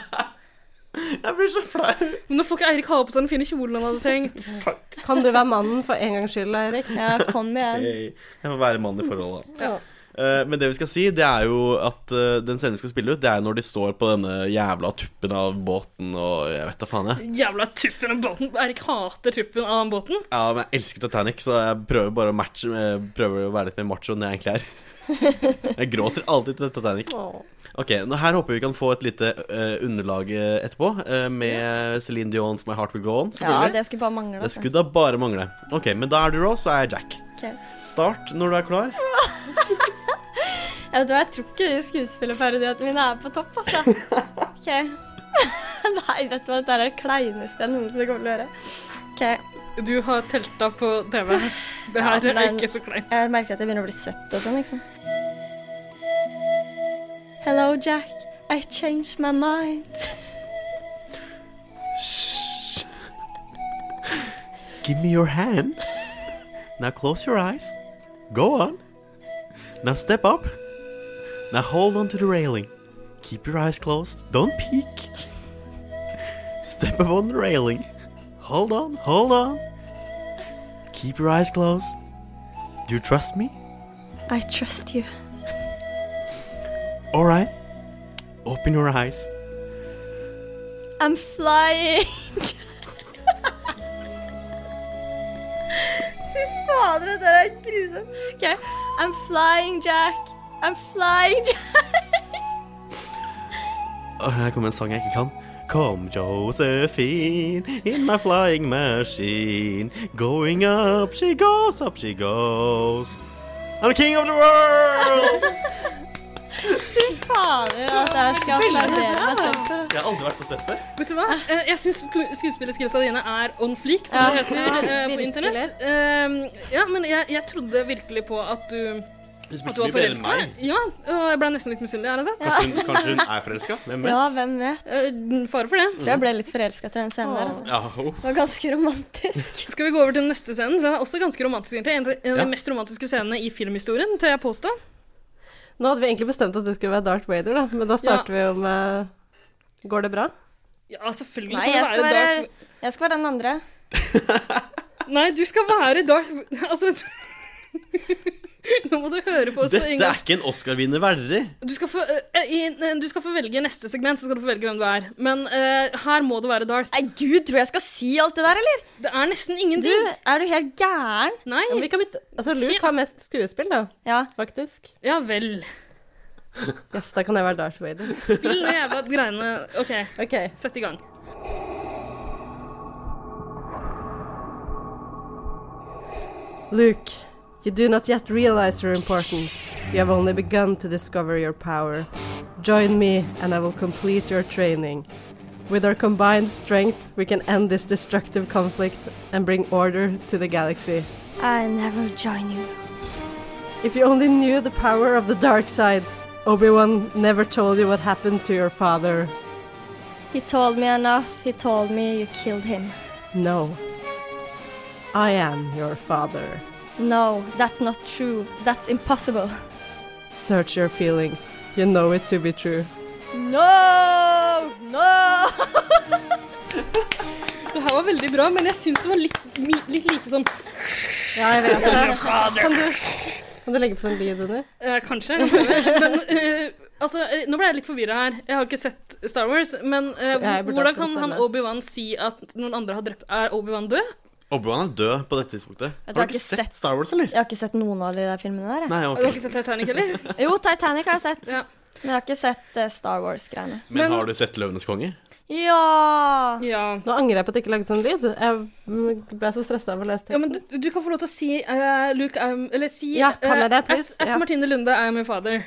[SPEAKER 5] Jeg blir så flau.
[SPEAKER 2] Men nå får ikke Eirik ha på seg den fine kjolen han hadde tenkt.
[SPEAKER 4] Kan du være mannen for en gangs skyld, Eirik?
[SPEAKER 1] Ja, kom igjen.
[SPEAKER 5] Hey, Jeg må være mann i forholdet, da.
[SPEAKER 2] Ja.
[SPEAKER 5] Eh, Men det vi skal si, det er jo at eh, den scenen vi skal spille ut, det er når de står på denne jævla tuppen av båten og jeg vet da faen, jeg.
[SPEAKER 2] Jævla tuppen av båten. Erik hater tuppen av den båten.
[SPEAKER 5] Ja, men jeg elsker Titanic, så jeg prøver bare å matche eh, Prøver å være litt mer macho enn jeg egentlig er. Jeg gråter alltid til Titanic. Ok, nå Her håper vi vi kan få et lite eh, underlag eh, etterpå, eh, med Celine Dion's My Heart Will Go On.
[SPEAKER 1] Ja,
[SPEAKER 5] selvfølgelig.
[SPEAKER 1] det skulle bare mangle.
[SPEAKER 5] det
[SPEAKER 1] altså.
[SPEAKER 5] skulle da bare mangle. Ok, Men da er du Rose, og jeg er Jack.
[SPEAKER 1] Ok.
[SPEAKER 5] Start når du er klar.
[SPEAKER 1] Jeg vet hva, jeg tror ikke de skuespillerparodiene mine er på topp, altså. Ok. Nei, vet du hva, dette er det kleineste jeg noensinne kommer til å gjøre. Ok.
[SPEAKER 2] Du har telta på TV. Det her
[SPEAKER 1] Ja,
[SPEAKER 2] er
[SPEAKER 1] men-
[SPEAKER 2] ikke så kleint.
[SPEAKER 1] Jeg merker at jeg begynner å bli svett og sånn, ikke sant. Hello, Jack. I changed my mind.
[SPEAKER 5] Give me your hand. Now close your eyes. Go on. Now step up. Now hold on to the railing. Keep your eyes closed. Don't peek. Step upon the railing. Hold on, hold on. Keep your eyes closed. Do you trust me?
[SPEAKER 1] I trust you.
[SPEAKER 5] Alright. Open your eyes.
[SPEAKER 1] I'm flying. Fy fader, det der er grusomt. Ok, I'm flying, Jack. I'm flying, Jack.
[SPEAKER 5] Åh, Her kommer en sang jeg ikke kan. Come, Josephine, in my flying machine. Going up, she goes, up she goes. I'm the king of the world!
[SPEAKER 1] Fy fader, at jeg skal applaudere meg selv for det.
[SPEAKER 5] Jeg har aldri vært så svett før.
[SPEAKER 2] Vet du hva? Eh, Jeg syns sku skuespillerskillsa dine er on fleek, som
[SPEAKER 1] Ja.
[SPEAKER 2] det heter
[SPEAKER 1] Ja,
[SPEAKER 2] eh, på
[SPEAKER 1] virkelig.
[SPEAKER 2] internett. Eh, ja, men jeg, jeg trodde virkelig på at du
[SPEAKER 5] spilte
[SPEAKER 2] at du var
[SPEAKER 5] mye bedre enn
[SPEAKER 2] forelska. Ja, og jeg ble nesten litt misunnelig, ærlig talt.
[SPEAKER 5] Kanskje, hun- kanskje hun er forelska? Hvem vet?
[SPEAKER 1] Ja, hvem vet?
[SPEAKER 2] Eh, Fare for det.
[SPEAKER 1] Tror jeg ble litt forelska etter den scenen der. Altså.
[SPEAKER 5] Ja, ho.
[SPEAKER 1] Det var ganske romantisk.
[SPEAKER 2] Skal vi gå over til den neste scenen? For Den er også ganske romantisk, egentlig. En av- En av
[SPEAKER 4] Ja.
[SPEAKER 2] de mest romantiske scenene i filmhistorien, tør jeg påstå.
[SPEAKER 4] Nå hadde vi egentlig bestemt at du skulle være Darth Vader, da, men da starter vi jo med Går det bra?
[SPEAKER 2] Ja, selvfølgelig.
[SPEAKER 1] Nei,
[SPEAKER 2] kan det
[SPEAKER 1] jeg skal
[SPEAKER 2] være
[SPEAKER 1] være,
[SPEAKER 2] Darth-
[SPEAKER 1] jeg skal være den andre.
[SPEAKER 2] Nei, du skal være Darth Altså Nå må du høre på oss en
[SPEAKER 5] Dette
[SPEAKER 2] gang.
[SPEAKER 5] er ikke en Oscar-vinner verdig.
[SPEAKER 2] Du skal, få, eh, i, du skal få velge neste segment, så skal du få velge hvem du er. Men eh, her må det være Darth.
[SPEAKER 1] Nei, gud, tror jeg skal si alt det der, eller?
[SPEAKER 2] Det er nesten ingenting.
[SPEAKER 1] Du, er du helt gæren?
[SPEAKER 2] Nei.
[SPEAKER 4] Ja, men vi kan bytte Altså, Luke har mest skuespill, da.
[SPEAKER 1] Ja.
[SPEAKER 4] Faktisk.
[SPEAKER 2] Ja vel.
[SPEAKER 4] Yes, da kan jeg være Darth Vader.
[SPEAKER 2] Spill de jævla greiene. OK, sett i gang.
[SPEAKER 4] Luke, you do not yet realize your importance. You have only begun to discover your power. Join me, and I will complete your training. With our combined strength, we can end this destructive conflict and bring order to the galaxy.
[SPEAKER 1] I never join you.
[SPEAKER 4] If you only knew the power of the dark side, Obi Wan never told you what happened to your father.
[SPEAKER 1] He told me enough. He told me you killed him.
[SPEAKER 4] No. I am your father.
[SPEAKER 1] No, that's not true. That's impossible.
[SPEAKER 4] Search your feelings. You know it to be true.
[SPEAKER 1] No! No!
[SPEAKER 2] Det her var veldig bra, men jeg syns det var litt, mi- litt lite sånn
[SPEAKER 4] Ja, jeg vet det.
[SPEAKER 2] Fader.
[SPEAKER 4] Kan du, kan du legge på sånn lyd under?
[SPEAKER 2] Eh, kanskje. jeg prøver. Men eh, altså, eh, nå ble jeg litt forvirra her. Jeg har ikke sett Star Wars. Men eh,
[SPEAKER 4] Jeg burde
[SPEAKER 2] hvordan
[SPEAKER 4] også
[SPEAKER 2] kan han
[SPEAKER 4] bestemme.
[SPEAKER 2] Obi-Wan si at noen andre har drept Er Obi-Wan død?
[SPEAKER 5] Obi-Wan er død på dette tidspunktet.
[SPEAKER 1] Jeg
[SPEAKER 5] Har du ikke sett Star Wars, eller?
[SPEAKER 1] Jeg har ikke sett noen av de der filmene der. jeg.
[SPEAKER 5] Nei, ok.
[SPEAKER 2] Du har ikke sett Titanic heller?
[SPEAKER 1] Jo, Titanic har jeg sett.
[SPEAKER 2] Ja.
[SPEAKER 1] Men jeg har ikke sett eh, Star Wars-greiene.
[SPEAKER 5] Men har du sett Løvenes konge?
[SPEAKER 1] Ja!
[SPEAKER 4] Nå angrer jeg på at jeg ikke lagde sånn lyd. Jeg ble så stressa av å lese
[SPEAKER 2] Ja,
[SPEAKER 4] teksten.
[SPEAKER 2] men du, du kan få lov til å si eh, Luke I'm, Eller si
[SPEAKER 4] Ja, kan jeg
[SPEAKER 2] eh,
[SPEAKER 4] det, please?
[SPEAKER 2] at, at
[SPEAKER 4] Ja.
[SPEAKER 2] Martine Lunde er min father.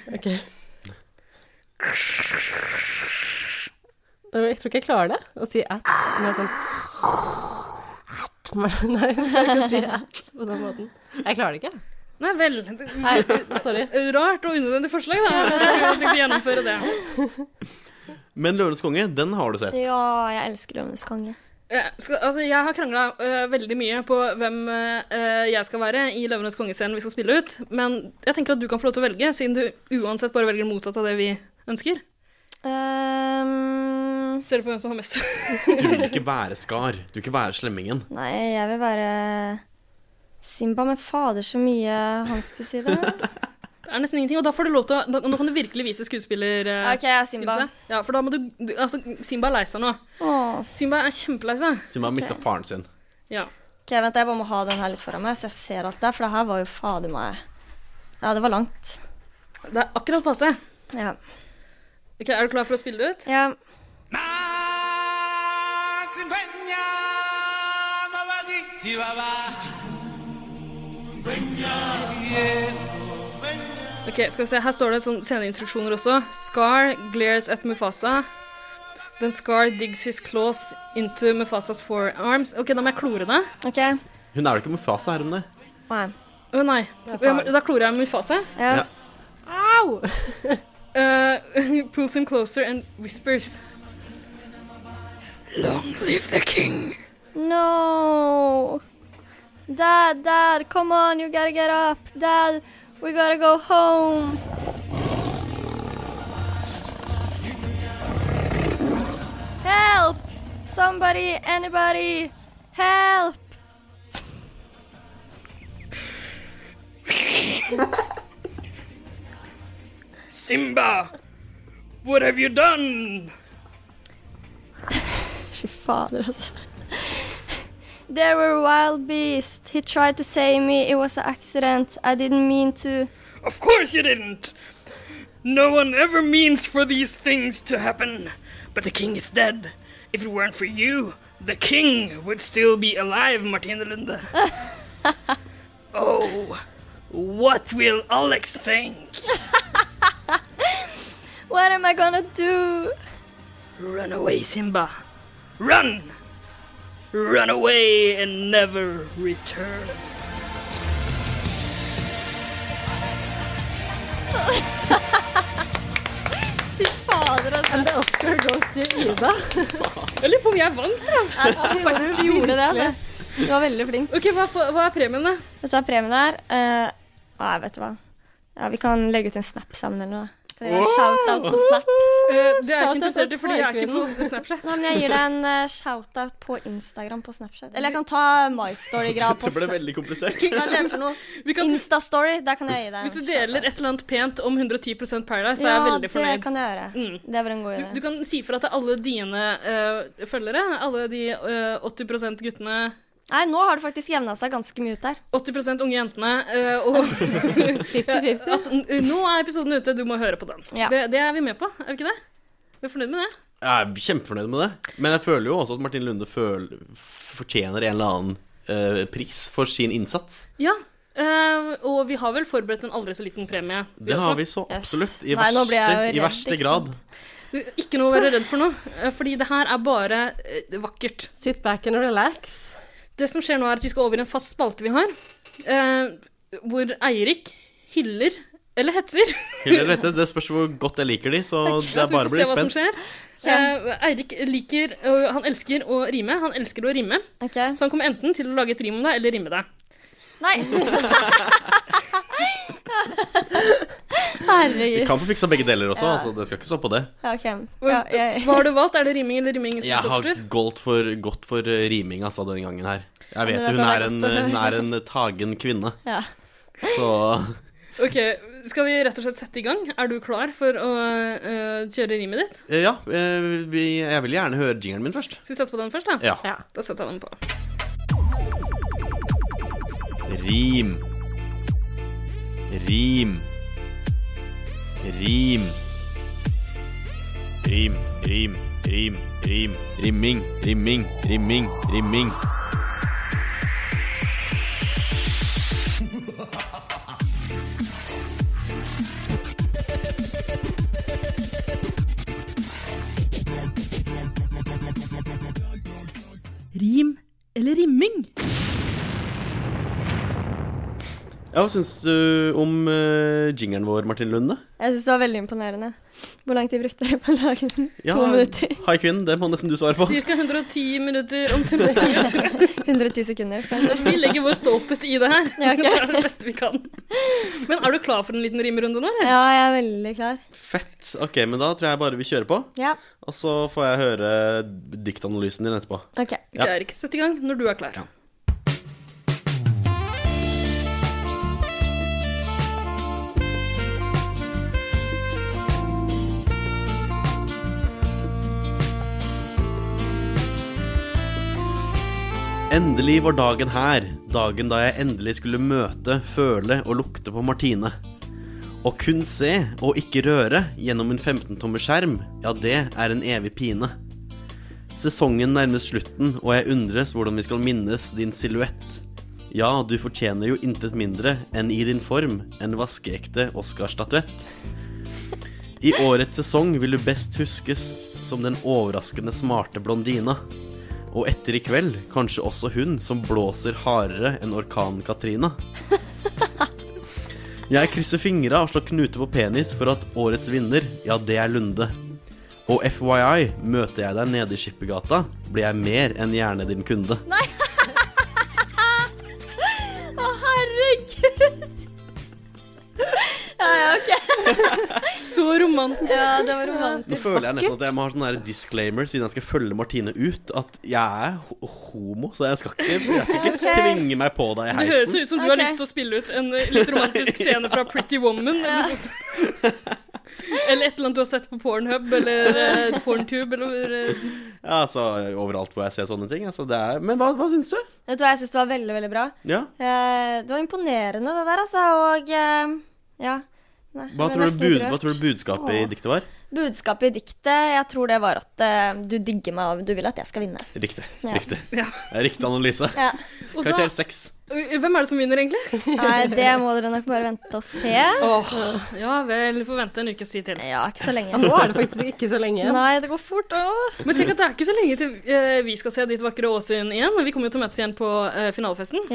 [SPEAKER 4] Da- Jeg tror ikke jeg klarer det. Å si at med sånn at Mar- Nei, jeg klarer ikke å si at på den måten. Jeg klarer det ikke.
[SPEAKER 2] Nei vel.
[SPEAKER 4] Nei, sorry.
[SPEAKER 2] Rart og unødvendig forslag, da. Jeg tenkte å gjennomføre det.
[SPEAKER 5] Men Løvenes konge, den har du sett.
[SPEAKER 1] Ja, jeg elsker Løvenes konge.
[SPEAKER 2] Jeg, skal, altså, jeg har krangla veldig mye på hvem eh, jeg skal være i Løvenes kongescenen vi skal spille ut, men jeg tenker at du kan få lov til å velge, siden du uansett bare velger motsatt av det vi ønsker.
[SPEAKER 1] Ehm,
[SPEAKER 2] Ser du på hvem som har mest?
[SPEAKER 5] Du vil ikke være Skar. Du vil ikke være slemmingen.
[SPEAKER 1] Nei, jeg vil være Simba, men fader så mye han skulle si det.
[SPEAKER 2] er nesten ingenting. Og da får du lov til å da, Nå kan du virkelig vise skuespiller... eh,
[SPEAKER 1] Ok, jeg er Simba.
[SPEAKER 2] skillset. Ja, for da må du, du Altså, Simba er lei seg nå.
[SPEAKER 1] Åh.
[SPEAKER 2] Simba er kjempelei seg.
[SPEAKER 5] Siden man har mista faren sin.
[SPEAKER 2] Ja.
[SPEAKER 1] Ok, vent, jeg bare må ha den her litt foran meg, så jeg ser alt der, for det her var jo fader meg Ja, det var langt.
[SPEAKER 2] Det er akkurat passe.
[SPEAKER 1] Ja.
[SPEAKER 2] Ok, Er du klar for å spille det ut?
[SPEAKER 1] Ja.
[SPEAKER 2] Ok, skal vi se. Her står det sånn sceneinstruksjoner også. Scar glares at Mufasa. Then Scar digs his claws into Mufasas forearms. Ok, da må jeg klore det.
[SPEAKER 1] Ok.
[SPEAKER 5] Hun er jo ikke Mufasa, er hun det?
[SPEAKER 1] Nei.
[SPEAKER 2] Å nei.
[SPEAKER 1] Det er
[SPEAKER 2] Jeg må-
[SPEAKER 1] faren.
[SPEAKER 2] Da klorer jeg Mufasa.
[SPEAKER 5] Ja.
[SPEAKER 2] Au! Eh, pulls him closer and whispers. Long live the king.
[SPEAKER 1] No! Dad, dad, come on, you gotta get up. Dad, we gotta go home. Help! Somebody, anybody, help!
[SPEAKER 2] Simba, what have you done?
[SPEAKER 1] Fy fader, altså. There were wild beasts. He tried to save me. It was an accident. I didn't mean to.
[SPEAKER 2] Of course you didn't. No one ever means for these things to happen. But the king is dead. If it weren't for you, the king would still be alive, Martina Lunda. oh, what will Alex think?
[SPEAKER 1] What am I gonna do?
[SPEAKER 2] Run away, Simba. Run! Run away and never return.
[SPEAKER 1] Fy fader, altså.
[SPEAKER 4] And the Oscar goes to Ida.
[SPEAKER 2] Jeg lurer på om jeg vant, da.
[SPEAKER 1] Jeg tror faktisk du gjorde det. Altså. Du var veldig flink.
[SPEAKER 2] Ok, Hva, er premien, da?
[SPEAKER 1] Vet du hva premien er? Eh, nei, vet du hva. Ja, vi kan legge ut en snap sammen eller noe. Kan jeg gi en Shout-out på snap.
[SPEAKER 2] det er jeg ikke interessert i, fordi jeg er ikke på Snapchat.
[SPEAKER 1] Nei, men jeg gir deg en eh, shout-out på Instagram på Snapchat. Eller jeg kan ta My Story-greia på
[SPEAKER 5] Dette ble veldig komplisert.
[SPEAKER 1] Hva er det for noe? Insta-story, der kan jeg gi deg.
[SPEAKER 2] Hvis du deler et eller annet pent om 110 Paradise, så er jeg
[SPEAKER 1] ja,
[SPEAKER 2] veldig
[SPEAKER 1] det
[SPEAKER 2] fornøyd. Mm.
[SPEAKER 1] kan jeg gjøre. Det var en god idé.
[SPEAKER 2] Du kan si fra til alle dine eh, følgere, alle de eh, 80 guttene
[SPEAKER 1] Nei, nå har det faktisk jevna seg ganske mye ut der.
[SPEAKER 2] 80 unge jentene eh, og 50-50. nå er episoden ute, du må høre på den.
[SPEAKER 1] Ja.
[SPEAKER 2] Det, det er vi med på, er vi ikke det? Vi er fornøyd med det?
[SPEAKER 5] Jeg er kjempefornøyd med det. Men jeg føler jo også at Martin Lunde føl fortjener en eller annen eh, pris for sin innsats.
[SPEAKER 2] Ja. eh, og vi har vel forberedt en aldri så liten premie.
[SPEAKER 5] Det
[SPEAKER 2] også.
[SPEAKER 5] har vi så absolutt. I
[SPEAKER 1] Nei, nå ble
[SPEAKER 5] verste,
[SPEAKER 1] jeg jo redd,
[SPEAKER 5] i verste
[SPEAKER 1] ikke
[SPEAKER 5] grad.
[SPEAKER 2] Du, Ikke noe å være redd for nå, eh, fordi det her er bare eh, vakkert.
[SPEAKER 4] Sit back and relax.
[SPEAKER 2] Det som skjer nå, er at vi skal over i en fast spalte vi har, eh, hvor Eirik hyller eller hetser.
[SPEAKER 5] Hyller eller hette, det spørs hvor godt jeg liker de, så det
[SPEAKER 2] Ja,
[SPEAKER 5] er
[SPEAKER 2] så
[SPEAKER 5] bare
[SPEAKER 2] vi får
[SPEAKER 5] å bli
[SPEAKER 2] se hva som
[SPEAKER 5] spent.
[SPEAKER 2] skjer. Eh, Eirik liker og Han elsker å rime. Han elsker å rime. Så han kommer enten til å lage et rim om deg eller rimme deg.
[SPEAKER 1] Nei!
[SPEAKER 5] Vi
[SPEAKER 1] Herregud.
[SPEAKER 5] kan få fiksa begge deler også,
[SPEAKER 1] Ja.
[SPEAKER 5] altså det skal ikke stå på det.
[SPEAKER 1] Ja, ok. Ja, jeg-
[SPEAKER 2] Hva har du valgt? Er det riming eller rimming? som
[SPEAKER 5] Jeg har
[SPEAKER 2] topper?
[SPEAKER 5] gått for, gått for eh, riming altså denne gangen her.
[SPEAKER 2] men
[SPEAKER 5] Jeg
[SPEAKER 2] vet
[SPEAKER 5] vet jo
[SPEAKER 2] du
[SPEAKER 5] hun
[SPEAKER 2] hva,
[SPEAKER 5] er
[SPEAKER 2] det er
[SPEAKER 5] en,
[SPEAKER 2] godt å høre.
[SPEAKER 5] hun er en tagen kvinne,
[SPEAKER 1] Ja.
[SPEAKER 5] så
[SPEAKER 2] Ok, Skal vi rett og slett sette i gang? Er du klar for å eh, kjøre rimet ditt?
[SPEAKER 5] Eh, Ja, eh, vi, jeg vil gjerne høre jingeren min først.
[SPEAKER 2] Skal vi sette på den først, da?
[SPEAKER 5] Ja.
[SPEAKER 2] Da setter jeg den på.
[SPEAKER 5] Rim. Rim. Rim. Rim, rim, rim, rim. Rimming, rimming, rimming, rimming.
[SPEAKER 2] Rim eller rimming?
[SPEAKER 5] Ja, hva syns du om eh, jingeren vår, Martin Lunde?
[SPEAKER 1] Jeg syns det var veldig imponerende. Hvor lang tid brukte dere på å lage den?
[SPEAKER 5] Ja,
[SPEAKER 1] To minutter?
[SPEAKER 5] Hei, kvinnen. Det må nesten du svare på.
[SPEAKER 2] Ca. 110 minutter om til tida, tror jeg.
[SPEAKER 1] 110 sekunder.
[SPEAKER 2] Altså, vi legger vår stolthet i det her.
[SPEAKER 1] Ja, ok.
[SPEAKER 2] Det er det beste vi kan. Men er du klar for en liten rimrunde nå, eller?
[SPEAKER 1] Ja, jeg er veldig klar.
[SPEAKER 5] Fett. Ok, men da tror jeg bare vi kjører på.
[SPEAKER 1] Ja.
[SPEAKER 5] Og så får jeg høre diktanalysen din etterpå.
[SPEAKER 1] Ok.
[SPEAKER 5] Ja.
[SPEAKER 2] Eirik, sett i gang når du er klar.
[SPEAKER 5] Endelig var dagen her, dagen da jeg endelig skulle møte, føle og lukte på Martine. Å kun se og ikke røre gjennom en 15-tommer skjerm, ja, det er en evig pine. Sesongen nærmes slutten, og jeg undres hvordan vi skal minnes din silhuett. Ja, du fortjener jo intet mindre enn i din form en vaskeekte Oscar-statuett. I årets sesong vil du best huskes som den overraskende smarte blondina. Og etter i kveld kanskje også hun som blåser hardere enn orkanen Katrina. Jeg krysser fingra og slår knute på penis for at årets vinner, ja, det er Lunde. Og FYI, møter jeg deg nede i Skippergata, blir jeg mer enn gjerne din kunde.
[SPEAKER 17] Nei! Å, herregud! Ja, ja, OK.
[SPEAKER 2] Så romantisk.
[SPEAKER 17] Ja, det var romantisk.
[SPEAKER 5] Nå føler jeg nesten at jeg må ha sånn her disclaimer siden jeg skal følge Martine ut, at jeg er ho- homo, så jeg skal ikke, jeg skal ikke
[SPEAKER 2] Ok.
[SPEAKER 5] tvinge meg på deg i
[SPEAKER 2] Det høres
[SPEAKER 5] heisen.
[SPEAKER 2] ut som du har
[SPEAKER 17] Ok.
[SPEAKER 2] lyst til å spille ut en eh, litt romantisk scene fra Pretty Woman. Eller, noe sånt. eller et eller annet du har sett på Pornhub eller eh, Porntube eller eh,
[SPEAKER 5] Ja, altså, overalt hvor jeg ser sånne ting. Altså, det er, men hva, hva syns du?
[SPEAKER 1] Vet du hva, jeg syns det var veldig, veldig bra.
[SPEAKER 5] Ja.
[SPEAKER 1] Eh, det var imponerende, det der, altså. Og eh, ja. Nei, jeg
[SPEAKER 5] Hva,
[SPEAKER 1] ble
[SPEAKER 5] tror du,
[SPEAKER 1] nesten
[SPEAKER 5] bud,
[SPEAKER 1] litt
[SPEAKER 5] hva
[SPEAKER 1] rørt.
[SPEAKER 5] tror du budskapet i
[SPEAKER 1] Åh.
[SPEAKER 5] diktet var?
[SPEAKER 1] Budskapet i diktet, jeg tror det var at eh, du digger meg og du vil at jeg skal vinne.
[SPEAKER 5] Riktig.
[SPEAKER 1] Ja.
[SPEAKER 5] Riktig.
[SPEAKER 1] Ja.
[SPEAKER 5] Riktig analyse.
[SPEAKER 1] Ja.
[SPEAKER 2] Og
[SPEAKER 5] Karakter
[SPEAKER 2] da-
[SPEAKER 5] seks.
[SPEAKER 2] Hvem er det som vinner, egentlig?
[SPEAKER 1] Nei, det må dere nok bare vente og se.
[SPEAKER 2] Åh, ja vel, vi får vente en ukes tid til.
[SPEAKER 1] Ja, ikke så lenge.
[SPEAKER 4] Ja, nå er det faktisk ikke så lenge igjen.
[SPEAKER 1] Nei, det går fort. Åh.
[SPEAKER 2] Men tenk at det er ikke så lenge til eh, vi skal se ditt vakre åsyn igjen. Vi kommer jo til å møtes igjen på eh, finalefesten.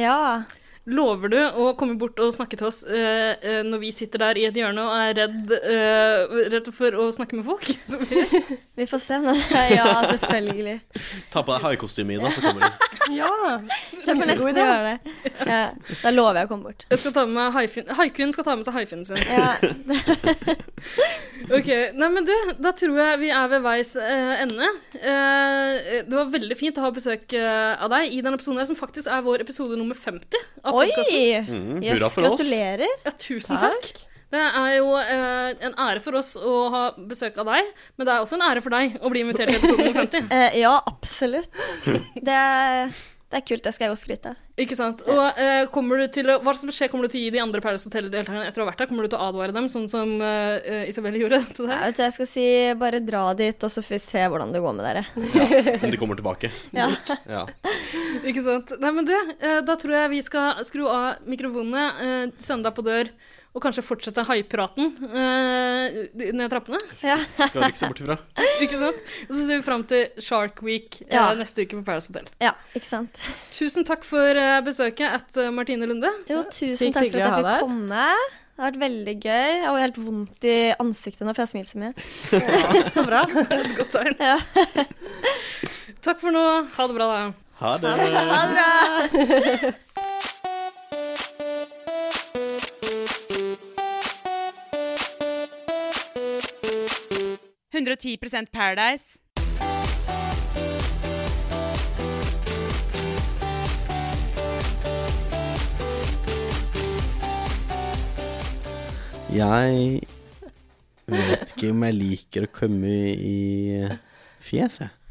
[SPEAKER 2] Lover du å komme bort og snakke til oss eh, eh, når vi sitter der i et hjørne og er redd, eh, redd for å snakke med folk? Så vi-
[SPEAKER 1] Vi får se. Nå. Ja, selvfølgelig.
[SPEAKER 5] Ta på deg haikostyme, Ida, så kommer du.
[SPEAKER 1] Ja, Jeg får
[SPEAKER 2] kjempegod
[SPEAKER 1] nesten
[SPEAKER 2] idé.
[SPEAKER 1] gjøre det. Ja, da lover jeg å komme bort.
[SPEAKER 2] Jeg skal ta med meg haifin- Haikun skal ta med seg haifinnen sin. ok, nei, men du, Da tror jeg vi er ved veis eh, ende. Eh, det var veldig fint å ha besøk eh, av deg i denne episoden, her, som faktisk er vår episode nummer 50. av
[SPEAKER 1] Oi!
[SPEAKER 2] podcasten.
[SPEAKER 5] Mm,
[SPEAKER 1] Jøss,
[SPEAKER 5] hurra for oss.
[SPEAKER 1] gratulerer.
[SPEAKER 2] Ja, tusen takk. Det er jo eh, en ære for oss å ha besøk av deg, men det er også en ære for deg å bli invitert til episode nummer 50.
[SPEAKER 1] Eh, ja, absolutt. Det, er- det er kult. Det skal jeg jo skryte av.
[SPEAKER 2] Ikke sant? Og eh, kommer du til å, Hva som skjer, kommer du til å gi de andre Paradise Hotel-deltakerne etter å ha vært der? Kommer du til å advare dem, sånn som eh, eh, Isabel gjorde til deg?
[SPEAKER 1] Jeg, vet, du, jeg skal si bare dra dit, og så får vi se hvordan det går med dere.
[SPEAKER 5] Men de kommer tilbake.
[SPEAKER 1] Ja.
[SPEAKER 5] Ja.
[SPEAKER 2] Ikke sant. Nei, men du, eh, da tror jeg vi skal skru av mikrofonene, eh, sende deg på dør, og kanskje fortsette haipraten eh, ned trappene.
[SPEAKER 5] Skal du ikke se bort ifra.
[SPEAKER 2] Ikke sant? Og så ser vi fram til Shark Week eh,
[SPEAKER 1] Ja.
[SPEAKER 2] neste uke på Paradise Hotel.
[SPEAKER 1] Ja, ikke sant.
[SPEAKER 2] Tusen takk for eh, besøket at eh, Martine Lunde.
[SPEAKER 1] Jo, tusen takk for at jeg fikk komme. Det har vært veldig gøy. Jeg har helt vondt i ansiktet nå, for jeg smiler så mye.
[SPEAKER 4] Så bra.
[SPEAKER 2] Godt tegn. Takk for nå. Ha det bra, da.
[SPEAKER 5] Ha det.
[SPEAKER 1] Ha det bra.
[SPEAKER 7] Paradise. 110 Paradise.
[SPEAKER 5] Jeg vet ikke om jeg liker å komme i fjes, jeg.